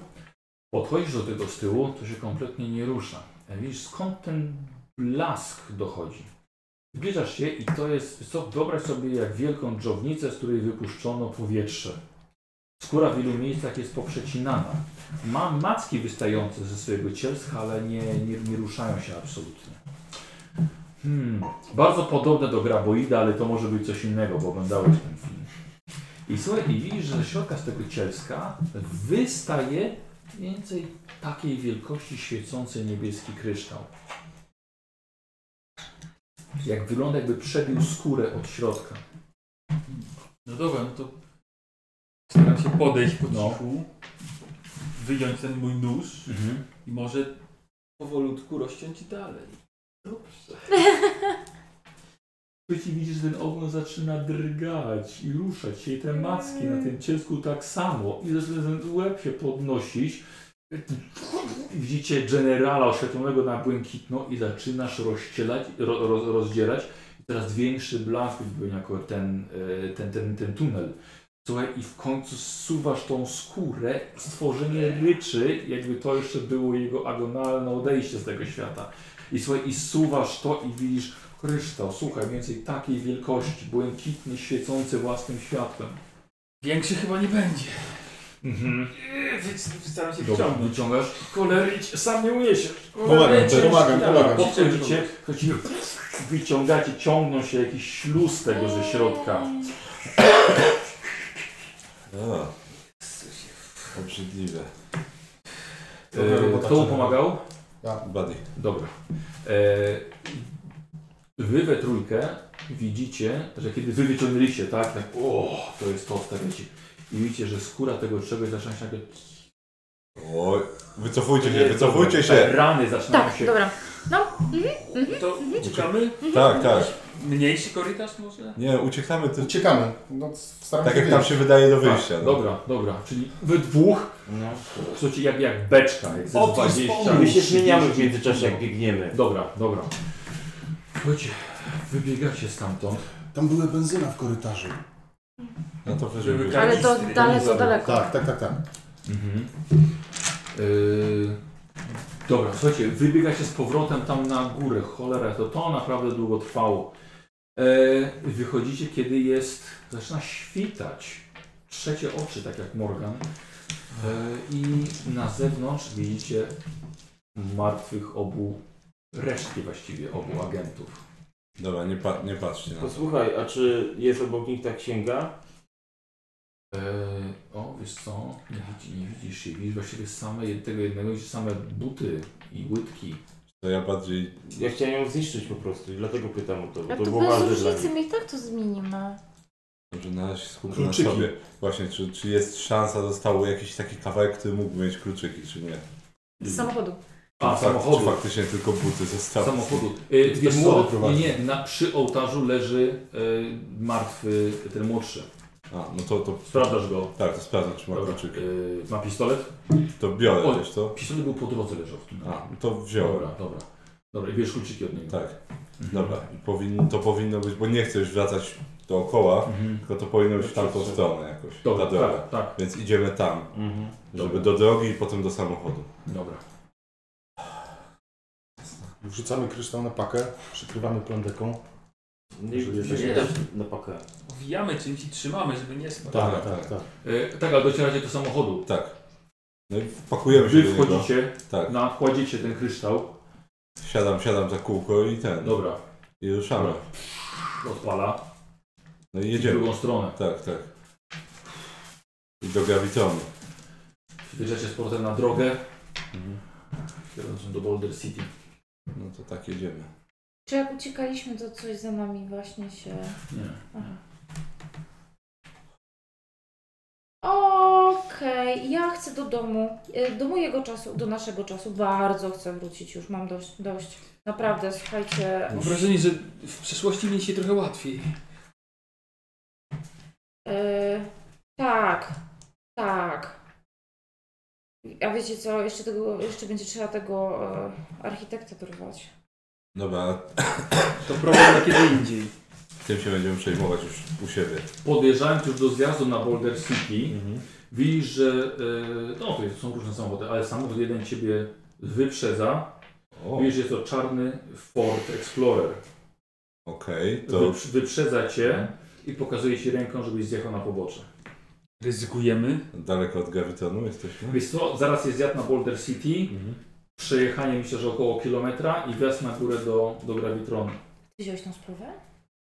Podchodzisz do tego z tyłu, to się kompletnie nie rusza. A Widzisz, skąd ten blask dochodzi? Zbliżasz się i to jest, wiesz co, wyobraź sobie jak wielką dżownicę, z której wypuszczono powietrze. Skóra w wielu miejscach jest poprzecinana. Ma macki wystające ze swojego cielska, ale nie, nie, nie ruszają się absolutnie. Hmm. Bardzo podobne do graboida, ale to może być coś innego, bo oglądałeś ten film. I słuchaj, i widzisz, że ze środka z tego cielska wystaje mniej więcej takiej wielkości świecący niebieski kryształ. Jak wygląda, jakby przebił skórę od środka.
No dobra, no to staram się podejść po cichu, wyjąć ten mój nóż i może powolutku rozciąć dalej. Dobrze.
Słuchajcie, widzisz, że ten ogon zaczyna drgać i ruszać się i te macki na tym cielsku tak samo i zaczyna ten łeb się podnosić. I Widzicie generala oświetlonego na błękitno i zaczynasz rozcielać, ro, ro, rozdzierać. I coraz większy blask wypełnia ko- ten, e, ten, ten, ten tunel. Słuchaj, i w końcu zsuwasz tą skórę, stworzenie ryczy, jakby to jeszcze było jego agonalne odejście z tego świata. I słuchaj, i zsuwasz to i widzisz kryształ, słuchaj, więcej takiej wielkości, błękitny, świecący własnym światłem.
Większy chyba nie będzie.
Mhm.
Eee, wy- Staram się
Dobra,
wyciągnąć.
wyciągasz. Choleryć, sam nie uniesiesz.
Pomagam,
Choleryć,
pomagam, pomagam.
Podchodzicie, chodzicie, wyciągacie, ciągną się jakiś śluz tego ze środka. E,
A. Obrzydliwe. Yy,
E, Kto mu pomagał?
Ja. Buddy.
Dobra. E, wy we trójkę widzicie, że kiedy wy wyciągnęliście, tak, tak, o, to jest to, wstawiacie. I widzicie, że skóra tego czegoś zaczyna się nagle...
Oj, wycofujcie
To nie
się,
jest
wycofujcie
dobre.
się!
Te Rany zaczynają
Tak,
się...
dobra. No, mhm, mhm,
To
mhm.
uciekamy?
Tak, tak.
Mniejszy korytarz może?
Nie, uciekamy. Ty...
Uciekamy. No, staramy
tak
się
jak nam
wyjść.
się wydaje do wyjścia.
Tak,
no.
Dobra, dobra, czyli wy dwóch, no. słuchajcie, jak, jak beczka, jak ze
O, to jest
20.
pomysł. My się zmieniamy
30,
w międzyczasie, jak
no.
biegniemy.
Dobra, dobra. Słuchajcie, wybiegacie stamtąd.
Tam były benzyna w korytarzu.
No to
wyżej Żeby
Ale to daleko, daleko.
Tak, tak, tak, tak.
Mhm. Yy, dobra, słuchajcie, wybiegacie z powrotem tam na górę. Cholera, to to naprawdę długo trwało. Yy, wychodzicie, kiedy jest. zaczyna świtać. Trzecie oczy, tak jak Morgan. Yy, I na zewnątrz widzicie martwych obu, resztki właściwie obu agentów.
Dobra, nie, pa nie patrzcie na to.
Posłuchaj, a czy jest obok nich ta księga?
Eee, o, wiesz co, nie, widzi, nie widzisz jej, widzisz właściwie same jed- tego jednego, widzisz same buty i łydki.
To ja bardziej...
Ja chciałem ją zniszczyć po prostu i dlatego pytam o to, bo
Ale
to
to
było
bez
ważne dla
różnicy,
mnie.
my i tak to zmienimy.
Dobrze, na razie się skupmy na
Kluczyki.
sobie. Właśnie, czy, czy jest szansa, został jakiś taki kawałek, który mógł mieć kluczyki, czy nie?
Z samochodu.
A,
Czy fak-
samochodu.
Czy faktycznie tylko buty Yy, zostały?
Samochodu. Eee,
Ktoś
wiesz
młody
co, nie,
prowadzi.
nie, na, przy ołtarzu leży eee, martwy, ten młodszy.
A, no to, to...
Sprawdzasz go.
Tak, to sprawdzam, czy ma
Dobra,
kluczyki.
eee, ma pistolet?
To biorę
O,
też, to.
Pistolet był po drodze leżał w tym.
A, to wziąłem.
Dobra, dobra. Dobra, i bierz kluczyki od niego.
Tak. Dobra, i powin, to powinno być, bo nie chcę już wracać dookoła, tylko to powinno być w tamtą stronę jakoś.
Mhm. Dobra,
ta droga.
tak, tak.
Więc idziemy tam,
Mhm.
żeby
Dobra.
do drogi i potem do samochodu.
Dobra.
Wrzucamy kryształ na pakę, przykrywamy plandeką.
Nie,
Żeby
nie,
jesteśmy-
nie
no,
dasz na pakę.
Wijamy czymś i trzymamy, żeby nie spadł.
Tak, tak, tak.
E, tak, ale docieracie do samochodu.
Tak. No i wpakujemy się
Wy
do niego.
wchodzicie,
Tak.
na, kładziecie ten kryształ.
Siadam, siadam za kółko i ten.
Dobra.
I ruszamy.
Odpala.
No i jedziemy.
W drugą stronę.
Tak, tak. I do grawitonu.
Wyjeżdżacie z portem na drogę. Kierując do Boulder City.
Mhm. No to tak jedziemy.
Czy jak uciekaliśmy, to coś za nami właśnie się...
Nie.
Aha. Okej, ja chcę do domu, e, do mojego czasu, do naszego czasu, bardzo chcę wrócić już, mam dość, dość. Naprawdę, słuchajcie,
Mam wrażenie, że w przeszłości mieliście trochę łatwiej.
e, tak, tak. A wiecie co, jeszcze, tego, jeszcze będzie trzeba tego e, architekta dorwać.
Dobra,
To problem na kiedy indziej.
tym się będziemy przejmować już u siebie.
Podjeżdżając już do zjazdu na Boulder City,
Mhm.
widzisz, że e, no to jest- są różne samochody, ale samochód jeden ciebie wyprzedza.
O.
Widzisz, jest to czarny Ford Explorer.
Okej, to... Mhm.
Wyprz- Wyprzedza cię i pokazuje ci ręką, żebyś zjechał na pobocze.
Ryzykujemy.
Daleko od grawitonu jesteśmy?
Wiesz co, zaraz jest zjazd na Boulder City,
Mhm.
przejechanie myślę, że około kilometra i wjazd na górę do, do Gravitronu.
Ty wziąłeś tą sprawę?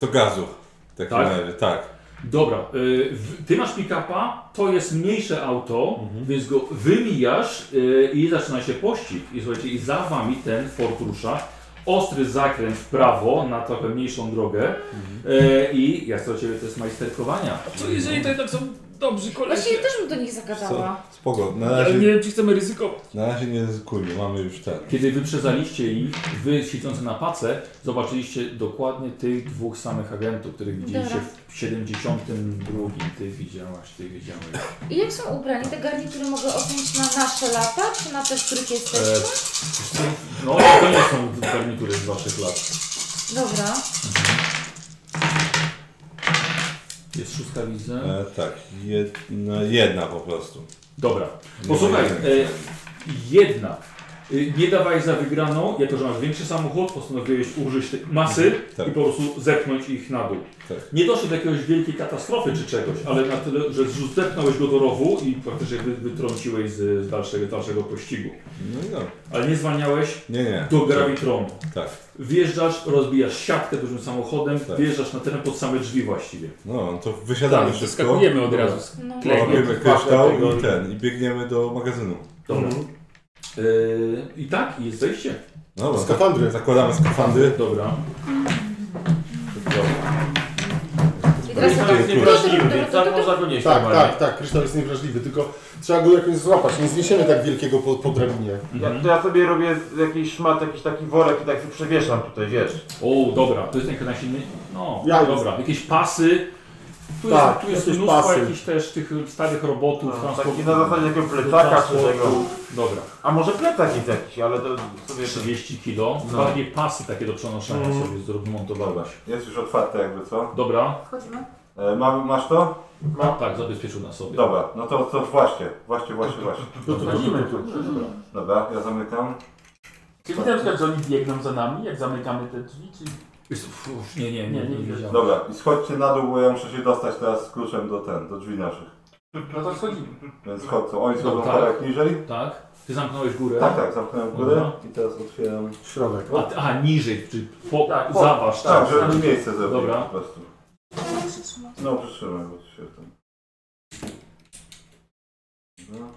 Do gazu. W takim
Tak?
razie, tak.
Dobra, y, w- ty masz pick-upa, to jest mniejsze auto,
Mhm.
więc go wymijasz y, i zaczyna się pościg. I słuchajcie, i za wami ten Ford rusza. Ostry zakręt w prawo na trochę mniejszą drogę.
Mhm.
Y, I ja chcę od ciebie test majsterkowania.
Co jeżeli to jednak są dobrzy koledzy?
Właśnie ja też bym do nich zagadała.
Spoko, na
Ale
razie,
nie wiem, czy chcemy ryzykować.
na razie nie ryzykujmy, mamy już ten.
Kiedy wyprzedzaliście ich, wy siedzący na pace, zobaczyliście dokładnie tych dwóch samych agentów, których widzieliście
Dobra.
w 72. Ty widziałaś, ty widziałeś.
I jak są ubrani, te garnitury mogę odnieść na nasze lata, czy na te, w których
E,
jesteśmy?
no, to nie są garnitury z waszych lat.
Dobra.
Jest szóstka widzę.
E, tak, jedna, jedna po prostu.
Dobra.
Nie
Posłuchaj, e,
ma
jedna. Y, Nie dawałeś za wygraną, jako że masz większy samochód, postanowiłeś użyć tej masy
Tak.
i po prostu zepchnąć ich na dół.
Tak.
Nie doszło do jakiejś wielkiej katastrofy czy czegoś, ale na tyle, że zrzu- zepchnąłeś go do rowu i praktycznie wy- wytrąciłeś z z dalszego, dalszego pościgu.
No i dobra.
Ale nie zwalniałeś
Nie, nie.
do gravitronu.
Tak.
Wjeżdżasz, rozbijasz siatkę dużym samochodem,
Tak.
wjeżdżasz na teren pod same drzwi właściwie.
No, to wysiadamy
Tak,
szybko.
skakujemy od razu z
Dobra.
klejmy.
Łapiemy kryształ i ten, i biegniemy do magazynu.
Dobra. Yy, I tak, i jesteście.
Dobra, Skafandry. No, zakładamy skafandry.
Dobra.
I teraz
Jest
tak,
niewrażliwy,
to- to- to- to-
można go nieść
Tak,
normalnie.
tak, tak, kryształ jest niewrażliwy, tylko trzeba go jakoś złapać, nie zniesiemy tak wielkiego po, po drabinie.
Ja,
Mhm.
to ja sobie robię jakiś szmat, jakiś taki worek i tak sobie przewieszam tutaj, wiesz.
O, dobra, to jest ten najsilny. No,
Ja-
dobra, jakieś pasy. Tu jest,
Tak,
tu jest
jakieś
mnóstwo
pasy.
jakichś też tych
y,
starych robotów.
No,
transport-
taki na zasadzie jakiego plecaka czy
transportu.
czego.
Dobra.
A może plecak jest jakiś, ale to sobie...
30 kilo.
No.
Bardziej pasy takie do przenoszenia
Mm.
Mhm.
sobie zremontowałeś.
Jest już otwarte jakby, co?
Dobra.
Wchodzimy. E, ma, masz to?
Mam. Tak, zabezpieczył na sobie.
Dobra, no to, to właśnie, właśnie, właśnie, właśnie.
No to wchodzimy tu.
Dobra. Dobra, ja zamykam.
Czy widać, na przykład, że oni biegną za nami, jak zamykamy te drzwi, czy...
Jest- uf, nie, nie, nie, nie, nie widziałem.
Dobra, i schodźcie na dół, bo ja muszę się dostać teraz z kluczem do ten, do drzwi naszych.
No to schodzimy.
Więc chodzą, oni schodzą
No,
tak. parę niżej.
Tak. Ty zamknąłeś górę.
Tak, tak, zamknąłem górę
Dobra.
i teraz otwieram środek.
A, ty- aha, niżej, czyli po,
Tak, po-
zaważ.
tak, żeby mi miejsce zrobić
Dobra.
po prostu. No przytrzymaj, bo tu się tam... No.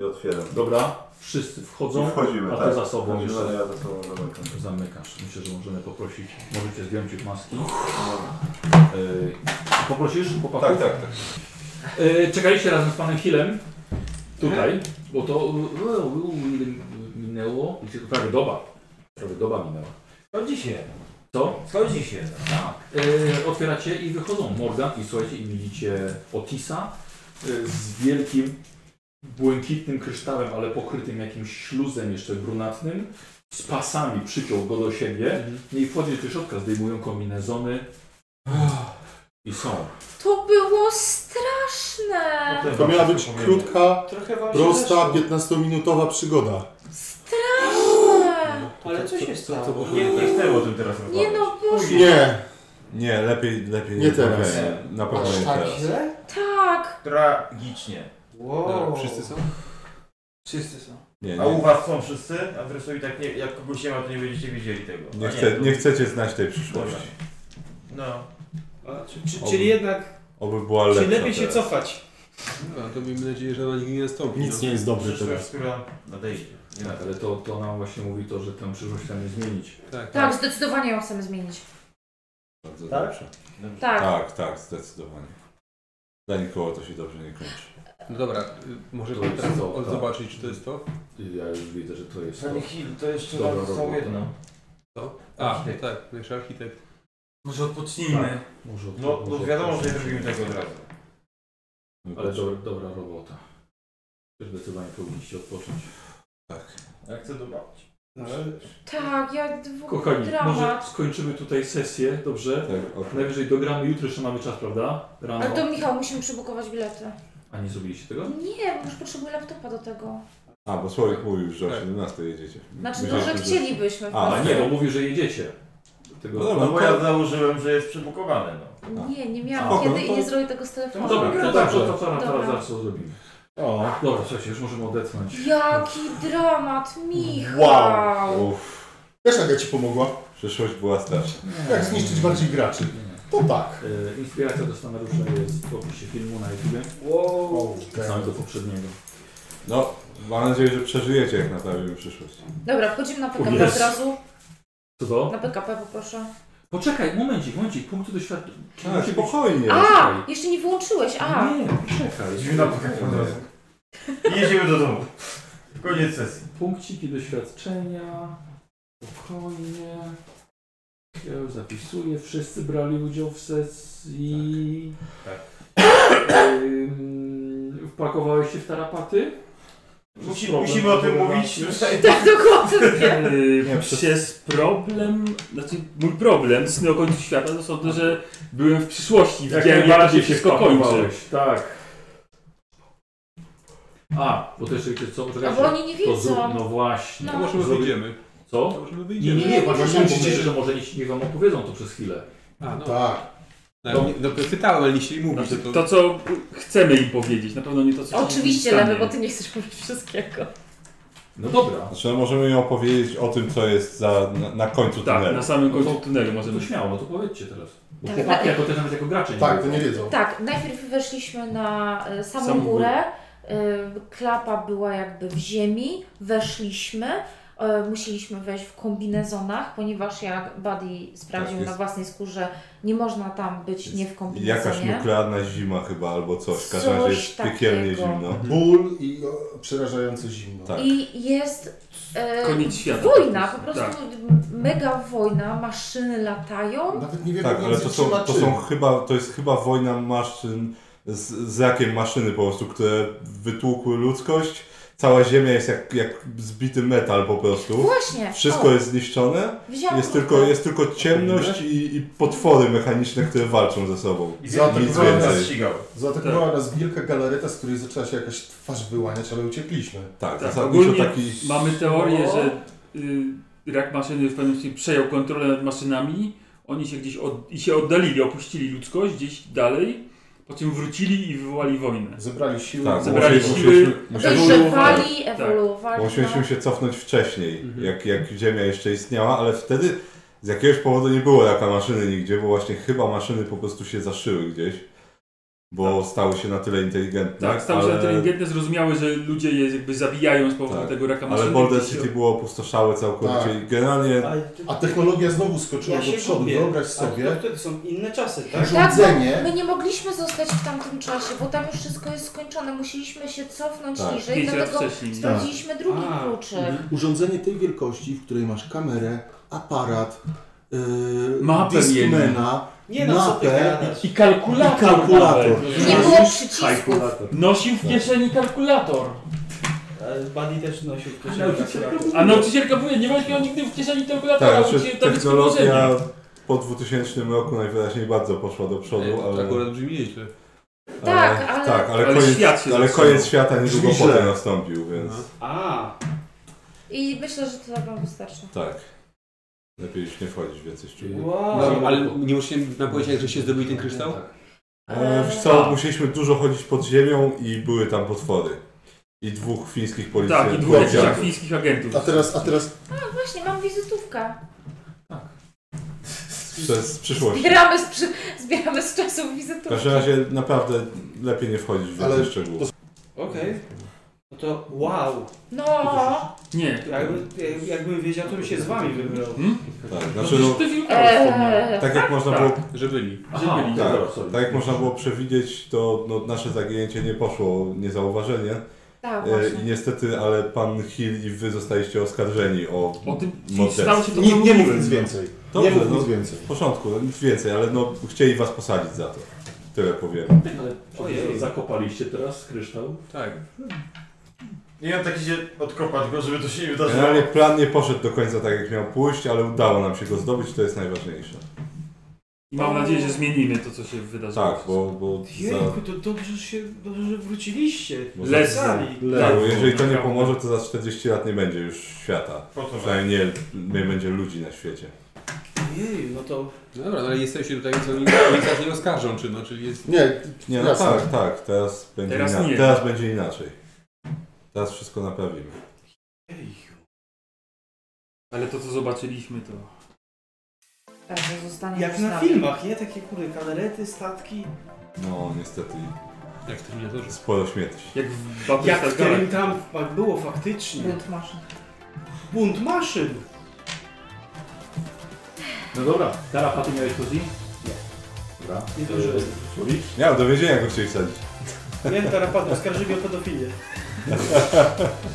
I otwieram.
Dobra, wszyscy wchodzą,
I wchodzimy,
a ty
tak.
za sobą
Wchodzimy,
jeszcze.
ja za sobą zamykam.
Zamykasz. Myślę, że możemy poprosić. Możecie zdjąć ich maski. Yy, poprosisz chłopaków?
Tak, tak, tak.
Yy, czekaliście razem z panem Hillem tutaj, bo to yy, yy, ile minęło, Wiecie, to prawie doba. Prawie doba minęła.
Chodzi się.
Co?
Chodzi się.
Tak. E, otwieracie i wychodzą Morgan i słuchajcie i widzicie Otisa e, z wielkim błękitnym kryształem, ale pokrytym jakimś śluzem jeszcze brunatnym, z pasami przyciął go do siebie
Mhm.
no i wchodzi do środka, zdejmują kombinezony i są.
To było straszne!
Tak.
To miała być krótka,
Trochę wam się
prosta,
zeszło.
15-minutowa przygoda.
Straszne!
Ale co się stało?
Nie, nie chcę o tym teraz
Nie no, Boże!
Nie.
Nie, lepiej, lepiej
Nie teraz.
nie, Na pewno nie teraz.
Tak!
Tragicznie.
Wow.
Wszyscy są?
Wszyscy są.
Nie,
A
nie,
u was są wszyscy? A zresztą i tak nie, jak kogoś nie ma, to nie będziecie wiedzieli tego.
nie,
A
chce,
to-
nie chcecie znać tej przyszłości.
No.
A, czy, czy,
Oby-
czyli jednak.
oby była
Czyli
lepsza
lepiej się
teraz.
cofać.
No, to miejmy nadzieję, że ona nigdy nie nastąpi.
Nic
no.
nie jest dobre
Przyszłość,
teraz.
która nadejdzie. Nie
Tak, ale to, to nam właśnie mówi to, że tę przyszłość chcemy zmienić.
Tak, zdecydowanie ją chcemy zmienić.
Bardzo
Tak?
dobrze.
Tak.
tak, tak, zdecydowanie. Dla nikogo to się dobrze nie kończy.
No dobra, y, może
To
pan
jest
teraz
to,
on
tak.
zobaczyć, czy to jest to?
Ja już widzę, że to jest to.
Pani Hill, to jeszcze
Dobra
raz są
robota.
jedno.
To? A, no tak, nasz architekt.
Może odpocznijmy.
Może,
No, no
może-
wiadomo, że nie zrobimy tego od razu.
Ale dobra, dobra robota. Zdecydowanie powinniście odpocząć. Tak.
Ja chcę dobrać.
No, Tak, ja w ogóle
Kochani, może
dramat.
skończymy tutaj sesję, dobrze?
Tak, ok.
Najwyżej dogramy jutro, jeszcze mamy czas, prawda? Rano.
Ale to Michał, musimy przybukować bilety.
A nie zrobiliście tego?
Nie, bo już potrzebuję laptopa do tego.
A, bo Słowik mówił, że o 17 jedziecie.
Znaczy, no,
Myślałem,
że chcielibyśmy. w
A,
A
końcu.
nie, bo mówił, że jedziecie. Tego...
No dobra,
No bo ja założyłem, że jest przebukowane. No.
Nie, nie
A,
miałam
no
kiedy
to-
i nie zrobię tego z telefonu.
No dobra, to
Dobra.
dobrze, to zaraz,
Dobra.
zaraz, zaraz to zrobimy. O, dobra, słuchajcie, już możemy odetchnąć.
Jaki dramat, Michał!
Wow! Uff,
Wiesz, jak ja ci pomogła?
przyszłość była straszna.
Jak zniszczyć bardziej graczy? To tak.
E, inspiracja do scenariusza jest w opisie filmu na YouTubie.
Wow.
tak.
Znamy do poprzedniego.
No, mam nadzieję, że przeżyjecie, jak naprawimy przyszłość.
Dobra, wchodzimy na PKP
Jezu.
od razu.
Co to?
Na PKP poproszę.
Poczekaj, momencik, momencik, punkty doświadczenia.
Tak,
A, spokojnie.
A!
czekaj.
Jeszcze nie wyłączyłeś, a!
Nie, czekaj.
Dziwna pokazana. I jedziemy do domu. Koniec sesji.
Punkciki doświadczenia. Spokojnie. Ja już zapisuję. Wszyscy brali udział w sesji.
Tak,
Ym, wpakowałeś się w tarapaty?
No,
Musi,
Problem
musimy o tym
wywołany.
mówić.
Tak, dokładnie.
Yy, przez problem, znaczy mój problem z o końcu świata to są to, że byłem w przyszłości,
tak
Jak
widziałem jak to
najbardziej
się
się
wszystko kończy.
wpakowałeś, Tak. A, bo to jeszcze wiecie co? Poczekajcie.
A bo oni nie
To
wiedzą.
zrób- no właśnie.
No.
To może my
Zrobi-
wyjdziemy. To
Co?
może my
Nie, nie,
wyjdziemy.
nie,
Nie,
właśnie
nie,
mówicie,
nie.
że może nie, nie wam opowiedzą to przez chwilę.
A, no.
Tak.
No, ale nie- no to pytałem, ale nie chcieli mówić,
Znaczy,
że to...
to co chcemy im powiedzieć, na pewno nie to co się
Oczywiście
stanie.
lewy, bo ty nie chcesz mówić wszystkiego.
No dobra.
Znaczy, no, możemy ją opowiedzieć o tym, co jest za, na, na końcu
Tak,
tunelu.
na samym
No
końcu
to-
tunelu
No to
możemy...
śmiało, no to powiedzcie teraz. Bo
Tak,
chłopaki
tak.
jako też nawet jako gracze nie
Tak, to
wiedzą.
nie wiedzą.
Tak, najpierw weszliśmy na e, samą
Samą górę.
górę. E, Klapa była jakby w ziemi. Weszliśmy. E, Musieliśmy wejść w kombinezonach, ponieważ jak Buddy sprawdził
Tak, jest.
na własnej skórze, nie można tam być nie w
Jakaś
kombinezonie.
nuklearna zima chyba albo coś. W każdym
Coś
razie jest piekielnie
takiego.
zimno.
Ból i o, przerażające zimno.
Tak.
I jest e,
Koniec świata.
wojna, po prostu
Tak.
mega wojna, maszyny latają.
Nawet nie wiem,
Tak,
jak
ale
on
to są,
zatrzyma
to
czyn.
są chyba, to jest chyba wojna maszyn z, z rakiem maszyny po prostu, które wytłukły ludzkość. Cała ziemia jest jak, jak zbity metal po prostu.
Właśnie.
Wszystko
o,
jest zniszczone.
wzięłam
Jest
krótko.
tylko, jest tylko ciemność i, i potwory mechaniczne, które walczą ze sobą.
I
Zaatakował
nic
nas.
więcej. ścigał.
Zaatakowała nas wielka galareta, z której zaczęła się jakaś twarz wyłaniać, ale uciekliśmy.
Tak,
Tak,
zasadniczo
ogólnie
taki...
Mamy teorię,
No.
No.
że y, rak maszyny w pewnym sensie przejął kontrolę nad maszynami. Oni się gdzieś od, i się oddalili, opuścili ludzkość gdzieś dalej, po czym wrócili i wywołali wojnę.
Zebrali siły.
Tak,
Zebrali
musieli-
siły.
musieliśmy-
Dojrzewali,
musieliśmy-
Tak. Mhm.
ewoluowali.
Musieliśmy
no.
się cofnąć wcześniej, jak, jak Ziemia jeszcze istniała, ale wtedy z jakiegoś powodu nie było taka maszyny nigdzie, bo właśnie chyba maszyny po prostu się zaszyły gdzieś, bo stały się na tyle inteligentne.
Tak, stały się
ale,
na tyle inteligentne, zrozumiały, że ludzie je jakby zabijają z powodu
Tak,
tego raka maszyny.
Ale Boulder
gdzieś się-
City było opustoszałe całkowicie
Tak.
i generalnie
A,
A technologia znowu skoczyła
ja
do
się
przodu.
gubię.
Wyobraź
A,
sobie.
to wtedy są inne czasy, tak?
Tak, bo
Urządzenie.
my nie mogliśmy zostać w tamtym czasie, bo tam już wszystko jest skończone. Musieliśmy się cofnąć
Tak.
niżej,
Pięć lat
dlatego
wcześniej.
Tak. sprawdziliśmy drugi
A, mhm.
kluczyk.
Urządzenie tej wielkości, w której masz kamerę, aparat,
Mapę
Discmana,
mieli. Nie no, co ty
mapę
gadasz? I kalkulator
i kalkulator.
nawet. Nie było przycisków. Nosił w kieszeni kalkulator.
Buddy też nosił w kieszeni
Nauczycielka
kalkulator.
mówi- A nauczycielka powie, nie będziesz miał nigdy w kieszeni kalkulatora,
Tak,
bo
znaczy
ci tam jest
technologia
położenie.
po 2000 roku najwyraźniej bardzo poszła do przodu, ale...
akurat brzmi nieźle.
Tak, ale-
Tak, ale,
Ale
koniec,
świat się
ale
zasunął.
koniec świata niedługo
Brzmi
potem
źle. No.
nastąpił, więc...
A.
I myślę, że to nam wystarczy.
Tak. Lepiej już nie wchodzić w więcej szczegółów.
No, ale nie możecie nam powiedzieć, że się zdobyli ten kryształ?
E, Wiesz co, musieliśmy dużo chodzić pod ziemią i były tam potwory. I dwóch fińskich
Tak,
policjantów. policjantów.
A teraz, a teraz
A właśnie, mam wizytówkę.
Przez przyszłość.
Zbieramy z, przy... Zbieramy z czasów
W
wizytówki.
każdym razie naprawdę lepiej nie wchodzić w więcej szczegółów.
Okej. No to wow.
No.
Nie.
Jakby, jakbym wiedział, to bym się z wami wybrał.
Tak,
No
znaczy,
przecież
no,
ty wilkołak
Eee.
wspomniałeś.
tak jak można było...
Że byli.
Że byli.
Tak,
Dobra, sorry.
tak jak można było przewidzieć, to no, nasze zaginięcie nie poszło niezauważenie.
Tak,
E,
właśnie.
I niestety, ale pan Hill i wy zostaliście oskarżeni o,
O tym,
morderstwo.
stało się to, co Nie- nie mówiłem. mów nic
więcej.
Dobrze,
Nie mów
no,
nic więcej.
W porządku, no, nic więcej, ale no, chcieli was posadzić za to. Tyle powiem.
Ojej. Zakopaliście teraz kryształ?
Tak.
Nie wiem, taki się odkopać go, żeby to się nie wydarzyło.
Generalnie plan nie poszedł do końca tak, jak miał pójść, ale udało nam się go zdobyć, to jest najważniejsze.
I mam nadzieję, że zmienimy to, co się wydarzyło.
Tak, bo, bo za...
Jejku, to dobrze, że się, dobrze, że wróciliście.
Bo
Les-
za-
Sali.
Tak, bo jeżeli to nie pomoże, to za 40 lat nie będzie już świata.
Po co
Przynajmniej nie, nie będzie ludzi na świecie.
Jej, no to...
No dobra, no ale jesteście tutaj, co oni oni nas nie oskarżą, czy no, czyli jest...
nie no tak, tak, teraz będzie,
Teraz
inaczej.
nie.
teraz będzie inaczej. Teraz wszystko naprawimy.
Ale to, co zobaczyliśmy, to...
Tak, to zostanie
Jak na
zostawione.
filmach, nie? Takie kurde, kalerety, statki.
No niestety
Jak w Terminatorze.
sporo śmierci.
Jak w
Jak
tak
w którym tam fak- było faktycznie.
Bunt maszyn.
Bunt maszyn.
No dobra, Tara, a ty miałeś to z nim?
Dobra.
Nie dożyłem.
Ja do więzienia go chcieli wsadzić.
Miałem tarapat, oskarżyli mnie o pedofilię.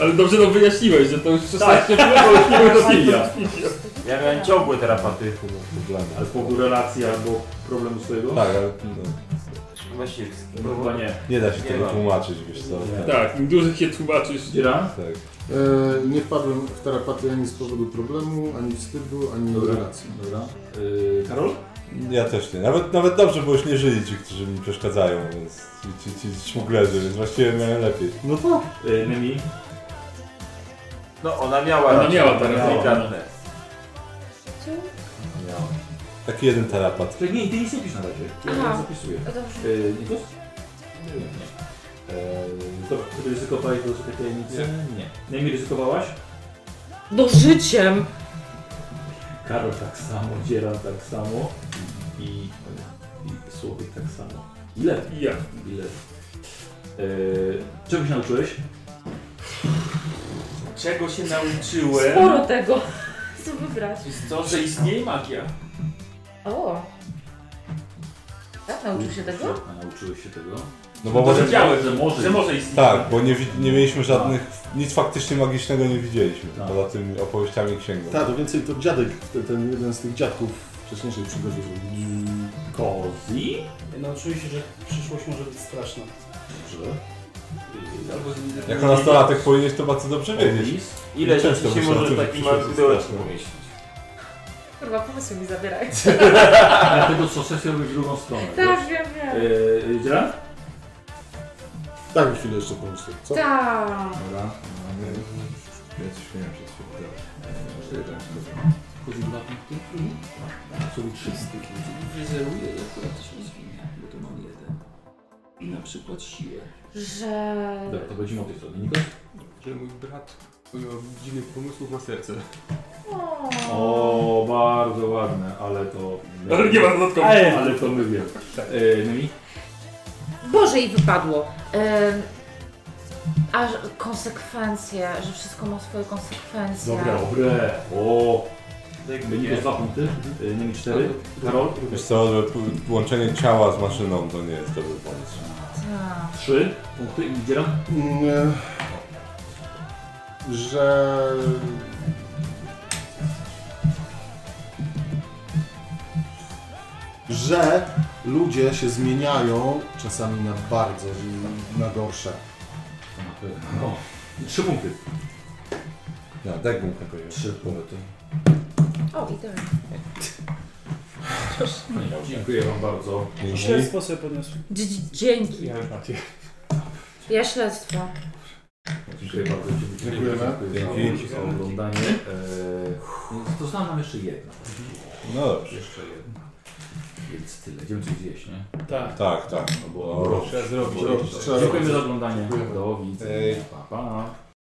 Ale dobrze to wyjaśniłeś, że to już 16
Tak.
było, już nie było do filmu.
Ja miałem ciągłe terapaty.
Ale
no.
po prostu relacji albo problemu swojego?
Tak, ale no,
Właściwie.
No
Chyba nie.
nie da się
Nie
tego
ma.
tłumaczyć, wiesz co.
Tak, im dłużej się tłumaczysz.
Tak.
E, nie wpadłem w tarapaty ani z powodu problemu, ani wstydu, ani relacji. Dobra. E,
Karol?
Ja też nie. Nawet, nawet dobrze, bo już nie żyli ci, którzy mi przeszkadzają, więc ci, ci, ci śmuglerzy, więc właściwie miałem lepiej.
No to.
Y, Nemi?
No ona miała
Ona
raczej,
miała teraz.
delikatne.
Taki jeden tarapat.
Czekaj, nie, ty nic nie pisz na razie. Ja
Aha.
zapisuję.
No dobrze.
Yy, Nikos? Nie. Eee, dobra, ty ryzykowałeś do sobie tajemnicy? Nie. Najmniej ryzykowałaś?
Do życiem.
Karol tak samo, Dzieran tak samo i, i Słowik tak samo. Ile?
I ja.
Ile? Eee, czego się nauczyłeś?
Czego się nauczyłem?
Sporo tego. Co wybrać?
Jest to, że istnieje magia.
O. Tak, nauczył się tego?
A nauczyłeś się tego?
Dowiedziałem, że może.
No Że może
istnieć.
No Tak, bo nie, wi- nie mieliśmy żadnych, nic faktycznie magicznego nie widzieliśmy,
Tak.
poza tymi opowieściami i księgą.
Tak, to więcej to dziadek, ten, ten jeden z tych dziadków w wcześniejszej przygodzie.
Kozi?
Nauczyłem No, się, że przyszłość może być straszna.
Jako nastolatek powinieneś to bardzo dobrze wiedzieć.
Ile
Często
rzeczy się
myślę o
może
tym, że
taki
przyszłość
mały
jest
pudełeczek
straszna.
pomieścić?
Kurwa, pomysły mi zabieraj.
Dlatego co sesja robi w drugą stronę.
Tak,
wiesz?
wiem, wiem.
Eee, Dzieran?
Tak, chwilę jeszcze pomyślę. Co?
Tak.
Dobra. Ja coś miałem przed
E,
chwilą.
Chodzi dwa punkty. Tak,
Są trzy
styki. Wyzeruję i akurat to się nie zmienia, bo to mam jeden. I na przykład siłę.
Że...
Dobra, to będziemy o tej stronie. Nikos?
Że mój brat pomimo dziwnych pomysłów ma serce.
O, bardzo ładne, ale to...
Ale nie ma dodatkowych.
Ale, ale to my wiemy. Eee, Nemi?
Boże i wypadło. Ym, aż konsekwencje, że wszystko ma swoje konsekwencje.
Dobre, dobre. O! Nikos dwa punkty, eee, Nemi cztery. Karol?
Wiesz co, że p- łączenie ciała z maszyną to nie jest dobry pomysł.
Tak.
Trzy punkty i Dzieran?
Mm, Że... że ludzie się zmieniają czasami na bardzo, na gorsze.
O, trzy punkty.
No, daj gumkę powiem. Trzy punkty.
O, tak. idealnie.
Dziękuję Wam bardzo.
Śledztwo sobie podniosłem.
Dzi- dzi- Dzięki. Ja śledztwo.
Dziękuję bardzo.
Dziękujemy.
Tak, Dzięki za oglądanie. Eee, to znam nam jeszcze jedno.
No dobrze.
Jeszcze jedno. Więc tyle. Idziemy coś zjeść, nie?
Tak. Tak, tak.
No bo
Trzeba zrobić.
Dziękujemy za oglądanie. Do
Dziękujemy.
widzenia. Pa, pa.